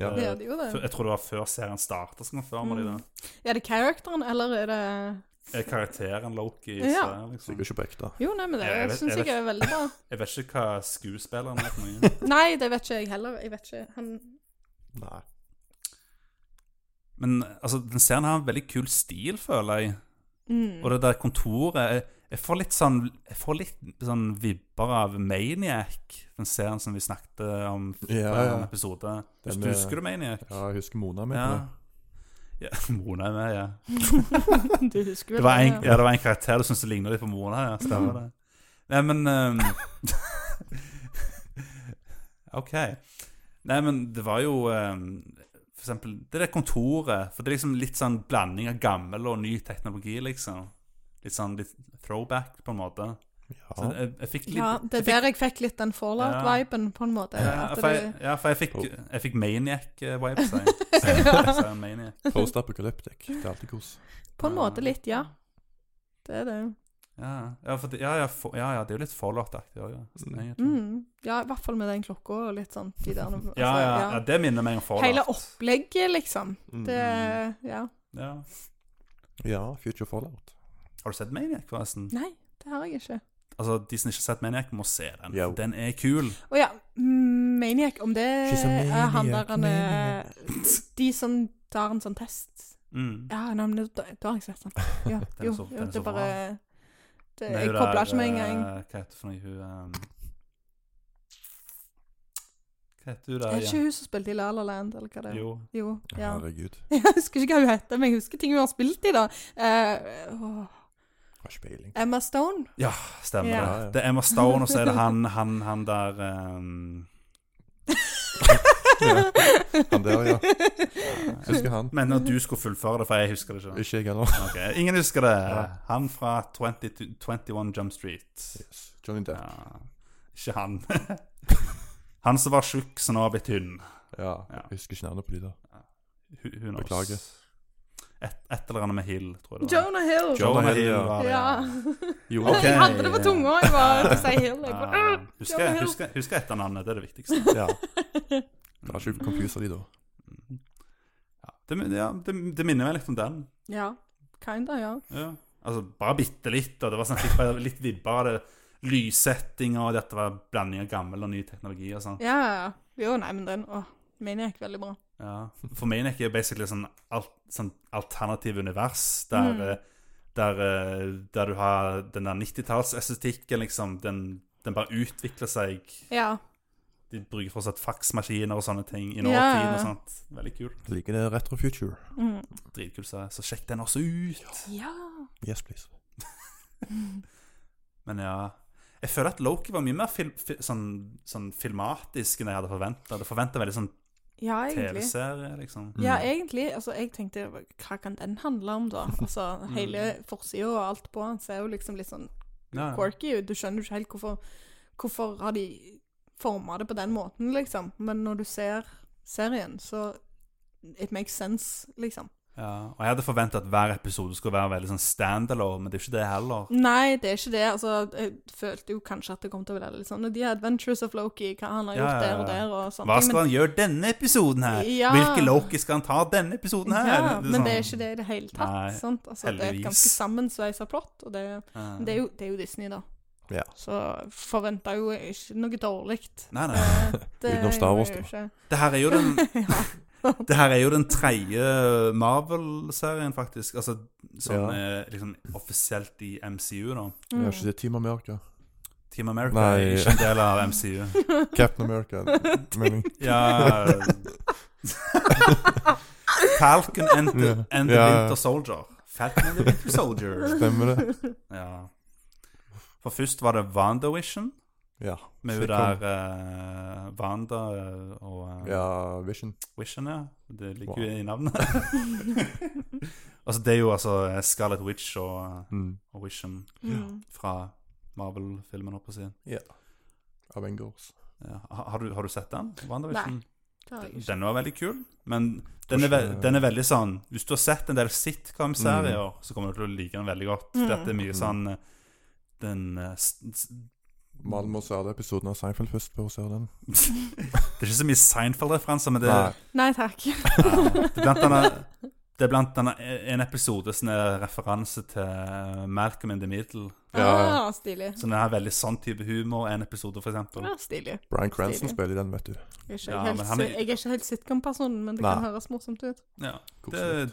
[SPEAKER 2] Ja.
[SPEAKER 3] Det gjør det jo,
[SPEAKER 1] Før-
[SPEAKER 3] det.
[SPEAKER 1] Jeg tror det var før serien starta som konfirmer de det.
[SPEAKER 3] Er det characteren, eller er det
[SPEAKER 1] Er karakteren Loki i
[SPEAKER 3] Mm. Ja.
[SPEAKER 1] serien, liksom?
[SPEAKER 2] Sikkert ikke på ekte.
[SPEAKER 3] Jo, nei, men
[SPEAKER 1] Jeg
[SPEAKER 3] det
[SPEAKER 1] vet-
[SPEAKER 3] syns
[SPEAKER 1] jeg
[SPEAKER 3] jeg er veldig bra.
[SPEAKER 1] Jeg vet ikke hva skuespilleren er for noe.
[SPEAKER 3] [LAUGHS] Nei, det vet ikke jeg heller. Jeg vet ikke. Han
[SPEAKER 2] Nei.
[SPEAKER 1] Men altså, den serien har en veldig kul stil, føler jeg.
[SPEAKER 3] Mm.
[SPEAKER 1] Og det der kontoret jeg, jeg får litt sånn Jeg får litt sånn vibber av Maniac, den serien som vi snakket om i
[SPEAKER 2] Ja, ja.
[SPEAKER 1] en episode.
[SPEAKER 2] Den
[SPEAKER 1] Husker,
[SPEAKER 2] med-
[SPEAKER 1] husker du Maniac?
[SPEAKER 2] Ja, jeg husker Mona mi.
[SPEAKER 1] Ja.
[SPEAKER 2] Ja.
[SPEAKER 1] ja. [LAUGHS] Mona er med, ja.
[SPEAKER 3] Mm, Du husker
[SPEAKER 1] Det var en, ja, det var en karakter du syntes det lignet litt på Mona, ja. Stemmer det. Nei, men ehm, [LAUGHS] OK. Nei, men det var jo ehm, For eksempel det der kontoret. For det er liksom litt sånn blanding av gammel og ny teknologi, liksom. Litt sånn litt throwback, på en måte. Så jeg, jeg fikk litt
[SPEAKER 3] Ja, det er der jeg fikk litt den fallout-viben, på en måte.
[SPEAKER 1] Ja,
[SPEAKER 3] At
[SPEAKER 1] for jeg,
[SPEAKER 3] det-
[SPEAKER 1] ja, for jeg fikk, jeg fikk maniac-vibes. Jeg.
[SPEAKER 3] [LAUGHS]
[SPEAKER 1] Så jeg maniac. [LAUGHS]
[SPEAKER 2] Post apocalyptic. Det er alltid kos.
[SPEAKER 3] På en
[SPEAKER 1] Mm.
[SPEAKER 3] måte litt, ja. Det er det.
[SPEAKER 1] Ja, ja, for det, ja, ja, for, ja, ja, det er jo litt Fallout-aktig òg, ja.
[SPEAKER 2] Mm.
[SPEAKER 1] egentlig.
[SPEAKER 3] Mm. Ja, i hvert fall med den klokka og litt sånn. De
[SPEAKER 1] [LAUGHS]
[SPEAKER 3] der, altså,
[SPEAKER 1] Ja, ja, ja, det minner meg om Fallout.
[SPEAKER 3] Hele opplegget, liksom.
[SPEAKER 1] Mm.
[SPEAKER 3] Det Ja.
[SPEAKER 1] Ja.
[SPEAKER 2] Ja, Future Fallout.
[SPEAKER 1] Har du sett Maniac, forresten?
[SPEAKER 3] Nei, det har jeg ikke.
[SPEAKER 1] Altså, De som ikke har sett Maniac, må se den.
[SPEAKER 2] Jo.
[SPEAKER 1] Den er kul.
[SPEAKER 3] Å ja, mm, Maniac, om det
[SPEAKER 2] She's a
[SPEAKER 3] er han der
[SPEAKER 2] maniac,
[SPEAKER 3] han er De som tar en sånn test
[SPEAKER 1] Mm.
[SPEAKER 3] Ja, nei, men da, da har jeg sett den. Ja,
[SPEAKER 1] er
[SPEAKER 3] jo,
[SPEAKER 1] så- [LAUGHS] den er
[SPEAKER 3] jo, det
[SPEAKER 1] så
[SPEAKER 3] er bare det,
[SPEAKER 1] Men
[SPEAKER 3] Jeg
[SPEAKER 1] hun der,
[SPEAKER 3] kobla ikke med en
[SPEAKER 1] eh,
[SPEAKER 3] gang.
[SPEAKER 1] Hva heter for noe hun ehm, Hva heter hun
[SPEAKER 3] Er
[SPEAKER 1] der
[SPEAKER 3] det ikke hun som spilte i La La Land, eller hva det er?
[SPEAKER 1] Jo.
[SPEAKER 3] Jo, ja. [LAUGHS]
[SPEAKER 2] Herregud.
[SPEAKER 3] Jeg husker ikke hva hun heter, men jeg husker ting hun har spilt i, da. Eh, åh,
[SPEAKER 2] Har ikke peiling.
[SPEAKER 3] Emma Stone.
[SPEAKER 1] [LAUGHS]
[SPEAKER 3] [LAUGHS]
[SPEAKER 1] Stemmer
[SPEAKER 3] Ja.
[SPEAKER 2] Ja,
[SPEAKER 1] det.
[SPEAKER 2] ja.
[SPEAKER 1] Det er Emma Stone, og så er det han, han, han der ehm,
[SPEAKER 2] Han der, ja. Husker han.
[SPEAKER 1] Men når du skulle fullføre det, for jeg husker det ikke.
[SPEAKER 2] Ikke jeg heller.
[SPEAKER 1] Ok, Ingen husker det.
[SPEAKER 2] Ja.
[SPEAKER 1] Han fra 20, to- 21 Jump Street.
[SPEAKER 2] Yes. Johnny
[SPEAKER 1] Ja.
[SPEAKER 2] Depp.
[SPEAKER 1] Ikke han. [LAUGHS] han som var tjukk, som nå har blitt tynn.
[SPEAKER 2] Ja.
[SPEAKER 1] Ja.
[SPEAKER 2] Jeg husker ikke navnet på de
[SPEAKER 3] [LAUGHS]
[SPEAKER 2] der.
[SPEAKER 1] Who- who knows?
[SPEAKER 2] Beklager.
[SPEAKER 1] Et, et eller annet med Hill, tror jeg det var.
[SPEAKER 3] Jonah Hill.
[SPEAKER 1] Jonah Hill.
[SPEAKER 2] Ja.
[SPEAKER 1] var det,
[SPEAKER 3] [LAUGHS] ja.
[SPEAKER 2] Jo,
[SPEAKER 1] Ok. Ah.
[SPEAKER 3] Jeg hadde det på tunga. Jeg var å si Hill. Jeg bare,
[SPEAKER 1] Ja.
[SPEAKER 3] Jonah
[SPEAKER 1] Husker,
[SPEAKER 3] Hill.
[SPEAKER 1] husker, husker etternavnet, det er det
[SPEAKER 3] [LAUGHS]
[SPEAKER 1] viktigste.
[SPEAKER 2] Ja. Det var ikke confuse de da.
[SPEAKER 1] Ja, det, min- ja, det, det minner meg litt om den.
[SPEAKER 3] ja. Kinda, ja.
[SPEAKER 1] Ja. Altså, bare bitte litt, og det var sånn, litt, bare- litt vibber av det. Lyssettinger, og dette var blanding av gammel og ny teknologi og sånn.
[SPEAKER 3] Ja, ja. Jo, nei, men den å, min gikk veldig bra.
[SPEAKER 1] Ja. For Maniac er jo basically sånn, alt, sånn alternativ univers, der,
[SPEAKER 3] Mm.
[SPEAKER 1] eh, der, eh, der du har den der 90-tallsestetikken, liksom, den, den bare utvikler seg.
[SPEAKER 3] Ja.
[SPEAKER 1] De bruker fortsatt faksmaskiner og sånne ting i
[SPEAKER 3] Ja.
[SPEAKER 1] nåtiden og sånt. Veldig kult.
[SPEAKER 2] Liker det retro future.
[SPEAKER 3] Mm.
[SPEAKER 1] Dritkult, så så sjekk den også ut.
[SPEAKER 3] ja.
[SPEAKER 2] Yes, please.
[SPEAKER 1] Men ja Jeg føler at Loki var mye mer fil, fi- sånn, sånn filmatisk enn jeg hadde forventa. Hadde forventa veldig sånn
[SPEAKER 3] Ja, egentlig.
[SPEAKER 1] TV-serie, liksom.
[SPEAKER 2] Mm.
[SPEAKER 3] Ja, egentlig. Altså, jeg tenkte hva kan den handle om, da?
[SPEAKER 1] [LAUGHS]
[SPEAKER 3] Altså,
[SPEAKER 1] Mm.
[SPEAKER 3] hele forsida og alt på den ser jo liksom litt sånn
[SPEAKER 1] Ja, ja.
[SPEAKER 3] quirky ut. Du skjønner jo ikke helt hvorfor Hvorfor har de forma det på den måten, liksom. Men når du ser serien, så It makes sense, liksom.
[SPEAKER 1] ja. Og jeg hadde forventa at hver episode skulle være veldig sånn standalone, men det er jo ikke det heller.
[SPEAKER 3] Nei, det er ikke det. Altså, jeg følte jo kanskje at det kom til å være litt sånn De Adventures of Loki, hva han har
[SPEAKER 1] Ja, ja, ja.
[SPEAKER 3] gjort der og der og sånne
[SPEAKER 1] Hva skal han gjøre denne episoden her?
[SPEAKER 3] Ja.
[SPEAKER 1] Hvilke Loki skal han ta denne episoden her?
[SPEAKER 3] Ja,
[SPEAKER 1] er
[SPEAKER 3] men det er
[SPEAKER 1] sånn-
[SPEAKER 3] ikke det i det hele tatt.
[SPEAKER 1] Nei,
[SPEAKER 3] sant? Altså, det er et
[SPEAKER 1] heldigvis.
[SPEAKER 3] ganske sammensveisa plott, og det,
[SPEAKER 1] Ja.
[SPEAKER 3] det, er jo, det er jo Disney, da.
[SPEAKER 2] Ja.
[SPEAKER 3] Så forventa jo ikke noe dårlig.
[SPEAKER 1] [LAUGHS] Nei, nei.
[SPEAKER 3] Det
[SPEAKER 2] Utenom Star Wars,
[SPEAKER 3] gjør
[SPEAKER 2] da.
[SPEAKER 1] [LAUGHS]
[SPEAKER 3] jeg
[SPEAKER 1] Det her er jo
[SPEAKER 3] jo ikke. [LAUGHS]
[SPEAKER 1] den
[SPEAKER 3] ja.
[SPEAKER 1] Det her er jo den tredje Marvel-serien, faktisk. Altså, som
[SPEAKER 2] Ja.
[SPEAKER 1] er liksom offisielt i MCU, da.
[SPEAKER 2] Jeg har
[SPEAKER 3] Mm.
[SPEAKER 2] ikke det Team
[SPEAKER 3] [LAUGHS]
[SPEAKER 2] America.
[SPEAKER 1] Team America
[SPEAKER 2] Nei.
[SPEAKER 1] er ikke en del av MCU.
[SPEAKER 2] Captain America.
[SPEAKER 3] [LAUGHS]
[SPEAKER 2] Men, [LAUGHS]
[SPEAKER 1] Ja Falcon and the,
[SPEAKER 2] Ja.
[SPEAKER 1] and the
[SPEAKER 2] Ja, ja.
[SPEAKER 1] Winter Soldier. Falcon and the Winter Soldier.
[SPEAKER 2] stemmer
[SPEAKER 3] [LAUGHS]
[SPEAKER 2] det?
[SPEAKER 1] Ja. For først var det WandaVision,
[SPEAKER 2] Ja.
[SPEAKER 1] med hun
[SPEAKER 2] Sikkert.
[SPEAKER 1] der eh, Wanda og eh,
[SPEAKER 2] Ja, Vision.
[SPEAKER 1] Vision, ja. Det ligger jo
[SPEAKER 2] Wow.
[SPEAKER 1] i navnet. [LAUGHS] altså, det er jo altså Scarlet Witch og eh,
[SPEAKER 2] Mm.
[SPEAKER 1] og Vision
[SPEAKER 3] Mm.
[SPEAKER 1] fra Marvel-filmen. holdt på å si.
[SPEAKER 2] Avengers.
[SPEAKER 1] Ja. Ha- Har, du, har du sett den? WandaVision?
[SPEAKER 3] Det har jeg ikke.
[SPEAKER 1] Den var veldig kul, men den er, ve
[SPEAKER 2] Kanskje-
[SPEAKER 1] den er veldig sånn Hvis du har sett en del sitcom-serier,
[SPEAKER 2] Mm.
[SPEAKER 1] så kommer du til å like den veldig godt.
[SPEAKER 3] Mm.
[SPEAKER 1] Dette er mye
[SPEAKER 2] Mhm.
[SPEAKER 1] sånn eh, den eh, s- s-
[SPEAKER 2] Malen må se alle episoden av Seinfeld først før hun ser den.
[SPEAKER 1] Det er ikke så mye Seinfeld-referanser, men det,
[SPEAKER 2] Nei.
[SPEAKER 1] [LAUGHS]
[SPEAKER 3] Nei takk.
[SPEAKER 1] ja, det er blant annet det er blant annet e- en episode som er referanse til eh, Malcolm in the Middle.
[SPEAKER 2] Ja.
[SPEAKER 3] Ah, stilig.
[SPEAKER 1] Så den har veldig sånn type humor. En episode, for eksempel.
[SPEAKER 3] Ja, stilig.
[SPEAKER 2] Brian Cranston
[SPEAKER 3] Stilig.
[SPEAKER 2] spiller i den, vet du.
[SPEAKER 3] Jeg er ikke,
[SPEAKER 1] Sånn. Ja,
[SPEAKER 3] helt,
[SPEAKER 1] men han er-
[SPEAKER 3] si- jeg er ikke helt sitcom-personen, men det
[SPEAKER 2] Nei.
[SPEAKER 3] kan høres morsomt ut.
[SPEAKER 1] Ja.
[SPEAKER 2] Koselig.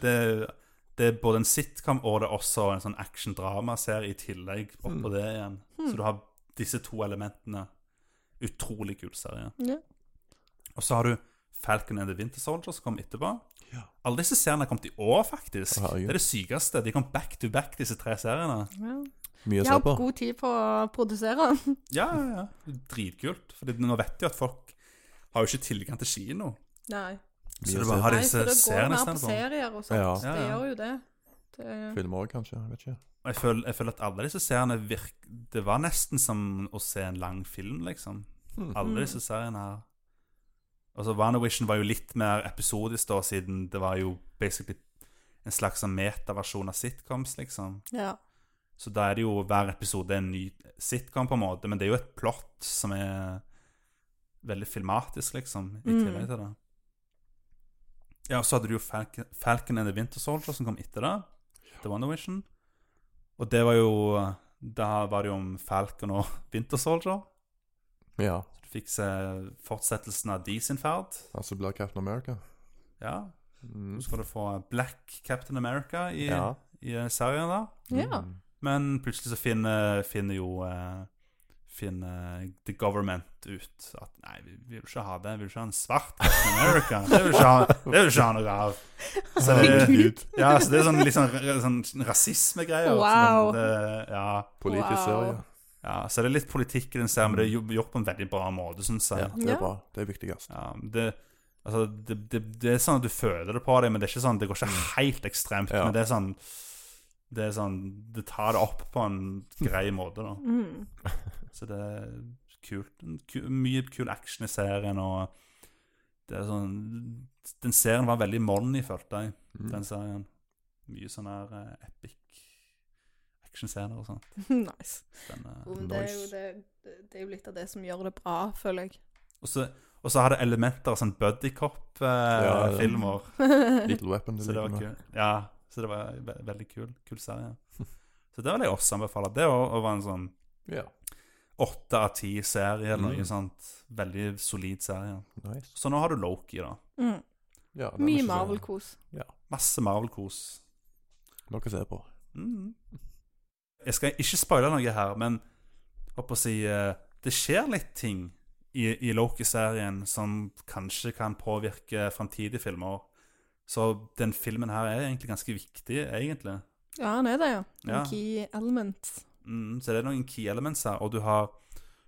[SPEAKER 1] Det, det, det er både en sitcom og det er også en sånn action-dramaserie i tillegg oppå
[SPEAKER 2] Hmm.
[SPEAKER 1] det igjen. Så du har disse to elementene. Utrolig kul serie.
[SPEAKER 3] Ja.
[SPEAKER 1] Og så har du Falcon and the Winter Soldier som kom etterpå.
[SPEAKER 2] Ja.
[SPEAKER 1] Alle disse seriene har kommet i år, faktisk.
[SPEAKER 2] Å, herregud.
[SPEAKER 1] det er det sykeste. De kom back to back, disse tre seriene.
[SPEAKER 3] Ja.
[SPEAKER 2] Mye å
[SPEAKER 3] Jeg
[SPEAKER 2] se
[SPEAKER 3] har
[SPEAKER 2] på.
[SPEAKER 3] god tid på å produsere.
[SPEAKER 1] Ja, ja, ja. Dritkult. For nå vet de jo at folk har jo ikke tilgang til kino.
[SPEAKER 3] Nei.
[SPEAKER 1] Så
[SPEAKER 2] Mye
[SPEAKER 1] du
[SPEAKER 2] å se
[SPEAKER 1] bare har
[SPEAKER 3] Nei,
[SPEAKER 1] disse
[SPEAKER 3] for det går
[SPEAKER 1] seriene
[SPEAKER 3] mer på
[SPEAKER 1] istedenfor.
[SPEAKER 3] serier og sånt.
[SPEAKER 2] Ja.
[SPEAKER 1] Ja,
[SPEAKER 3] Det
[SPEAKER 1] ja.
[SPEAKER 3] gjør jo det. det
[SPEAKER 2] Filmer òg, kanskje. Jeg vet ikke.
[SPEAKER 1] Og Jeg føler, jeg føler at alle disse seriene virk, Det var nesten som å se en lang film, liksom.
[SPEAKER 2] Mm.
[SPEAKER 1] Alle
[SPEAKER 3] Mm.
[SPEAKER 1] disse seriene her. Altså, WandaVision var jo litt mer episodisk da, siden det var jo basically en slags sånn metaversjon av sitcoms, liksom.
[SPEAKER 3] ja.
[SPEAKER 1] Så da er det jo hver episode en ny sitcom, på en måte, men det er jo et plott som er veldig filmatisk, liksom, i
[SPEAKER 3] Mm.
[SPEAKER 1] tillegg til det. Ja, og så hadde du jo Falcon, Falcon and the Winter Soldier som kom etter det, The WandaVision. Og det var jo Da var det jo om Falcon og Winter Soldier.
[SPEAKER 2] Ja.
[SPEAKER 1] Så du fikk se fortsettelsen av de sin ferd.
[SPEAKER 2] Han som blir Captain America.
[SPEAKER 1] Ja.
[SPEAKER 2] Mm.
[SPEAKER 1] Så skal du få Black Captain America i, Hmm.
[SPEAKER 2] Ja.
[SPEAKER 1] i serien, da.
[SPEAKER 3] Ja.
[SPEAKER 2] Mm.
[SPEAKER 1] Men plutselig så finner, finner jo eh, finner the government ut at nei, vi vi vil ikke ha det. Vi vil ikke ha en svart Captain America. Det vil vi ikke ha, det vil vi ikke ha noe av. Så det,
[SPEAKER 2] Herregud.
[SPEAKER 1] ja, så det er sånn, litt sånn, r- sånn rasismegreier.
[SPEAKER 3] Wow.
[SPEAKER 1] Sånn, det- ja,
[SPEAKER 2] Politiser, ja.
[SPEAKER 1] ja, så det er litt politikk i den serien, men det er jo gjort på en veldig bra måte, syns jeg.
[SPEAKER 2] ja. Det
[SPEAKER 3] Ja.
[SPEAKER 2] er bra. Det er viktigst.
[SPEAKER 1] Ja, det, altså, det, det, det er sånn at du føler det på deg, men det er ikke sånn, det går ikke helt ekstremt.
[SPEAKER 2] Mm. Ja.
[SPEAKER 1] Men det er sånn det, er sånn det tar det opp på en grei måte, da.
[SPEAKER 3] Mm. [LAUGHS]
[SPEAKER 1] Så det er kult. En ku- Mye kul action i serien, og det er sånn Den serien var veldig money, følte jeg,
[SPEAKER 2] Mm.
[SPEAKER 1] den serien. Mye sånn her eh, epic actionscener og sånt.
[SPEAKER 3] nice.
[SPEAKER 1] Den,
[SPEAKER 2] Mm.
[SPEAKER 1] eh,
[SPEAKER 3] Jo, men det, er jo, det, det er jo litt av det som gjør det bra, føler jeg.
[SPEAKER 1] Og så, og så har det elementer av sånn
[SPEAKER 2] Ja, ja.
[SPEAKER 1] buddycop-filmer.
[SPEAKER 2] Little Weapon.
[SPEAKER 1] så det var
[SPEAKER 2] med.
[SPEAKER 1] kul. Ja, så det var ve veldig kul, kul serie. Så det vil jeg også anbefale. Det å, å være en sånn
[SPEAKER 2] Ja.
[SPEAKER 1] åtte av ti serie eller noe
[SPEAKER 2] Mm.
[SPEAKER 1] sånt. Veldig solid serie.
[SPEAKER 2] Nice.
[SPEAKER 1] Så nå har du Loki, da.
[SPEAKER 3] Mm.
[SPEAKER 2] Ja, den er sånn. ikke
[SPEAKER 3] Mye
[SPEAKER 2] så-
[SPEAKER 3] Marvel-kos.
[SPEAKER 1] Masse Marvel-kos.
[SPEAKER 2] Noe å se på.
[SPEAKER 1] Mm. Jeg skal ikke spoile noe her, men jeg håper å si eh, det skjer litt ting i, i Loki-serien som kanskje kan påvirke framtidige filmer. Så den filmen her er egentlig ganske viktig, egentlig.
[SPEAKER 3] Ja, han er det, ja. En
[SPEAKER 1] Ja.
[SPEAKER 3] Key element.
[SPEAKER 1] Mm, så det er noen key elements her, og du har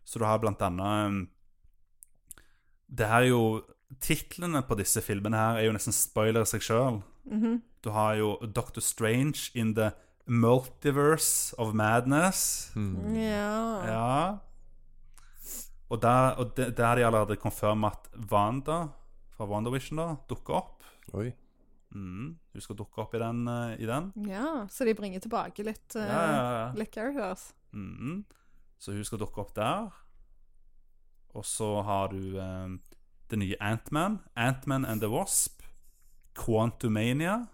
[SPEAKER 1] Så du har blant annet um, Det her er jo Titlene på disse filmene her er jo nesten spoiler i seg sjøl.
[SPEAKER 3] Mhm.
[SPEAKER 1] Du har jo Doctor Strange in the Multiverse of Madness.
[SPEAKER 2] Mm.
[SPEAKER 3] ja.
[SPEAKER 1] Ja. Og der, og de- der har de allerede confirmet at Wanda fra WandaVision da, dukker opp.
[SPEAKER 2] Oi.
[SPEAKER 1] Mm, hun skal dukke opp i den. eh, I den.
[SPEAKER 3] Ja, så de bringer tilbake litt, uh,
[SPEAKER 1] Ja, ja, ja.
[SPEAKER 3] litt characters.
[SPEAKER 1] Mhm. Så hun skal dukke opp der. Og så har du eh, det nye Ant-Man. Ant-Man and the Wasp. Quantumania.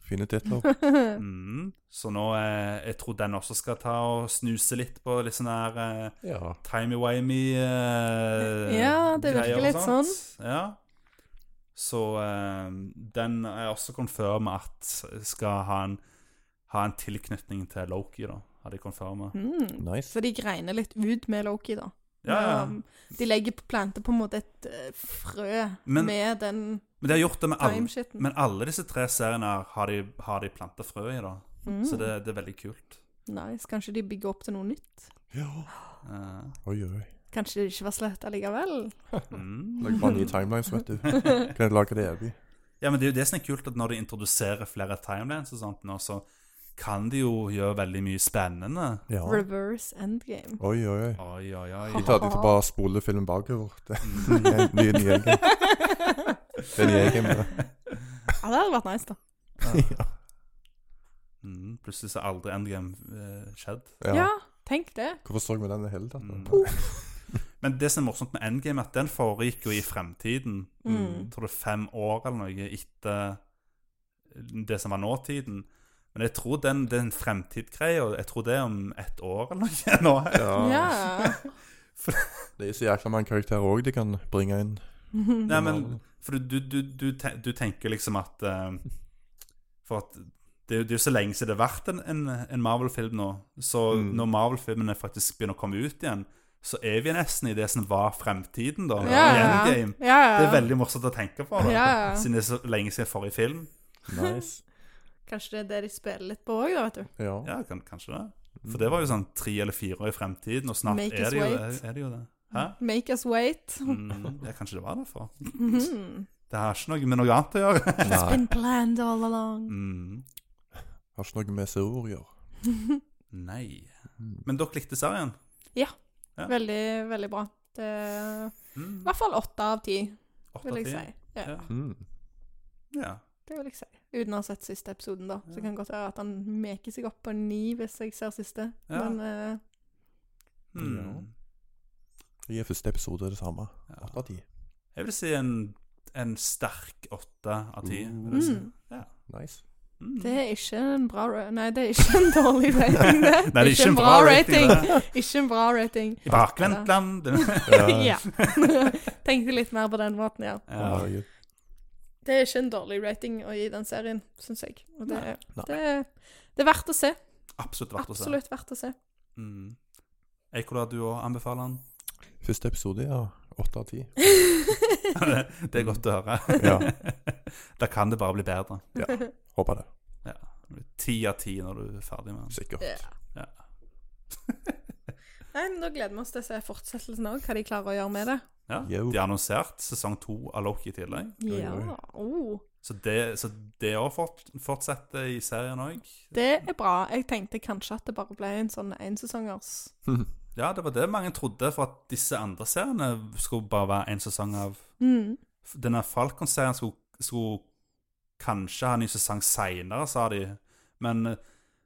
[SPEAKER 2] Fine
[SPEAKER 3] [LAUGHS]
[SPEAKER 2] titler.
[SPEAKER 1] Mhm. Så nå eh, Jeg tror den også skal ta og snuse litt på litt sånn her eh,
[SPEAKER 2] Ja.
[SPEAKER 1] timey-wimey eh,
[SPEAKER 3] Ja, det virker
[SPEAKER 1] greier og
[SPEAKER 3] litt sånn.
[SPEAKER 1] sånt. Ja. Så eh, den er også konfirma at skal ha en, ha en tilknytning til Loki, da. Har de konfirma.
[SPEAKER 3] Mm.
[SPEAKER 2] Nice.
[SPEAKER 3] Så de greiner litt ut med Loki, da.
[SPEAKER 1] Ja, ja.
[SPEAKER 3] Um, De legger på planter på en måte et eh, frø
[SPEAKER 1] Men-
[SPEAKER 3] med den
[SPEAKER 1] Men de har gjort det med alle,
[SPEAKER 3] timeshitten.
[SPEAKER 1] men alle disse tre seriene her har de, har de planta frø i, da.
[SPEAKER 3] Mm.
[SPEAKER 1] Så det, det er veldig kult.
[SPEAKER 3] Nice. Kanskje de bygger opp til noe nytt?
[SPEAKER 2] Ja.
[SPEAKER 1] Eh,
[SPEAKER 2] [LAUGHS] Oi, oi.
[SPEAKER 3] Kanskje det ikke var slett allikevel?
[SPEAKER 1] mm.
[SPEAKER 2] Lager bare nye timelines, vet du. Kan jeg lage det evig?
[SPEAKER 1] Ja, men det er jo det som er kult, at når de introduserer flere timelines og sånt nå, så kan de jo gjøre veldig mye spennende.
[SPEAKER 2] Ja.
[SPEAKER 3] Reverse
[SPEAKER 1] [LAUGHS]
[SPEAKER 3] endgame.
[SPEAKER 2] Oi, oi, oi.
[SPEAKER 1] Oi, oi,
[SPEAKER 2] De
[SPEAKER 1] oi.
[SPEAKER 2] tar de til bare spole filmen bakover. [LAUGHS] Det er en ny ny egen. Det er en ny egen. det.
[SPEAKER 3] Ja, det hadde vært nice, da.
[SPEAKER 1] Mm, plutselig så har aldri Endgame eh, skjedd.
[SPEAKER 3] Ja,
[SPEAKER 2] Ja.
[SPEAKER 3] tenk det.
[SPEAKER 2] Hvorfor så vi den i det hele tatt?
[SPEAKER 1] Mm. Men det som er morsomt med Endgame, er at den foregikk jo i fremtiden.
[SPEAKER 3] Mm.
[SPEAKER 1] Jeg tror det er fem år eller noe etter det som var nåtiden. Men jeg tror den, den fremtidgreia Jeg tror det er om ett år eller noe [LAUGHS] nå.
[SPEAKER 2] Ja.
[SPEAKER 3] Ja.
[SPEAKER 2] Det er så jækla mange karakterer òg de kan bringe inn.
[SPEAKER 1] Nei, men For du, du, du, te- du tenker liksom at eh, For at det, er jo- det er jo så lenge siden det har vært en, en, en Marvel-film nå. Så
[SPEAKER 2] Mm.
[SPEAKER 1] når Marvel-filmene faktisk begynner å komme ut igjen, så er vi nesten i det som var fremtiden, da.
[SPEAKER 3] ja,
[SPEAKER 1] I
[SPEAKER 3] ja.
[SPEAKER 1] Endgame.
[SPEAKER 3] Ja, ja.
[SPEAKER 1] Det er veldig morsomt å tenke på, da.
[SPEAKER 3] Ja, ja.
[SPEAKER 1] siden det er så lenge siden forrige film.
[SPEAKER 2] Nice.
[SPEAKER 3] Kanskje det er det de spiller litt på òg, da, vet du.
[SPEAKER 2] Ja.
[SPEAKER 1] Ja, kan, kanskje det. For det var jo sånn tre eller fire år i fremtiden, og snart
[SPEAKER 3] Make
[SPEAKER 1] er
[SPEAKER 3] us
[SPEAKER 1] det, jo,
[SPEAKER 3] wait.
[SPEAKER 1] er, er det jo det. Hæ?
[SPEAKER 3] [LAUGHS] Make us wait.
[SPEAKER 1] Mm, ja, kanskje det var derfor.
[SPEAKER 3] Mhm.
[SPEAKER 1] Det har ikke noe med noe annet å gjøre. [LAUGHS]
[SPEAKER 2] Nei.
[SPEAKER 3] Been planned all along.
[SPEAKER 1] Mm,
[SPEAKER 2] Har ikke noe med CO å gjøre.
[SPEAKER 1] nei. Men dere likte serien? Ja.
[SPEAKER 3] Veldig, veldig bra. Det er I
[SPEAKER 1] Mm,
[SPEAKER 3] hvert fall åtte av ti,
[SPEAKER 1] åtte
[SPEAKER 3] vil
[SPEAKER 1] av ti.
[SPEAKER 3] jeg si. Ja,
[SPEAKER 1] Ja.
[SPEAKER 2] Mm.
[SPEAKER 1] Ja.
[SPEAKER 3] det vil jeg si. Uten å ha sett siste episoden, da. Så det kan godt være at han meker seg opp på en ni hvis jeg ser siste.
[SPEAKER 1] Ja.
[SPEAKER 3] Men eh,
[SPEAKER 1] Mm.
[SPEAKER 2] I første episode er det samme.
[SPEAKER 1] ja.
[SPEAKER 2] Åtte av ti.
[SPEAKER 1] Jeg vil si en, en sterk åtte av ti. vil jeg si.
[SPEAKER 3] mm,
[SPEAKER 2] Nice.
[SPEAKER 1] Mm.
[SPEAKER 3] det er ikke en bra ra Nei, det er ikke en
[SPEAKER 1] [LAUGHS]
[SPEAKER 3] dårlig rating, det.
[SPEAKER 1] Nei, det er ikke en bra rating.
[SPEAKER 3] [LAUGHS]
[SPEAKER 1] det.
[SPEAKER 3] Ikke en bra rating.
[SPEAKER 1] I bakvendtland.
[SPEAKER 3] [LAUGHS] ja. Tenkte litt mer på den måten, ja.
[SPEAKER 2] Ja.
[SPEAKER 1] Ja.
[SPEAKER 2] herregud.
[SPEAKER 3] Det er ikke en dårlig rating å gi den serien, syns jeg. Og det,
[SPEAKER 2] Nei.
[SPEAKER 3] det, det er verdt å se.
[SPEAKER 1] Absolutt verdt å se. [LAUGHS]
[SPEAKER 3] Absolutt verdt å se.
[SPEAKER 1] Mm. Eikola, du òg anbefaler den? [LAUGHS]
[SPEAKER 2] Første episode, ja. Åtte av ti.
[SPEAKER 1] det er godt å høre.
[SPEAKER 2] Ja,
[SPEAKER 1] [LAUGHS] Da kan det bare bli bedre.
[SPEAKER 2] håper det.
[SPEAKER 1] Ti av ti når du er ferdig med den.
[SPEAKER 2] Sikkert.
[SPEAKER 3] Ja.
[SPEAKER 1] Ja.
[SPEAKER 3] Nei, men Da gleder vi oss til å se fortsettelsen òg, hva de klarer å gjøre med det.
[SPEAKER 1] Ja.
[SPEAKER 2] Jo.
[SPEAKER 1] De har annonsert sesong to av Loki i tillegg.
[SPEAKER 2] Oi,
[SPEAKER 3] Ja,
[SPEAKER 2] oi.
[SPEAKER 3] oh.
[SPEAKER 1] Så det, så det også fort, fortsetter i serien òg.
[SPEAKER 3] Det er bra. Jeg tenkte kanskje at det bare ble en sånn ensesongers.
[SPEAKER 1] Ja, det var det mange trodde, for at disse andre seriene skulle bare være en sesong av
[SPEAKER 3] Mm.
[SPEAKER 1] Denne Falcon-serien skulle, skulle kanskje ha en ny sesong seinere, sa de. Men,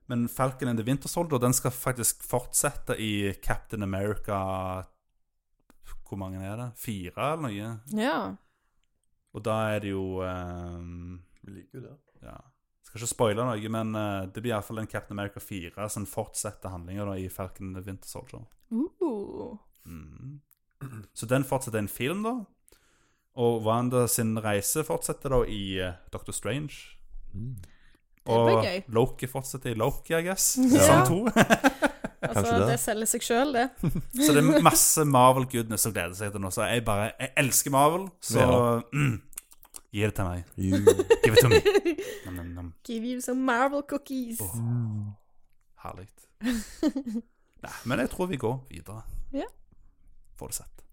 [SPEAKER 1] men Falcon and the Winter Soldier den skal faktisk fortsette i Captain America Hvor mange er det? Fire, eller noe?
[SPEAKER 3] Ja.
[SPEAKER 1] Og da er det jo eh,
[SPEAKER 2] Vi liker jo det.
[SPEAKER 1] ja. Skal ikke spoile noe, men eh, det blir iallfall en Captain America 4 som fortsetter handlinga i Falcon and the Winter Soldier.
[SPEAKER 3] Uh.
[SPEAKER 1] Mm. Så den fortsetter i en film, da. Og Wanda sin reise fortsetter da i eh, Doctor Strange.
[SPEAKER 3] Det blir gøy.
[SPEAKER 1] Og Loki fortsetter i Loki, I guess.
[SPEAKER 3] [LAUGHS] Ja.
[SPEAKER 1] Sesong to. [LAUGHS]
[SPEAKER 3] Altså,
[SPEAKER 2] Kanskje det.
[SPEAKER 3] det selger seg sjøl, det.
[SPEAKER 1] Så det er masse Marvel-gudene som gleder seg til nå. Så jeg bare Jeg elsker Marvel, så
[SPEAKER 2] Ja.
[SPEAKER 1] mm, gi det til meg.
[SPEAKER 2] Jo.
[SPEAKER 1] Give it to me.
[SPEAKER 3] [LAUGHS]
[SPEAKER 1] Nam, nam, nam.
[SPEAKER 3] Give you some Marvel cookies.
[SPEAKER 1] Åh,
[SPEAKER 3] [LAUGHS]
[SPEAKER 1] Herlig. Nei, men jeg tror vi går videre.
[SPEAKER 3] Ja.
[SPEAKER 1] Får det sett.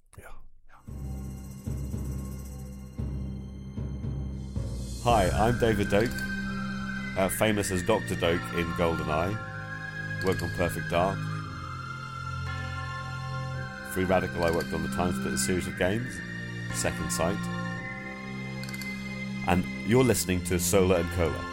[SPEAKER 6] Hi, I'm David Doak, uh, famous as Dr. Doak in GoldenEye, worked on Perfect Dark, Free Radical, I worked on the Time Splitter series of games, Second Sight, and you're listening to Solar and Cola.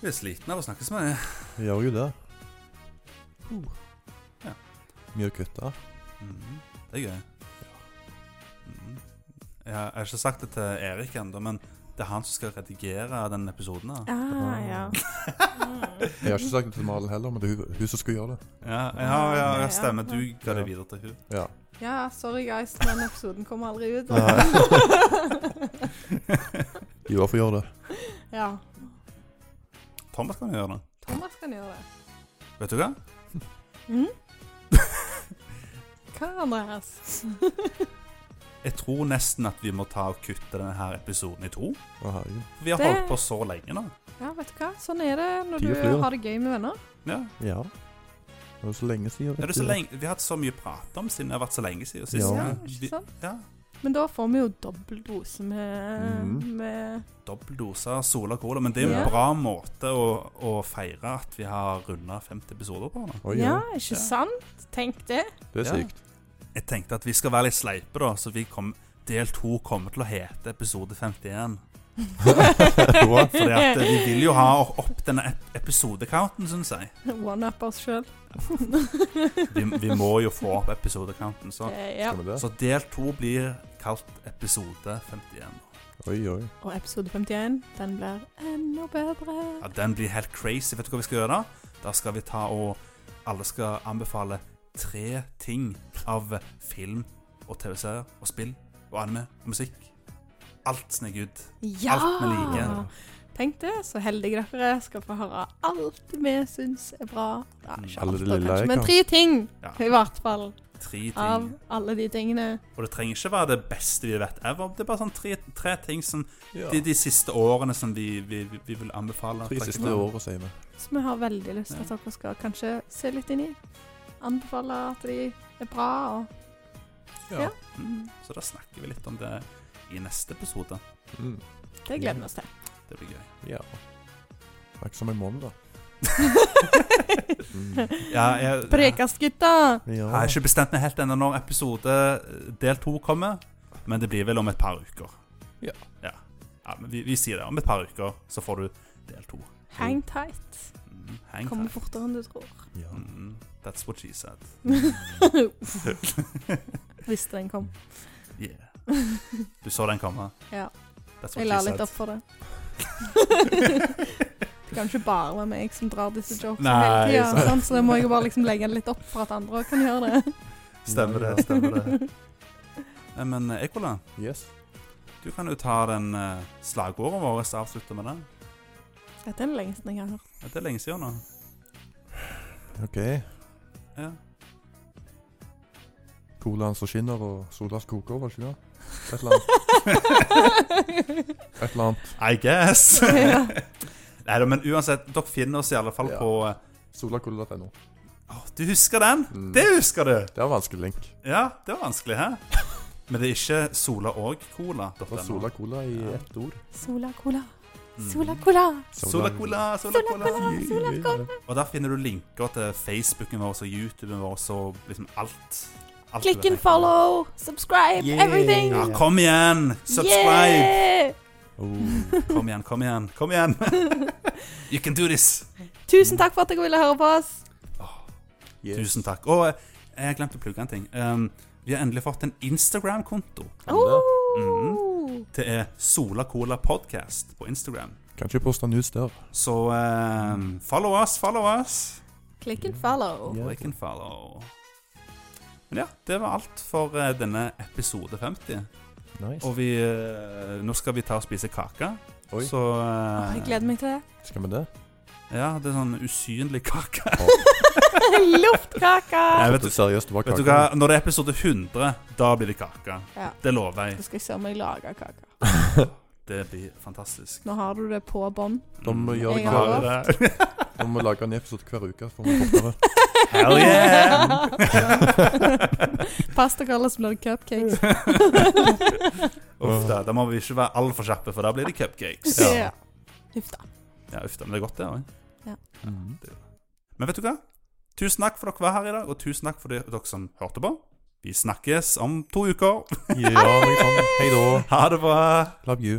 [SPEAKER 1] Vi er slitne av å snakke så mye.
[SPEAKER 2] Vi gjør jo det.
[SPEAKER 1] Ja.
[SPEAKER 2] Mye å kutte.
[SPEAKER 1] Mhm. Det er gøy. Mhm. Jeg har jeg har ikke sagt det til Erik ennå, men det er han som skal redigere den episoden. her.
[SPEAKER 3] Ah, ja.
[SPEAKER 2] Jeg har ikke sagt det til Malen heller, men det er hun, hun som skulle gjøre det.
[SPEAKER 1] Ja, ja, ja, ja,
[SPEAKER 3] Ja.
[SPEAKER 1] stemmer. Du ga det videre til hun.
[SPEAKER 2] Ja.
[SPEAKER 3] ja, sorry guys, den episoden kommer aldri ut.
[SPEAKER 2] Jo, hvorfor gjøre det?
[SPEAKER 3] ja.
[SPEAKER 1] Thomas kan jo gjøre det.
[SPEAKER 3] Thomas kan gjøre det.
[SPEAKER 1] Vet du hva?
[SPEAKER 3] Mm? Hva, Andreas?
[SPEAKER 1] Jeg tror nesten at vi må ta og kutte denne her episoden i to.
[SPEAKER 2] Å, herregud.
[SPEAKER 1] For vi har
[SPEAKER 3] Det-
[SPEAKER 1] holdt på så lenge nå.
[SPEAKER 3] Ja, vet du hva? Sånn er det når
[SPEAKER 2] Tida
[SPEAKER 3] du
[SPEAKER 2] flyr.
[SPEAKER 3] har det gøy med venner.
[SPEAKER 1] Ja.
[SPEAKER 2] Ja. Det er jo så lenge siden. vet
[SPEAKER 1] Er det så
[SPEAKER 2] du.
[SPEAKER 1] lenge, vi har hatt så mye å prate om siden det har vært så lenge siden sist.
[SPEAKER 2] Ja.
[SPEAKER 3] Ja,
[SPEAKER 1] Vi-
[SPEAKER 3] ikke sant?
[SPEAKER 1] ja.
[SPEAKER 3] Men da får vi jo dobbel dose med,
[SPEAKER 2] Mhm.
[SPEAKER 3] med
[SPEAKER 1] Dobbel dose av Sola Cola. Men det er jo en
[SPEAKER 3] Ja.
[SPEAKER 1] bra måte å, å feire at vi har runda 50 episoder på. nå.
[SPEAKER 2] Oi,
[SPEAKER 3] Ja,
[SPEAKER 2] ja.
[SPEAKER 1] Ja.
[SPEAKER 3] ikke sant? Tenk det.
[SPEAKER 2] Det er
[SPEAKER 1] Ja.
[SPEAKER 2] sykt.
[SPEAKER 1] Jeg tenkte at vi skal være litt sleipe, da, så vi kom, del to kommer til å hete episode 51. [LAUGHS]
[SPEAKER 2] What?
[SPEAKER 1] Fordi at eh, vi vil jo ha opp denne ep- episodecounten, syns jeg.
[SPEAKER 3] One-up oss sjøl.
[SPEAKER 1] Vi, vi må jo få opp episodecounten. Så,
[SPEAKER 3] Ja.
[SPEAKER 2] Skal vi det?
[SPEAKER 1] så del to blir kalt episode 51.
[SPEAKER 2] Oi, oi.
[SPEAKER 3] Og episode 51, den blir enda bedre.
[SPEAKER 1] Ja, den blir helt crazy. Vet du hva vi skal gjøre da? Da skal vi ta og Alle skal anbefale tre ting av film og TV-serier og spill og anime og musikk. Alt sneker ut.
[SPEAKER 3] Ja!
[SPEAKER 1] Alt vi liker.
[SPEAKER 3] Tenk det, så heldige dere skal få høre alt vi syns er bra. Ja,
[SPEAKER 1] Mm,
[SPEAKER 3] ikke
[SPEAKER 2] Alle
[SPEAKER 3] alt,
[SPEAKER 2] de
[SPEAKER 3] da,
[SPEAKER 2] lille
[SPEAKER 3] kanskje,
[SPEAKER 2] jeg
[SPEAKER 3] men
[SPEAKER 2] kan.
[SPEAKER 3] tre ting,
[SPEAKER 1] Ja.
[SPEAKER 3] i hvert fall,
[SPEAKER 1] Tre ting.
[SPEAKER 3] av alle de tingene.
[SPEAKER 1] Og det trenger ikke være det beste vi vet ever. Det er bare sånn tre, tre ting som
[SPEAKER 2] Ja.
[SPEAKER 1] de, de siste årene som vi, vi, vi vil anbefale.
[SPEAKER 2] Tre siste åra, sier vi.
[SPEAKER 3] Som vi har veldig lyst til at dere skal kanskje se litt inn i. Anbefale at de er bra. og Ja.
[SPEAKER 1] Mm, så da snakker vi litt om det i neste episode.
[SPEAKER 2] Mm.
[SPEAKER 3] Det gleder
[SPEAKER 1] [LAUGHS]
[SPEAKER 3] vi oss til.
[SPEAKER 1] Det blir gøy.
[SPEAKER 2] ja. Det er ikke som en mandag.
[SPEAKER 1] Ja, jeg, jeg,
[SPEAKER 3] Prekast, gutta!
[SPEAKER 2] Ja.
[SPEAKER 1] har ikke bestemt meg helt ennå når episode eh, del to kommer, men det blir vel om et par uker.
[SPEAKER 2] Ja.
[SPEAKER 1] ja. Ja, men vi, vi sier det. Om et par uker så får du del to.
[SPEAKER 3] Hang tight.
[SPEAKER 1] Mm, hang
[SPEAKER 3] Kommer
[SPEAKER 1] tight.
[SPEAKER 3] fortere enn du tror.
[SPEAKER 2] Ja.
[SPEAKER 1] Mm, that's what she said. [LAUGHS] Mm.
[SPEAKER 3] [LAUGHS] Hvis den kom.
[SPEAKER 1] Yeah. Du så den komme?
[SPEAKER 3] Ja.
[SPEAKER 1] That's what
[SPEAKER 3] Jeg la
[SPEAKER 1] she
[SPEAKER 3] litt
[SPEAKER 1] said.
[SPEAKER 3] opp for det. [LAUGHS] det kan ikke bare være meg som drar disse jokesene hele
[SPEAKER 1] Nei,
[SPEAKER 3] tida,
[SPEAKER 1] sant.
[SPEAKER 3] sant? så da må jeg jo bare liksom legge den litt opp for at andre òg kan gjøre det.
[SPEAKER 1] Stemmer det, stemmer det. Nei, Men eh, Ekola,
[SPEAKER 2] Yes.
[SPEAKER 1] du kan jo ta den eh, slagordet vårt og avslutte med det.
[SPEAKER 3] [LAUGHS] Dette er den lengste jeg har [LAUGHS] hørt.
[SPEAKER 1] Ja, Det er lenge siden nå.
[SPEAKER 2] OK.
[SPEAKER 1] Ja.
[SPEAKER 2] Colaen som skinner, og sola som koker, var det ikke det? Et eller annet. Et eller annet.
[SPEAKER 1] I guess.
[SPEAKER 3] Ja.
[SPEAKER 1] Nei da, men uansett, dere finner oss i alle fall
[SPEAKER 2] Ja.
[SPEAKER 1] på eh,
[SPEAKER 2] Solacola.no.
[SPEAKER 1] Å, du husker den?
[SPEAKER 2] Mm.
[SPEAKER 1] Det husker du!
[SPEAKER 2] Det var en vanskelig link.
[SPEAKER 1] Ja, det var vanskelig, hæ? Men det er ikke Sola og Cola.
[SPEAKER 2] Det var Sola Cola i ett ord.
[SPEAKER 3] Sola cola,
[SPEAKER 1] Mm.
[SPEAKER 3] sola cola.
[SPEAKER 1] Sola Cola, Sola Cola.
[SPEAKER 3] Sola cola.
[SPEAKER 1] Og der finner du linker til Facebooken vår og YouTuben vår og liksom alt. alt du
[SPEAKER 3] Click
[SPEAKER 1] vil
[SPEAKER 3] and
[SPEAKER 1] tenke på.
[SPEAKER 3] follow, subscribe,
[SPEAKER 2] Yeah.
[SPEAKER 3] everything.
[SPEAKER 1] Ja, kom igjen! Subscribe!
[SPEAKER 3] Yeah!
[SPEAKER 2] Oh.
[SPEAKER 1] Kom igjen, kom igjen, kom igjen! you can do this!
[SPEAKER 3] Tusen takk for at dere ville høre på oss.
[SPEAKER 2] Yes.
[SPEAKER 1] Tusen takk. Og eh, jeg glemte å plugge en ting. Um, vi har endelig fått en Instagram-konto.
[SPEAKER 3] Oh.
[SPEAKER 1] Det er Sola Cola Podcast på Instagram.
[SPEAKER 2] Kan ikke poste news der.
[SPEAKER 1] Så um, follow us, follow us.
[SPEAKER 3] Click and follow.
[SPEAKER 2] Ja.
[SPEAKER 1] Or you can follow. Men ja, det var alt for eh, denne episode 50.
[SPEAKER 2] Nice.
[SPEAKER 1] Og vi eh, Nå skal vi ta og spise kake.
[SPEAKER 2] Oi.
[SPEAKER 1] Så eh,
[SPEAKER 3] Å, Jeg gleder meg til
[SPEAKER 1] [LAUGHS]
[SPEAKER 3] det. [LAUGHS]
[SPEAKER 2] Skal vi det?
[SPEAKER 1] Ja, det er sånn usynlig kake.
[SPEAKER 3] [LAUGHS] Luftkake!
[SPEAKER 1] Jeg vet
[SPEAKER 2] Vet du, seriøst, det var
[SPEAKER 1] Vet
[SPEAKER 2] kake.
[SPEAKER 1] du hva, Når det er episode 100, da blir det kake.
[SPEAKER 3] Ja.
[SPEAKER 1] Det lover jeg.
[SPEAKER 3] Nå skal jeg se om jeg lager kake.
[SPEAKER 1] Det blir fantastisk.
[SPEAKER 3] Nå har du det på bånd.
[SPEAKER 2] Da må vi gjøre
[SPEAKER 1] Mm.
[SPEAKER 2] det
[SPEAKER 1] Har vi det.
[SPEAKER 2] Vi må lage en episode hver uke. For vi
[SPEAKER 1] [LAUGHS]
[SPEAKER 2] fortere.
[SPEAKER 1] Hell yeah!
[SPEAKER 3] [LAUGHS]
[SPEAKER 1] [LAUGHS]
[SPEAKER 3] Pass dere alle som lager cupcakes.
[SPEAKER 1] [LAUGHS] Uff da, da må vi ikke være altfor kjappe, for da blir det cupcakes.
[SPEAKER 3] Ja. Huff da.
[SPEAKER 1] Ja, uff da, men det er godt, det òg.
[SPEAKER 2] Mhm.
[SPEAKER 1] Men vet du hva? Tusen takk for dere var her i dag, og tusen takk for de- dere som hørte på. Vi snakkes om to uker.
[SPEAKER 2] Ja, jeg kan. Hei da.
[SPEAKER 1] Ha det bra.
[SPEAKER 2] Love you.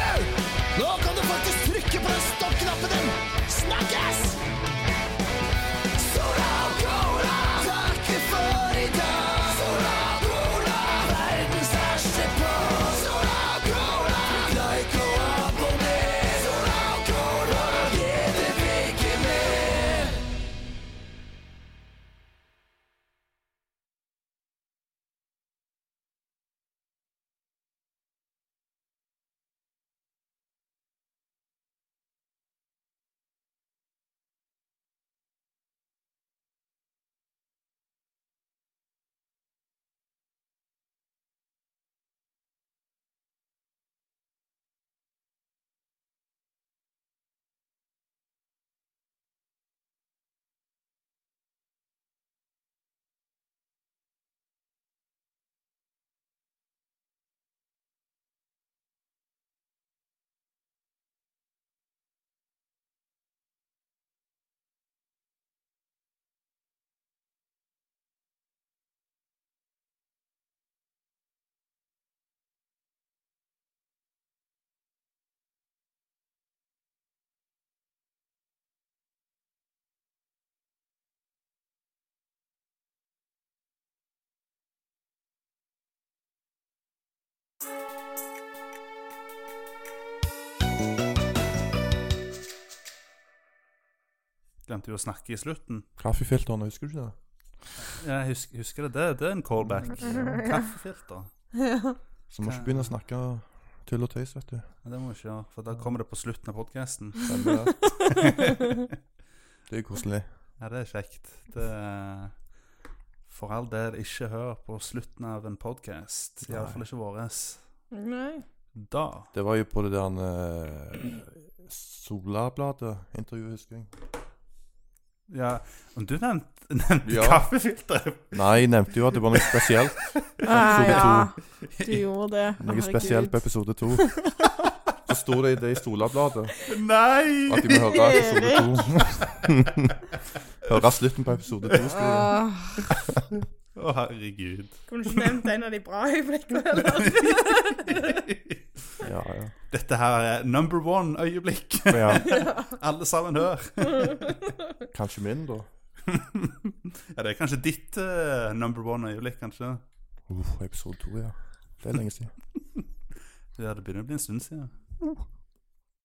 [SPEAKER 7] du! Nå kan du faktisk trykke på den stoppknappen din! Snakkes! Sola og cola takker for i dag. Sola og cola, verdens verste på. Sola og cola, like og abonner. Sola og cola, gi det ikke mer.
[SPEAKER 1] Glemte jo å snakke i slutten.
[SPEAKER 2] Kaffefilterne, husker du ikke det?
[SPEAKER 1] Jeg husker, husker det. det. Det er en callback. Kaffefilter.
[SPEAKER 3] Ja.
[SPEAKER 2] Så må ikke begynne å snakke tull og tøys,
[SPEAKER 1] [LAUGHS]
[SPEAKER 2] vet du.
[SPEAKER 1] Men det må vi ikke gjøre, for da kommer det på slutten av podkasten.
[SPEAKER 2] Stemmer det. Det er jo koselig.
[SPEAKER 1] Ja, det er kjekt. Det For all del, ikke hør på slutten av en podkast.
[SPEAKER 2] Nei.
[SPEAKER 1] Iallfall ikke vår.
[SPEAKER 3] Nei.
[SPEAKER 1] Da
[SPEAKER 2] Det var jo på det der eh, Solabladet intervjuet, husker jeg.
[SPEAKER 1] Ja, men du nevnte, [LAUGHS] nevnte
[SPEAKER 2] Ja.
[SPEAKER 1] kaffefilter.
[SPEAKER 2] Nei, jeg nevnte jo at det var noe spesielt.
[SPEAKER 3] Ah,
[SPEAKER 2] Episode
[SPEAKER 3] ja, du gjorde det.
[SPEAKER 2] Noe
[SPEAKER 3] Herregud.
[SPEAKER 2] spesielt på episode
[SPEAKER 3] [LAUGHS]
[SPEAKER 2] to. Så sto det i det i Solabladet
[SPEAKER 1] Nei!
[SPEAKER 2] at de må høre episode to. [LAUGHS] høre slutten på episode to. sto det.
[SPEAKER 3] Åh,
[SPEAKER 1] Å, herregud. [LAUGHS]
[SPEAKER 3] Kunne ikke nevnt en av de bra øyeblikkene heller.
[SPEAKER 2] Ja, ja.
[SPEAKER 1] Dette her er number one-øyeblikk.
[SPEAKER 2] Men ja.
[SPEAKER 1] Alle sammen hør.
[SPEAKER 2] Kanskje min, da.
[SPEAKER 1] Ja, Det er kanskje ditt eh, number one-øyeblikk, kanskje?
[SPEAKER 2] Uh, Uff, episode to, ja. Det er lenge siden.
[SPEAKER 1] Ja, Det begynner å bli en stund siden.